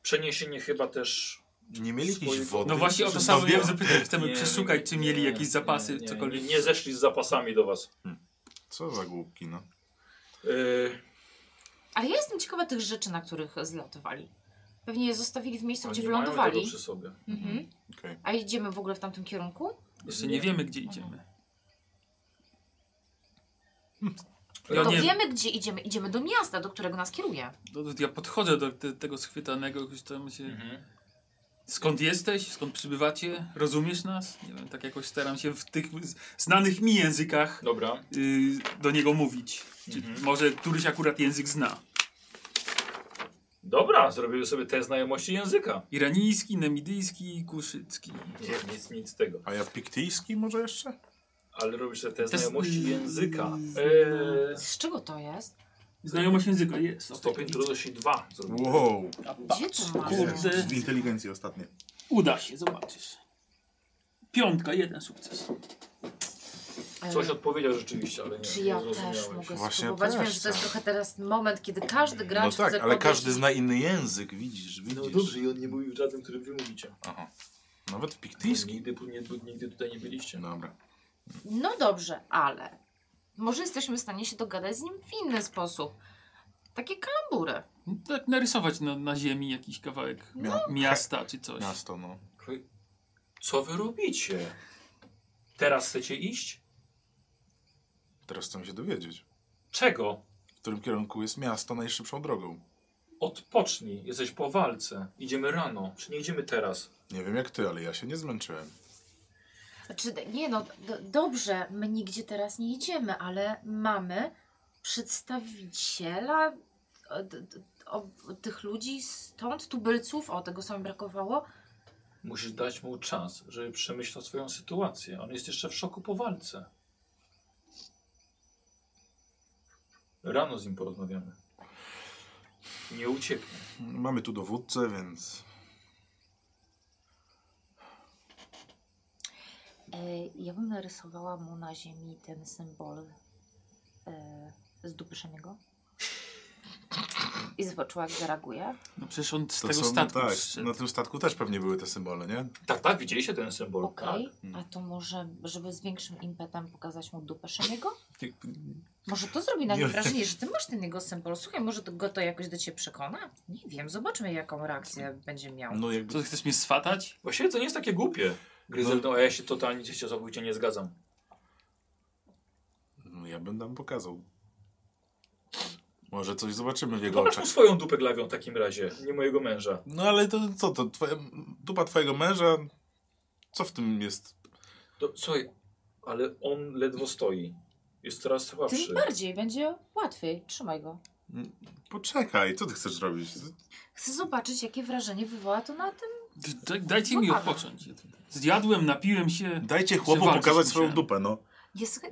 S1: Przeniesienie chyba też.
S3: Nie mieli jakiejś
S1: Swoje-
S3: wody?
S4: No właśnie o to
S3: Czy
S4: samo
S3: wiem,
S4: miałem zapytać. Chcemy
S1: Nie,
S4: przeszukać, czy mieli
S1: nie,
S4: jakieś zapasy,
S1: nie, nie,
S4: cokolwiek.
S1: Nie, nie zeszli z zapasami do was.
S3: Co za głupki, no.
S1: E,
S2: Ale ja jestem ciekawa tych rzeczy, na których zlatowali. Pewnie je zostawili w miejscu, gdzie
S1: oni mają tego
S2: wylądowali.
S1: przy sobie.
S2: Mhm.
S3: Okej.
S2: A idziemy w ogóle w tamtym kierunku?
S4: Jeszcze nie wiemy, gdzie idziemy. Ja
S2: No to
S4: nie
S2: wiemy, gdzie idziemy. Idziemy do miasta, do którego nas kieruje.
S4: no to Ja podchodzę do te, tego schwytanego, już tam się...
S1: Mhm.
S4: Skąd jesteś? Skąd przybywacie? Rozumiesz nas? Nie wiem, tak jakoś staram się w tych z- znanych mi językach
S1: Dobra.
S4: y, do niego mówić. Czy
S1: Mhm.
S4: Może któryś akurat język zna.
S1: Dobra, zrobiły sobie te znajomości języka.
S4: Iranijski, nemidyjski, kuszycki.
S1: Nie, nic, nic z tego.
S3: A ja piktyjski może jeszcze?
S1: Ale robisz sobie te
S4: To jest-
S1: znajomości języka.
S4: Eee,
S2: Z czego to jest?
S4: Znajomość języka jest.
S1: Eee, stopień trudności 2 zrobił.
S3: Wow.
S4: A
S2: Gdzie
S4: patrz,
S2: to masz?
S4: kurde.
S3: Z inteligencji ostatnie.
S1: Znaczy,
S4: Uda się, zobaczysz. Piątka, jeden sukces.
S2: E,
S1: Coś odpowiedział rzeczywiście, ale nie,
S2: Czy
S1: nie
S2: ja
S1: zrozumiałeś.
S2: też mogę
S3: Właśnie
S2: spróbować?
S3: też
S2: Wiem, że to jest
S3: chcę.
S2: trochę teraz moment, kiedy każdy
S3: No
S2: gracz
S3: tak,
S2: chce
S3: ale
S2: kogoś-
S3: każdy zna inny język, widzisz, widzisz.
S1: No dobrze, i on nie mówił żadnym, którym wy mówicie.
S3: Aha. Nawet
S1: Nigdy,
S3: piktyjski.
S1: nigdy, nie- nigdy tutaj nie byliście.
S3: Dobra.
S2: No dobrze, ale może jesteśmy w stanie się dogadać z nim w inny sposób. Takie kalambury.
S4: No Tak narysować na, na ziemi jakiś kawałek
S3: Mia-
S4: miasta czy coś.
S3: No. Miasto, no.
S1: Co wy robicie? Teraz chcecie iść?
S3: Teraz chcę się dowiedzieć,
S1: Czego?
S3: w którym kierunku jest miasto najszybszą drogą.
S1: Odpocznij, jesteś po walce. Idziemy rano, czy nie idziemy teraz?
S3: Nie wiem jak ty, ale ja się nie zmęczyłem.
S2: Znaczy, nie no, do, dobrze, my nigdzie teraz nie idziemy, ale mamy przedstawiciela e, d, d, o, tych ludzi stąd, tubylców, o tego samego brakowało.
S1: Musisz dać mu czas, żeby przemyślał swoją sytuację. On jest jeszcze w szoku po walce. Rano z nim porozmawiamy. Nie ucieknie.
S3: Mamy tu dowódcę, więc...
S2: E, ja bym narysowała mu na ziemi ten symbol e, z dupy szemiego. I zobaczyła, jak zareaguje.
S4: No przecież on z
S3: To
S4: tego
S3: są-
S4: statku
S3: tak,
S4: zszedł.
S3: na tym statku też pewnie były te symbole, nie?
S1: Tak, tak, widzieliście ten symbol.
S2: Okej,
S1: Tak.
S3: Mm.
S2: a to może, żeby z większym impetem pokazać mu dupę szemiego?
S3: Nie-
S2: Może to zrobi na
S3: Nie
S2: nim
S3: wiem. tak.
S2: wrażenie, że ty masz ten jego symbol. Słuchaj, może to go to jakoś do ciebie przekona? Nie wiem, zobaczmy jaką reakcję będzie miał.
S3: No jakby...
S4: To chcesz mnie swatać?
S1: Właściwie to nie jest takie głupie. Gryzelda, no, a ja się totalnie się całkowicie nie zgadzam.
S3: No ja bym tam pokazał. Może coś zobaczymy w jego
S4: No.
S1: Pokaż
S3: oczach.
S1: mu swoją dupę glawią w takim razie, nie mojego męża.
S3: No ale to co, to twoja, dupa twojego męża? Co w tym jest?
S1: To, słuchaj, ale on ledwo stoi. Jest coraz słabszy.
S2: Tym bardziej, będzie łatwiej. Trzymaj go.
S3: Poczekaj, co ty chcesz robić?
S2: Chcę zobaczyć, jakie wrażenie wywoła to na tym.
S4: D- d- Dajcie mi
S2: No,
S4: odpocząć. Zjadłem, napiłem się.
S3: Dajcie chłopu
S4: walczyć
S3: pokazać
S4: musiałem.
S3: swoją dupę, no.
S2: Jest...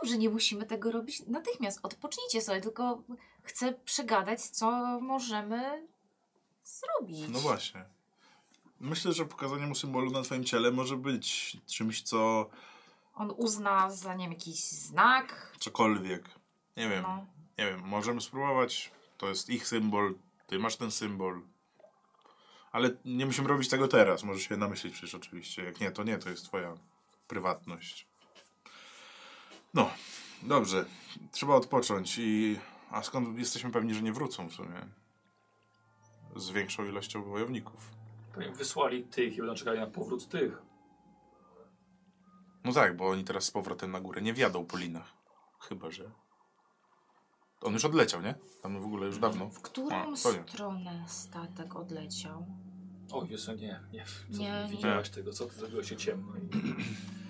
S2: Dobrze, nie musimy tego robić natychmiast. Odpocznijcie sobie, tylko chcę przegadać, co możemy zrobić.
S3: No właśnie. Myślę, że pokazanie mu symbolu na twoim ciele może być czymś, co...
S2: On uzna za nim jakiś znak.
S3: cokolwiek. Nie wiem,
S2: No.
S3: nie wiem, możemy spróbować. To jest ich symbol, ty masz ten symbol. Ale nie musimy robić tego teraz, możesz się namyślić przecież oczywiście. Jak nie, to nie, to jest twoja prywatność. No, Dobrze, trzeba odpocząć i... A skąd jesteśmy pewni, że nie wrócą w sumie? Z większą ilością wojowników.
S1: Pewnie wysłali tych i będą czekali na powrót tych.
S3: No tak, bo oni teraz z powrotem na górę nie wjadą po linach. Chyba, że... On już odleciał, nie? Tam w ogóle już dawno.
S2: W którą
S3: A, to nie.
S2: stronę statek odleciał?
S1: O, Jezu, nie, nie. Co,
S2: Nie, nie.
S1: widziałaś tego, co ty zrobiło się ciemno i...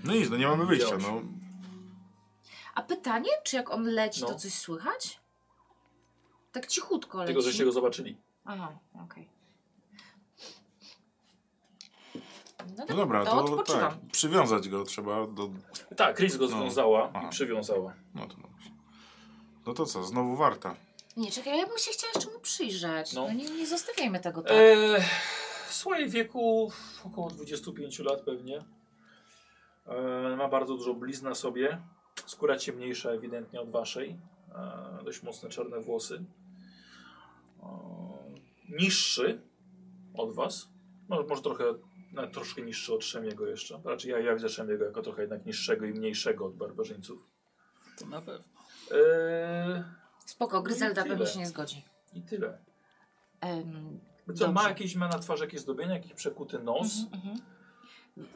S3: No nic, no nie mamy wyjścia,
S1: Widziałeś.
S3: no.
S2: A pytanie, czy jak on leci,
S1: No.
S2: to coś słychać? Tak cichutko leci.
S1: Tego, żeście go zobaczyli.
S2: Aha, okej. No,
S3: No
S2: to-
S3: dobra,
S2: to
S3: to
S2: odpoczywam.
S3: tak, przywiązać go trzeba do...
S1: Tak, Chris go
S3: No.
S1: związała
S3: Aha.
S1: i przywiązała.
S3: No to dobrze. No to co, znowu warta.
S2: Nie, czekaj, ja bym się chciała jeszcze mu przyjrzeć.
S1: No.
S2: No, nie, nie zostawiajmy tego tak.
S1: E, w swoim wieku około 25 lat pewnie. E, ma bardzo dużo blizn na sobie. Skóra ciemniejsza ewidentnie od waszej. E, dość mocne czarne włosy. E, niższy od was. no, Może, może trochę, nawet troszkę niższy od Szemiego jeszcze. Raczej ja, ja widzę Szemiego jako trochę jednak niższego i mniejszego od barbarzyńców.
S4: To na pewno.
S1: E,
S2: Spoko, Gryzelda
S1: tyle.
S2: pewnie się nie zgodzi.
S1: I tyle.
S2: Em,
S1: Co, ma
S2: Dobrze.
S1: jakieś, ma na twarzy jakieś zdobienia, jakiś przekuty nos.
S2: mhm, mhm.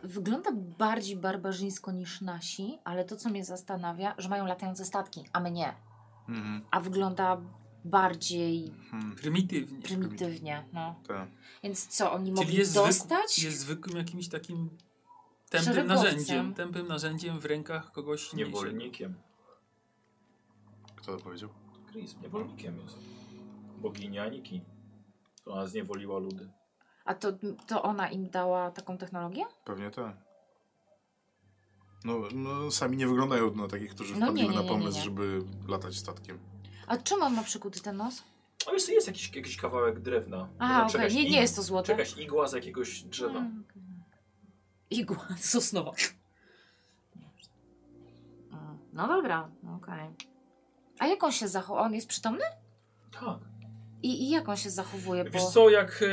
S2: Wygląda bardziej barbarzyńsko niż nasi, ale to co mnie zastanawia, że mają latające statki, a my nie.
S3: Mhm.
S2: A wygląda bardziej
S3: Hmm.
S4: Prymitywnie.
S2: prymitywnie, no.
S3: Tak.
S2: Więc co, oni
S4: Czyli
S2: mogli
S4: jest,
S2: dostać?
S4: zwykł, jest zwykłym jakimś takim tępym
S2: Szeregowcem.
S4: narzędziem. Tępym narzędziem w rękach kogoś mniejszego.
S1: Niewolnikiem.
S3: Kto to powiedział?
S1: Chris,
S2: Mhm.
S1: niewolnikiem jest. Bogini Aniki. To ona zniewoliła ludy.
S2: A to, to ona im dała taką technologię?
S3: Pewnie tak. No, no, sami nie wyglądają na takich, którzy
S2: No nie,
S3: wpadliby
S2: nie, nie,
S3: na
S2: nie,
S3: pomysł,
S2: nie.
S3: żeby latać statkiem.
S2: A czym on ma przykuty ten nos?
S1: A jest, jest jakiś, jakiś kawałek drewna.
S2: A, okej,
S1: Jakaś
S2: nie,
S1: ig-
S2: nie jest to złote.
S1: Jakaś igła z jakiegoś drzewa.
S2: Mm. Igła *laughs* sosnowa. Mm, No dobra, okej. A jak on się zachowuje? On jest przytomny?
S1: Tak.
S2: I, I jak on się zachowuje?
S1: Wiesz
S2: Bo...
S1: co, jak... e,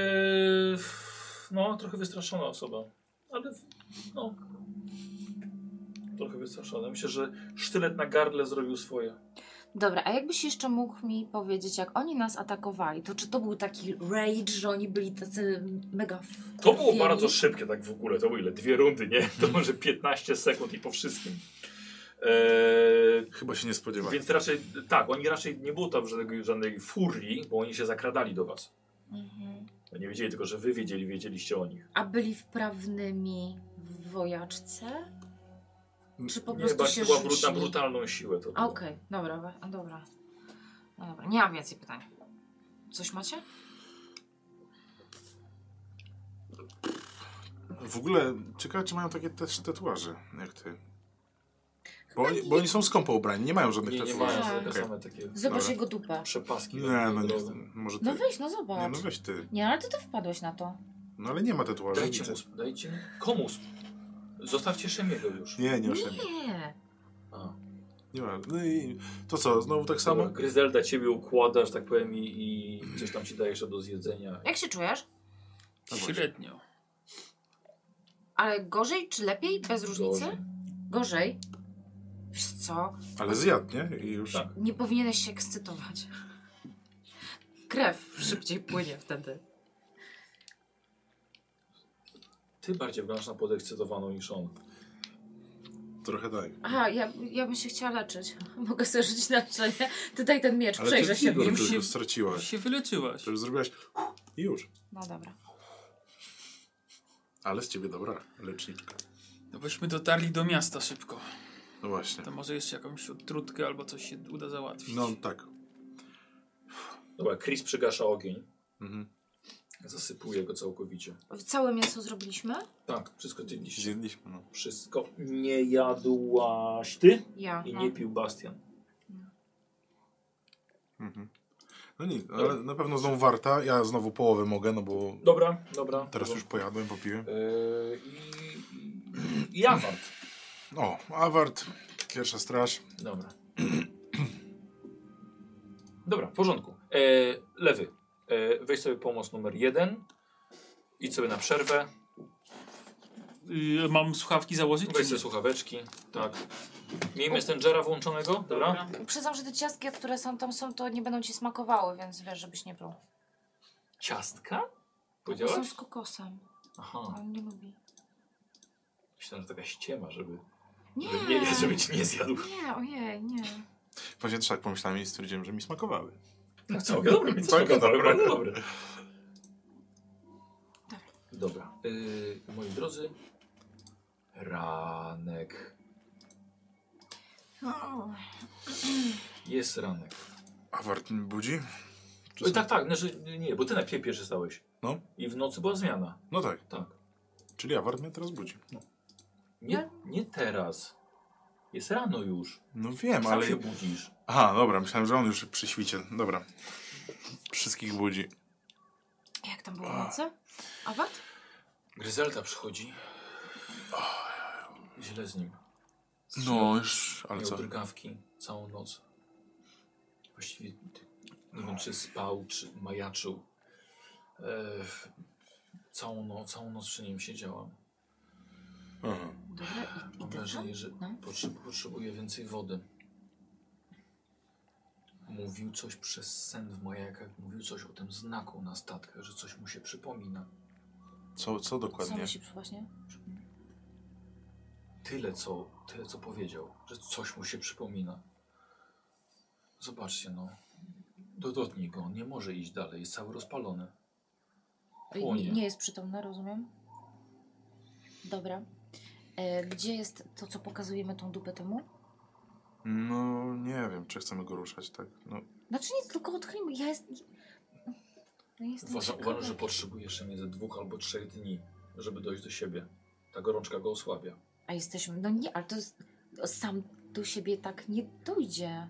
S1: no, trochę wystraszona osoba. Ale, no... Trochę wystraszona. Myślę, że sztylet na gardle zrobił swoje.
S2: Dobra, a jakbyś jeszcze mógł mi powiedzieć, jak oni nas atakowali, to czy to był taki rage, że oni byli tacy mega w...
S1: To było bardzo szybkie tak w ogóle, to było ile? Dwie rundy, nie? *laughs* To może 15 sekund i po wszystkim. Eee,
S3: Chyba się nie spodziewałem.
S1: Więc raczej, tak, oni raczej nie było tam żadnej, żadnej furii, bo oni się zakradali do was.
S2: Mhm.
S1: Nie wiedzieli tylko, że wy wiedzieli, wiedzieliście o nich.
S2: A byli wprawnymi w wojaczce? Czy po
S1: Nie,
S2: prostu się
S1: bardziej była
S2: rzucili?
S1: brudna, brutalną siłę to
S2: A,
S1: było.
S2: Okej, dobra, we- a, dobra. No dobra, nie mam więcej pytań. Coś macie?
S3: W ogóle ciekawe, czy mają takie też tatuaże, jak ty. Bo
S2: Chyba
S3: oni, bo oni są skąpo ubrani, nie mają żadnych
S1: Nie, nie
S3: tatuaży.
S1: mają
S2: Tak.
S1: takie
S3: Okej.
S1: same takie
S2: Zobacz
S3: Dobra.
S2: jego dupę.
S1: przepaski.
S3: Nie, no nie, może ty.
S2: No weź, no zobacz.
S3: nie,
S2: Nie,
S3: no weź ty.
S2: ale to ty wpadłeś na to.
S3: No ale nie ma tatuaży.
S1: Dajcie mu,
S3: widzę.
S1: sp- dajcie mu. Komu? sp- Zostawcie Szemiego już.
S3: Nie, nie,
S2: Nie.
S3: masz nie.
S1: A,
S3: nie ma. No i to co, znowu tak samo?
S1: Gryzelda ciebie układa, że tak powiem, i, i coś tam ci daje jeszcze do zjedzenia.
S2: Jak się czujesz?
S3: No właśnie.
S4: Średnio.
S2: Ale gorzej czy lepiej? Bez
S1: Gorzej.
S2: różnicy? Gorzej. Wiesz co?
S3: Ale zjadł, nie? I już.
S1: Tak.
S2: Nie powinieneś się ekscytować. Krew szybciej płynie wtedy.
S1: Ty bardziej wyglądasz na podekscytowaną niż on.
S3: Trochę daj.
S2: Aha, ja, ja bym się chciała leczyć. Mogę sobie rzucić na leczenie. Ty daj ten miecz,
S3: Ale
S2: przejrzę
S3: ty
S2: się.
S3: się
S4: nim
S3: tylko
S4: się- Już
S3: straciłaś.
S4: się wyleczyłaś.
S3: To już zrobiłaś i już.
S2: No dobra.
S3: Ale z ciebie dobra leczniczka.
S4: No bośmy dotarli do miasta szybko.
S3: No właśnie.
S4: To może jeszcze jakąś odtrutkę albo coś się uda załatwić.
S3: No tak.
S1: Dobra, Chris przygasza ogień.
S3: Mhm.
S1: Zasypuje go całkowicie.
S2: Całe mięso zrobiliśmy?
S1: Tak, wszystko dzieliście.
S3: Zjedliśmy, no.
S1: Wszystko nie jadłaś ty
S2: Ja.
S1: i
S2: no.
S1: nie pił Bastian.
S3: Mhm. No nic, ale na pewno znowu warta. Ja znowu połowę mogę, no bo
S1: Dobra, dobra.
S3: teraz już
S1: dobra.
S3: pojadłem, popiłem.
S1: Yy, I, i Jawart.
S3: O, awart, pierwsza straż.
S1: Dobra. Dobra, w porządku. E, lewy, e, weź sobie pomoc numer jeden. Idź sobie na przerwę.
S4: y, mam słuchawki założyć?
S1: Weź
S4: czy
S1: sobie
S4: nie?
S1: słuchaweczki. Tak. Miejmy Stengera włączonego, dobra?
S2: Przyznam, że te ciastki, które są tam są, to nie będą ci smakowały, więc wiesz, żebyś nie był.
S1: Ciastka?
S2: Są
S1: Powiedziałaś?
S2: z kokosem.
S1: Aha.
S2: On nie lubi.
S1: Myślałem, że taka ściema, żeby,
S2: Nie,
S1: żeby, nie, żeby cię nie zjadł.
S2: nie, ojej, nie.
S3: Właśnie też tak pomyślałem i stwierdziłem, że mi smakowały.
S1: No co, dobry, więc
S3: Całkiem
S1: spoko,
S3: dobre.
S1: bardzo dobre.
S2: Tak.
S1: Dobra. Yy, moi drodzy, ranek.
S2: O,
S1: Jest ranek.
S3: A wart mi budzi? Czy
S1: Oj,
S3: są-
S1: tak, tak, znaczy, nie, bo ty na pie- pierwszy stałeś.
S3: No.
S1: I w nocy była zmiana.
S3: No tak,
S1: Tak.
S3: czyli awart mnie teraz budzi. No,
S1: Nie, nie teraz. Jest rano już.
S3: no wiem,
S1: Sam
S3: ale...
S1: się budzisz.
S3: Aha, dobra, myślałem, że on już przy świcie. Dobra. Wszystkich budzi.
S2: Jak tam było w nocy? Awat?
S1: Gryzelda przychodzi. Źle z nim.
S3: No już, ale
S1: Miał
S3: co?
S1: drgawki całą noc. Właściwie ty- nie wiem, czy spał, czy majaczył. E, w- całą, no, całą noc przy nim siedziałam.
S3: Aha.
S2: Dobra, i,
S1: Mam
S2: i dywan?
S1: wrażenie, że
S2: No.
S1: potrze- potrzebuje więcej wody. Mówił coś przez sen w majakach, mówił coś o tym znaku na statkach, że coś mu się przypomina.
S3: Co, co
S2: Co
S3: dokładnie?
S2: mi się przy- właśnie? przypomina?
S1: Tyle co, tyle co powiedział, że coś mu się przypomina. Zobaczcie no. Do- Dotknij go, on nie może iść dalej, jest cały rozpalony.
S2: I-
S1: Płonie.
S2: Nie, nie jest przytomna, rozumiem. Dobra. E, Gdzie jest to, co pokazujemy tą dupę temu?
S3: No nie wiem, czy chcemy go ruszać, tak? No,
S2: Znaczy nic, tylko odchylimy. Ja jest... no Ja jestem
S1: Uważa,
S2: ciekawa.
S1: uważam, że potrzebuje jeszcze między dwóch albo trzech dni, żeby dojść do siebie. Ta gorączka go osłabia.
S2: A jesteśmy... No nie, ale to jest... Sam do siebie tak nie dojdzie.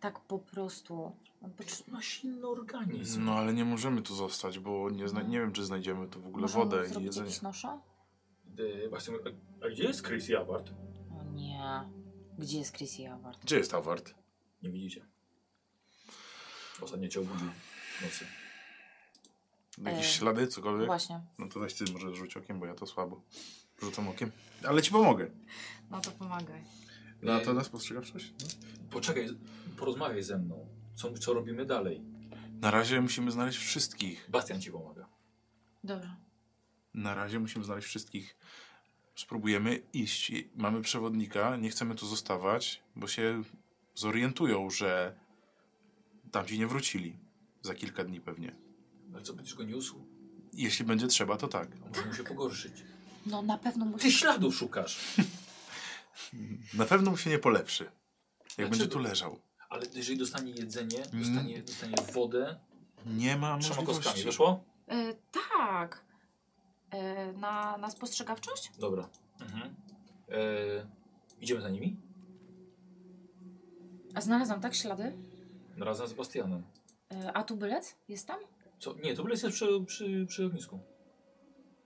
S2: Tak po prostu. On potrze-
S1: Ma silny organizm.
S3: no ale nie możemy tu zostać, bo nie, zna- nie wiem, czy znajdziemy tu w
S2: No.
S3: ogóle
S2: Możemy
S3: wodę i
S2: zrobić
S3: jedzenie.
S2: jakieś nosza?
S1: Y, właśnie, a, a gdzie jest Chris Jawart?
S2: O nie. Gdzie jest Chris i Award?
S3: Gdzie jest awart?
S1: Nie widzicie. Ostatnio cię obudził w nocy.
S3: Jakieś
S2: E,
S3: ślady, cokolwiek?
S2: Właśnie.
S3: No to weź ty może rzuć okiem, bo ja to słabo. Rzucam okiem. Ale ci pomogę.
S2: No to pomagaj.
S3: No a
S1: Y,
S3: to nas postrzegawczość? No.
S1: Poczekaj, porozmawiaj ze mną. Co, co robimy dalej?
S3: Na razie musimy znaleźć wszystkich.
S1: Bastian ci pomaga.
S2: Dobrze.
S3: Na razie musimy znaleźć wszystkich. Spróbujemy iść. I- Mamy przewodnika, nie chcemy tu zostawać, bo się zorientują, że tamci nie wrócili. Za kilka dni pewnie.
S1: Ale co, będziesz go niósł?
S3: Jeśli będzie trzeba, to tak.
S1: A może mu się pogorszyć?
S2: No na pewno
S1: Ty
S2: musisz...
S1: śladu szukasz!
S3: Na pewno mu się nie polepszy. Jak
S1: Dlaczego?
S3: będzie tu leżał.
S1: Ale jeżeli dostanie jedzenie,
S3: Mm.
S1: dostanie, dostanie wodę...
S3: Nie ma
S1: Trzema kostkami,
S3: możliwości.
S1: wyszło?
S2: Y, tak. Y, na, na spostrzegawczość?
S1: Dobra. Mhm. E, idziemy za nimi?
S2: A znalazłam tak ślady.
S1: Razem z Bastianem.
S2: Y, a tu bylet? Jest tam?
S1: Co? Nie, to jest przy, przy, przy ognisku.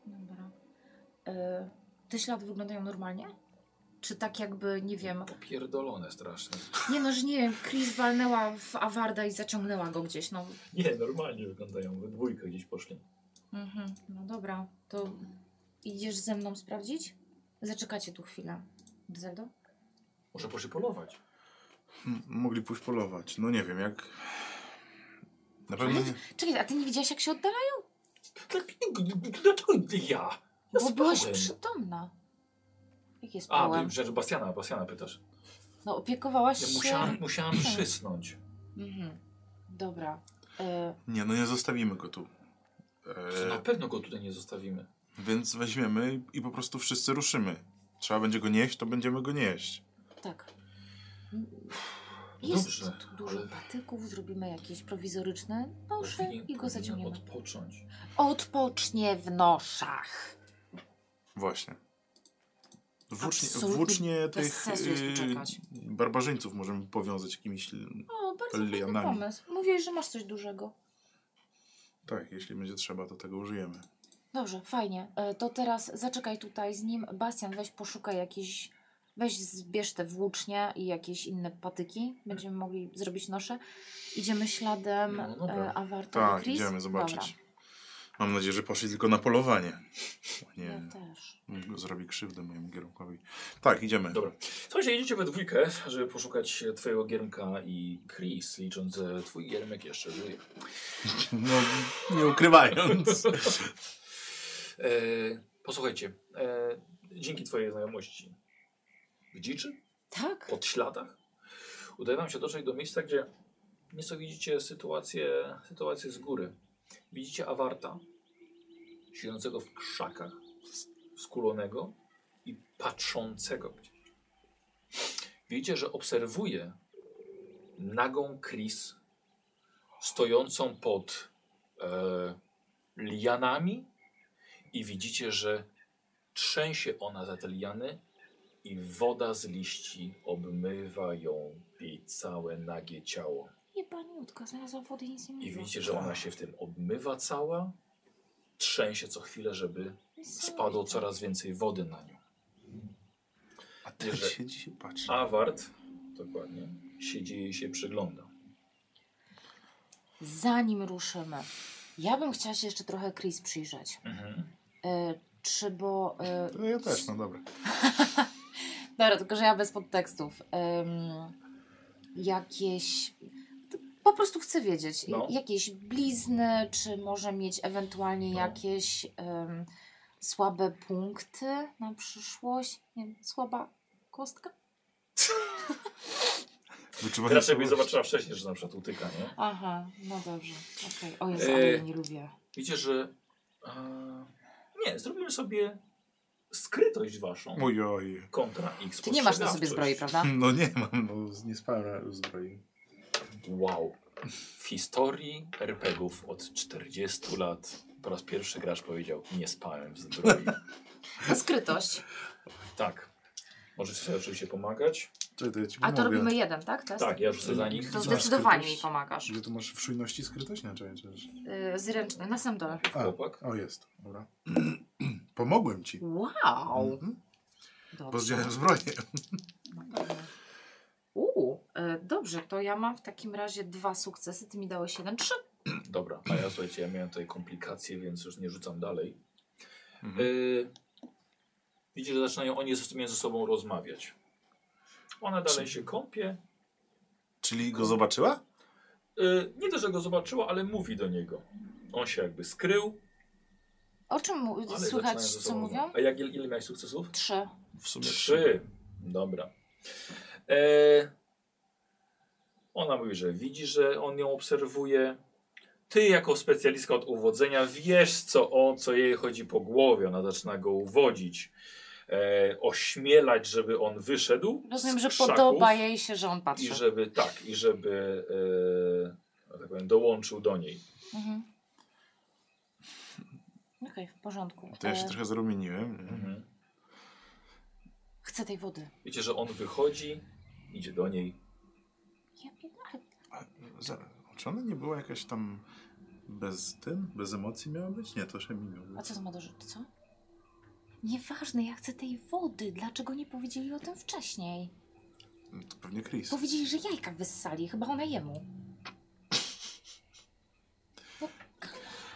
S2: Dobra. Y, te ślady wyglądają normalnie? Czy tak jakby, nie wiem...
S1: Popierdolone straszne.
S2: Nie no, że nie wiem, Chris walnęła w Awarda i zaciągnęła go gdzieś, no.
S1: Nie, normalnie wyglądają. We dwójkę gdzieś poszli.
S2: Mhm. No dobra, to idziesz ze mną sprawdzić? Zaczekacie tu chwilę. Zeldo?
S1: Może poszli polować.
S3: M- Hmm, Mogli pójść polować. No nie wiem, jak... Na pewno nie...
S2: Czekaj, a ty nie widziałaś jak się oddala?
S1: tak, Dlaczego ja? Ja
S2: Bo byłaś
S1: spałem.
S2: przytomna. Jak jest
S1: A,
S2: pałem?
S1: ty rzecz Bastiana, Bastiana pytasz.
S2: No opiekowałaś
S1: Ja
S2: się...
S1: musiałam, musiałam przysnąć.
S2: Mhm. Dobra. E,
S3: Nie, no nie zostawimy go tu.
S1: To Na
S3: E,
S1: pewno go tutaj nie zostawimy.
S3: więc weźmiemy i po prostu wszyscy ruszymy. Trzeba będzie go nieść, to będziemy go nieść.
S2: tak. Jest
S1: Dobrze,
S2: tu dużo
S1: ale-
S2: patyków, zrobimy jakieś prowizoryczne nosze
S1: Powinien-
S2: i go
S1: powinien
S2: zaciągniemy.
S1: odpocząć.
S2: Odpocznie w noszach.
S3: Właśnie. Włócznie,
S2: Absolutnie
S3: włócznie
S2: bez
S3: tych
S2: sensu jest tu
S3: y,
S2: czekać.
S3: barbarzyńców możemy powiązać jakimiś... l-
S2: O, bardzo fajny
S3: Lianami.
S2: pomysł. Mówiłeś, że masz coś dużego.
S3: Tak, jeśli będzie trzeba, to tego użyjemy.
S2: Dobrze, fajnie. E, To teraz zaczekaj tutaj z nim. Bastian, weź poszukaj jakiś. Weź zbierz te włócznie i jakieś inne patyki. Będziemy mogli zrobić nosze. Idziemy śladem
S1: No, dobra.
S2: e, Awarta i
S3: Tak,
S2: Chris.
S3: idziemy zobaczyć.
S2: Dobra.
S3: Mam nadzieję, że poszli tylko na polowanie. O
S2: Ja
S3: Nie,
S2: też.
S3: zrobi krzywdę mojemu kierunkowi. Tak, idziemy.
S1: Dobra. Słuchajcie, idziecie we dwójkę, żeby poszukać twojego Giermka i Chris, licząc, że twój Giermek jeszcze żyje. *laughs*
S3: No, nie ukrywając.
S1: E, posłuchajcie, e, dzięki twojej znajomości w dziczy,
S2: Tak?
S1: pod śladach, udaje wam się dotrzeć do miejsca, gdzie nieco widzicie sytuację, sytuację z góry. Widzicie awarta, siedzącego w krzakach, skulonego i patrzącego gdzieś. Widzicie, że obserwuje nagą Chris, stojącą pod e, lianami i widzicie, że trzęsie ona za te liany i woda z liści obmywa ją i całe nagie ciało.
S2: Nie paniutka, znalazłam wodę i nic nie
S1: I
S2: mówię.
S1: widzicie, że ona się w tym obmywa cała, trzęsie co chwilę, żeby spadło coraz więcej wody na nią.
S3: A ty
S1: Że-
S3: siedzi i patrzy.
S1: Awart, dokładnie, siedzi i się przygląda.
S2: Zanim ruszymy, ja bym chciała się jeszcze trochę Chris przyjrzeć.
S1: Mhm.
S2: Y, czy bo... Y,
S3: No ja też, no dobra.
S2: Dobra, tylko że ja bez podtekstów. Ym, jakieś. Po prostu chcę wiedzieć,
S1: No.
S2: jakieś blizny, czy może mieć ewentualnie
S1: No.
S2: jakieś ym, słabe punkty na przyszłość? Nie wiem, słaba kostka?
S3: Wyczuwanie
S1: Teraz sobie
S3: słabości.
S1: zobaczyła wcześniej, że na przykład utyka, nie?
S2: Aha, no dobrze. Okej, o Jezu,
S1: E,
S2: ale ja nie lubię.
S1: Widzicie, że... E, nie, zrobimy sobie skrytość waszą
S3: Mój oj.
S1: kontra X.
S2: Ty nie masz na sobie zbroi, prawda?
S3: No nie mam, bo z- nie spałem zbroi.
S1: Wow. W historii RPGów od 40 lat po raz pierwszy gracz powiedział nie spałem w zbroi.
S2: *laughs* Na skrytość.
S1: tak. Możecie sobie oczywiście pomagać.
S3: Czekaj, to ja ci
S2: A to
S3: pomogę.
S2: robimy jeden, tak? Test?
S1: Tak, ja rzucę za nich.
S2: To
S3: Na
S2: zdecydowanie mi
S3: skrytość.
S2: pomagasz.
S3: Że tu masz w czujności skrytość? Nie, czekaj, czekaj.
S2: Yy, zręczny, na sam dole.
S3: A,
S1: Chłopak.
S3: O, jest. Dobra. *clears throat* Pomogłem ci.
S1: Mm.
S2: Wow!
S3: Mhm. Bo
S2: Dobrze.
S3: zdjąłem zbroję.
S2: Uuu, e, dobrze, to ja mam w takim razie dwa sukcesy, ty mi dałeś jeden, trzy.
S1: Dobra, a ja słuchajcie, ja miałem tutaj komplikacje, więc już nie rzucam dalej.
S3: Mhm.
S1: Yy, widzicie, że zaczynają oni ze- między sobą rozmawiać. Ona dalej się kąpie.
S3: Czyli go zobaczyła?
S1: Yy, nie to, że go zobaczyła, ale mówi do niego. On się jakby skrył.
S2: O czym mu-
S1: Ale zaczynają
S2: słychać,
S1: ze
S2: co
S1: sobą
S2: mówią?
S1: rozmawiać. A jak, ile, ile miałeś sukcesów?
S2: Trzy.
S3: W sumie
S1: Trzy. Dobra. E, ona mówi, że widzi, że on ją obserwuje. Ty jako specjalistka od uwodzenia wiesz, co, o co jej chodzi po głowie. Ona zaczyna go uwodzić. E, ośmielać, żeby on wyszedł.
S2: Rozumiem,
S1: z
S2: że
S1: krzaków
S2: podoba jej się, że on patrzy.
S1: I żeby tak, i żeby e, że tak powiem, dołączył do niej.
S2: Mhm. Okej, w porządku.
S3: To ja się
S2: E,
S3: trochę zarumieniłem. nie?
S2: Chcę tej wody.
S1: Wiecie, że on wychodzi, idzie do niej.
S2: Ja, pier- ale
S3: A, za- Czy ona nie była jakaś tam bez tym? Bez emocji miała być? Nie, to się mi miało
S2: A
S3: być.
S2: co to ma do rzeczy, co? Nieważne, ja chcę tej wody. Dlaczego nie powiedzieli o tym wcześniej?
S3: No To pewnie Chris.
S2: Powiedzieli, że jajka wyssali, chyba ona jemu.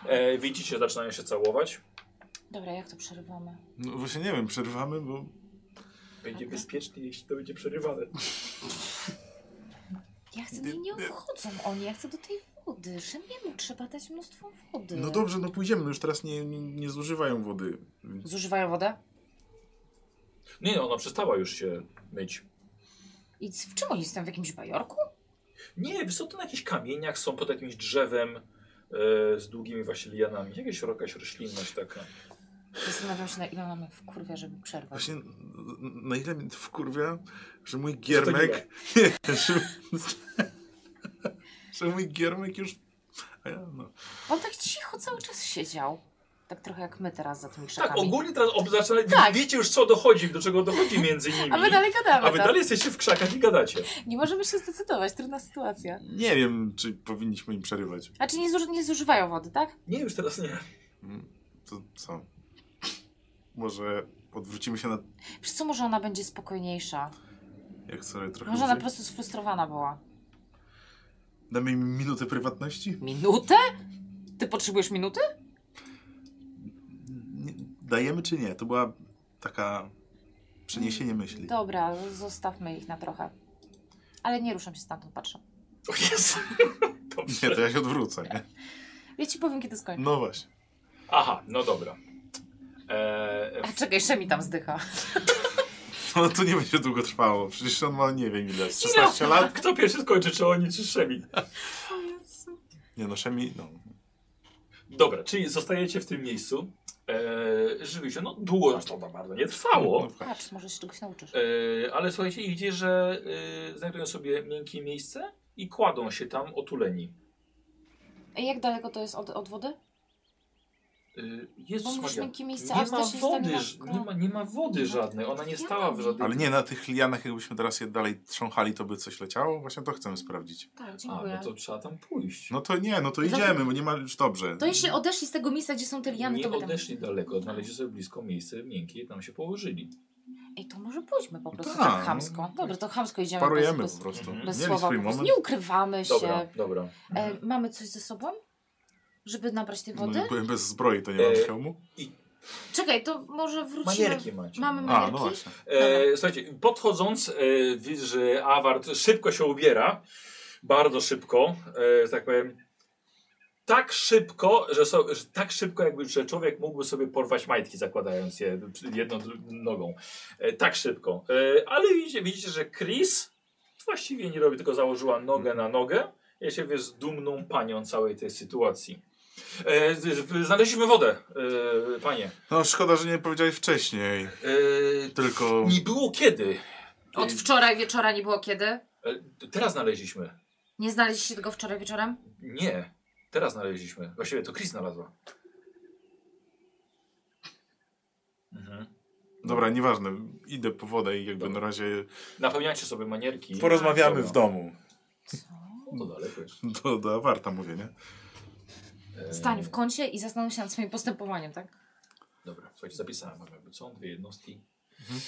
S1: E, widzicie, zaczynają się całować.
S2: Dobra, jak to przerywamy?
S3: No właśnie nie wiem, przerwamy, bo...
S1: Będzie
S2: Tak.
S1: bezpiecznie, jeśli to będzie przerywane.
S2: Ja chcę, nie, nie obchodzą oni, ja chcę do tej wody. Szymiemu trzeba dać mnóstwo wody.
S3: No dobrze, no pójdziemy, już teraz nie, nie, nie zużywają wody.
S2: Zużywają wodę?
S1: Nie, no, ona przestała już się myć.
S2: I c- w czym oni są? W jakimś bajorku?
S1: Nie, są to na jakichś kamieniach, są pod jakimś drzewem e, z długimi właśnie lianami. Jakaś jakaś roślinność taka. Tak,
S2: Zastanawiam się, na ile mamy w kurwie, żeby przerwać.
S3: Właśnie n- n- na ile mnie to wkurwia, że mój
S1: Że
S3: giermek... *laughs* Nie, że, że mój giermek już... A ja, no.
S2: On tak cicho cały czas siedział. Tak trochę jak my teraz za tymi
S1: Tak,
S2: krzakami.
S1: ogólnie teraz ob- zaczyna,
S2: Tak.
S1: wiecie już co dochodzi, do czego dochodzi
S2: *laughs*
S1: między nimi.
S2: A my dalej gadamy,
S1: A wy
S2: tak?
S1: dalej jesteście w krzakach i gadacie.
S2: Nie możemy się zdecydować, trudna sytuacja.
S3: Nie wiem, czy powinniśmy im przerywać.
S2: A czy nie, zuży- nie zużywają wody, tak?
S1: Nie, już teraz nie.
S3: Mm, To co? Może odwrócimy się na...
S2: Wiesz co, może ona będzie spokojniejsza.
S3: Jak sobie trochę...
S2: Może ona po
S3: luźniej?
S2: prostu sfrustrowana była.
S3: Damy im minutę prywatności?
S2: Minutę? Ty potrzebujesz minuty?
S3: dajemy czy nie. To była taka przeniesienie myśli.
S2: Dobra, zostawmy ich na trochę. Ale nie ruszam się stamtąd, patrzę.
S1: O Jezu.
S3: Nie,
S1: Dobrze.
S3: to ja się odwrócę, nie?
S2: Ja ci powiem, kiedy skończę.
S3: No właśnie. *laughs*
S1: Aha, no dobra. E,
S2: A czekaj, jeszcze mi tam zdycha.
S3: No to nie będzie długo trwało. Przecież on ma, nie wiem ile, z
S2: Ile?
S3: 16 lat?
S1: kto pierwszy skończy, czy oni, czy Szemi?
S3: Nie no, Szemi, no.
S1: Dobra, czyli zostajecie w tym miejscu. E, żywi się, no długo aż to bardzo nie trwało.
S3: No,
S2: Patrz, może się czegoś nauczysz.
S1: E, ale słuchajcie, idzie, że e, znajdują sobie miękkie miejsce i kładą się tam otuleni.
S2: Ej, Jak daleko to jest od, od wody?
S1: E,
S2: Bo
S1: Jezus
S2: mówisz
S1: Maria,
S2: miękkie miejsce,
S1: nie
S2: aż
S1: ma,
S2: to się tak stanie
S1: wody,
S2: na
S1: ż-
S2: krok.
S1: nie, ma, nie ma
S2: No,
S1: wody żadnej, ona nie stała w żadnej...
S3: no, Ale nie, na tych lianach jakbyśmy teraz je dalej trząchali, to by coś leciało? Właśnie to chcemy sprawdzić.
S2: Tak,
S1: A,
S2: dziękuję.
S1: no to trzeba tam pójść.
S3: No to nie, no to
S2: Dlatego-
S3: idziemy, bo nie ma już dobrze.
S2: To jeśli odeszli z tego miejsca, gdzie są te liany,
S1: No, nie
S2: to by tam...
S1: odeszli daleko, znaleźli sobie blisko miejsce miękkie i tam się położyli.
S2: Ej, to może pójdźmy po prostu
S3: Tak,
S2: tak,
S3: no.
S2: chamsko. Dobra, to chamsko idziemy.
S3: Parujemy
S2: bez,
S3: po
S2: bez,
S3: prostu.
S1: Mhm.
S2: bez
S3: Mieli
S2: słowa.
S3: swój
S2: po prostu.
S3: moment.
S2: Nie ukrywamy się.
S1: Dobra, dobra. Mhm.
S2: E, mamy coś ze sobą? Żeby nabrać tej wody?
S3: No, byłem bez zbroi, to nie mam
S1: E,
S3: hełmu?
S2: Czekaj, to może wrócimy.
S1: Manierki macie.
S2: Mamy ma-
S3: A,
S2: manierki?
S3: no właśnie.
S1: E, słuchajcie, podchodząc, e, widzisz, że Awart szybko się ubiera. Bardzo szybko, e, że tak powiem. Tak szybko, że, so, że tak szybko, jakby że człowiek mógłby sobie porwać majtki, zakładając je jedną dru- nogą. E, tak szybko. E, ale widzicie, widzicie, że Chris właściwie nie robi, tylko założyła nogę na nogę. Ja się wiesz, z dumną panią całej tej sytuacji. E, z- z- znaleźliśmy wodę, e, panie.
S3: No szkoda, że nie powiedziałeś wcześniej.
S1: E,
S3: Tylko...
S1: nie było kiedy.
S2: Od wczoraj wieczora nie było kiedy?
S1: E, Teraz znaleźliśmy.
S2: Nie znaleźliście tego wczoraj wieczorem?
S1: Nie, teraz znaleźliśmy. Właściwie to Chris znalazła. Mhm.
S3: Dobra, nieważne. Idę po wodę i jakby
S1: Dobra.
S3: na razie
S1: Napełniacie sobie manierki.
S3: porozmawiamy
S1: Dobra.
S3: w domu.
S1: No to daleko jest.
S3: Do, do warta mówię, nie?
S1: E,
S2: Stań w kącie i zastanów się nad swoim postępowaniem, tak?
S1: Dobra, słuchajcie, zapisałem wam jakby co? Dwie jednostki.
S3: Mhm.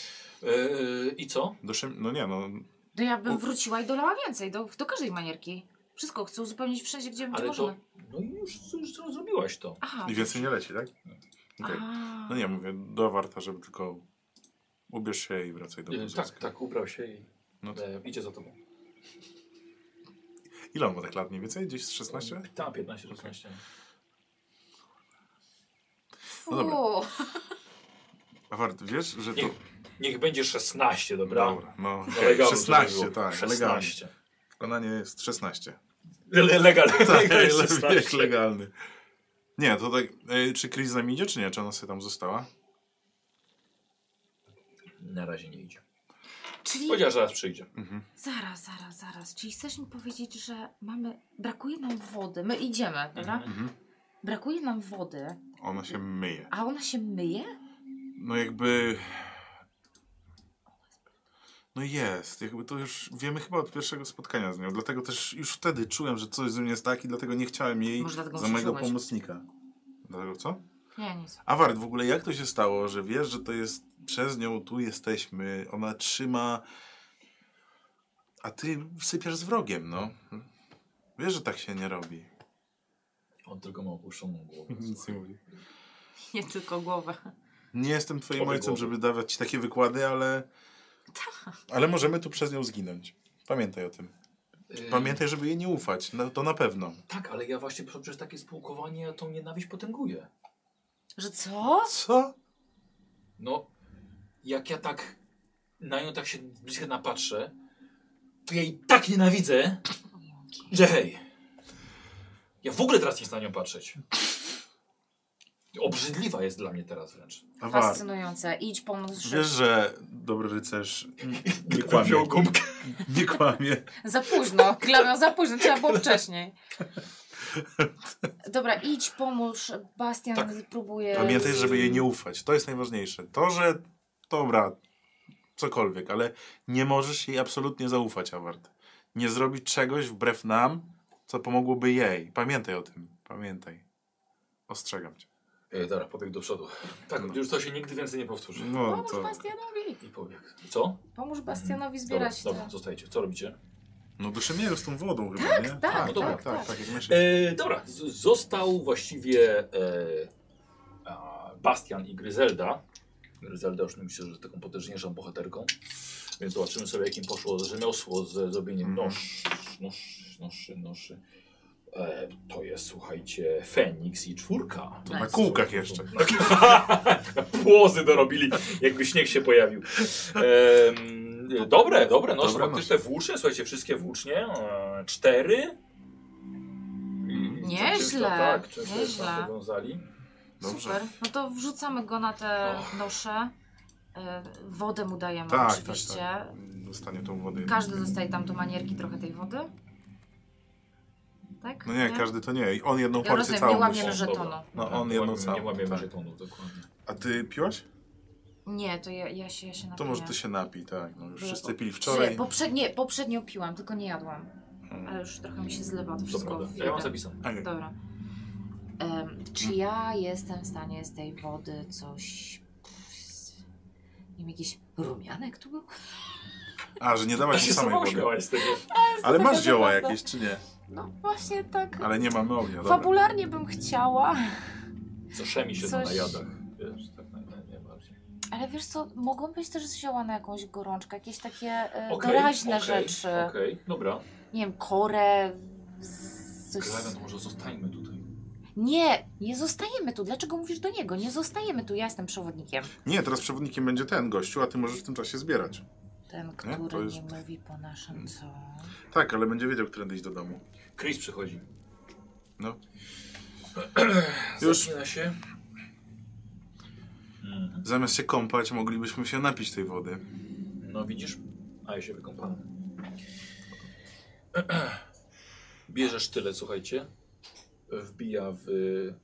S1: E, I co?
S3: Do szem... No nie, no.
S2: No ja bym
S3: U-
S2: wróciła i dolała więcej, do, do każdej manierki. Wszystko chcę uzupełnić wszędzie, gdzie będzie
S1: Ale
S2: możemy.
S1: to. No i już, już to zrobiłaś to.
S2: Aha.
S3: I więcej nie leci, tak? Okej.
S2: A.
S3: No nie, mówię do warta, żeby tylko ubierz się i wracaj do
S1: E,
S3: domu.
S1: tak, tak, ubrał się i
S3: No to-
S1: e, idzie za tobą.
S3: Ile on ma tak lat mniej więcej? Gdzieś z 16?
S1: Tam 15, 16.
S3: No dobra.
S2: Fu.
S3: A wart, wiesz, że to...
S1: Niech, niech będzie 16, dobra?
S3: Dobra, no.
S1: No,
S3: okej. *laughs*
S1: legalnie,
S3: 16,
S1: żeby było.
S3: tak. 16.
S1: 16.
S3: Wykonanie jest 16.
S1: Le- Legal. *laughs*
S3: Tak,
S1: legal
S3: le-
S1: 16.
S3: wiek legalny. Nie, to tak... E, czy Chris z nami idzie, czy nie? Czy ona sobie tam została?
S1: Na razie nie idzie.
S2: Czyli
S1: Powiedziała, że zaraz przyjdzie.
S2: zaraz, zaraz, zaraz. Czyli chcesz mi powiedzieć, że mamy. Brakuje nam wody. My idziemy, prawda?
S3: Mhm.
S2: Brakuje nam wody,
S3: Ona się myje.
S2: a ona się myje?
S3: No jakby... No jest, jakby to już wiemy chyba od pierwszego spotkania z nią, dlatego też już wtedy czułem, że coś z nią jest tak i dlatego nie chciałem jej
S2: Może dlatego
S3: za
S2: muszę
S3: mojego
S2: szukać.
S3: pomocnika. Dlatego co?
S2: Nie, nic.
S3: Award, w ogóle jak to się stało, że wiesz, że to jest przez nią tu jesteśmy, ona trzyma, a ty sypiasz z wrogiem, no. Wiesz, że tak się nie robi.
S1: On tylko ma opuszczoną głowę.
S3: Nic nie mówi.
S2: Nie tylko głowę.
S3: Nie jestem twoim
S1: Obie
S3: ojcem,
S1: głowy.
S3: żeby dawać ci takie wykłady, ale... Ale możemy tu przez nią zginąć. Pamiętaj o tym. *laughs*
S1: Yy,
S3: Pamiętaj, żeby jej nie ufać. No, to na pewno.
S1: Tak, ale ja właśnie przez takie spółkowanie ja tą nienawiść potęguję.
S2: Że co?
S3: Co?
S1: No, jak ja tak na nią tak się z bliska napatrzę, to ja jej tak nienawidzę, że hej. Ja w ogóle teraz nie chcę na nią patrzeć. Obrzydliwa jest dla mnie teraz wręcz.
S3: Award.
S2: Fascynujące. Idź pomóc.
S3: Wiesz,
S2: Że...
S3: że dobry rycerz nie kłamie.
S1: gumkę.
S3: Nie kłamie.
S2: Za późno. Klamią za późno. Trzeba było wcześniej. Dobra, idź pomóż. Bastian
S1: Tak.
S2: próbuje.
S3: Pamiętaj, żeby jej nie ufać. To jest najważniejsze. To, że dobra, cokolwiek, ale nie możesz jej absolutnie zaufać, Award. Nie zrobi czegoś wbrew nam, co pomogłoby jej. Pamiętaj o tym. Pamiętaj. Ostrzegam cię.
S1: Ej, E, dobra, pobiegł do przodu. Tak, już to się nigdy więcej nie powtórzy.
S3: No
S2: Pomóż
S3: to.
S2: Bastianowi.
S1: I pobiegł. Co?
S2: Pomóż Bastianowi zbierać
S1: Dobra, dobra,
S2: te.
S1: zostajecie. Co robicie?
S3: No dyszymiego z tą wodą chyba, tak, nie?
S2: tak,
S1: no dobra,
S3: tak, tak,
S2: tak.
S3: tak. jak myślisz.
S1: E, dobra, z- został właściwie e, a, Bastian i Gryzelda. Gryzelda już myślę, że jest taką potężniejszą bohaterką. Więc zobaczymy sobie, jakim poszło rzemiosło z zrobieniem
S3: Mhm.
S1: nosz, nosz, noszy, noszy. E, to jest, słuchajcie, Feniks i czwórka.
S2: E,
S3: Na kółkach jeszcze.
S1: Płozy dorobili, jakby śnieg się pojawił. Em, dobre, dobre nosze,
S3: Dobre
S1: faktycznie włócznie, słuchajcie, wszystkie włócznie. E, cztery. I
S2: Nieźle,
S1: często Tak, często jest
S2: nieźle.
S1: tam powiązali.
S3: Dobrze.
S2: Super. No to wrzucamy go na te
S1: Och.
S2: nosze. Y, Wodę mu dajemy
S3: Tak, tak,
S2: oczywiście.
S3: Dostanie tą wodę.
S2: Każdy dostaje tam do manierki trochę tej wody. Tak?
S3: No nie, każdy to nie. I on jedną
S2: Ja
S3: porcję
S2: rozumiem, nie
S3: całą musi.
S2: łamiemy
S1: muszą,
S2: żetonu.
S1: dobra.
S3: No
S1: Dobra,
S3: on
S1: nie
S3: jedną
S1: Tak, łamiemy-
S3: całą.
S1: Nie łamiemy
S3: tak.
S1: żetonów, dokładnie.
S3: A ty piłaś?
S2: Nie, to ja, ja się, ja się
S3: To
S2: napiję.
S3: może ty się napij, tak. No już
S2: Bo-
S3: wszyscy pili
S2: Nie,
S3: wczoraj.
S2: Poprzednie, poprzednio piłam, tylko nie jadłam. Ale
S3: Mm.
S2: już trochę mi się zlewa to wszystko.
S1: Dobra, ja
S2: w
S1: mam
S2: jeden.
S1: zapisane.
S3: Ej,
S2: Dobra. Em, czy ja jestem w stanie z tej wody coś... Nie wiem, jakiś rumianek tu był?
S3: A, że nie dałaś mi samej wody.
S1: z tego.
S3: Ale
S2: taka
S3: masz zioła
S2: zabawa.
S3: jakieś, czy nie?
S2: No właśnie tak.
S3: Ale nie mamy ognia, dobra.
S2: Fabularnie bym chciała.
S1: Co szemi się
S2: Coś-
S1: na jadach. Wiesz, tak naj- naj- najbardziej.
S2: Ale wiesz co, mogą być też zioła na jakąś gorączkę, jakieś takie e,
S1: Okej,
S2: doraźne
S1: okej,
S2: rzeczy.
S1: Okej, dobra.
S2: Nie wiem, korę, z- coś...
S1: Krawian, to może zostańmy tutaj.
S2: Nie, nie zostajemy tu. Dlaczego mówisz do niego? Nie zostajemy tu, ja jestem przewodnikiem.
S3: Nie, teraz przewodnikiem będzie ten gościu, a ty możesz w tym czasie zbierać.
S2: Ten,
S3: Nie, to
S2: który nie,
S3: jest-
S2: mówi po naszym co.
S3: Tak, ale będzie wiedział, którędy iść do domu.
S1: Chris przychodzi. *clears throat*
S3: No.
S1: Już.
S3: Już.
S1: Zaczyna się. Mhm.
S3: Zamiast się kąpać, moglibyśmy się napić tej wody.
S1: No widzisz? A ja się wykąpałem. *clears throat* Bierzesz tyle, słuchajcie. Wbija w y,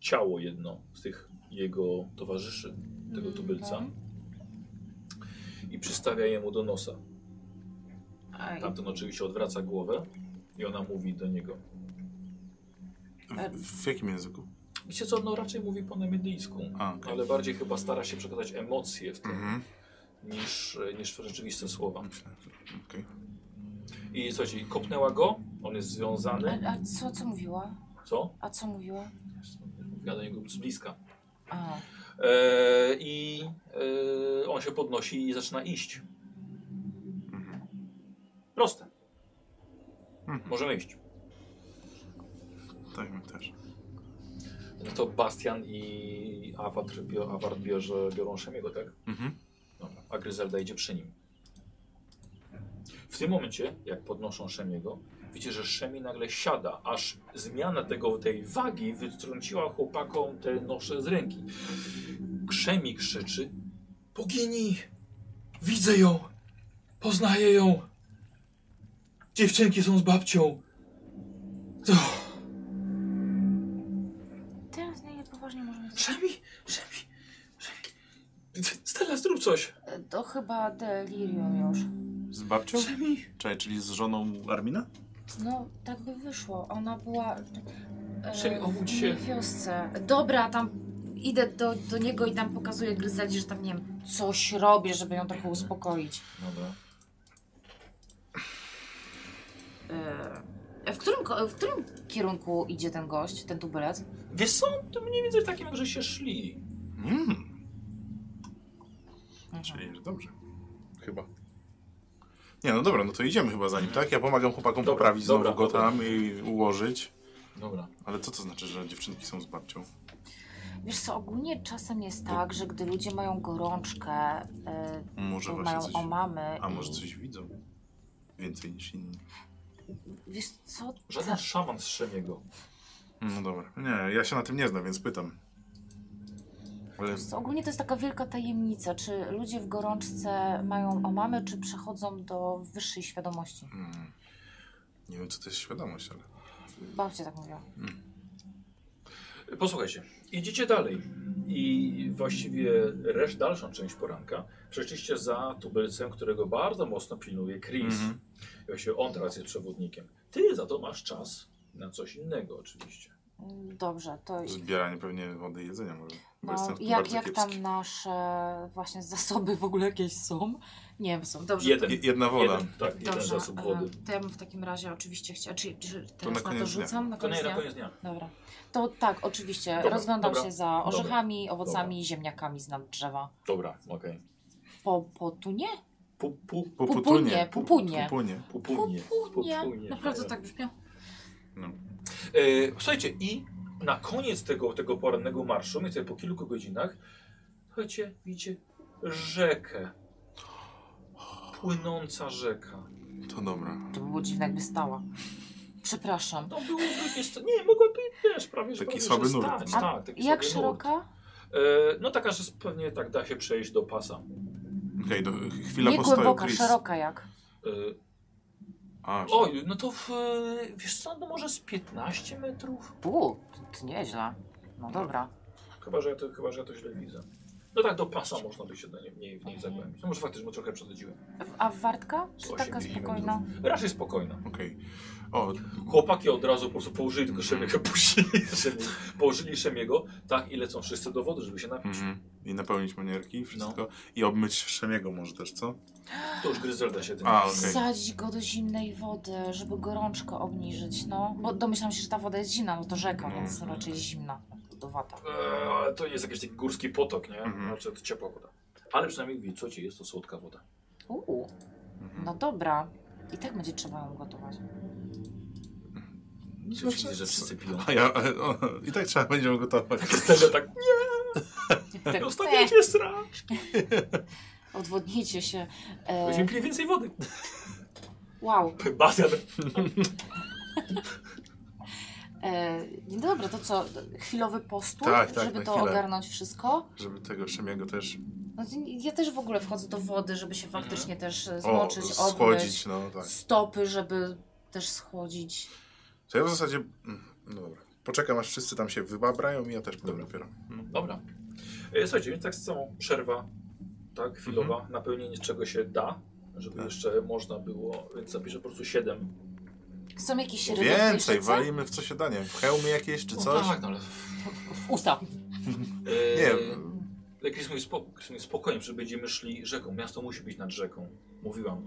S1: ciało jedno z tych jego towarzyszy, tego tubylca. I przystawia jemu do nosa.
S2: A, i-
S1: Tamten oczywiście odwraca głowę i ona mówi do niego.
S3: W, w jakim języku?
S1: Wiecie co, no raczej mówi po namidlijsku,
S3: A, okej.
S1: ale bardziej chyba stara się przekazać emocje w tym
S3: Mhm.
S1: niż, niż rzeczywiste słowa.
S3: Myślałem, że- okej.
S1: I słuchajcie, i kopnęła go, on jest związany.
S2: a, a co, co mówiła?
S1: Co?
S2: A co mówiła?
S1: Mówiła do niego z bliska.
S2: A,
S1: Eee, I eee, on się podnosi i zaczyna iść.
S3: Mhm.
S1: Proste.
S3: Mhm.
S1: Możemy iść.
S3: Tak, mi też.
S1: No to Bastian i Awart, bio, Awart bierze, biorą Szemiego, tak?
S3: Mhm.
S1: Dobra, a Gryzelda idzie przy nim. W tym momencie, jak podnoszą Szemiego, widzicie, że Szemi nagle siada, aż zmiana tego, tej wagi wytrąciła chłopakom te nosze z ręki. Szemi krzyczy, bogini, widzę ją, poznaję ją. Dziewczynki są z babcią. To...
S2: teraz na ile poważnie możemy.
S1: Szemi, Szemi, Szemi. Stella, zrób coś.
S2: E, To chyba delirium już.
S3: Z babcią?
S1: Szemi.
S3: Czekaj, czyli z żoną Armina?
S2: No, tak by wyszło. Ona była. e,
S1: Czyli obudź
S2: w
S1: się.
S2: wiosce. Dobra, tam idę do, do niego i tam pokazuję Gryzeldzie, że tam nie wiem, coś robię, żeby ją trochę uspokoić.
S1: Dobra.
S2: E, w, którym, ko- w którym kierunku idzie ten gość, ten tubylec?
S1: Wiesz co, to mniej więcej takim, jak że się szli.
S3: Mm.
S2: Mhm.
S3: Czyli, że dobrze. Chyba. Nie, no dobra, no to idziemy chyba za nim, tak? Ja pomagam chłopakom
S1: Dobra,
S3: poprawić znowu
S1: dobra,
S3: go
S1: dobra.
S3: tam i ułożyć.
S1: Dobra.
S3: Ale co to znaczy, że dziewczynki są z babcią?
S2: Wiesz co, ogólnie czasem jest tak, że gdy ludzie mają gorączkę, e,
S3: Może
S2: to
S3: właśnie
S2: mają
S3: coś...
S2: omamy.
S3: A
S2: i-
S3: może coś widzą? Więcej niż inni.
S2: Wiesz co?
S1: Żaden szaman z Szemiego.
S3: No dobra. Nie, ja się na tym nie znam, więc pytam. Ale
S2: Wiesz co, Ogólnie to jest taka wielka tajemnica, czy ludzie w gorączce mają omamy, czy przechodzą do wyższej świadomości.
S3: Mm. Nie wiem, co to jest świadomość, ale.
S2: Babcia tak mówiła.
S1: Posłuchajcie, idziecie dalej i właściwie reszt, dalszą część poranka przeszliście za tubylcem, którego bardzo mocno pilnuje Chris.
S3: Mhm.
S1: I Właściwie on teraz jest przewodnikiem. Ty za to masz czas na coś innego oczywiście.
S2: Dobrze, to
S3: Zbieranie pewnie wody i jedzenia może.
S2: no,
S3: Bo jestem w tym
S2: jak,
S3: bardzo
S2: jak
S3: kiepski.
S2: tam nasze właśnie zasoby w ogóle jakieś są? Nie wiem, są. Dobrze.
S1: Jeden.
S3: Je- Jedna woda.
S1: Jeden, tak, jeden
S2: Dobrze,
S1: zasób wody.
S2: e, to ja bym w takim razie oczywiście chciała. Czy, czy
S3: na
S2: teraz na, to
S3: koniec dnia.
S2: rzucam? Na
S1: To
S2: koniec
S1: nie, na
S2: dnia?
S1: koniec dnia.
S2: Dobra. To tak, oczywiście.
S1: Dobra,
S2: Rozglądam
S1: dobra,
S2: się za orzechami, owocami,
S1: dobra.
S2: ziemniakami z nad drzewa.
S1: Dobra, okej.
S2: Po, po tunie?
S1: Pu, pu,
S2: Pupunie, pupunie.
S3: Pupunie.
S1: pupunie. pupunie.
S2: Naprawdę tak brzmiało.
S3: No.
S1: E, słuchajcie, i na koniec tego, tego porannego marszu, mniej więcej po kilku godzinach, słuchajcie, widzicie rzekę. Płynąca rzeka.
S3: To dobra.
S2: To by było dziwne, jakby stała. Przepraszam.
S1: To było jakieś... Nie, mogłaby też prawie że
S3: Taki
S1: prawie, że
S3: słaby nurt.
S1: stać,
S3: A
S1: tak, taki
S2: Jak
S1: słaby nurt.
S2: szeroka?
S1: E, no taka, że pewnie tak da się przejść do pasa.
S3: Okej, do chwila
S2: Nie
S3: postoju,
S2: głęboka,
S3: Chris.
S2: szeroka jak.
S1: E,
S3: A,
S1: oj, no to w, e, wiesz co, no może z 15 metrów?
S2: U, to, to nieźle. No dobra.
S1: Chyba, że ja to, chyba, że ja to źle widzę. No tak, do pasa można by się do niej, w niej, w niej
S2: Mhm.
S1: zagłębić. No może faktycznie, bo trochę przesadziłem.
S2: A wartka? Czy
S1: Osiem
S2: taka
S3: milimetrów.
S2: spokojna?
S1: Raczej spokojna.
S3: okej. O,
S1: Chłopaki od razu po prostu położyli tylko Szemiego, *laughs* puścili Szemi, położyli Szemiego, tak, i lecą wszyscy do wody, żeby się napić.
S3: mhm. No. I napełnić manierki i wszystko. I obmyć Szemiego może też, co?
S1: To już Gryzelda się tym...
S3: A, okej.
S2: Wsadzić go do zimnej wody, żeby gorączkę obniżyć, no. Bo domyślam się, że ta woda jest zimna, no to rzeka,
S3: No.
S2: więc raczej zimna. Lodowata.
S1: Eee, ale to nie jest jakiś taki górski potok, nie?
S3: Mhm.
S1: Znaczy to ciepła woda. Ale przynajmniej wiecie, co ci jest to słodka woda.
S2: Uuu,
S3: Mhm.
S2: no dobra. I tak będzie trzeba ją
S3: *laughs*
S2: gotować.
S1: Czy
S2: No
S3: Znaczy,
S1: widzisz, że wszyscy piją? *laughs*
S3: A ja, e, o, I tak trzeba będzie gotować.
S1: Wtedy tak,
S2: Tak,
S1: nie,
S2: eh,
S1: ostatnio strasz.
S2: odwodnijcie się.
S1: Będziemy
S2: E,
S1: pili więcej wody. *laughs*
S2: wow.
S1: Basia,
S2: E, dobra, to co? Chwilowy postój,
S3: Tak, tak,
S2: żeby
S3: na
S2: to
S3: chwilę.
S2: ogarnąć wszystko?
S3: Żeby tego Szemiego też
S2: No, ja też w ogóle wchodzę do wody, żeby się faktycznie też e,
S3: Mhm. o,
S2: zmoczyć,
S3: schłodzić. No, tak.
S2: obmyć. Stopy, żeby też schłodzić.
S3: To ja w zasadzie... mm, No dobra. Poczekam aż wszyscy tam się wybabrają i ja też będę
S1: Dobra.
S3: dopiero.
S1: Dobra. E, Słuchajcie, więc tak samo przerwa, tak, chwilowa, napełnienie czego się da, żeby
S3: Mhm. Tak.
S1: jeszcze można było, więc zapiszę po prostu 7.
S2: Są jakieś ryby w tej
S3: Więcej,
S2: sztuce?
S3: walimy w co się da, nie wiem, w hełmy jakieś czy coś?
S1: tak, no ale...
S2: W usta.
S1: E,
S3: Nie,
S1: Jak jest mój spok- Chris mówi, spokojnie, że będziemy szli rzeką. Miasto musi być nad rzeką. Mówiłam.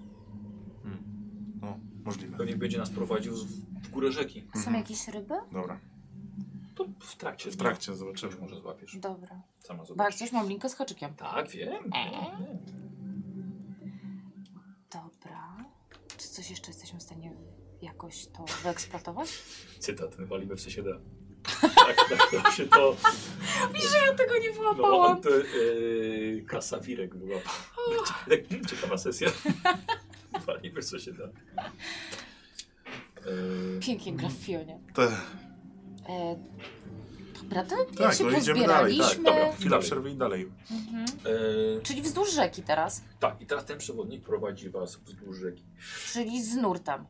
S3: no, możliwe.
S1: Pewnie będzie nas prowadził z- w górę rzeki.
S2: Są
S3: Mhm.
S2: jakieś ryby?
S3: Dobra,
S1: To w trakcie.
S3: w trakcie
S1: Czegoś
S3: zobaczymy.
S1: może złapiesz.
S2: Dobra.
S1: Sama
S2: Bo
S1: zobaczysz.
S2: coś mam linkę z haczykiem.
S1: Tak, wiem. wiem.
S2: Dobra. Czy coś jeszcze jesteśmy w stanie jakoś to wyeksploatować?
S1: Cytat, walimy w sensie da. Tak, *laughs* tak, tak się to...
S2: Ja tego nie
S1: No, to yy, kasa wirek była. *laughs* Będzie Ciekawa
S2: *laughs*
S1: sesja. Walimy, co się da. Yy,
S2: Pięknie gra w
S3: Mhm.
S2: Fionie.
S3: Te,
S2: E, dobra, to jak
S3: tak,
S2: się
S3: no idziemy dalej, tak.
S2: pozbieraliśmy.
S1: Dobra.
S3: Chwila przerwy i dalej.
S2: Mhm.
S1: yy,
S2: Czyli wzdłuż rzeki teraz.
S1: tak, i teraz ten przewodnik prowadzi was wzdłuż rzeki.
S2: Czyli z nurtem.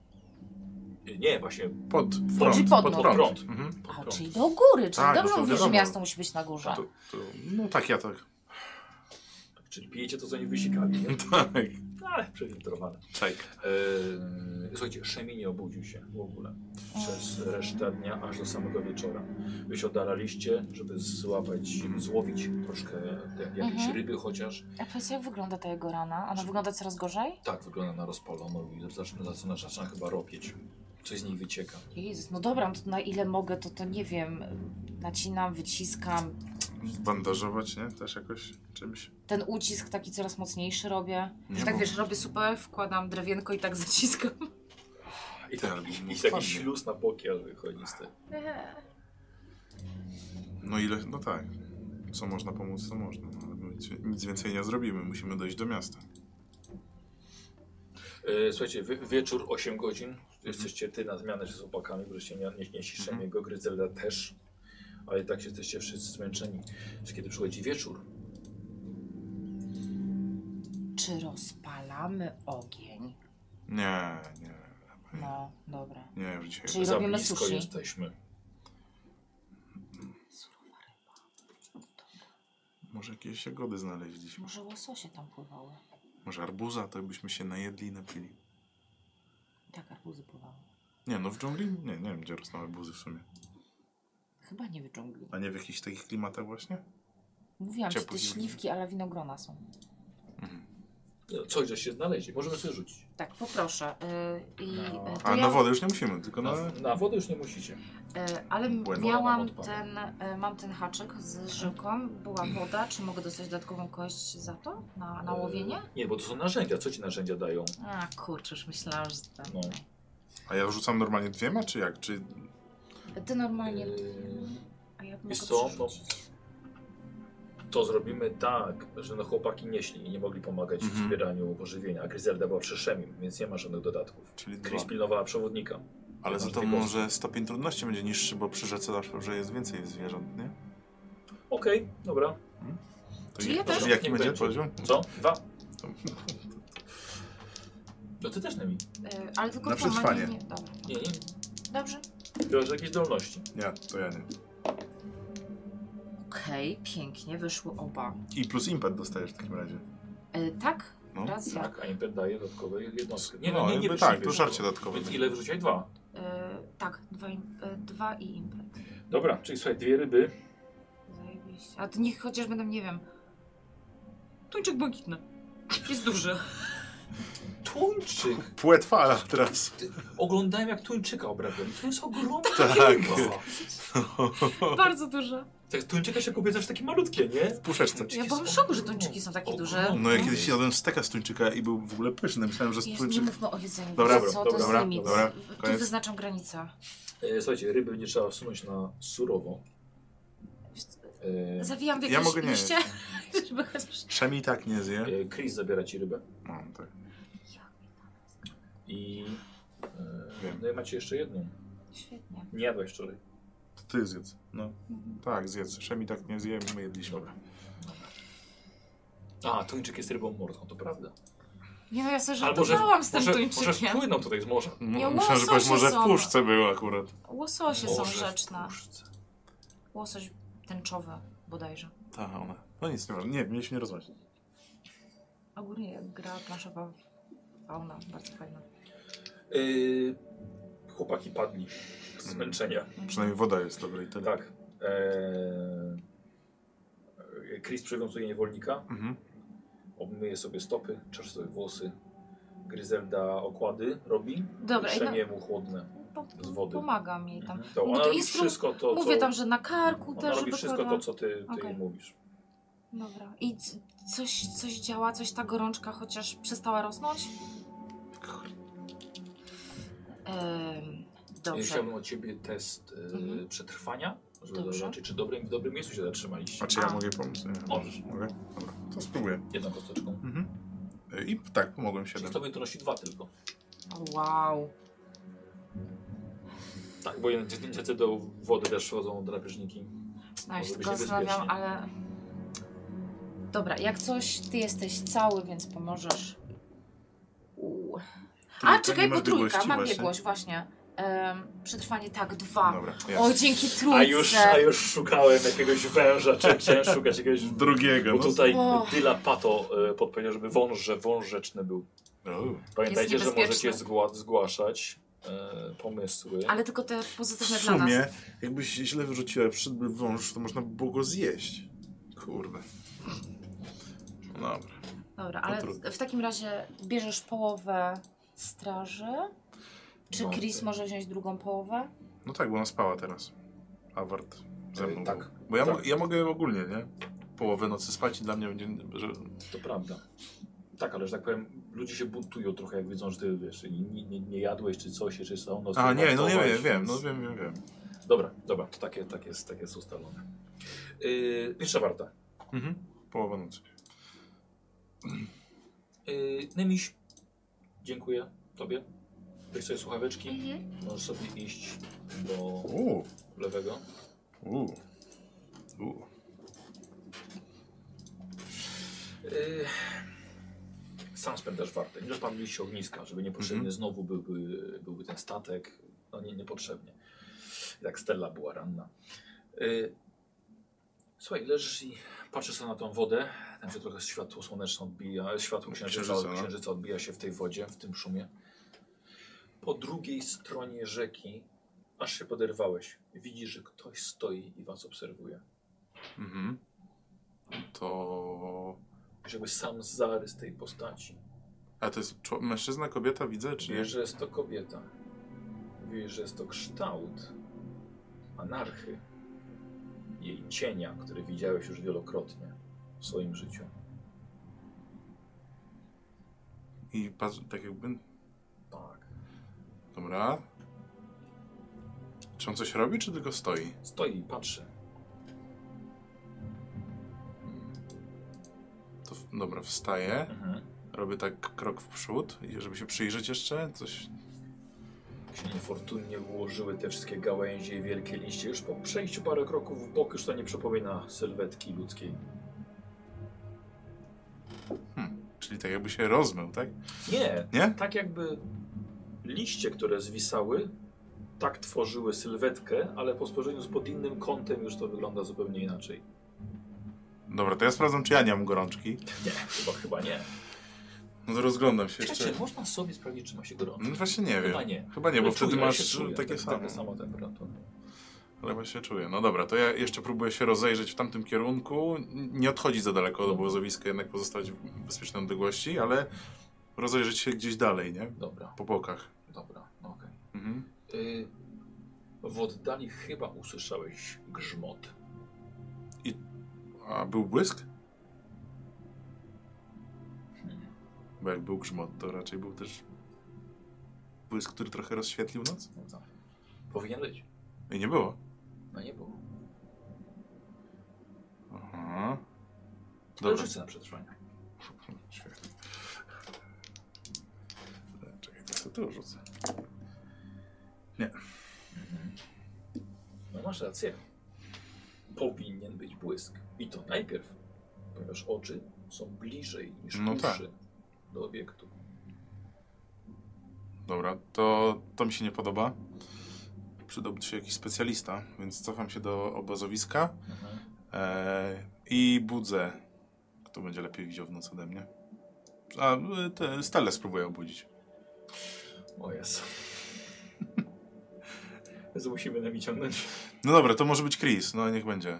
S1: Yy, Nie, właśnie
S3: Pod
S2: Czyli pod
S3: prąd.
S2: no.
S3: Pod
S2: nut.
S3: prąd.
S1: Prąd.
S3: Mhm.
S1: pod
S2: A,
S1: prąd.
S2: czyli do góry. Czyli
S3: Tak, no
S2: dobrze
S3: to
S2: mówisz, że
S3: wiadomo.
S2: miasto musi być na górze.
S3: To, to, no tak, ja tak. *laughs*
S1: Tak, czyli pijecie to, co nie wysikali. Nie?
S3: Tak,
S1: No, Ale przewintrowane.
S3: czek.
S1: Yy, słuchajcie, Szemi nie obudził się w ogóle przez resztę dnia aż do samego wieczora. Wy się oddalaliście, żeby złapać, złowić troszkę jak- jakieś
S2: Mhm.
S1: ryby chociaż.
S2: A powiedz, jak wygląda ta jego rana? Ona wygląda coraz gorzej?
S1: Tak, wygląda na rozpaloną i zaczyna, zaczyna, zaczyna chyba ropieć. Coś z niej wycieka.
S2: Jezus, no dobra, no to na ile mogę, to to nie wiem. Nacinam, wyciskam.
S3: Bandażować, nie? Też jakoś czymś.
S2: Ten ucisk taki coraz mocniejszy robię.
S3: Nie
S2: Że tak
S3: mów.
S2: wiesz, robię super, wkładam drewienko i tak
S3: *laughs*
S2: zaciskam.
S1: I
S3: Ty,
S1: tak,
S3: ale
S1: i, i
S3: spadnie.
S1: taki śluz na boki, aż wychodzi z tego.
S3: No ile, no tak. Co można pomóc, to można. No, ale my nic, nic więcej nie zrobimy, musimy dojść do miasta.
S1: E, słuchajcie, wy, wieczór 8 godzin. Jesteście ty na zmianę z chłopakami, wreszcie nie, nie, nie ściszem
S3: Mhm.
S1: jego, Gryzelda też. Ale i tak jesteście wszyscy zmęczeni. Że Kiedy przychodzi wieczór,
S2: Czy rozpalamy ogień?
S3: Nie, nie.
S2: No, dobra.
S3: Nie, już dzisiaj.
S2: Czyli
S1: za
S2: robimy
S1: blisko
S2: sushi.
S1: jesteśmy.
S2: Surowa ryba.
S3: Może jakieś jagody znaleźliśmy.
S2: Może łososie tam pływały.
S3: Może arbuza, to byśmy się najedli i napili.
S2: Tak, arbuzy pływały.
S3: Nie, no w dżungli? Nie, nie wiem, gdzie rosną arbuzy w sumie.
S2: Chyba nie wyczągli.
S3: A nie w jakichś takich klimatach właśnie?
S2: Mówiłam ci, te
S3: Ciepły zimny.
S2: śliwki, ale winogrona są.
S1: No, Coś, że się znaleźli. Możemy sobie rzucić.
S2: Tak, poproszę. Y, i,
S1: No.
S2: y, to
S3: A
S2: ja-
S3: na wodę już nie musimy, tylko na...
S1: Na, na wodę już nie musicie.
S2: Y, ale m-
S3: Błędna
S1: nam
S2: miałam
S1: odpada.
S2: ten, y, mam ten haczyk z żyłką, była woda. Czy mogę dostać dodatkową kość za to? Na, na łowienie?
S1: E, Nie, bo to są narzędzia. Co ci narzędzia dają?
S2: A kurczę, już myślałam, że tak. tam.
S1: No.
S3: A ja rzucam normalnie dwiema, czy jak? Czy...
S2: Ty normalnie.
S1: Yy,
S2: A ja mogę
S1: wiesz co, no,
S2: przerzucić.
S1: to zrobimy tak, że no chłopaki nieśli i nie mogli pomagać w
S3: Mhm.
S1: zbieraniu pożywienia. A Gryzelda była przy Szemim, więc nie ma żadnych dodatków.
S3: Czyli dwa.
S1: Chris pilnowała przewodnika.
S3: Ale
S1: Masz
S3: za to
S1: dwie kostki.
S3: może stopień trudności będzie niższy, bo przy rzece na przykład, że jest więcej zwierząt, nie?
S1: Okej, dobra.
S3: To
S2: Czyli ja
S3: to-
S2: też-
S3: Jaki
S1: Niech
S3: będzie,
S1: będzie.
S3: poziom?
S1: Co? Dwa. No ty też Nemi.
S2: Y, ale tylko
S3: Na
S2: to, ma-
S3: przetrwanie.
S2: Nie, nie, dobra.
S1: Nie, nie.
S2: Dobrze.
S1: Chyba, że jakieś zdolności.
S3: Nie, to ja nie.
S2: Okej, pięknie, wyszły oba.
S3: I plus impet dostajesz w takim razie.
S2: Y, tak?
S3: No.
S2: Racja.
S1: Tak, a impet daje dodatkowe jednostki. Nie,
S3: no,
S1: no, nie, nie
S3: jakby
S1: przyjmiesz
S3: tak, to żarcie
S1: tego.
S3: dodatkowe.
S1: Więc ile wyrzuciłeś? Dwa.
S2: Y, tak, dwa, im, y, dwa i impet.
S1: Dobra, czyli słuchaj, dwie ryby.
S2: Zajebiście. A to niech chociaż będą, nie wiem. Tuńczyk błękitny. Jest duży.
S1: Tuńczyk!
S3: Płetwala teraz.
S1: Oglądałem jak tuńczyka obrabiali. To jest ogromne.
S3: Tak.
S1: ryba.
S2: Bardzo duży.
S1: Tak, tuńczyka się kupuje zawsze takie malutkie, nie?
S3: W puszeczce.
S2: Ja byłam w szoku, że tuńczyki są takie duże.
S3: No ja kiedyś jadłem steka z tuńczyka i był w ogóle pyszny. Myślałem, że z
S2: Jezu, nie
S3: tuńczyka...
S2: mówmy o jedzeniu.
S3: znaczy- Dobra,
S2: Wiecie co,
S1: dobra,
S2: to jest
S1: dobra,
S2: limit.
S3: dobra,
S2: Tu
S3: koniec.
S2: wyznaczam granicę.
S1: E, Słuchajcie, ryby będzie trzeba wsunąć na surowo. E,
S2: Zawijam w
S3: Ja
S2: jakieś
S3: mogę nie
S2: liście, *laughs* żeby chociaż...
S3: Przemi tak nie zje.
S1: e, Chris zabiera ci rybę.
S3: No, tak.
S1: I... E,
S3: Wiem.
S1: no i macie jeszcze jedną.
S2: Świetnie.
S1: Nie jadłeś wczoraj.
S3: To ty zjedz. No. Tak, zjedz. Przemi tak nie zje, my jedliśmy.
S1: A, tuńczyk jest rybą morską, to prawda.
S2: Nie no, ja sobie
S1: Ale może-
S2: żartowałam z tym
S1: może, może
S2: tuńczykiem.
S1: wpłyną tutaj z morza.
S2: Nie,
S3: No, Myślałem, że
S2: łososie
S3: powiesz, może w
S2: są.
S3: puszce był akurat.
S2: Łososie są
S1: Morze w
S2: rzeczne.
S1: puszce.
S2: Łosoś tęczowy bodajże.
S3: Tak, one. No nic, nie ma. Nie, mieliśmy nie rozmawiać.
S2: Ogólnie gra planszowa fauna, bardzo fajna.
S1: Yy, chłopaki padli z zmęczenia.
S3: Przynajmniej woda jest dobra i tyle.
S1: Tak. Eee, Chris przywiązuje niewolnika,
S3: Mhm.
S1: obmyje sobie stopy, czesze sobie włosy. Gryzelda okłady robi,
S2: Dobra, i no,
S1: trzemie mu chłodne.
S2: po,
S1: z wody.
S2: pomagam jej tam.
S1: To
S2: No
S1: ona
S2: to
S1: robi
S2: instru-
S1: wszystko to, co...
S2: Mówię tam, że na karku
S1: ona
S2: też,
S1: robi
S2: żeby
S1: wszystko to,
S2: kładła-
S1: co ty, ty
S2: Okej.
S1: jej mówisz.
S2: Dobra. I c- coś, coś działa, coś ta gorączka chociaż przestała rosnąć? Ehm,
S1: Ja
S2: dobrze.
S1: chciałbym od ciebie test e,
S2: Mhm.
S1: przetrwania, żeby
S2: Dobrze.
S1: zobaczyć, czy dobrym, w dobrym miejscu się zatrzymaliście.
S3: A czy ja
S2: A.
S3: mogę pomóc? Nie,
S1: Możesz.
S3: Mogę? Dobra, to spróbuję.
S1: Jedną kosteczką.
S3: Mhm. I tak, pomogłem
S1: Czyli
S3: siedem.
S1: tobie to nosi dwa tylko.
S2: O, Wow.
S1: Tak, bo jednak niestety do wody też wchodzą drapieżniki.
S2: No ja
S1: Może
S2: się
S1: być
S2: tylko zastanawiam,
S1: niebezpiecznie.
S2: ale... Dobra, jak coś, ty jesteś cały, więc pomożesz. Uuu. A,
S3: Trójka, nie
S2: czekaj,
S3: masz
S2: bo trójka,
S3: biegłości
S2: mam
S3: właśnie?
S2: biegłość, właśnie. Ehm, przetrwanie, tak, dwa.
S3: Dobra,
S2: o,
S3: jasne.
S2: dzięki trójce.
S1: A już, a już szukałem jakiegoś węża, czy chciałem szukać jakiegoś...
S3: Drugiego.
S1: Bo
S3: No.
S1: tutaj
S2: O.
S1: Dyla Pato e, podpowiedział, żeby wąż, że wąż rzeczny był.
S3: O,
S1: Pamiętajcie, że
S2: niebezpieczny.
S1: możecie zgła zgłaszać e, pomysły.
S2: Ale tylko te
S3: W
S2: pozytywne dla nas.
S3: sumie, jakbyś źle wyrzuciła przyszedłby wąż, to można by było go zjeść. Kurde. No Dobra.
S2: Dobra, ale
S3: trudno.
S2: w takim razie bierzesz połowę straży. Czy
S1: No,
S2: Chris
S1: tak.
S2: może wziąć drugą połowę?
S3: No tak, bo ona spała teraz. Awart ze
S1: E,
S3: mną.
S1: tak.
S3: był. Bo ja, mo-
S1: Tak.
S3: ja mogę ogólnie, nie? Połowę nocy spać i dla mnie będzie... Że...
S1: To prawda. Tak, ale że tak powiem, ludzie się buntują trochę, jak widzą, że ty wiesz, nie, nie, nie jadłeś czy coś, czy całą noc.
S3: A nie, no nie
S1: wartowałeś,
S3: wiem, wiem,
S1: więc-
S3: no wiem, wiem, wiem.
S1: Dobra, dobra, to takie, takie, jest, takie jest ustalone. Yy, pierwsza warta.
S3: Mhm. Połowa nocy.
S1: Yy, Nemiś, dziękuję tobie. Weź sobie słuchaweczki, możesz sobie iść do
S3: Uuu,
S1: lewego.
S3: uuu, uuu.
S1: Yy, sam spędzasz wartę. Nie rozpaliliście ogniska, żeby niepotrzebnie
S3: Mhm.
S1: znowu byłby, byłby ten statek. No nie, niepotrzebnie. Jak Stella była ranna. Yy, słuchaj, leżysz i patrzysz sobie na tą wodę. Tam się trochę światło słoneczne odbija, światło księżyca,
S3: Księżyca, no.
S1: księżyca odbija się w tej wodzie, w tym szumie. Po drugiej stronie rzeki aż się poderwałeś. Widzisz, że ktoś stoi i was obserwuje.
S3: Mhm. To...
S1: Wiesz, jakby sam zarys tej postaci.
S3: A to jest czło- mężczyzna, kobieta, widzę, czy...
S1: Wiesz, że jest to kobieta. Wiesz, że jest to kształt anarchy. Jej cienia, który widziałeś już wielokrotnie w swoim życiu.
S3: I patrz, tak jakby...
S1: Tak.
S3: Dobra. Czy on coś robi, czy tylko stoi?
S1: Stoi i patrzy.
S3: To w... Dobra, wstaję.
S1: Mhm.
S3: Robię tak krok w przód, i żeby się przyjrzeć jeszcze, coś...
S1: Jak się niefortunnie ułożyły te wszystkie gałęzie i wielkie liście. Już po przejściu parę kroków w bok już to nie przypomina sylwetki ludzkiej.
S3: Czyli tak jakby się rozmył, tak?
S1: Nie,
S3: Nie?
S1: tak jakby liście, które zwisały, tak tworzyły sylwetkę, ale po spojrzeniu z pod innym kątem już to wygląda zupełnie inaczej.
S3: Dobra, to ja sprawdzam, czy ja nie mam gorączki.
S1: Nie, chyba, chyba nie.
S3: No to rozglądam się jeszcze.
S1: Czekajcie, można sobie sprawdzić, czy ma się gorąco?
S3: No właśnie nie wiem.
S1: Chyba nie.
S3: Chyba nie, bo
S1: Ale
S3: wtedy
S1: czuję, ja
S3: masz
S1: się czuję,
S3: takie
S1: tak-
S3: samo.
S1: Taka sama temperatura.
S3: Ale chyba się czuję. No dobra, to ja jeszcze próbuję się rozejrzeć w tamtym kierunku. N- Nie odchodzić za daleko od obozowiska, jednak pozostać w bezpiecznej odległości, ale rozejrzeć się gdzieś dalej, nie?
S1: Dobra,
S3: Po bokach.
S1: dobra, no okej.
S3: Mhm.
S1: Y, w oddali chyba usłyszałeś grzmot.
S3: A był błysk?
S1: Hmm.
S3: Bo jak był grzmot, to raczej był też błysk, który trochę rozświetlił noc?
S1: No tak. Powinien być.
S3: I nie było.
S1: No nie było.
S3: Aha.
S1: Dobrze.
S3: Dobra.
S1: Rzucę na przetrwanie.
S3: Świetnie. E, Czekaj, to sobie tu rzucę.
S1: No masz rację. Powinien być błysk. I to najpierw, ponieważ oczy są bliżej niż
S3: No tak.
S1: uszy do obiektu.
S3: Dobra, to, to mi się nie podoba. Przydałby się jakiś specjalista, więc cofam się do obozowiska e, i budzę. Kto będzie lepiej widział w nocy ode mnie? A y, te stale spróbuję obudzić.
S1: O Jezu. *laughs* Jezu, musimy na wyciągnąć.
S3: No dobra, to może być Chris, no niech będzie.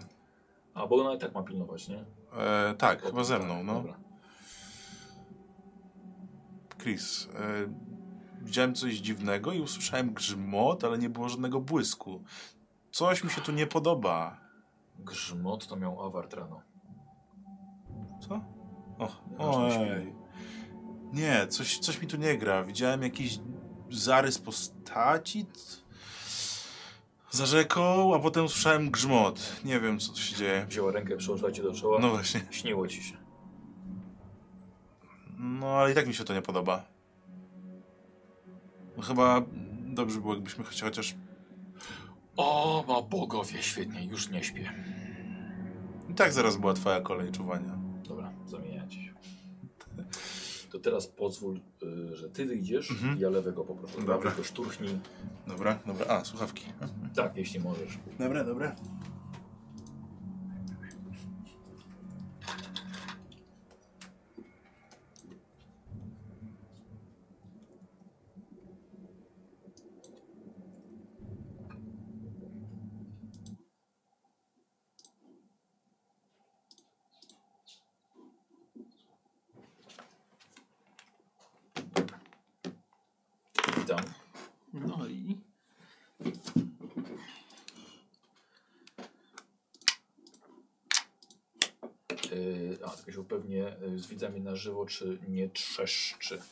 S1: A, bo ona i tak ma pilnować, nie?
S3: E, tak,
S1: O,
S3: chyba ze
S1: tak,
S3: mną, no.
S1: Dobra.
S3: Chris, e, widziałem coś dziwnego i usłyszałem grzmot, ale nie było żadnego błysku. Coś mi się tu nie podoba.
S1: Grzmot to miał awart rano.
S3: Co? O,
S1: Ważne
S3: ojej. Nie, coś, coś mi tu nie gra. Widziałem jakiś zarys postaci t- za rzeką, a potem słyszałem grzmot. Nie wiem, co tu się dzieje.
S1: Wzięła rękę, przyłożyła ci do czoła.
S3: No właśnie.
S1: Śniło ci się.
S3: No, ale i tak mi się to nie podoba. No, Chyba dobrze by było, jakbyśmy choć- chociaż...
S1: O, ma bogowie, świetnie, już nie śpię.
S3: I tak zaraz była twoja kolej czuwania.
S1: Dobra, zamieniacie się. To teraz pozwól, y, że ty wyjdziesz,
S3: Mhm.
S1: ja lewego poproszę.
S3: Dobra.
S1: Dobra. Tylko szturchnij.
S3: Dobra, dobra. A, słuchawki.
S1: Tak, jeśli możesz.
S3: Dobra, dobra.
S1: Witam.
S4: No i.
S1: Y, a, tylko się upewnię y, z widzami na żywo, czy nie trzeszczy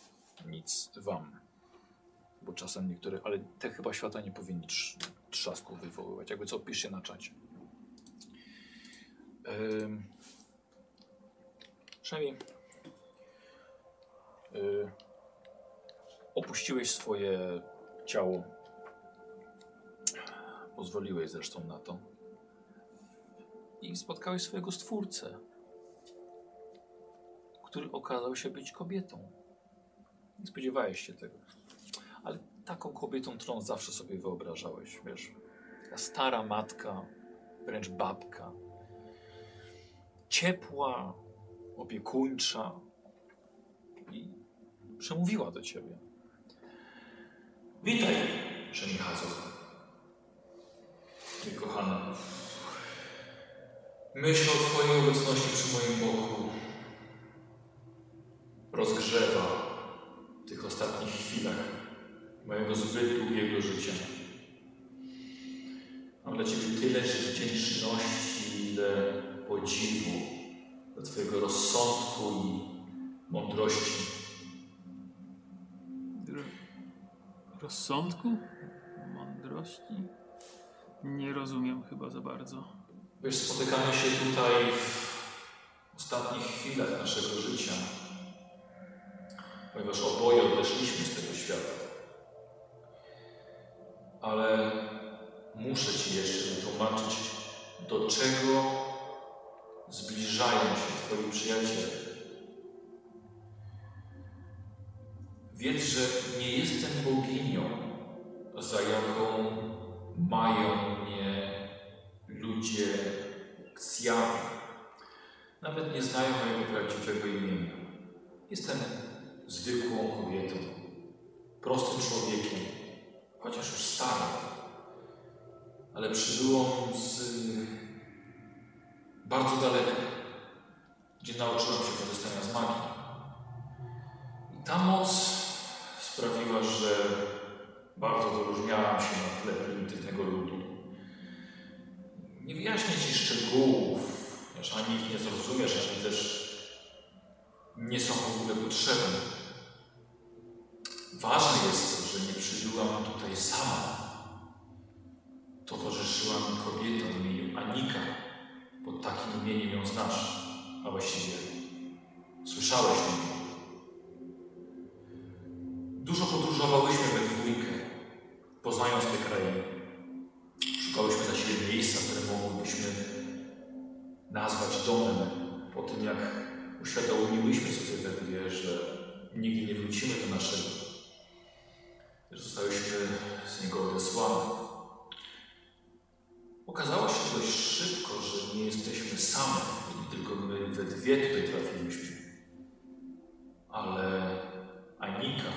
S1: nic wam. Bo czasem niektóre, ale te chyba świata nie powinny trz, trzasku wywoływać. Jakby co, piszcie na czacie. Ym. Przynajmniej y, opuściłeś swoje ciało. Pozwoliłeś zresztą na to. I spotkałeś swojego stwórcę który okazał się być kobietą. Nie spodziewałeś się tego. Ale taką kobietą, którą zawsze sobie wyobrażałeś, wiesz. Ta stara matka, wręcz babka. Ciepła, opiekuńcza i przemówiła do ciebie. Witaj, Przemichazu.
S5: Myśl o Twojej obecności przy moim boku rozgrzewa w tych ostatnich chwilach mojego zbyt długiego życia. Mam dla Ciebie tyle wdzięczności, ile podziwu dla Twojego rozsądku i mądrości.
S4: Ro- Rozsądku? Mądrości? Nie rozumiem chyba za bardzo.
S5: Wiesz, spotykamy się tutaj w ostatnich chwilach naszego życia, ponieważ oboje odeszliśmy z tego świata. Ale muszę Ci jeszcze wytłumaczyć, do czego zbliżają się Twoi przyjaciele. Wiedz, że nie jestem boginią, za jaką mają mnie ludzie Ksjawy. Nawet nie znają mojego prawdziwego imienia. Jestem zwykłą kobietą, prostym człowiekiem, chociaż już starym, ale przybyłą z bardzo daleka, gdzie nauczyłam się korzystania z magii. I ta moc sprawiła, że bardzo wyróżniałam się na tle prymitywnego ludu. Nie wyjaśnię Ci szczegółów, wiesz, ani ich nie zrozumiesz, ani też nie są w ogóle potrzebne. Ważne jest to, że nie przybyłam tutaj sama. Towarzyszyła mi kobieta o imieniu Anika, bo takim imieniem ją znasz, a właściwie słyszałeś o niej. Dużo podróżowałyśmy we dwójkę, poznając te krainy. Szukałyśmy dla siebie miejsca, które moglibyśmy nazwać domem. Po tym jak uświadomiłyśmy sobie te dwie, że nigdy nie wrócimy do naszego, że zostałyśmy z niego odesłane. Okazało się dość szybko, że nie jesteśmy same, tylko my we dwie tutaj trafiliśmy. Ale Anika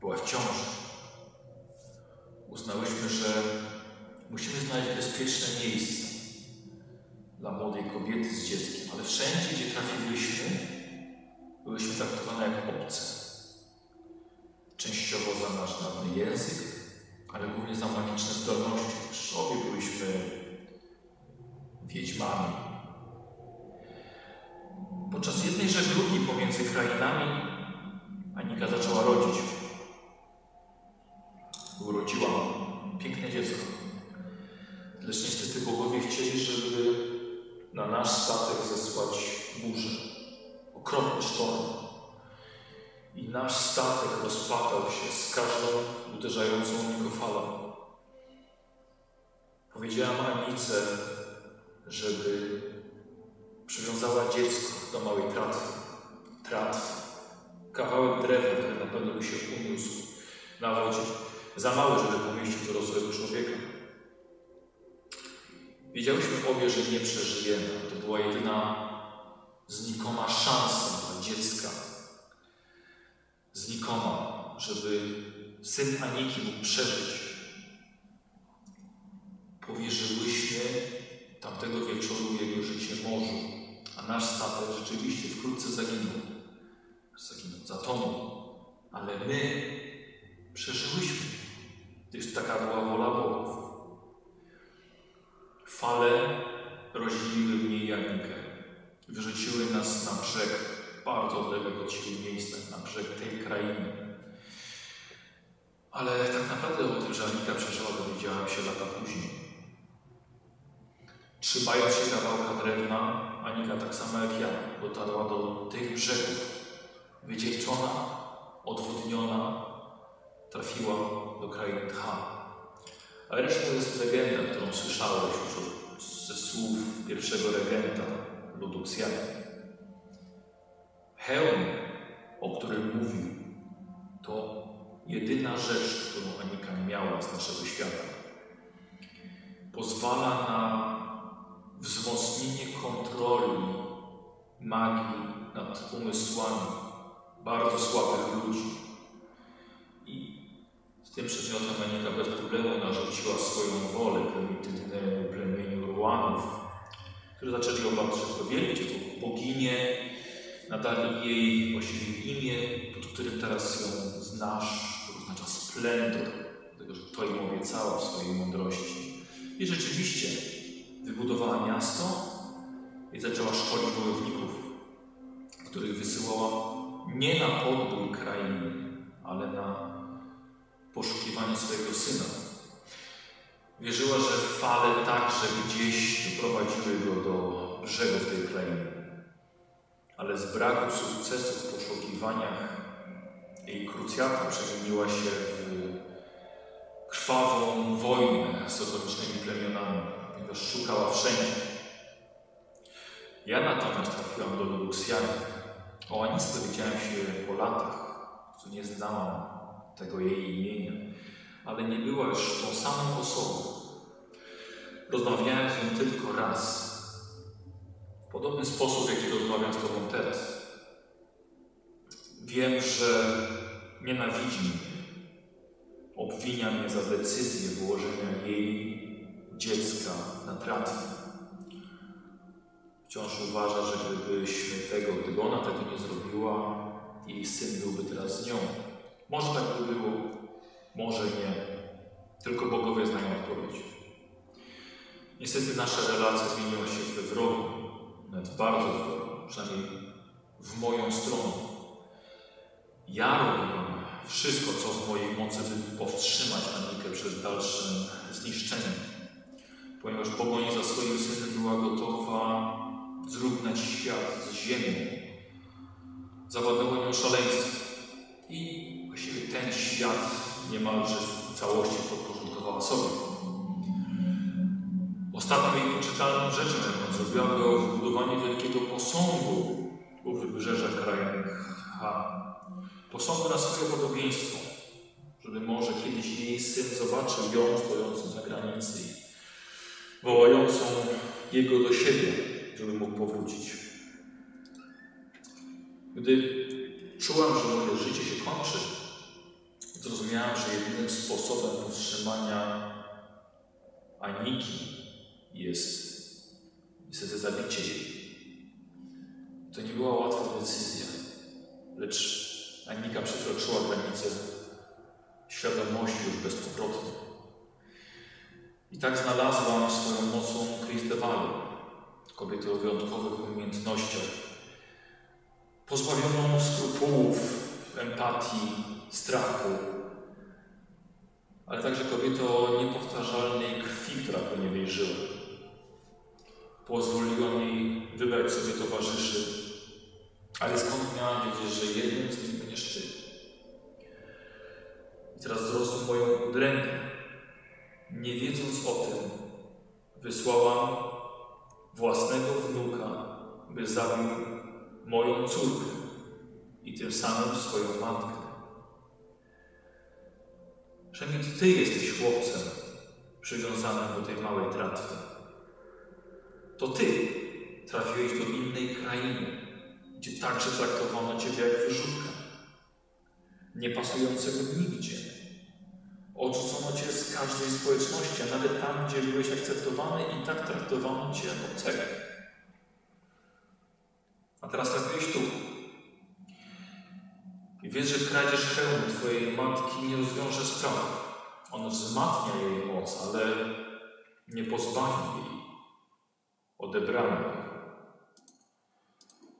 S5: była w ciąży. Uznałyśmy, że Musimy znaleźć bezpieczne miejsce dla młodej kobiety z dzieckiem, ale wszędzie, gdzie trafiłyśmy, byłyśmy traktowane jak obce. Częściowo za nasz dawny język, ale głównie za magiczne zdolności. Przecież obie byliśmy wiedźmami. Podczas jednej żeglugi pomiędzy krainami Anika zaczęła rodzić. Urodziła piękne dziecko. Lecz niestety bogowie chcieli, żeby na nasz statek zesłać burzę, okropny sztorm. I nasz statek rozpadał się z każdą uderzającą w niego falą. Powiedziałem Anice, żeby przywiązała dziecko do małej tratwy. Tratwy. Kawałek drewna, który na pewno by się uniósł na wodzie. Za mały, żeby pomieścił dorosłego człowieka. Wiedziałyśmy obie, że nie przeżyjemy. To była jedyna znikoma szansa dla dziecka. Znikoma, żeby syn Aniki mógł przeżyć. Powierzyłyśmy tamtego wieczoru jego życie morzu, a nasz statek rzeczywiście wkrótce zaginął. Zaginął, zatonął. Ale my przeżyłyśmy, gdyż taka była wola bogów. Fale rozdzieliły mnie i Anikę. Wyrzuciły nas na brzeg bardzo odległego od siebie miejsca, na brzeg tej krainy. Ale tak naprawdę o tym, że Anika przeżyła, dowiedziałem się lata później. Trzymając się kawałka drewna, Anika tak samo jak ja dotarła do tych brzegów. Wycieńczona, odwodniona, trafiła do krainy Tcham. Ale reszta to jest legenda, którą słyszałeś już od, ze słów pierwszego regenta Luduksjana. Hełm, o którym mówił, to jedyna rzecz, którą Anika miała z naszego świata. Pozwala na wzmocnienie kontroli magii nad umysłami bardzo słabych ludzi. I z tym przedmiotem Anika bez problemu narzuciła swoją wolę prymitywne plemieniu Ruanów, które zaczęli obawiać to wielkie to boginie, nadali jej właściwie imię, pod którym teraz ją znasz, to oznacza splendor, dlatego że to im obiecała w swojej mądrości. I rzeczywiście wybudowała miasto i zaczęła szkolić wojowników, których wysyłała nie na podbój krainy, ale na poszukiwanie swojego syna. Wierzyła, że fale także gdzieś doprowadziły go do brzegów tej krainy. Ale z braku sukcesu w poszukiwaniach jej krucjata przemieniła się w krwawą wojnę z otoczonymi plemionami, ponieważ szukała wszędzie. Ja natomiast trafiłam do Luxjana. O Anice dowiedziałem się po latach, co nie znałam tego jej imienia ale nie była już tą samą osobą. Rozmawiałem z nią tylko raz. W podobny sposób, w jaki rozmawiam z Tobą teraz. Wiem, że nienawidzi mnie. Obwinia mnie za decyzję wyłożenia jej dziecka na tratwę. Wciąż uważa, że gdybyśmy tego, gdyby ona tego nie zrobiła, jej syn byłby teraz z nią. Może tak by było, może nie. Tylko bogowie znają odpowiedź. Niestety nasza relacja zmieniła się we wrogu. Nawet bardzo w wrogu. Przynajmniej w moją stronę. Ja robiłem wszystko, co w mojej mocy, by powstrzymać Anikę przed dalszym zniszczeniem. Ponieważ pogoni za swoim synem była gotowa zrównać świat z ziemią. Zawadało nią szaleństwo. I właściwie ten świat niemalże w całości podporządkowała sobie. Ostatnią jej poczytalną rzeczą, jaką zrobiła, było wybudowanie wielkiego posągu u wybrzeża kraju Ha. Posągu na swoje podobieństwo, żeby może kiedyś jej syn zobaczył ją stojącą na granicy i wołającą jego do siebie, żeby mógł powrócić. Gdy czułam, że moje życie się kończy, zrozumiałem, że jedynym sposobem powstrzymania Aniki jest niestety zabicie jej. To nie była łatwa decyzja, lecz Anika przekroczyła granicę świadomości już bezpowrotnie. I tak znalazłam swoją mocą Christewalu, kobietę o wyjątkowych umiejętnościach, pozbawioną skrupułów, empatii, strachu, ale także kobiety o niepowtarzalnej krwi, która płynie w jej żyłach. Pozwoliłam jej wybrać sobie towarzyszy, ale skąd miałam wiedzieć, że jednym z nich będziesz ty? I teraz zrozum moją udrękę. Nie wiedząc o tym, wysłałam własnego wnuka, by zabił moją córkę i tym samym swoją matkę. Przynajmniej to ty jesteś chłopcem przywiązanym do tej małej tratwy. To ty trafiłeś do innej krainy, gdzie także traktowano ciebie jak wyrzutka. Niepasującego nigdzie. Odrzucono cię z każdej społeczności, a nawet tam, gdzie byłeś akceptowany i tak traktowano cię jako obcego. A teraz trafiłeś tu. I wiesz, że kradzież hełmu twojej matki nie rozwiąże sprawy. On wzmacnia jej moc, ale nie pozbawi jej odebrania. jej.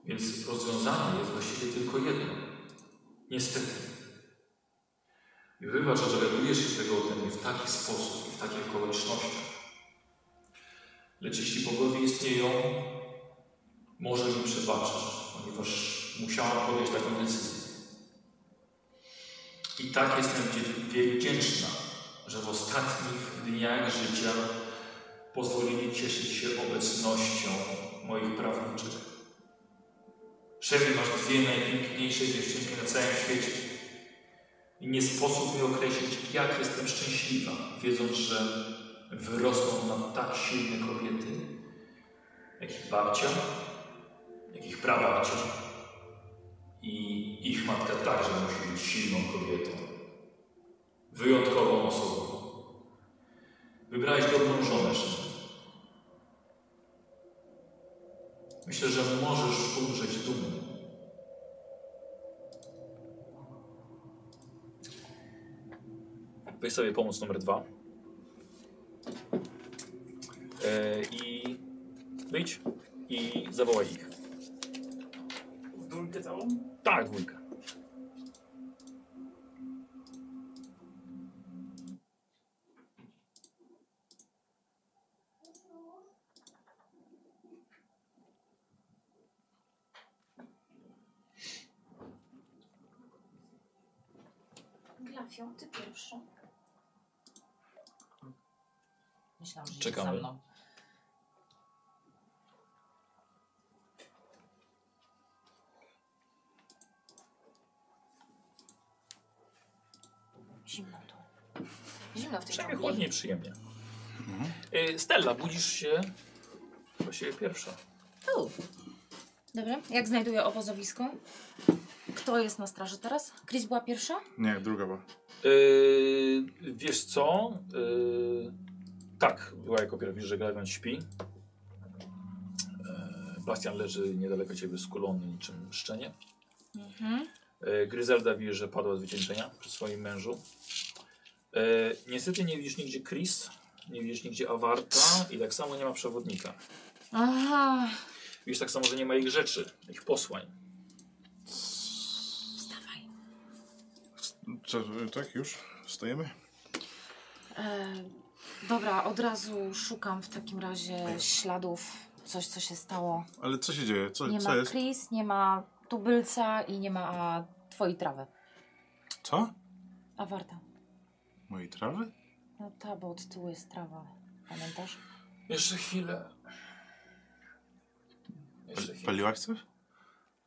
S5: Więc rozwiązanie jest właściwie tylko jedno. Niestety. I wybacz, że dowiadujesz się tego ode mnie w taki sposób i w takich okolicznościach. Lecz jeśli bogowie istnieją, może mi przebaczysz, ponieważ musiałam podjąć taką decyzję. I tak jestem wdzie- wdzięczna, że w ostatnich dniach życia pozwolili cieszyć się obecnością moich prawniczych. Szefie masz dwie najpiękniejsze dziewczynki na całym świecie. I nie sposób mi określić, jak jestem szczęśliwa, wiedząc, że wyrosną nam tak silne kobiety, jak ich babcia, jak ich prababcia. I ich matka także musi być silną kobietą. Wyjątkową osobą. Wybrałeś dobrą żonę, Szymon. Myślę, że możesz umrzeć dumny.
S1: Weź sobie pomoc numer dwa. E, I wyjdź i zawołaj ich.
S6: Dwójkę całą?
S1: Tak, dwójka.
S7: Glafią, ty pierwsza.
S2: Myślałam, że
S1: Czekamy.
S2: Czekamy. ze mną. Zimno tu.
S7: Zimno w tej dżungli.
S1: Przynajmniej chłodnie i przyjemnie. E, Stella, budzisz się właściwie pierwsza.
S2: Tu. Dobrze. Jak znajduję obozowisko? Kto jest na straży teraz? Chris była pierwsza?
S3: Nie, druga była.
S1: E, wiesz co? E, tak, była jako pierwsza, widzisz, że Glewion śpi. E, Bastian leży niedaleko ciebie skulony niczym szczenie.
S2: Mhm.
S1: E, Gryzelda wie, że padła z wycieńczenia przy swoim mężu. E, niestety nie widzisz nigdzie Chris, nie widzisz nigdzie Awarta i tak samo nie ma przewodnika.
S2: Aha.
S1: Widzisz tak samo, że nie ma ich rzeczy, ich posłań.
S2: Wstawaj.
S3: Co, tak, już? Wstajemy?
S2: E, dobra, od razu szukam w takim razie śladów. Coś, co się stało.
S3: Ale co się dzieje? Co,
S2: Nie
S3: co
S2: ma
S3: jest?
S2: Chris, nie ma tubylca i nie ma twojej trawy.
S3: Co?
S2: A warta.
S3: Mojej trawy?
S2: No ta, bo od tyłu jest trawa. Pamiętasz?
S1: Jeszcze chwilę. Jeszcze
S3: Pali-
S1: chwilę.
S3: Paliłaś coś?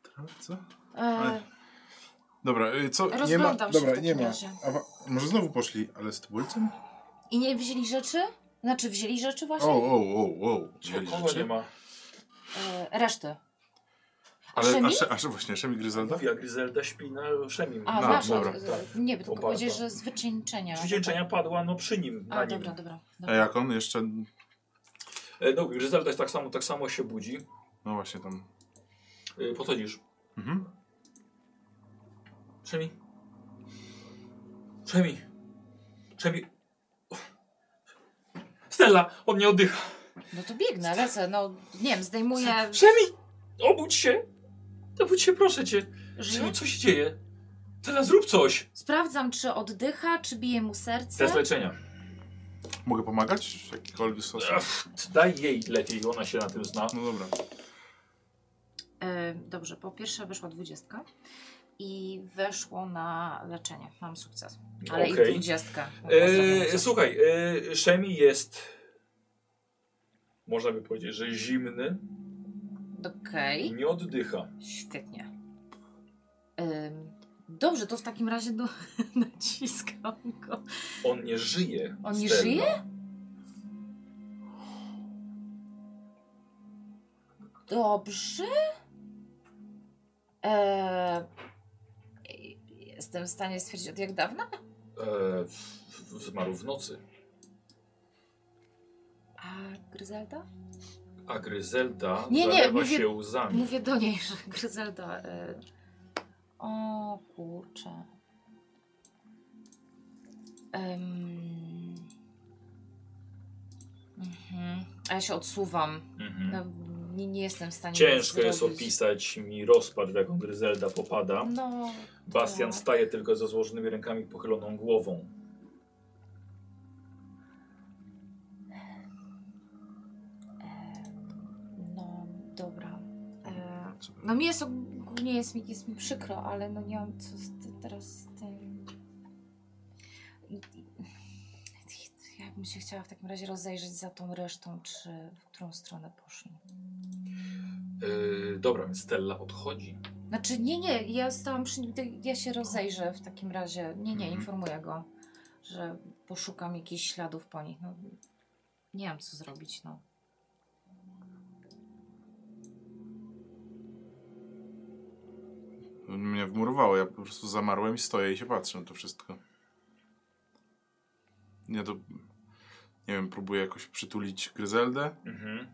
S3: Trawę, co?
S2: E,
S3: Ale- Dobra, y, co? Nie ma,
S2: Rozglądam się w
S3: dobra,
S2: takim
S3: nie ma.
S2: razie.
S3: A, wa- może znowu poszli, ale z tubylcem?
S2: I nie wzięli rzeczy? Znaczy wzięli rzeczy właśnie?
S3: O, o, o, o.
S1: Słuchaj,
S3: Mieli
S1: Kogo
S3: rzeczy?
S1: nie ma?
S2: E, reszty.
S3: Ale
S2: Szemi?
S3: a, Sze- a, Sze- właśnie, Szemi Gryzelda?
S1: Mówiła Gryzelda śpi na Szemim.
S2: A,
S3: No,
S2: wasza.
S3: dobra,
S2: z-
S1: tak.
S2: Nie, tylko
S1: Oparta.
S2: powiedzieć, że z wycieńczenia.
S1: Przysięczenia padła no przy nim, na
S2: A,
S1: nim.
S2: dobra, dobra.
S3: A
S2: dobra.
S3: jak on jeszcze...
S1: E, no, Gryzelda tak samo, tak samo się budzi.
S3: No właśnie tam...
S1: E, podchodzisz.
S3: Mhm.
S1: Przemi. Przemi. Przemi. Stella, on nie oddycha.
S2: No to biegnę, lecę. No, nie wiem, zdejmuję...
S1: Przemi! Obudź się! Obudź się, proszę cię.
S2: Żyję?
S1: Przemi, co się dzieje? Stella, zrób coś!
S2: Sprawdzam, czy oddycha, czy bije mu serce.
S1: Test leczenia.
S3: Mogę pomagać? W jakikolwiek sposób?
S1: Ach, Daj jej lepiej, ona się na tym zna.
S3: No dobra.
S2: E, dobrze, po pierwsze weszła dwudziestka i weszło na leczenie. Mam sukces. Ale i
S1: Okej.
S2: dwudziestka.
S1: E, słuchaj, e, Szemi jest, można by powiedzieć, że zimny,
S2: Okej.
S1: nie oddycha.
S2: Świetnie. Ym, dobrze, to w takim razie do, *laughs* naciskam go.
S1: On nie żyje.
S2: On nie
S1: Stella.
S2: żyje? Dobrze. Eee, jestem w stanie stwierdzić od jak dawna?
S1: E, w- w- zmarł w nocy.
S2: A Gryzelda?
S1: A Gryzelda
S2: Nie, nie,
S1: zalewa
S2: mówię-
S1: się łzami.
S2: Mówię do niej, że Gryzelda. Y... O kurczę. Ym... Mhm. A ja się odsuwam.
S1: Mhm.
S2: No, nie, nie jestem w stanie. nic
S1: Ciężko jest
S2: zrobić.
S1: opisać mi rozpacz, w jaką Gryzelda popada.
S2: No.
S1: Bastian
S2: tak.
S1: staje tylko ze złożonymi rękami pochyloną głową.
S2: No, dobra. E, No mi jest ogólnie jest mi, jest mi przykro, ale no nie mam co z ty, teraz z tym. I- i- Ja bym się chciała w takim razie rozejrzeć za tą resztą, czy w którą stronę poszli.
S1: E, dobra, więc Stella odchodzi.
S2: Znaczy, nie, nie, ja stałam przy nim, ty- ja się rozejrzę w takim razie. Nie, nie,
S1: Mhm.
S2: informuję go, że poszukam jakichś śladów po nich. No, nie wiem, co zrobić, no.
S3: Mnie wmurowało, ja po prostu zamarłem i stoję i się patrzę na to wszystko. Ja to, nie wiem, próbuję jakoś przytulić Gryzeldę,
S1: Mhm.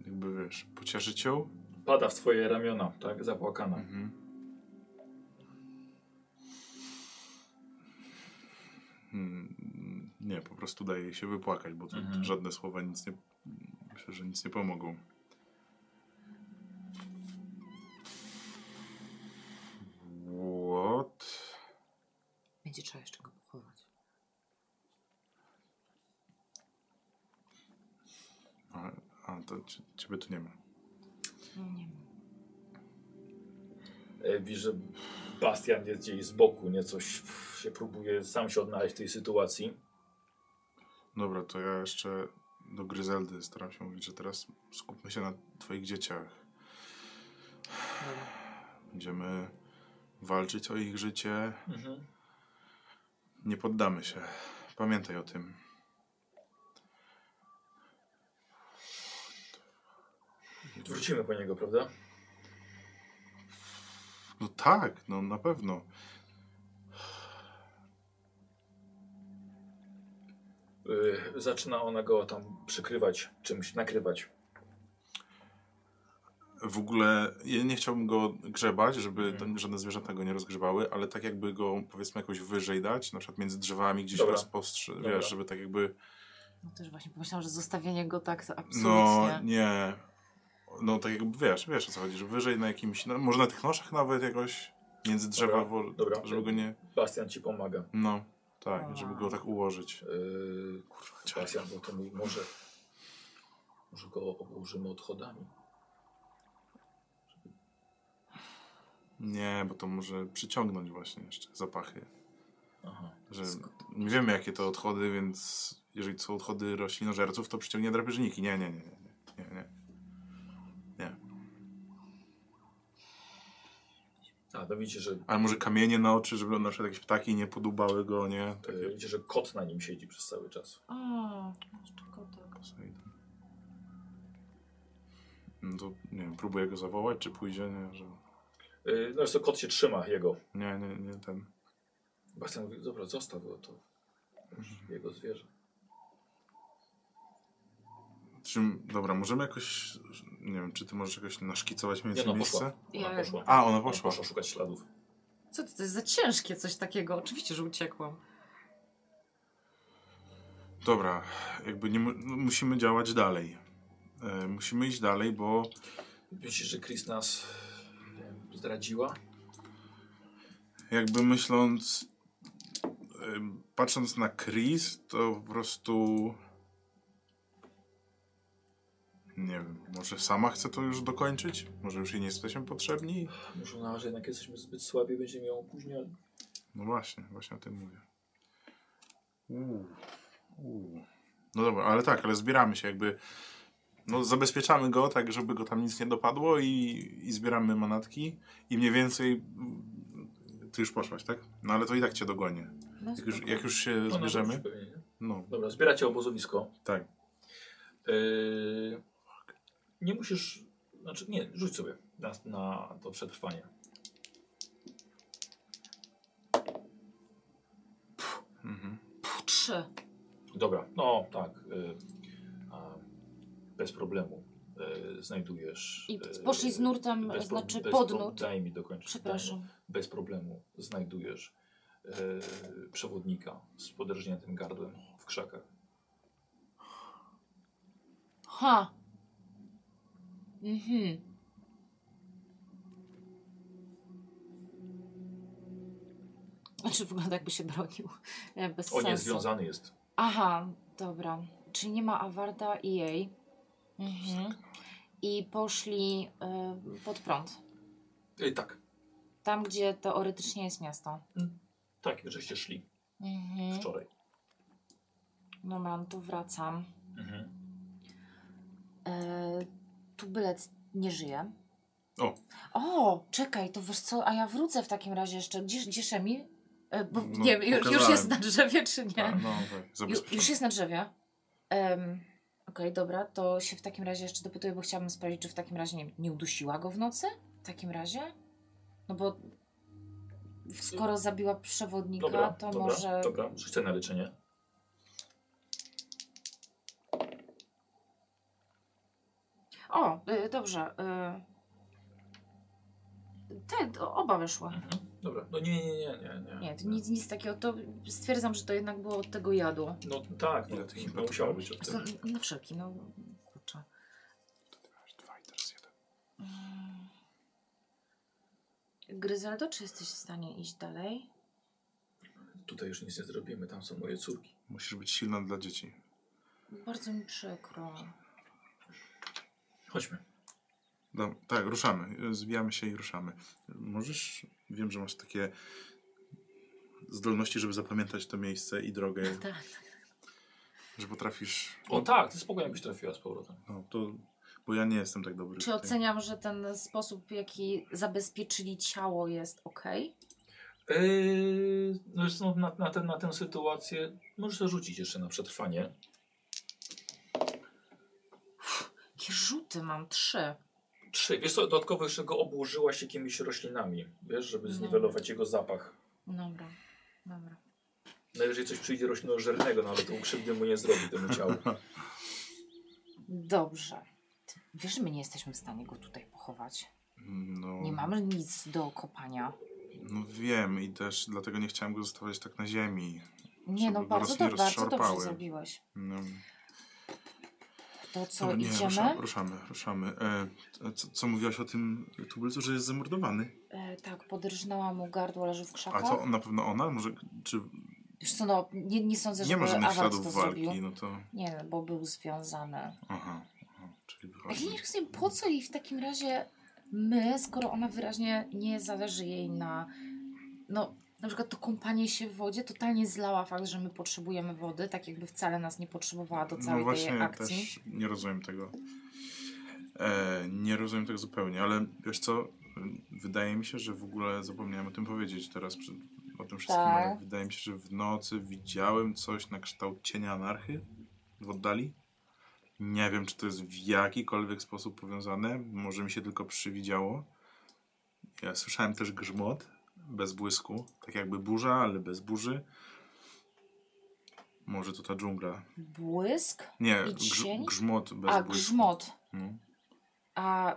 S3: jakby wiesz, pocieszyć ją.
S1: Pada w twoje ramiona, tak? Zapłakana.
S3: Mhm. Mm, Nie, po prostu daje jej się wypłakać, bo tu
S1: Mhm.
S3: żadne słowa nic nie. Myślę, że nic nie pomogą. What?
S2: Będzie trzeba jeszcze go pochować.
S3: A, a to cie- ciebie tu nie ma.
S2: Nie wiem.
S1: E, Widzisz, że Bastian jest gdzieś z boku, nieco ś- się próbuje sam się odnaleźć w tej sytuacji.
S3: Dobra, to ja jeszcze do Gryzeldy staram się mówić, że teraz skupmy się na twoich dzieciach. Będziemy walczyć o ich życie.
S1: Mhm.
S3: Nie poddamy się. Pamiętaj o tym.
S1: Wrócimy po niego, prawda?
S3: No tak, no na pewno.
S1: Y, zaczyna ona go tam przykrywać, czymś nakrywać.
S3: W ogóle ja nie chciałbym go grzebać, żeby
S1: Mhm.
S3: to, żadne zwierzęta go nie rozgrzebały, ale tak jakby go powiedzmy jakoś wyżej dać, na przykład między drzewami gdzieś
S1: Dobra.
S3: rozpostrze,
S1: Dobra.
S3: wiesz, żeby tak jakby...
S2: No też właśnie pomyślałam, że zostawienie go tak to
S3: No
S2: absolutnie.
S3: nie. No tak jakby wiesz, wiesz o co chodzi, że wyżej na jakimś, no, może na tych noszach nawet jakoś, między drzewa,
S1: Dobra,
S3: wo-
S1: dobra.
S3: żeby go nie...
S1: Bastian ci pomaga.
S3: No, tak, żeby go tak ułożyć.
S1: Yy, kurwa, Bastian, bo to mówi, może, może go obłożymy odchodami.
S3: Nie, bo to może przyciągnąć właśnie jeszcze zapachy.
S1: Aha.
S3: Że nie wiemy, jakie to odchody, więc jeżeli są odchody roślinożerców, to przyciągnie drapieżniki. Nie, nie, nie, nie, nie, nie. nie.
S1: A, to widzicie, że,
S3: Ale może kamienie na oczy, żeby na przykład jakieś ptaki nie podubały go, nie?
S1: yy,
S3: Takie...
S1: widzicie, że kot na nim siedzi przez cały czas.
S2: O, jeszcze kotek.
S3: No to, nie wiem, próbuję go zawołać, czy pójdzie, nie, że...
S1: Yy, no zresztą kot się trzyma jego.
S3: Nie, nie, nie, ten...
S1: Bastian mówi, dobra, zostaw go, to
S3: Mhm.
S1: już jego zwierzę.
S3: Czy, dobra, możemy jakoś, nie wiem, czy ty możesz jakoś naszkicować mniej
S1: Nie,
S3: więcej
S1: no, poszła.
S3: miejsce?
S1: Ona
S2: Ja-
S1: poszła.
S3: A, ona
S1: Ona
S3: poszła.
S1: Poszła szukać śladów.
S2: Co to, to jest za ciężkie coś takiego? Oczywiście, że uciekłam.
S3: Dobra, jakby nie, mu- no, musimy działać dalej. E, musimy iść dalej, bo
S1: Myślisz, że Chris nas nie wiem, zdradziła?
S3: jakby myśląc, em, patrząc na Chris, to po prostu. Nie wiem, może sama chce to już dokończyć? Może już jej nie jesteśmy potrzebni?
S1: Może ona, że jednak jesteśmy zbyt słabi, będziemy ją opóźniali.
S3: No właśnie, właśnie o tym mówię. Uuu. Uuu. No dobra, ale tak, ale zbieramy się jakby. No, zabezpieczamy go tak, żeby go tam nic nie dopadło i, i zbieramy manatki. I mniej więcej. mm, Ty już poszłaś, tak? No ale to i tak cię dogonię.
S2: No,
S3: Jak już,
S2: spoko.
S3: jak już się
S1: Ona
S3: zbierzemy.
S1: wróci pewnie, nie?
S3: No,
S1: Dobra, zbieracie obozowisko.
S3: tak.
S1: Yy, nie musisz... Znaczy nie, rzuć sobie na, na to przetrwanie.
S3: Mhm.
S2: Trzy.
S1: Dobra, no tak. Yy, a, bez problemu yy, znajdujesz...
S2: I
S1: yy,
S2: poszli z nurtem,
S1: bez pro-
S2: znaczy
S1: bez
S2: pod
S1: pro-
S2: nurt.
S1: Daj mi dokończyć. zdanie.
S2: Przepraszam.
S1: bez problemu znajdujesz e, przewodnika z podrżniętym gardłem w krzakach.
S2: Ha. Mhm. Znaczy wygląda jakby się bronił. E, Bez
S1: On nie
S2: sensu.
S1: związany jest.
S2: Aha, dobra. Czyli nie ma Awarda i jej. Mhm. I poszli y, pod prąd.
S1: E, tak,
S2: Tam, gdzie teoretycznie jest miasto.
S1: tak, żeście szli
S2: Mhm.
S1: wczoraj.
S2: No mam, tu wracam.
S1: Mhm.
S2: E, tu bylec nie żyje.
S3: O.
S2: O, czekaj, to wiesz co, a ja wrócę w takim razie jeszcze. Gdzie, gdzie Szemi? E, bo
S3: No,
S2: nie wiem, już, już
S3: pokazałem.
S2: jest na drzewie czy nie?
S3: A, no, tak.
S2: Ju,
S3: zabezpieczamy.
S2: już jest na drzewie. Em, Okej, dobra, to się w takim razie jeszcze dopytuję, bo chciałabym sprawdzić, czy w takim razie nie, nie udusiła go w nocy? W takim razie? No bo skoro zabiła przewodnika,
S1: Dobra,
S2: to
S1: dobra,
S2: może...
S1: dobra. Rzucę na leczenie.
S2: O, y, dobrze. Y, Te, to oba wyszły.
S1: Mhm. Dobra, no nie, nie, nie, nie.
S2: Nie, to nic, nic takiego. To stwierdzam, że to jednak było od tego jadu.
S1: No tak, no,
S3: Ile tych
S1: no
S3: impetów
S1: musiało
S3: miało?
S1: być od
S2: Zresztą,
S1: tego.
S2: na wszelki, no kurczę.
S3: Aż Dwa i teraz jeden.
S2: Mm. Gryzeldo, czy jesteś w stanie iść dalej?
S1: Tutaj już nic nie zrobimy, tam są moje córki.
S3: Musisz być silna dla dzieci.
S2: Bardzo mi przykro.
S1: Chodźmy.
S3: No, tak, ruszamy. Zwijamy się i ruszamy. Możesz, wiem, że masz takie zdolności, żeby zapamiętać to miejsce i drogę,
S2: Tak.
S3: że potrafisz.
S1: O tak, ty spokojnie byś trafiła z powrotem.
S3: No, to, bo ja nie jestem tak dobry. w
S2: Czy
S3: tym.
S2: oceniam, że ten sposób, w jaki zabezpieczyli ciało, jest ok?
S1: Yy, E, no zresztą na, na, ten, na tę sytuację możesz sobie rzucić jeszcze na przetrwanie.
S2: Jakie rzuty mam? Trzy.
S1: Trzy. Wiesz co, dodatkowo jeszcze go obłożyłaś jakimiś roślinami, wiesz, żeby
S2: No.
S1: zniwelować jego zapach.
S2: Dobra, dobra.
S1: Najwyżej coś przyjdzie roślinożernego, no ale to krzywdy mu nie zrobi *laughs* temu ciału.
S2: Dobrze. Ty wiesz, że my nie jesteśmy w stanie go tutaj pochować.
S3: No,
S2: Nie mamy nic do kopania.
S3: No wiem i też dlatego nie chciałem go zostawiać tak na ziemi.
S2: Nie, no
S3: Żeby go
S2: bardzo,
S3: rośnie
S2: do, bardzo dobrze
S3: rozszarpały.
S2: zrobiłeś.
S3: No.
S2: To co,
S3: Dobra, nie, rusza,
S2: idziemy?
S3: ruszamy, ruszamy. E, co, co mówiłaś o tym tubylcu, że jest zamordowany?
S2: E, tak, podrżnęła mu gardło, leży w
S3: A
S2: krzakach.
S3: to na pewno ona? Może, czy
S2: Wiesz co, no, nie, nie sądzę,
S3: nie
S2: żeby
S3: ma żadnych
S2: awans to
S3: śladów walki?
S2: zrobił.
S3: No to...
S2: Nie, bo był związany.
S3: Aha, aha czyli
S2: Ja
S3: wychodzi.
S2: nie rozumiem, po co jej w takim razie my, skoro ona wyraźnie nie zależy jej na. No, na przykład to kąpanie się w wodzie totalnie zlała fakt, że my potrzebujemy wody, tak jakby wcale nas nie potrzebowała do całej
S3: No właśnie,
S2: tej
S3: ja
S2: akcji.
S3: też nie rozumiem tego. E, nie rozumiem tego zupełnie, ale wiesz co? Wydaje mi się, że w ogóle zapomniałem o tym powiedzieć teraz przy, o tym wszystkim,
S2: Tak.
S3: ale wydaje mi się, że w nocy widziałem coś na kształt cienia anarchy w oddali. Nie wiem, czy to jest w jakikolwiek sposób powiązane. Może mi się tylko przywidziało. Ja słyszałem też grzmot bez błysku. Tak jakby burza, ale bez burzy. Może to ta dżungla.
S2: Błysk,
S3: Nie,
S2: I
S3: grz,
S2: cień?
S3: grzmot bez
S2: a
S3: błysku.
S2: grzmot.
S3: No.
S2: A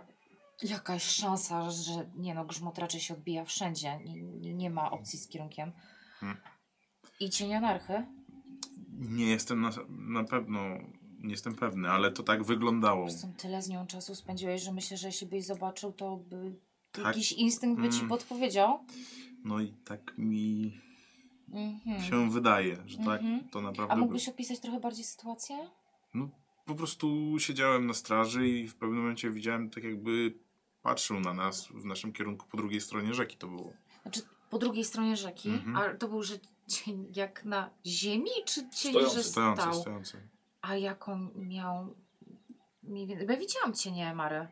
S2: jakaś szansa, że nie no, grzmot raczej się odbija wszędzie. Nie, nie- nie ma opcji z kierunkiem.
S3: Hmm.
S2: I cień anarchy?
S3: Nie jestem na, na pewno, nie jestem pewny, ale to tak wyglądało.
S2: Zresztą tyle z nią czasu spędziłeś, że myślę, że jeśli byś zobaczył, to by
S3: Tak.
S2: jakiś instynkt by ci
S3: Mm.
S2: podpowiedział.
S3: No i tak mi
S2: Mhm.
S3: się wydaje, że tak
S2: Mhm.
S3: to
S2: A
S3: naprawdę było.
S2: mógłbyś opisać trochę bardziej sytuację?
S3: No, po prostu siedziałem na straży i w pewnym momencie widziałem tak jakby patrzył na nas w naszym kierunku po drugiej stronie rzeki to było.
S2: Znaczy, po drugiej stronie rzeki,
S3: Mhm.
S2: ale to był, że cień jak na ziemi, czy cień,
S1: Stojący,
S2: że
S3: Stojący,
S2: stał?
S3: stojący.
S2: A jaką miał... mniej więcej- Bo ja widziałam cienie Mary.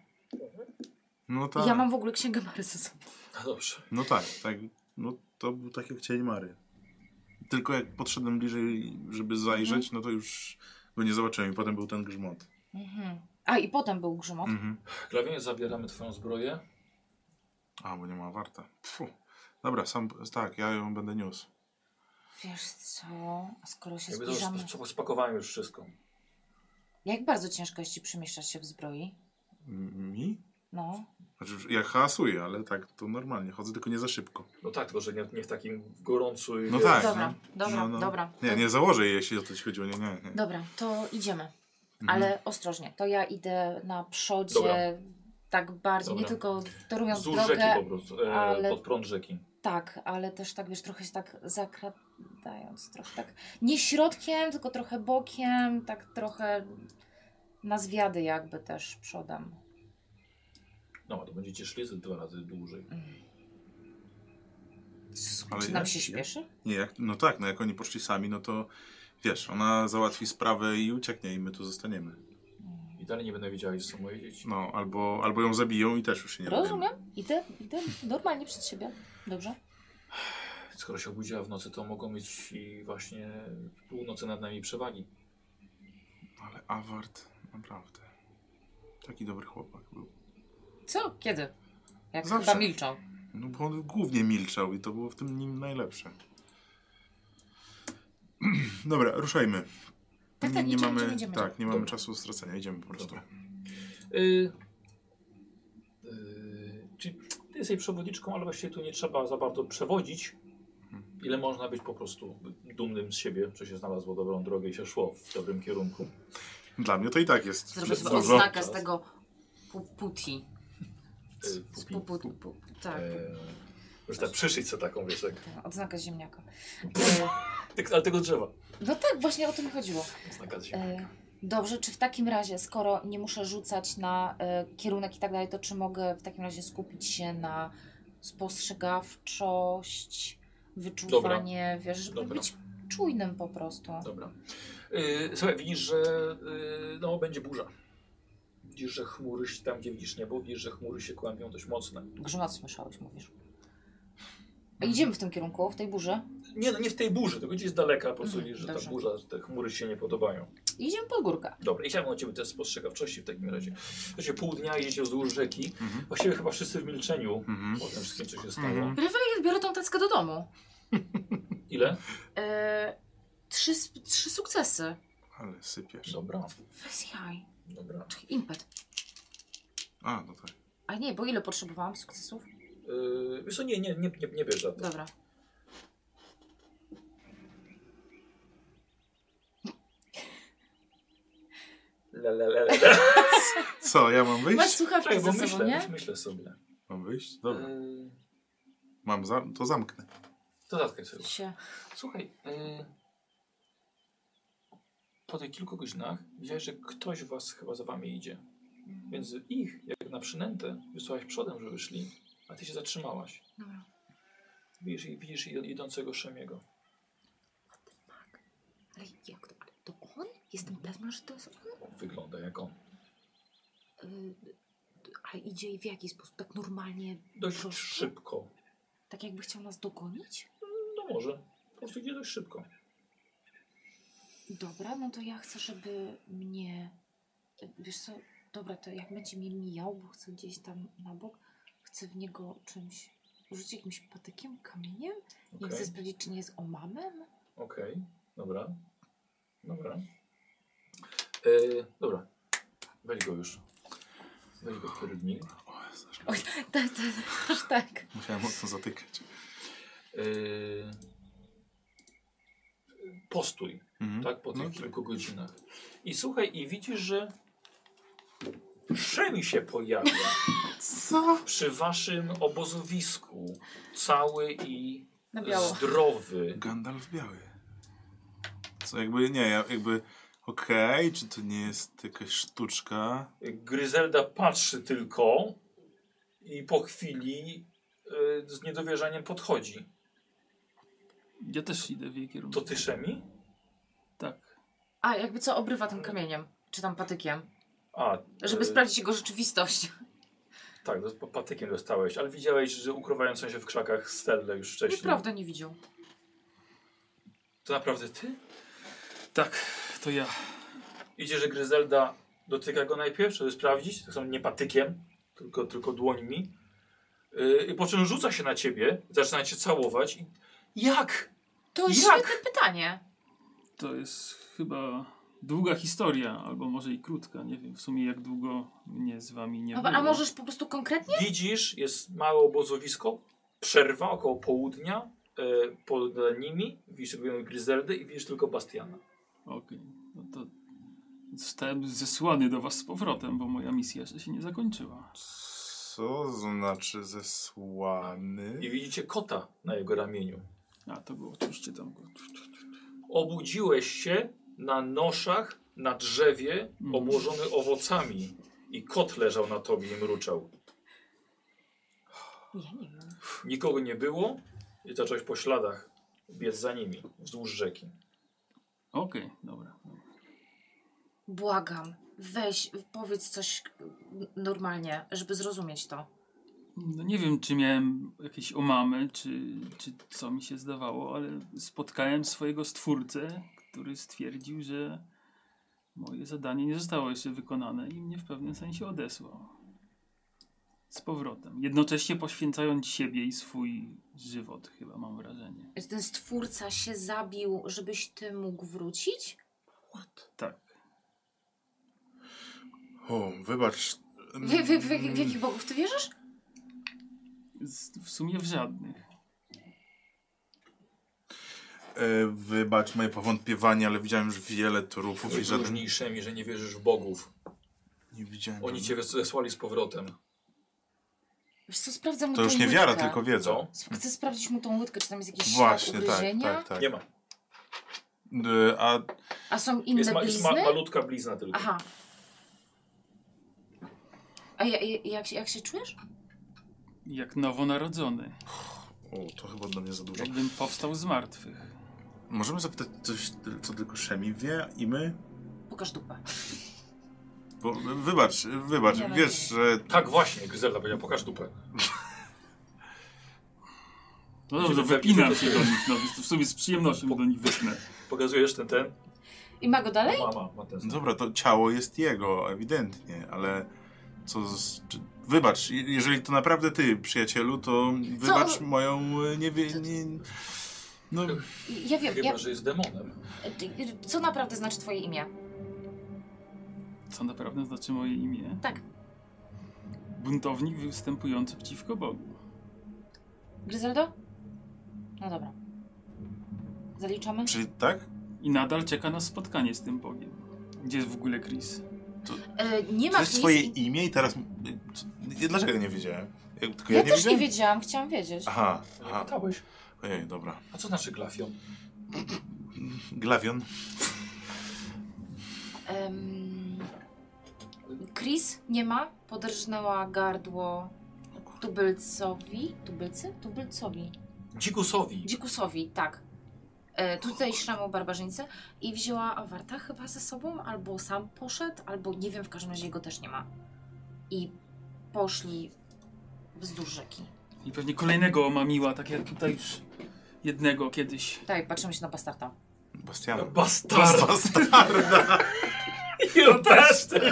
S3: No tak,
S2: Ja mam w ogóle księgę Mary ze sobą.
S1: No dobrze.
S3: no tak, tak. No to był tak jak cień Mary. Tylko jak podszedłem bliżej, żeby zajrzeć, no to już go nie zobaczyłem i potem był ten grzmot.
S2: Mhm. A i potem był grzmot.
S3: Mhm.
S1: Klawienie zabieramy twoją zbroję.
S3: A, bo nie ma warta. Pfu. Dobra, sam, tak, ja ją będę niósł.
S2: Wiesz co, a skoro się
S1: Jakby to już
S2: zbliżamy...
S1: sp- spakowałem już wszystko.
S2: Jak bardzo ciężko jest ci przemieszczać się w zbroi?
S3: M- Mi?
S2: No,
S3: Znaczy, już ja hałasuję, ale tak, to normalnie. Chodzę tylko nie za szybko.
S1: No tak, tylko że nie, nie w takim gorącu i
S3: No
S1: wiesz,
S3: tak.
S2: dobra,
S3: no.
S2: dobra,
S3: No, no.
S2: dobra.
S3: Nie, nie założę jej, jeśli o to ci chodziło. Nie, Mhm. nie, nie.
S2: Dobra, to idziemy.
S3: Mhm.
S2: Ale ostrożnie, to ja idę na przodzie
S1: Dobra.
S2: tak bardziej, nie
S1: Dobra.
S2: tylko torując
S1: Wzdłuż rzeki
S2: drogę,
S1: po prostu, e,
S2: ale-
S1: pod prąd rzeki.
S2: tak, ale też tak, wiesz, trochę się tak zakradając, trochę tak, nie środkiem, tylko trochę bokiem, tak trochę na zwiady jakby też przodem.
S1: No, a to będziecie szli ze dwa razy dłużej.
S3: Ale
S2: Czy
S3: ja-
S2: nam się
S3: ja-
S2: śpieszy?
S3: Nie, jak, no tak, no jak oni poszli sami, no to wiesz, ona załatwi sprawę i ucieknie i my tu zostaniemy.
S1: I dalej nie będę wiedziała, gdzie są moje dzieci.
S3: No, albo, albo ją zabiją i też już się nie
S2: Rozumiem, idę, idę normalnie przed siebie, dobrze?
S1: Skoro się obudziła w nocy, to mogą mieć i właśnie północy nad nami przewagi.
S3: będą. Ale Awart, naprawdę. Taki dobry chłopak był.
S2: Co? Kiedy? Jak
S3: Zawsze.
S2: chyba milczą.
S3: No bo on głównie milczał i to było w tym nim najlepsze. *clears throat* Dobra, ruszajmy.
S2: Tak, tak,
S3: nie
S2: idziemy,
S3: mamy,
S2: idziemy, idziemy.
S3: Tak, nie mamy
S1: Dobra.
S3: czasu do stracenia, idziemy po prostu.
S1: Dobra. Y, y, czy ty Jest jej przewodniczką, ale właściwie tu nie trzeba za bardzo przewodzić. Ile można być po prostu dumnym z siebie, że się znalazło dobrą drogę i się szło w dobrym kierunku.
S3: Dla mnie to i tak jest
S2: Zrobię sobie
S3: dużo.
S2: odznakę z tego pu- puti.
S1: E,
S2: Z
S1: pupi.
S2: pu- pu- pu- Tak,
S1: E, Już tak przyszyć sobie taką, wiesz, tak,
S2: tak, odznaka z
S3: *laughs*
S2: ziemniaka. E,
S1: Tyk- ale tego drzewa.
S2: No tak, właśnie o to mi chodziło.
S1: Znaka z ziemi.
S2: E, Dobrze, czy w takim razie, skoro nie muszę rzucać na e, kierunek i tak dalej, to czy mogę w takim razie skupić się na spostrzegawczość, wyczuwanie, wiesz, żeby
S1: Dobra.
S2: być czujnym po prostu.
S1: Dobra. Yy, słuchaj, widzisz, że yy, no, będzie burza. Widzisz, że chmury się tam, gdzie widzisz niebo, widzisz, że chmury się kłębią dość mocne.
S2: Grzmat słyszałeś, mówisz. A idziemy w tym kierunku, w tej burzy?
S1: Nie, no nie w tej burzy, tylko gdzieś z daleka po prostu
S2: Mhm,
S1: widzisz, że
S2: dobrze.
S1: ta burza, że te chmury się nie podobają.
S2: Idziemy pod górkę.
S1: Dobra, i chciałbym od Ciebie też spostrzegawczości w takim razie. Słuchajcie, pół dnia jedziecie wzdłuż rzeki.
S3: Mhm.
S1: Właściwie chyba wszyscy w milczeniu
S3: Mhm.
S1: po tym wszystkim, co się stało.
S3: Mhm.
S2: Rewelin biorę tą tackę do domu.
S1: Ile?
S2: E, trzy, sp- trzy sukcesy.
S3: Ale sypiesz.
S1: Dobra,
S2: Weź jaj.
S1: dobra.
S2: Czekaj, impet.
S3: A, no tak.
S2: A nie, bo ile potrzebowałam sukcesów?
S1: Yy, wiesz co, nie, nie, nie, nie, nie bierz
S2: *laughs*
S1: za to.
S2: Dobra.
S1: Le, le, le, le, le.
S3: Co, ja mam
S2: Masz
S3: wyjść?
S2: słuchawki
S1: Czekaj, bo
S2: ze sobą,
S1: myślę,
S2: nie?
S1: myślę sobie.
S3: Mam wyjść? Dobra.
S1: Yy,
S3: Mam za... to zamknę.
S1: to zatkaj sobie.
S2: Się.
S1: Słuchaj, y, po tych kilku godzinach widziałeś, że ktoś was chyba za wami idzie. Więc ich, jak na przynętę, wysłałaś przodem, żeby szli, a ty się zatrzymałaś.
S2: Dobra.
S1: Widzisz, i- widzisz id- idącego Szemiego.
S2: Ale jak to? Ale to on? Jestem pewna, że to jest on.
S1: Wygląda jak on.
S2: Y, ale idzie i w jaki sposób? Tak normalnie,
S1: Dość
S2: Prosto?
S1: szybko.
S2: tak jakby chciał nas dogonić?
S1: No może. Po prostu idzie dość szybko.
S2: Dobra, no to ja chcę, żeby mnie. Wiesz co? Dobra, to jak będzie mnie mijał, bo chcę gdzieś tam na bok, chcę w niego czymś. rzucić jakimś patykiem, kamieniem? I
S1: Okej,
S2: chcę sprawdzić, czy nie jest omamem?
S1: okej. Dobra. Dobra. Y, dobra. Weź go już. Weź go w trudni.
S3: O, Jezu, aż-
S2: *laughs* Tak, tak, tak, aż tak.
S3: musiałem mocno zatykać.
S1: Yy, postój,
S3: Mhm.
S1: tak, po tych
S3: No tak.
S1: kilku godzinach. I słuchaj, i widzisz, że Szemi się pojawia
S3: Co?
S1: przy waszym obozowisku, cały i
S2: Na biało.
S1: zdrowy.
S3: Gandalf biały. Co, jakby, nie, ja- jakby... Okej, czy to nie jest jakaś sztuczka?
S1: Gryzelda patrzy tylko i po chwili yy, z niedowierzaniem podchodzi.
S4: Ja też idę w jej
S1: To
S4: kierunku.
S1: ty, Szemi?
S4: Tak.
S2: A, jakby co obrywa tym kamieniem, czy tam patykiem,
S1: A,
S2: żeby
S1: yy,
S2: sprawdzić jego rzeczywistość.
S1: Tak, do- patykiem dostałeś, ale widziałeś, że ukrywającą się w krzakach Stellę już wcześniej.
S2: Nieprawda nie widział.
S1: To naprawdę ty?
S4: Tak, to ja.
S1: Idzie, że Gryzelda dotyka go najpierw, żeby sprawdzić. To są nie patykiem, tylko, tylko dłońmi. Yy, I po czym rzuca się na ciebie, zaczyna cię całować. I... Jak?
S2: To jest
S1: Jak?
S2: świetne pytanie.
S4: To jest chyba długa historia, albo może i krótka. Nie wiem w sumie jak długo mnie z wami nie
S2: Dobra,
S4: było.
S2: a możesz po prostu konkretnie?
S1: Widzisz, jest małe obozowisko, przerwa około południa. Yy, pod nimi widzisz tylko Gryzeldę i widzisz tylko Bastiana.
S4: Okej, no to zostałem zesłany do was z powrotem, bo moja misja jeszcze się nie zakończyła.
S3: Co znaczy zesłany?
S1: I widzicie kota na jego ramieniu.
S4: A, to było oczywiście tam.
S1: Obudziłeś się na noszach, na drzewie,
S4: Mm.
S1: obłożony owocami. I kot leżał na tobie i mruczał.
S2: Nie, nie wiem.
S1: Nikogo nie było i zacząłeś po śladach biec za nimi wzdłuż rzeki.
S4: Okej, dobra.
S2: Błagam, weź, powiedz coś normalnie, żeby zrozumieć to.
S4: No nie wiem, czy miałem jakieś omamy, czy, czy co mi się zdawało, ale spotkałem swojego stwórcę, który stwierdził, że moje zadanie nie zostało jeszcze wykonane i mnie w pewnym sensie odesłał. Z powrotem. Jednocześnie poświęcając siebie i swój żywot, chyba mam wrażenie.
S2: Że Ten stwórca się zabił, żebyś ty mógł wrócić?
S4: Tak.
S3: O, wybacz. Mm.
S2: Wie, wie, wie, w jakich bogów ty wierzysz?
S4: Z, w sumie w żadnych.
S3: E, wybacz moje powątpiewanie, ale widziałem już wiele trupów i żaden...
S1: Różniejszymi, że nie wierzysz w bogów.
S3: Nie widziałem.
S1: Oni cię zesłali z powrotem.
S2: Wiesz co, sprawdzam
S3: To
S2: mu
S3: już
S2: tą
S3: nie wiara,
S2: łydkę.
S3: tylko wiedza.
S1: Co?
S2: Sp- Chcę sprawdzić mu tą łydkę, czy tam jest jakiś ślad
S3: Właśnie, tak,
S2: ugryzienia.
S3: tak, tak.
S1: Nie ma.
S3: E, A
S2: A są inne
S1: Jest, ma, jest ma,
S2: blizny?
S1: malutka blizna tylko.
S2: Aha. A ja, ja, jak, się- jak się czujesz?
S4: Jak nowonarodzony.
S3: O, to chyba dla mnie za dużo.
S4: Jakbym powstał z martwych.
S3: Możemy zapytać coś, ty- co tylko Szemi wie i my?
S2: Pokaż dupę.
S3: Bo, wybacz, wybacz,
S2: Nie, no
S3: wiesz,
S2: nie.
S3: że...
S1: Tak właśnie, Gryzelda powiedziała, pokaż dupę.
S4: No dobrze, wypinam się do nich. No, więc w sumie z przyjemnością do nich wypnę.
S1: Pokazujesz ten, ten.
S2: I ma go dalej?
S1: Mama ma ten.
S3: No Dobra, to ciało jest jego, ewidentnie, ale co z... czy- Wybacz, je- jeżeli to naprawdę ty, przyjacielu, to wybacz moją y, nie wie... Nie... No,
S2: I- Ja wiem, ja,
S1: Chyba, że jest demonem.
S2: y, co naprawdę znaczy twoje imię?
S4: Co naprawdę znaczy moje imię?
S2: Tak.
S4: Buntownik występujący przeciwko Bogu.
S2: Gryzeldo? No dobra. Zaliczamy?
S3: czyli tak?
S4: I nadal czeka nas spotkanie z tym Bogiem. Gdzie jest w ogóle Chris?
S2: E, nie ma
S3: To jest
S2: Chris
S3: twoje
S2: i-
S3: imię i teraz... y, co- nie- Dlaczego ja nie wiedziałem? Ja, tylko
S2: Ja,
S3: ja, nie
S2: też
S3: wiedziałem?
S2: nie wiedziałam, chciałam wiedzieć.
S3: Aha,
S1: Nie
S3: aha,
S1: pytałeś.
S3: ojej, dobra.
S1: A co znaczy glafion?
S3: Glawion.
S2: Em, Chris nie ma, podrżnęła gardło tubylcowi, tubylcy? Tubylcowi,
S1: Dzikusowi.
S2: dzikusowi, tak. E, tutejszemu barbarzyńcy i wzięła awarta chyba ze sobą, albo sam poszedł, albo nie wiem, w każdym razie jego też nie ma. I poszli wzdłuż rzeki.
S4: I pewnie kolejnego omamiła, tak jak tutaj już jednego kiedyś.
S2: Tak, patrzymy się na bastarda.
S3: Bastian. *laughs*
S1: Bastard.
S3: Bastarda.
S1: *laughs* Ja też ty-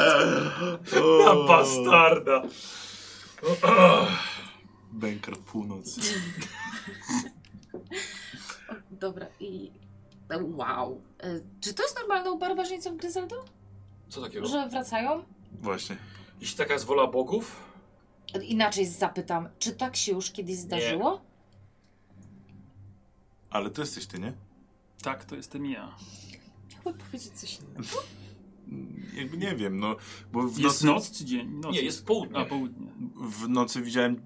S1: na
S3: O,
S1: bastarda.
S3: Banker północy.
S2: O, Dobra, i... Wow. E, czy to jest normalne u barbarzyńców Gryzeldo?
S1: Co takiego?
S2: Że wracają?
S3: Właśnie.
S1: Jeśli taka jest wola bogów,
S2: Inaczej zapytam, czy tak się już kiedyś zdarzyło?
S3: Ale to jesteś ty, nie?
S4: Tak, to jestem ja.
S2: Chciałabym powiedzieć coś innego.
S3: Jakby nie wiem, no. Bo w
S4: Jest
S3: nocy,
S4: noc czy dzień?
S3: No,
S4: Noc.
S1: nie, jest południe.
S4: A, południe.
S3: w nocy widziałem,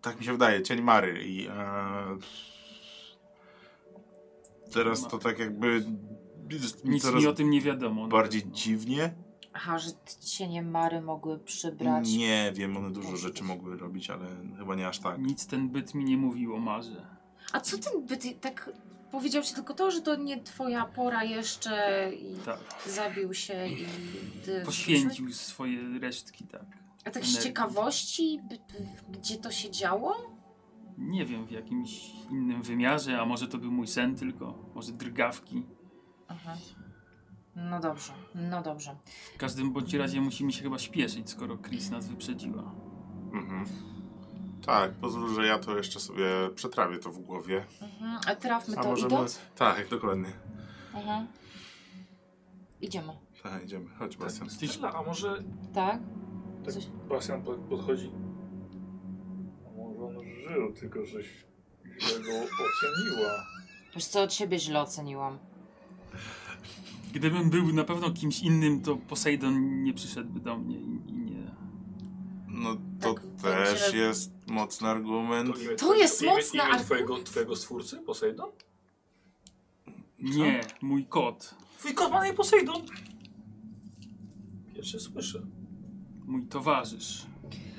S3: tak mi się wydaje, cień Mary i... E, teraz to tak jakby... Jest mi
S4: Nic
S3: coraz
S4: mi o tym nie wiadomo.
S3: bardziej dziwnie.
S2: Aha, że t- cienie Mary mogły przybrać.
S3: Nie wiem, one dużo rzeczy mogły robić, ale chyba nie aż tak.
S4: Nic ten byt mi nie mówił o marze.
S2: A co ten by ty tak powiedział ci tylko to, że to nie twoja pora jeszcze i
S4: Tak.
S2: zabił się i ty...
S4: Poświęcił swoje resztki, tak.
S2: A tak z
S4: energii.
S2: ciekawości, by- gdzie to się działo?
S4: Nie wiem, w jakimś innym wymiarze, a może to był mój sen tylko, może drgawki.
S2: Aha. No dobrze, no dobrze.
S4: W każdym bądź razie musimy się chyba śpieszyć, skoro Chris nas wyprzedziła.
S3: Mhm. Tak, pozwól, że ja to jeszcze sobie przetrawię to w głowie.
S2: Mhm. A trafmy to idąc?
S3: Tak, dokładnie.
S2: Mhm. Idziemy,
S3: Tak, idziemy. Chodź, Bastian.
S1: Stella, a może
S2: tak?
S5: Tak.
S2: Coś...
S5: Bastian po- podchodzi. Może on żył, tylko żeś źle go oceniła.
S2: Wiesz co, od siebie źle oceniłam.
S4: Gdybym był na pewno kimś innym, to Poseidon nie przyszedłby do mnie i, i nie.
S3: No to
S2: Tak,
S3: też
S2: będzie-
S3: jest mocny argument.
S1: imię,
S2: To jest
S1: imię,
S2: mocny
S1: imię
S2: argument.
S1: twojego, twojego stwórcy, Posejdon?
S4: Nie, mój kot,
S1: Twój kot ma na imię Posejdon. Pierwsze słyszę.
S4: mój towarzysz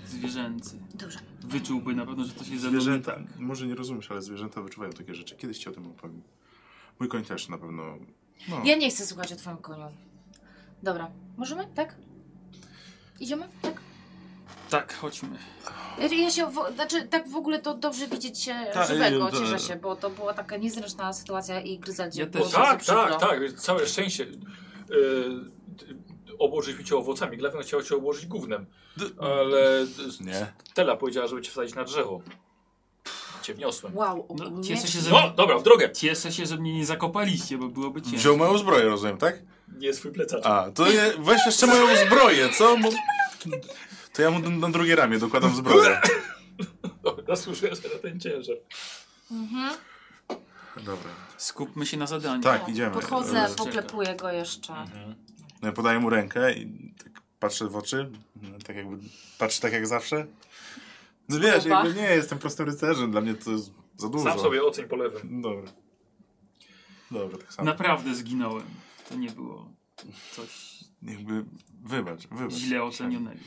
S4: zwierzęcy.
S2: Dobrze.
S4: Wyczułby na pewno, że to się ze mną nie
S3: Zwierzęta,
S4: tak.
S3: może nie rozumiesz, ale zwierzęta wyczuwają takie rzeczy. Kiedyś ci o tym opowiem. Mój koń też na pewno. No.
S2: Ja nie chcę słuchać o twoim koniu. Dobra, możemy? Tak? Idziemy? Tak.
S4: Tak, chodźmy.
S2: Ja- Ja się, w, znaczy tak w ogóle to dobrze widzieć się
S3: Ta,
S2: żywego,
S3: y, to-
S2: cieszę się, bo to była taka niezręczna sytuacja i Gryzeldzie
S4: Ja
S2: było
S4: też.
S2: bardzo
S1: Tak, tak,
S2: przykro.
S1: tak. Całe szczęście. Yy, obłożyliśmy cię owocami. Glawion chciał cię obłożyć gównem. Ale
S3: Nie.
S1: Stella powiedziała, żeby cię wsadzić na drzewo. Cię wniosłem.
S2: Wow,
S4: No,
S2: ogólnie...
S4: cieszę się, że-
S1: No, dobra, w drogę.
S4: Cieszę się, że mnie nie zakopaliście, bo byłoby ciężko.
S3: Wziął moją zbroję, rozumiem, tak?
S1: Nie swój plecacz.
S3: A, to je, weź jeszcze moją zbroję, co? Bo... To ja mu na, na drugie ramię dokładam zbroję.
S1: Zasłużyłeś na ten ciężar.
S2: Mhm.
S3: Dobra.
S4: Skupmy się na zadaniu.
S3: Tak, idziemy.
S2: Podchodzę,
S3: E,
S2: poklepuję go jeszcze.
S3: No, ja podaję mu rękę i tak patrzę w oczy. No, tak jakby, patrzę tak jak zawsze. No wiesz,
S2: Opa.
S3: jakby nie, jestem prostym rycerzem, dla mnie to jest za dużo.
S1: Sam sobie oceń po lewym.
S3: Dobra. Dobra, tak samo.
S4: Naprawdę zginąłem. To nie było coś
S3: Jakby, wybacz, wybacz.
S4: źle ocenionego.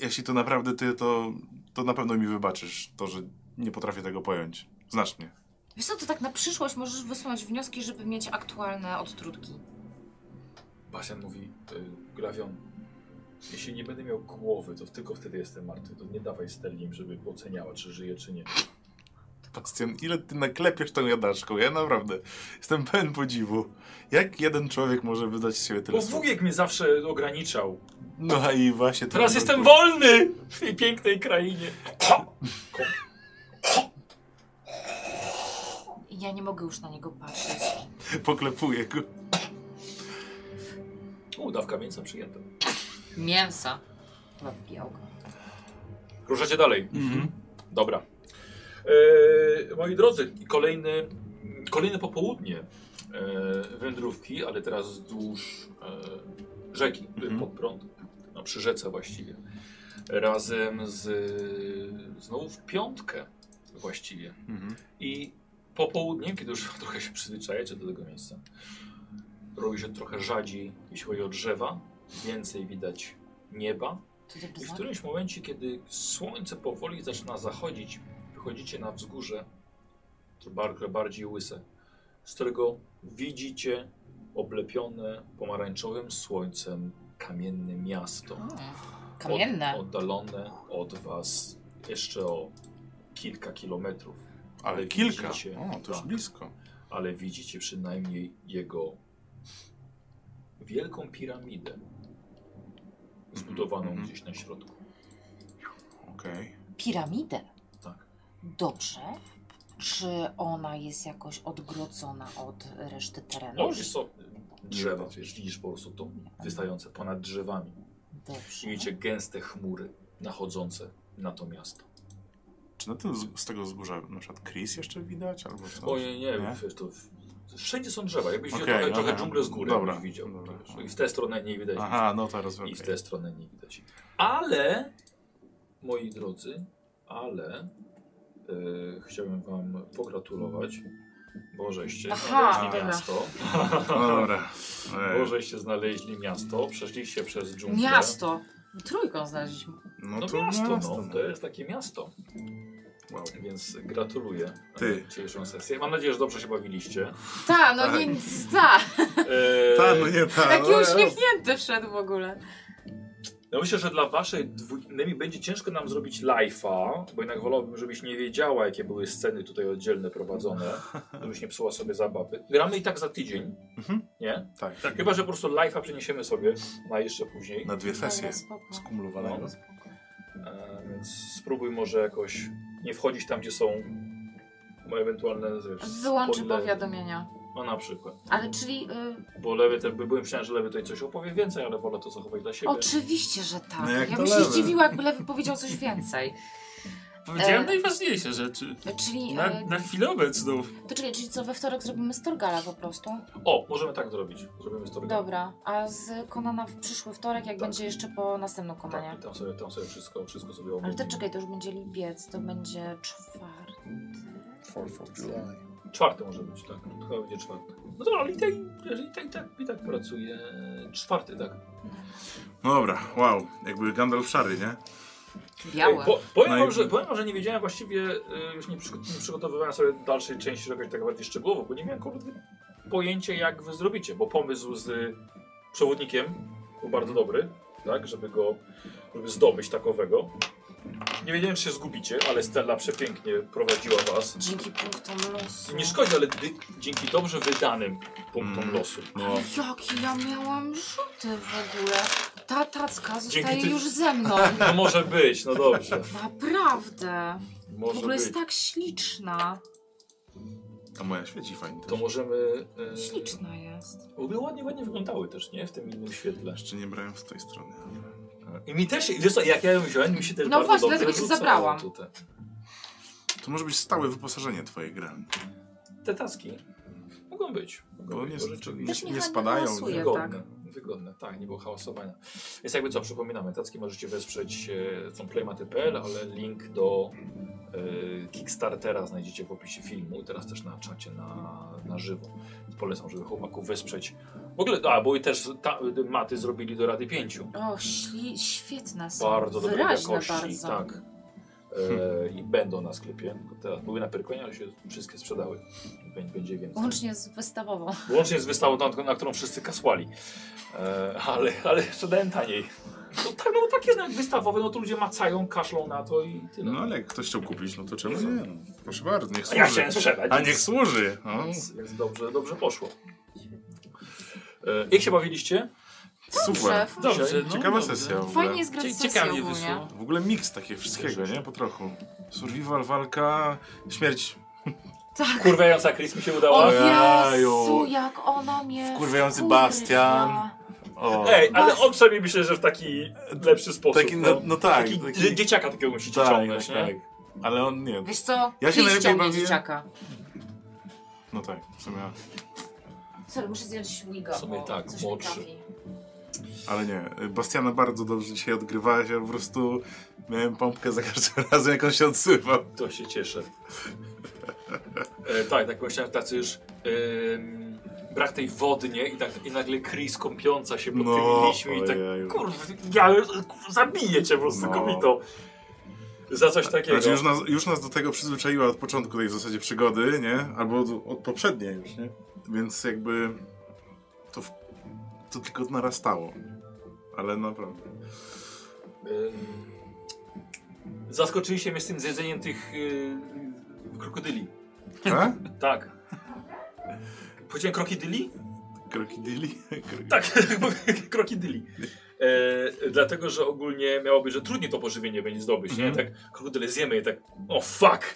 S3: Jeśli to naprawdę ty, to, to na pewno mi wybaczysz to, że nie potrafię tego pojąć. Znasz mnie.
S2: Wiesz co, to tak na przyszłość możesz wysunąć wnioski, żeby mieć aktualne odtrutki.
S1: Basen mówi, y, Grawion, jeśli nie będę miał głowy, to tylko wtedy jestem martwy. To nie dawaj Stellim, żeby oceniała, czy żyje, czy nie.
S3: Bastian, ile ty naklepiesz tą jadaczką? Ja naprawdę jestem pełen podziwu. Jak jeden człowiek może wydać z siebie tyle
S1: Bo
S3: słów?
S1: wujek mnie zawsze ograniczał.
S3: No a i właśnie... to-
S1: Teraz jestem wolny w tej pięknej krainie.
S2: I ja nie mogę już na niego patrzeć.
S3: Poklepuję go.
S1: U, dawka mięsa przyjęta.
S2: Mięsa. Zabijał go.
S1: Ruszacie dalej.
S4: Mhm.
S1: Dobra. Eee, moi drodzy, kolejny, kolejne popołudnie eee, wędrówki, ale teraz wzdłuż eee, rzeki,
S3: Mhm.
S1: pod prąd, no, przy rzece właściwie. Razem z, znowu w piątkę właściwie.
S3: Mhm.
S1: I po południu, kiedy już *laughs* trochę się przyzwyczajacie do tego miejsca, robi się trochę rzadziej, jeśli chodzi o drzewa, więcej widać nieba.
S2: To dobry
S1: I w
S2: znak?
S1: którymś momencie, kiedy słońce powoli zaczyna zachodzić, wychodzicie na wzgórze, to bardziej, bardziej łyse, z którego widzicie oblepione pomarańczowym słońcem kamienne miasto.
S2: Mm, Kamienne.
S1: Od, oddalone od was jeszcze o kilka kilometrów,
S3: Ale
S1: Ale
S3: kilka.
S1: widzicie.
S3: O, to już
S1: Tak.
S3: blisko.
S1: ale widzicie przynajmniej jego wielką piramidę zbudowaną
S3: mhm.
S1: gdzieś na środku.
S3: Okej.
S2: Piramidę.
S1: Tak.
S2: Dobrze. Czy ona jest jakoś odgrodzona od reszty terenu?
S1: O, wiesz co? No, Drzewa,
S3: widać
S1: wiesz, widzisz po prostu to wystające ponad drzewami.
S2: Dobrze.
S1: Widzicie gęste chmury nachodzące na to miasto.
S3: Czy na tym z, z tego wzgórza na przykład Chris jeszcze widać? Albo coś?
S1: O nie, nie,
S3: Nie?
S1: wiesz, to w- wszędzie są drzewa. Jakbyś widział
S3: Okej,
S1: trochę, trochę
S3: aha.
S1: dżunglę z góry,
S3: Dobra,
S1: jakbyś widział.
S3: dobra.
S1: wiesz. I w tę stronę nie widać
S3: Aha, no teraz
S1: nic. I
S3: okay.
S1: w tę stronę nie widać. Ale, moi drodzy, ale yy, chciałbym wam pogratulować, bo żeście
S2: Aha,
S1: znaleźli
S3: dobra.
S1: miasto.
S3: No dobra. Ej,
S1: Bo żeście znaleźli miasto, przeszliście przez dżunglę.
S2: Miasto. Trójką znaleźliśmy.
S3: No
S1: No,
S3: to
S1: miasto,
S3: miasto,
S1: no. To jest takie miasto.
S3: Wow.
S1: Więc gratuluję
S3: Ty.
S1: Ty. dzisiejszą sesję. Mam nadzieję, że dobrze się
S3: *laughs*
S1: bawiliście.
S2: Ta, no
S3: Tak.
S2: nie, ta.
S1: Eee,
S3: Ta, no nie ta.
S2: Taki
S3: no,
S2: uśmiechnięty wszedł w ogóle.
S1: Ja no myślę, że dla waszej dwójki będzie ciężko nam zrobić live'a, bo jednak wolałbym, żebyś nie wiedziała, jakie były sceny tutaj oddzielne
S3: *laughs*
S1: prowadzone, żebyś nie psuła sobie zabawy. Gramy i tak za tydzień,
S3: Mhm.
S1: nie?
S3: Tak.
S4: Tak.
S1: Chyba, że po prostu live'a przeniesiemy sobie na jeszcze później.
S3: Na dwie sesje
S2: Ale spoko.
S3: skumulowanego.
S1: No. Eee, więc spróbuj może jakoś nie wchodzić tam, gdzie są moje ewentualne... wiesz,
S2: Wyłączy
S1: spoilery.
S2: powiadomienia.
S1: No na przykład.
S2: Ale czyli... Y,
S1: Bo lewy, ten, byłem myślałem, że lewy tutaj coś opowie więcej, ale wolę to zachować dla siebie.
S2: oczywiście, że tak.
S3: No jak
S2: ja
S3: to
S2: bym się
S3: lewy.
S2: zdziwiła, jakby Lewy powiedział coś
S3: *laughs*
S2: więcej.
S4: Powiedziałem
S2: E.
S4: najważniejsze rzeczy.
S2: Czyli,
S3: No.
S4: Na,
S2: e,
S4: na chwilę obecną.
S2: to czyli, czyli co, we wtorek zrobimy Storgala po prostu?
S1: O, możemy tak zrobić. Zrobimy story.
S2: Dobra, a z Konana w przyszły wtorek, jak
S1: Tak.
S2: będzie jeszcze po następnym Konanie?
S1: Tak, i tam sobie, tam sobie wszystko, wszystko sobie
S2: Ale to
S1: omówimy.
S2: czekaj, to już będzie lipiec, to będzie czwarty.
S1: Czwarty może być, tak. Chyba będzie czwarty. No dobra, ale i tak, i tak, i tak, i tak pracuje czwarty, tak.
S3: No dobra, wow. Jakby Gandalf szary, nie?
S2: Biały.
S1: Ej, Po, powiem,
S3: No i-
S1: wam, że, powiem wam, że nie wiedziałem właściwie, e, już nie, przygo- nie przygotowywałem sobie dalszej części jakoś tak bardziej szczegółowo, bo nie miałem kurde pojęcia jak wy zrobicie, bo pomysł z y, przewodnikiem był bardzo dobry, tak, żeby go żeby zdobyć takowego. Nie wiedziałem czy się zgubicie, ale Stella przepięknie prowadziła was.
S2: Dzięki punktom losu.
S1: Nie szkodzi, ale dy, dzięki dobrze wydanym punktom
S3: Mm.
S1: losu.
S3: No.
S2: Jakie ja miałam rzuty w ogóle. Ta tacka zostaje
S1: Dzięki ty-
S2: już
S1: *laughs*
S2: ze mną.
S1: No może być, no dobrze.
S2: Naprawdę.
S1: Może
S2: w ogóle
S1: być.
S2: jest tak śliczna.
S3: A moja świeci fajnie
S1: To
S3: też.
S1: możemy... e,
S2: Śliczna jest.
S1: W ogóle ładnie, ładnie wyglądały też, nie? W tym innym świetle.
S3: Jeszcze nie brałem w tej stronie. ale-
S1: I mi też, wiesz co, jak ja ją wziąłem, mi się też
S2: No
S1: bardzo
S2: właśnie,
S1: dobrze
S2: dlatego się
S1: rzucało
S2: zabrałam.
S1: Tutaj.
S3: To może być stałe wyposażenie twojej grani.
S1: Te taski mogą być. Mogą
S3: Bo
S1: być,
S3: nie,
S1: bo rzeczywiście.
S2: Też
S3: nie,
S2: nie
S3: nie spadają.
S2: hałasuje.
S3: Nie?
S2: Wygodne,
S1: Wygodne, tak. wygodne, tak, nie było hałasowania. Więc jakby co, przypominamy, tacki możecie wesprzeć, e, są playmaty.pl, ale link do e, Kickstartera znajdziecie w opisie filmu i teraz też na czacie na, na żywo. Polecam, żeby chłopaków wesprzeć. W ogóle, a, bo i też ta, maty zrobili do Rady Pięciu.
S2: O, śli- świetne są.
S1: Bardzo dobrej
S2: Wyraźne
S1: jakości,
S2: bardzo.
S1: tak. E, I będą na sklepie. Teraz były na Pyrkonie, ale się wszystkie sprzedały. Bę- Będzie więcej.
S2: Łącznie z wystawową.
S1: Łącznie z wystawą, na, na którą wszyscy kasłali. E, ale, ale sprzedałem taniej. No, tak, no takie znak wystawowe, no to ludzie macają, kaszlą na to i tyle.
S3: No ale jak ktoś chciał kupić, no to czemu nie? No, proszę bardzo, niech
S1: A ja
S3: służy.
S1: chciałem sprzedać.
S3: A niech służy. No.
S1: Więc, więc dobrze, dobrze poszło. E, jak się bawiliście?
S3: Super.
S2: Szef.
S4: Dobrze, no,
S3: Ciekawa
S4: dobrze.
S3: sesja w ogóle.
S2: Fajnie jest grać
S4: Cie-
S2: w sesję
S4: Ciekawie
S2: ogólnie.
S4: wyszło.
S3: W ogóle miks takiego wszystkiego, nie? Po trochu. Survival, walka, śmierć.
S2: Tak.
S1: Kurwiająca Chris mi się udała.
S2: O
S3: Ojaju.
S2: Jezu, jak ona mnie
S3: Wkurwiający
S2: wkurwia.
S3: Bastian. O.
S1: Ej, ale on przynajmniej myślę, że w taki lepszy sposób.
S3: Taki, no, no tak.
S1: taki,
S3: taki-
S1: dzie- dzieciaka takiego musicie
S3: tak,
S1: ciągnąć,
S3: tak,
S1: nie?
S3: tak. Ale on nie.
S2: Wiesz co?
S3: Ja się
S2: Kij
S3: najlepiej
S2: ściągnie
S3: bawię-
S2: dzieciaka.
S3: No tak, w sumie.
S2: Sorry, muszę zjeść wiga,
S1: W sumie
S2: bo
S1: tak,
S2: coś mi
S1: młodszy.
S2: trafi.
S3: Ale nie, Bastiana bardzo dobrze dzisiaj odgrywałeś, ja po prostu miałem pompkę za każdym *laughs* razem, jak on się odsypał.
S1: To się
S3: *laughs*
S1: cieszę. E, tak, tak myślałem, tacy już em, brak tej wody, nie? I, tak, i nagle Chris kąpiąca się pod tymi
S3: No,
S1: liśćmi i tak,
S3: ojeju.
S1: kurwa, ja kurwa, zabiję cię po prostu
S3: No.
S1: kobito. Za coś takiego.
S3: Znaczy już nas, już nas do tego przyzwyczaiła od początku tej w zasadzie przygody, nie? Albo od, od poprzedniej już, nie? Więc jakby to, w, to tylko narastało. Ale naprawdę.
S1: *laughs* Em, zaskoczyliście mnie z tym zjedzeniem tych y, krokodyli.
S3: A?
S1: Tak. Powiedziałem krokodyli?
S3: Krokodili?
S1: Tak, *laughs* krokodyli. E, dlatego, że ogólnie miało być, że trudniej to pożywienie będzie zdobyć, nie?
S3: Mhm.
S1: Tak, krokodyle zjemy i tak, o fuck!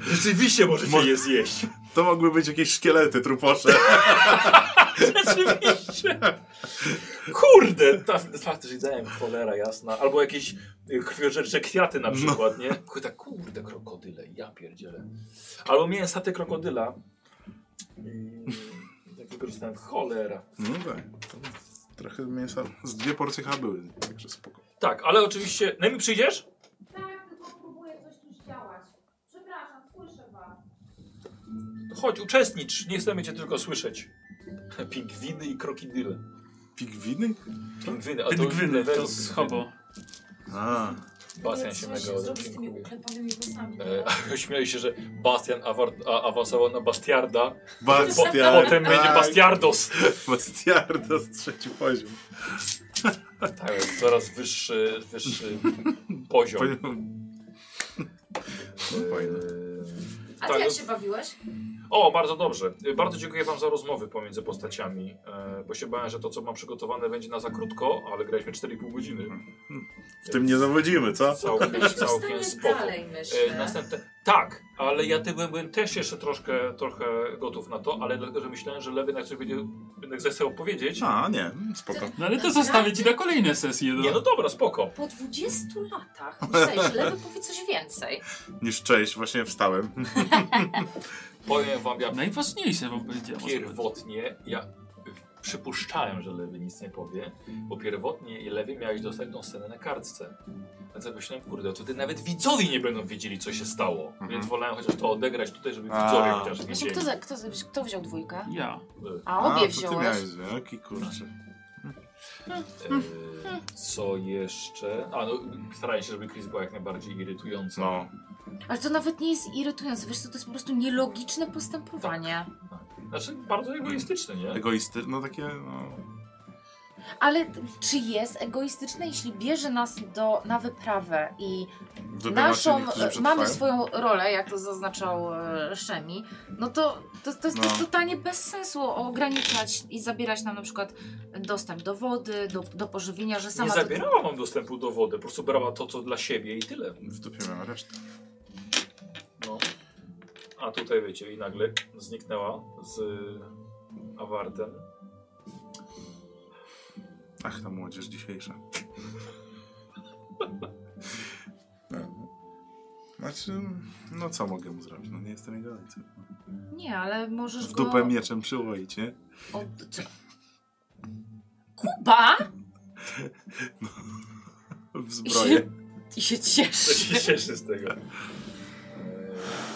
S1: Rzeczywiście możecie
S3: Mo-
S1: je zjeść. *laughs*
S3: To mogły być jakieś szkielety, truposze.
S1: Rzeczywiście! Kurde! Ta, fakt, że jedzałem, cholera jasna. Albo jakieś y, krwiożercze kwiaty na przykład, nie? Kurde, tak, kurde, krokodyle, ja pierdzielę. Albo miałem satę krokodyla. I *laughs* tak wykorzystałem, cholera.
S3: No tak. To Trochę mięsa. Z dwie porcje chyba były, także spoko.
S1: Tak, ale oczywiście, Nemi przyjdziesz?
S6: Tak, tylko próbuję coś tu zdziałać. Przepraszam, słyszę was.
S1: Chodź, uczestnicz, nie chcemy cię tylko słyszeć. *laughs* Pingwiny i krokodyle.
S3: Pigwiny?
S1: Pingwiny, a to
S4: Pingwiny,
S1: level
S4: to z hobo.
S3: A.
S1: Bastian się
S7: Trzeba
S1: mega
S7: zrobić z tymi
S1: odcinkuje.
S7: uklepanymi włosami.
S1: E, *laughs* śmiali się, że Bastian awar- a- awansował na Bastiarda,
S3: Bastiardo.
S1: potem będzie Bastiardos.
S3: Bastiardo z trzeci poziom.
S1: Tak, jest coraz wyższy, *laughs* wyższy poziom. E,
S3: poziom. No Fajne.
S7: A
S1: tak,
S7: ty jak
S1: no-
S7: się bawiłeś?
S1: O, bardzo dobrze. Y, Bardzo dziękuję Wam za rozmowy pomiędzy postaciami, e, bo się bałem, że to, co mam przygotowane, będzie na za krótko, ale graliśmy 4,5 godziny.
S3: W tym nie zawodzimy, No co?
S1: Całkiem,
S7: Byliśmy w
S1: całkiem
S7: stanie
S1: spoko.
S7: dalej, myślę.
S1: E, Następne. Tak, ale ja ty byłem, byłem też jeszcze troszkę, trochę gotów na to, ale dlatego, że myślałem, że lewy na coś będzie jednak zechce opowiedzieć.
S3: A, nie, spoko.
S4: No ale to zostawię ci na kolejne sesje.
S1: Nie, no dobra, spoko.
S7: Po 20 latach myślałeś, lewy powie coś więcej.
S3: Niż cześć, właśnie wstałem.
S1: Powiem wam,
S3: No
S1: ja
S4: Najważniejsze wam powiedziałem.
S1: pierwotnie, ja przypuszczałem, że lewy nic nie powie, bo pierwotnie i lewy miałeś dostać tą scenę na kartce. A co myślałem, kurde, to ty nawet widzowie nie będą wiedzieli, co się stało. Więc wolałem chociaż to odegrać tutaj, żeby
S3: Mhm. A.
S1: widzowie chociaż
S2: Właśnie, kto,
S1: wiedzieli.
S2: za- kto, za- kto wziął dwójkę?
S4: Ja.
S2: A obie
S3: to ty
S2: wziąłeś.
S3: miałeś wielki, kurczę.
S1: Eee, Co jeszcze? A, no, starałem się, żeby Chris była jak najbardziej irytująca.
S3: No.
S2: Ale to nawet nie jest irytujące, wiesz co, to jest po prostu nielogiczne postępowanie.
S1: Znaczy, bardzo egoistyczne, nie?
S3: Egoisty, no takie, no...
S2: Ale t- czy jest egoistyczne, jeśli bierze nas do, na wyprawę i
S3: wybiera się
S2: naszą, e,
S3: niektórzy przetrwają.
S2: mamy swoją rolę, jak to zaznaczał e, Szemi, no to to, to jest
S3: No.
S2: też totalnie bez sensu ograniczać i zabierać nam na przykład dostęp do wody, do, do pożywienia, że
S1: Nie
S2: sama... to-
S1: zabierała wam dostępu do wody, po prostu brała to, co dla siebie i tyle.
S3: W dupie miałem resztę.
S1: No. A tutaj wiecie, i nagle zniknęła z e, awartem. *laughs*
S3: Ach, ta młodzież dzisiejsza. No. Znaczy, no co mogę mu zrobić? No nie jestem jego ojcem.
S2: Nie, ale możesz
S3: W
S2: go...
S3: dupę mieczem przyłoicie.
S2: O, co? Kuba!
S3: W
S2: *laughs*
S3: zbroję.
S2: Ty się
S1: To
S2: ciesz.
S1: się cieszę z tego. Eee,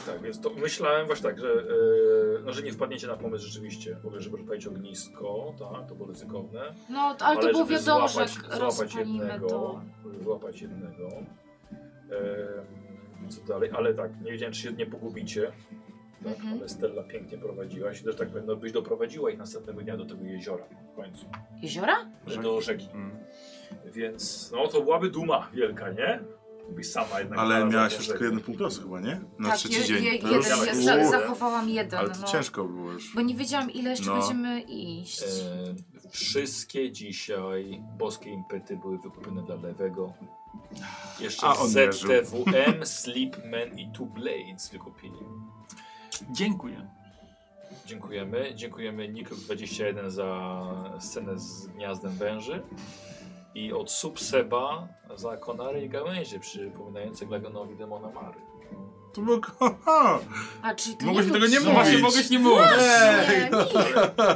S1: tak, więc to myślałem właśnie tak, że, eee, no, że nie wpadniecie na pomysł rzeczywiście. W ogóle, żeby rozpalić ognisko, tak, to było ryzykowne.
S2: No, to- ale to było
S1: żeby
S2: wiadomo, że
S1: złapać-
S2: jak
S1: złapać
S2: rozpalimy
S1: jednego,
S2: to...
S1: żeby Złapać jednego. Ehm, co dalej? Ale tak, nie wiedziałem, czy się nie pogubicie. Tak,
S2: Mhm.
S1: ale Stella pięknie prowadziłaś. Też tak powiem, no, byś doprowadziła ich następnego dnia do tego jeziora w końcu.
S2: Jeziora?
S1: Do rzeki.
S3: Mm.
S1: Więc no to byłaby duma wielka, nie? Byś sama jednak.
S3: Ale
S1: znalazła
S3: miałaś
S1: tą
S3: już
S1: rzekę.
S3: tylko jeden punkt losu chyba, nie? Na
S2: tak,
S3: trzeci dzień.
S2: Je,
S3: To
S2: jeden,
S3: już-
S2: ja
S3: Uuu,
S2: za, zachowałam jeden,
S3: Ale to
S2: no.
S3: ciężko było już. *laughs*
S2: Bo nie wiedziałam, ile jeszcze
S3: No.
S2: będziemy iść.
S1: E, wszystkie dzisiaj boskie impety były wykupione dla lewego. Jeszcze
S3: A on
S1: ZTWM, Sleepman i Two Blades wykupili.
S4: Dziękuję.
S1: Dziękujemy. Dziękujemy Nikruk21 za scenę z Gniazdem Węży i od Subseba za konary i gałęzie przypominające Glagonowi demona Mary.
S3: To było kocha!
S2: A, czyli to
S3: Mogłeś
S2: był
S3: tego nie
S2: dzień.
S4: No właśnie,
S3: mówić.
S4: mogłeś nie mówić.
S2: Nie, nie.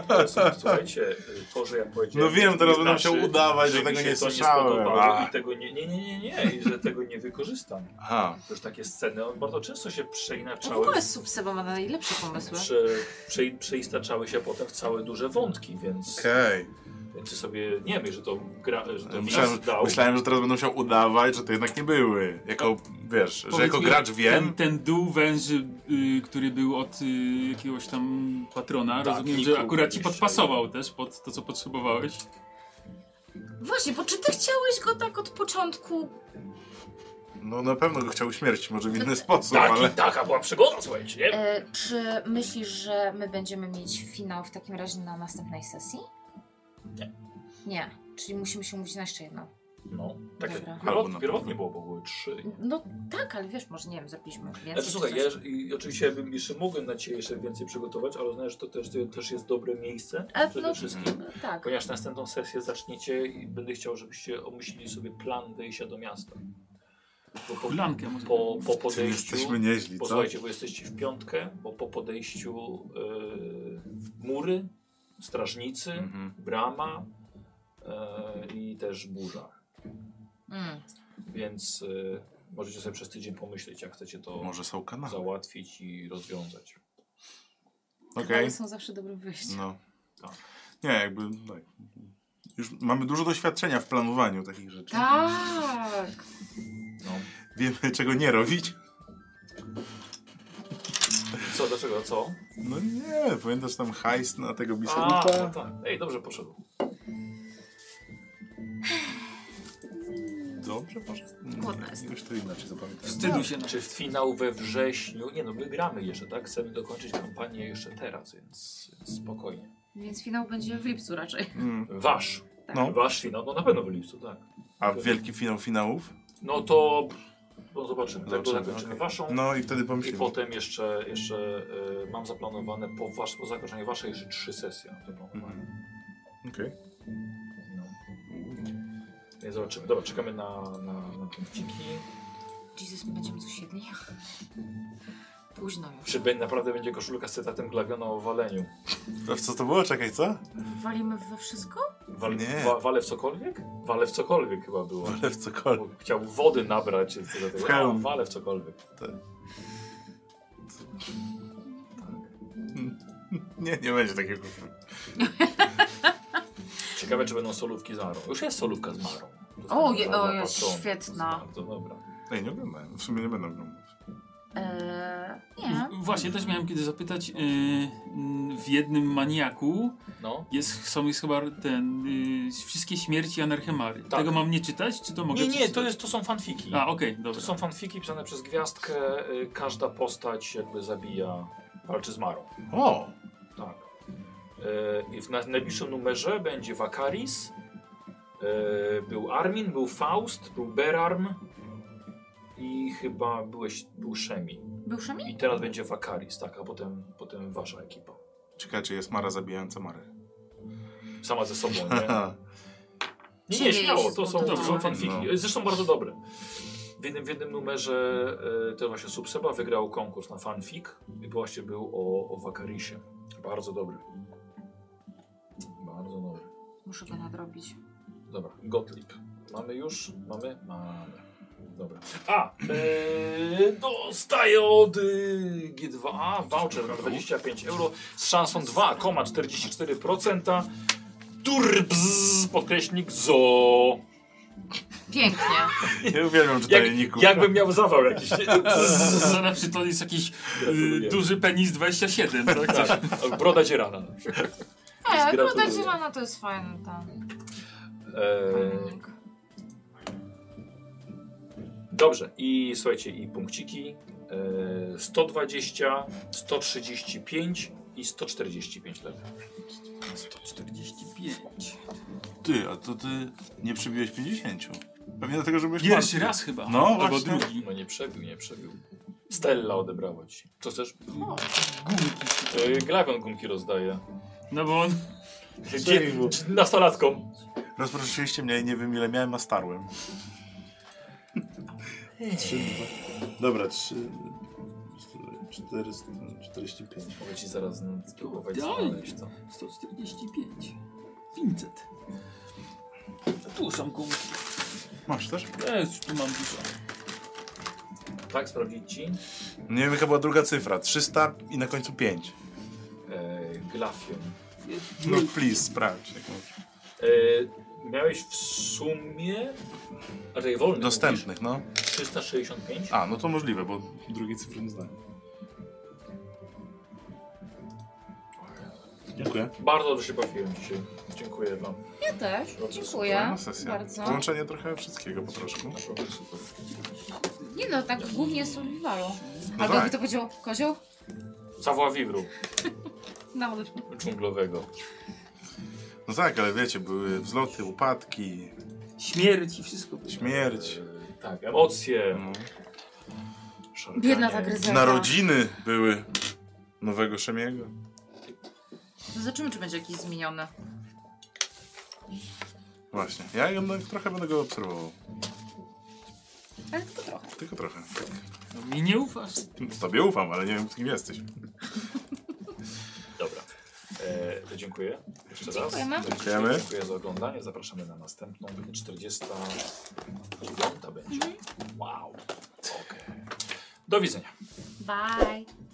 S1: Ale są- Słuchajcie, to, że ja powiedziałem...
S3: No wiem, teraz
S1: nie
S3: będę musiał
S1: znaczy,
S3: udawać,
S1: że
S3: że
S1: mi
S3: tego
S1: się
S3: nie
S1: to nie
S3: słyszałem.
S1: spodobało
S3: A.
S1: i tego nie, nie, nie, nie, nie, i że tego nie wykorzystam.
S3: Aha,
S1: Już takie sceny, on bardzo często się
S2: No w
S1: przeinaczały,
S2: ogóle Subseba ma najlepsze pomysły.
S1: prze, prze, przeistaczały się potem w całe duże wątki, więc,
S3: okej.
S1: więc sobie nie wiem, że to gra, że to
S3: Myślałem,
S1: widz dał.
S3: myślałem, że teraz będę musiał udawać, że to jednak nie były. Jako, wiesz, że
S4: Powiedz
S3: jako
S4: mi,
S3: gracz
S4: Ten,
S3: wiem.
S4: ten dół węży, y, który był od y, jakiegoś tam patrona,
S1: Tak,
S4: rozumiem,
S1: Niku
S4: że akurat ci
S1: jeszcze.
S4: podpasował też pod to, co potrzebowałeś.
S2: Właśnie, bo czy ty chciałeś go tak od początku?
S3: No na pewno go chciał śmierć, może w inny sposób,
S1: Tak,
S3: ale...
S1: i taka była przygoda, słuchajcie, nie?
S2: E, czy myślisz, że my będziemy mieć finał w takim razie na następnej sesji?
S1: Nie.
S2: Nie, czyli musimy się umówić na jeszcze jedną.
S1: No, tak jak
S2: Dobra.
S1: pierwot-
S3: Albo na-
S1: pierwotnie było, bo były trzy.
S2: No tak, ale wiesz, może nie wiem, zrobiliśmy więcej.
S1: Znaczy,
S2: czy
S1: słuchaj,
S2: coś.
S1: ja już- i, oczywiście bym jeszcze mógł na Ciebie jeszcze więcej przygotować, ale znasz, że to też, to też jest dobre miejsce
S2: Ale
S1: przede
S2: no,
S1: wszystkim.
S2: Tak.
S1: Ponieważ następną sesję zaczniecie i będę chciał, żebyście omyślili sobie plan wyjścia do miasta. Bo po,
S4: Blankę może.
S1: po, po
S3: Ty
S1: podejściu...
S3: jesteśmy nieźli, co?
S1: Posłuchajcie, bo jesteście w piątkę, bo po podejściu yy, mury, strażnicy,
S3: Mhm.
S1: brama yy, i też burza.
S2: Mm.
S1: Więc yy, możecie sobie przez tydzień pomyśleć, jak chcecie to
S3: Może są kanały.
S1: załatwić i rozwiązać.
S3: Okej.
S2: Ale są zawsze dobrym wyjściem.
S3: No.
S1: Tak.
S3: Nie, jakby. Tak. Już mamy dużo doświadczenia w planowaniu takich rzeczy.
S2: Tak.
S3: Wiemy, czego nie robić.
S1: Co, dlaczego, co?
S3: No nie, pamiętasz tam hajs na tego
S1: A, no
S3: biskupa?
S1: tak. Ej, dobrze poszedł.
S3: Dobrze, może.
S2: Głodna jestem.
S3: Nie, już to inaczej No. zapamiętałem.
S4: Wstydu się.
S1: No. Czy finał we wrześniu? Nie no, my gramy jeszcze, tak? Chcemy dokończyć kampanię jeszcze teraz, więc, więc spokojnie.
S2: Więc finał będzie w lipcu raczej.
S3: Mm.
S1: Wasz.
S3: No,
S1: Wasz finał, no na pewno w lipcu, tak.
S3: a wielki finał finałów?
S1: No to no zobaczymy. Tak, to
S3: Zobaczymy,
S1: zakończymy
S3: okej.
S1: waszą.
S3: No i wtedy
S1: I
S3: pomyślimy.
S1: potem jeszcze, jeszcze y, mam zaplanowane po, wasz, po zakończeniu waszej jeszcze trzy sesje na tym planowaniu.
S3: Mhm. Okej.
S1: No. Nie zobaczymy. Dobra, czekamy na, na, na punkciki.
S2: Jesus, my będziemy coś jedli? Późno już.
S1: Czy be- naprawdę będzie koszulka z cytatem Glawiona o waleniu?
S3: A w co to było? Czekaj, co?
S2: Walimy we wszystko?
S1: Wal,
S3: Nie.
S1: wa, wale w cokolwiek? Wale w cokolwiek chyba było.
S3: Ale w cokolwiek.
S1: Bo Chciał wody nabrać. czy coś takiego.
S3: W hełm.
S1: A, Wale w cokolwiek.
S3: Nie, nie będzie takiego.
S1: Ciekawe, czy będą solówki z Marą. Już jest solówka z Marą.
S2: O, je-
S1: Została
S2: o, jest
S1: zapatrzona.
S2: świetna.
S1: Bardzo dobra.
S3: Ej, nie oglądałem. W sumie nie będę oglądał.
S2: Eee, nie.
S4: W- Właśnie, też miałem kiedy zapytać, y, mm, w jednym maniaku
S1: No.
S4: jest, są jest chyba ten, y, wszystkie śmierci Anarchemary.
S1: Tak.
S4: Tego mam nie czytać, czy to mogę
S1: Nie, nie, to,
S4: przeczytać?
S1: jest, to są fanfiki.
S4: A, okej,
S1: To
S4: dobra.
S1: są fanfiki pisane przez gwiazdkę. y, Każda postać jakby zabija, walczy z Marą.
S3: O!
S1: Tak. E, I w na- najbliższym numerze będzie Wakaris, e, był Armin, był Faust, był Berarm i chyba byłeś, był Szemi.
S2: Był szami?
S1: I teraz będzie Wakaris, tak, a potem, potem wasza ekipa.
S3: Ciekawe, czy jest Mara zabijająca Marę.
S1: Sama ze sobą,
S3: *laughs*
S1: nie? Nie, nie,
S2: Dzieje
S1: śmiało,
S2: się
S1: to są, to
S2: spontanicznie.
S1: są fanfiki.
S3: No.
S1: Zresztą bardzo dobre. W jednym, w jednym numerze e, to właśnie Subseba wygrał konkurs na fanfic i właśnie był o, o Wakarisie. Bardzo dobry. Bardzo dobry.
S2: Muszę go nadrobić.
S1: Dobra, Gottlieb. Mamy już? Mamy? Mamy. Dobra. A! E, dostaję od e, G2A voucher na 25 euro z szansą 2,44%. Turbz, podkreśnik ZO.
S2: Pięknie.
S3: Ja uwielbiam czytelników.
S1: Jak, jakbym miał zawał *laughs* jakiś.
S4: Że na przykład to jest jakiś y, duży penis 27, tak? Coś.
S1: Tak, broda dzierana.
S2: Ej,
S1: Gratuluję.
S2: broda zielona no, to jest fajny ten
S3: Eee,
S1: E,
S2: pomnik.
S1: Dobrze, i słuchajcie, i punkciki e, 120, 135 i 145 lewy.
S4: 145.
S3: Ty, a to ty nie przybiłeś 50. Pewnie dlatego, że byłeś
S4: Pierwszy
S3: martwy.
S4: raz chyba.
S3: No,
S4: Albo
S3: właśnie.
S4: drugi.
S1: No nie przebił, nie przebił. Stella odebrała ci. Co chcesz?
S4: Gumki.
S1: E, Glawion gumki rozdaje.
S4: No bo on
S1: Dzie- nastolatkom.
S3: Rozproszyliście mnie i nie wiem ile miałem, a starłem. Trzy, dwa- Dobra, 3... 445.
S1: Mogę ci zaraz mm, spróbować
S4: Dalej.
S1: znaleźć to.
S4: 145. 500. Tu są gumki.
S3: Masz też?
S4: Jest, tu mam dużo.
S1: Tak, sprawdzić ci.
S3: Nie wiem, jaka była druga cyfra. 300 i na końcu 5.
S1: E, Glafion.
S3: No please, sprawdź. jak możesz.
S1: E, miałeś w sumie... A tej wolny.
S3: Dostępnych, no.
S1: mówisz? 365.
S3: A, no to możliwe, bo drugiej cyfry nie znałem. Dziękuję.
S1: Bardzo dobrze się bawiłem dzisiaj. Dziękuję wam.
S2: Ja też. Dziękuję
S3: Fajna sesja. No.
S2: bardzo.
S3: Połączenie trochę wszystkiego po troszku.
S1: Naprawdę super.
S2: Nie no, tak głównie survivalu.
S3: No
S2: Albo by
S3: tak.
S2: to powiedział kozioł?
S1: Zawoła Wibru
S2: Na odwrót.
S1: dżunglowego.
S3: No tak, ale wiecie, były wzloty, upadki,
S4: Śmierć i wszystko. było.
S3: śmierć.
S1: E, tak, emocje.
S3: No.
S2: Biedna ta
S1: Szarganie.
S2: gryzeta.
S3: Narodziny były nowego Szemiego.
S2: No Zobaczymy, czy będzie jakiś zmieniony.
S3: Właśnie. Ja jednak trochę będę go obserwował.
S2: Ale tylko trochę.
S3: Tylko trochę.
S4: No, mi nie ufasz.
S3: Tobie ufam, ale nie wiem, kim jesteś.
S1: Dobra. E, to dziękuję. Jeszcze raz.
S2: Dziękujemy.
S3: Dziękujemy.
S1: Dziękuję za oglądanie. Zapraszamy na następną. Będzie
S2: Mhm.
S1: 49 będzie. Wow. Okej. Do widzenia.
S2: Bye.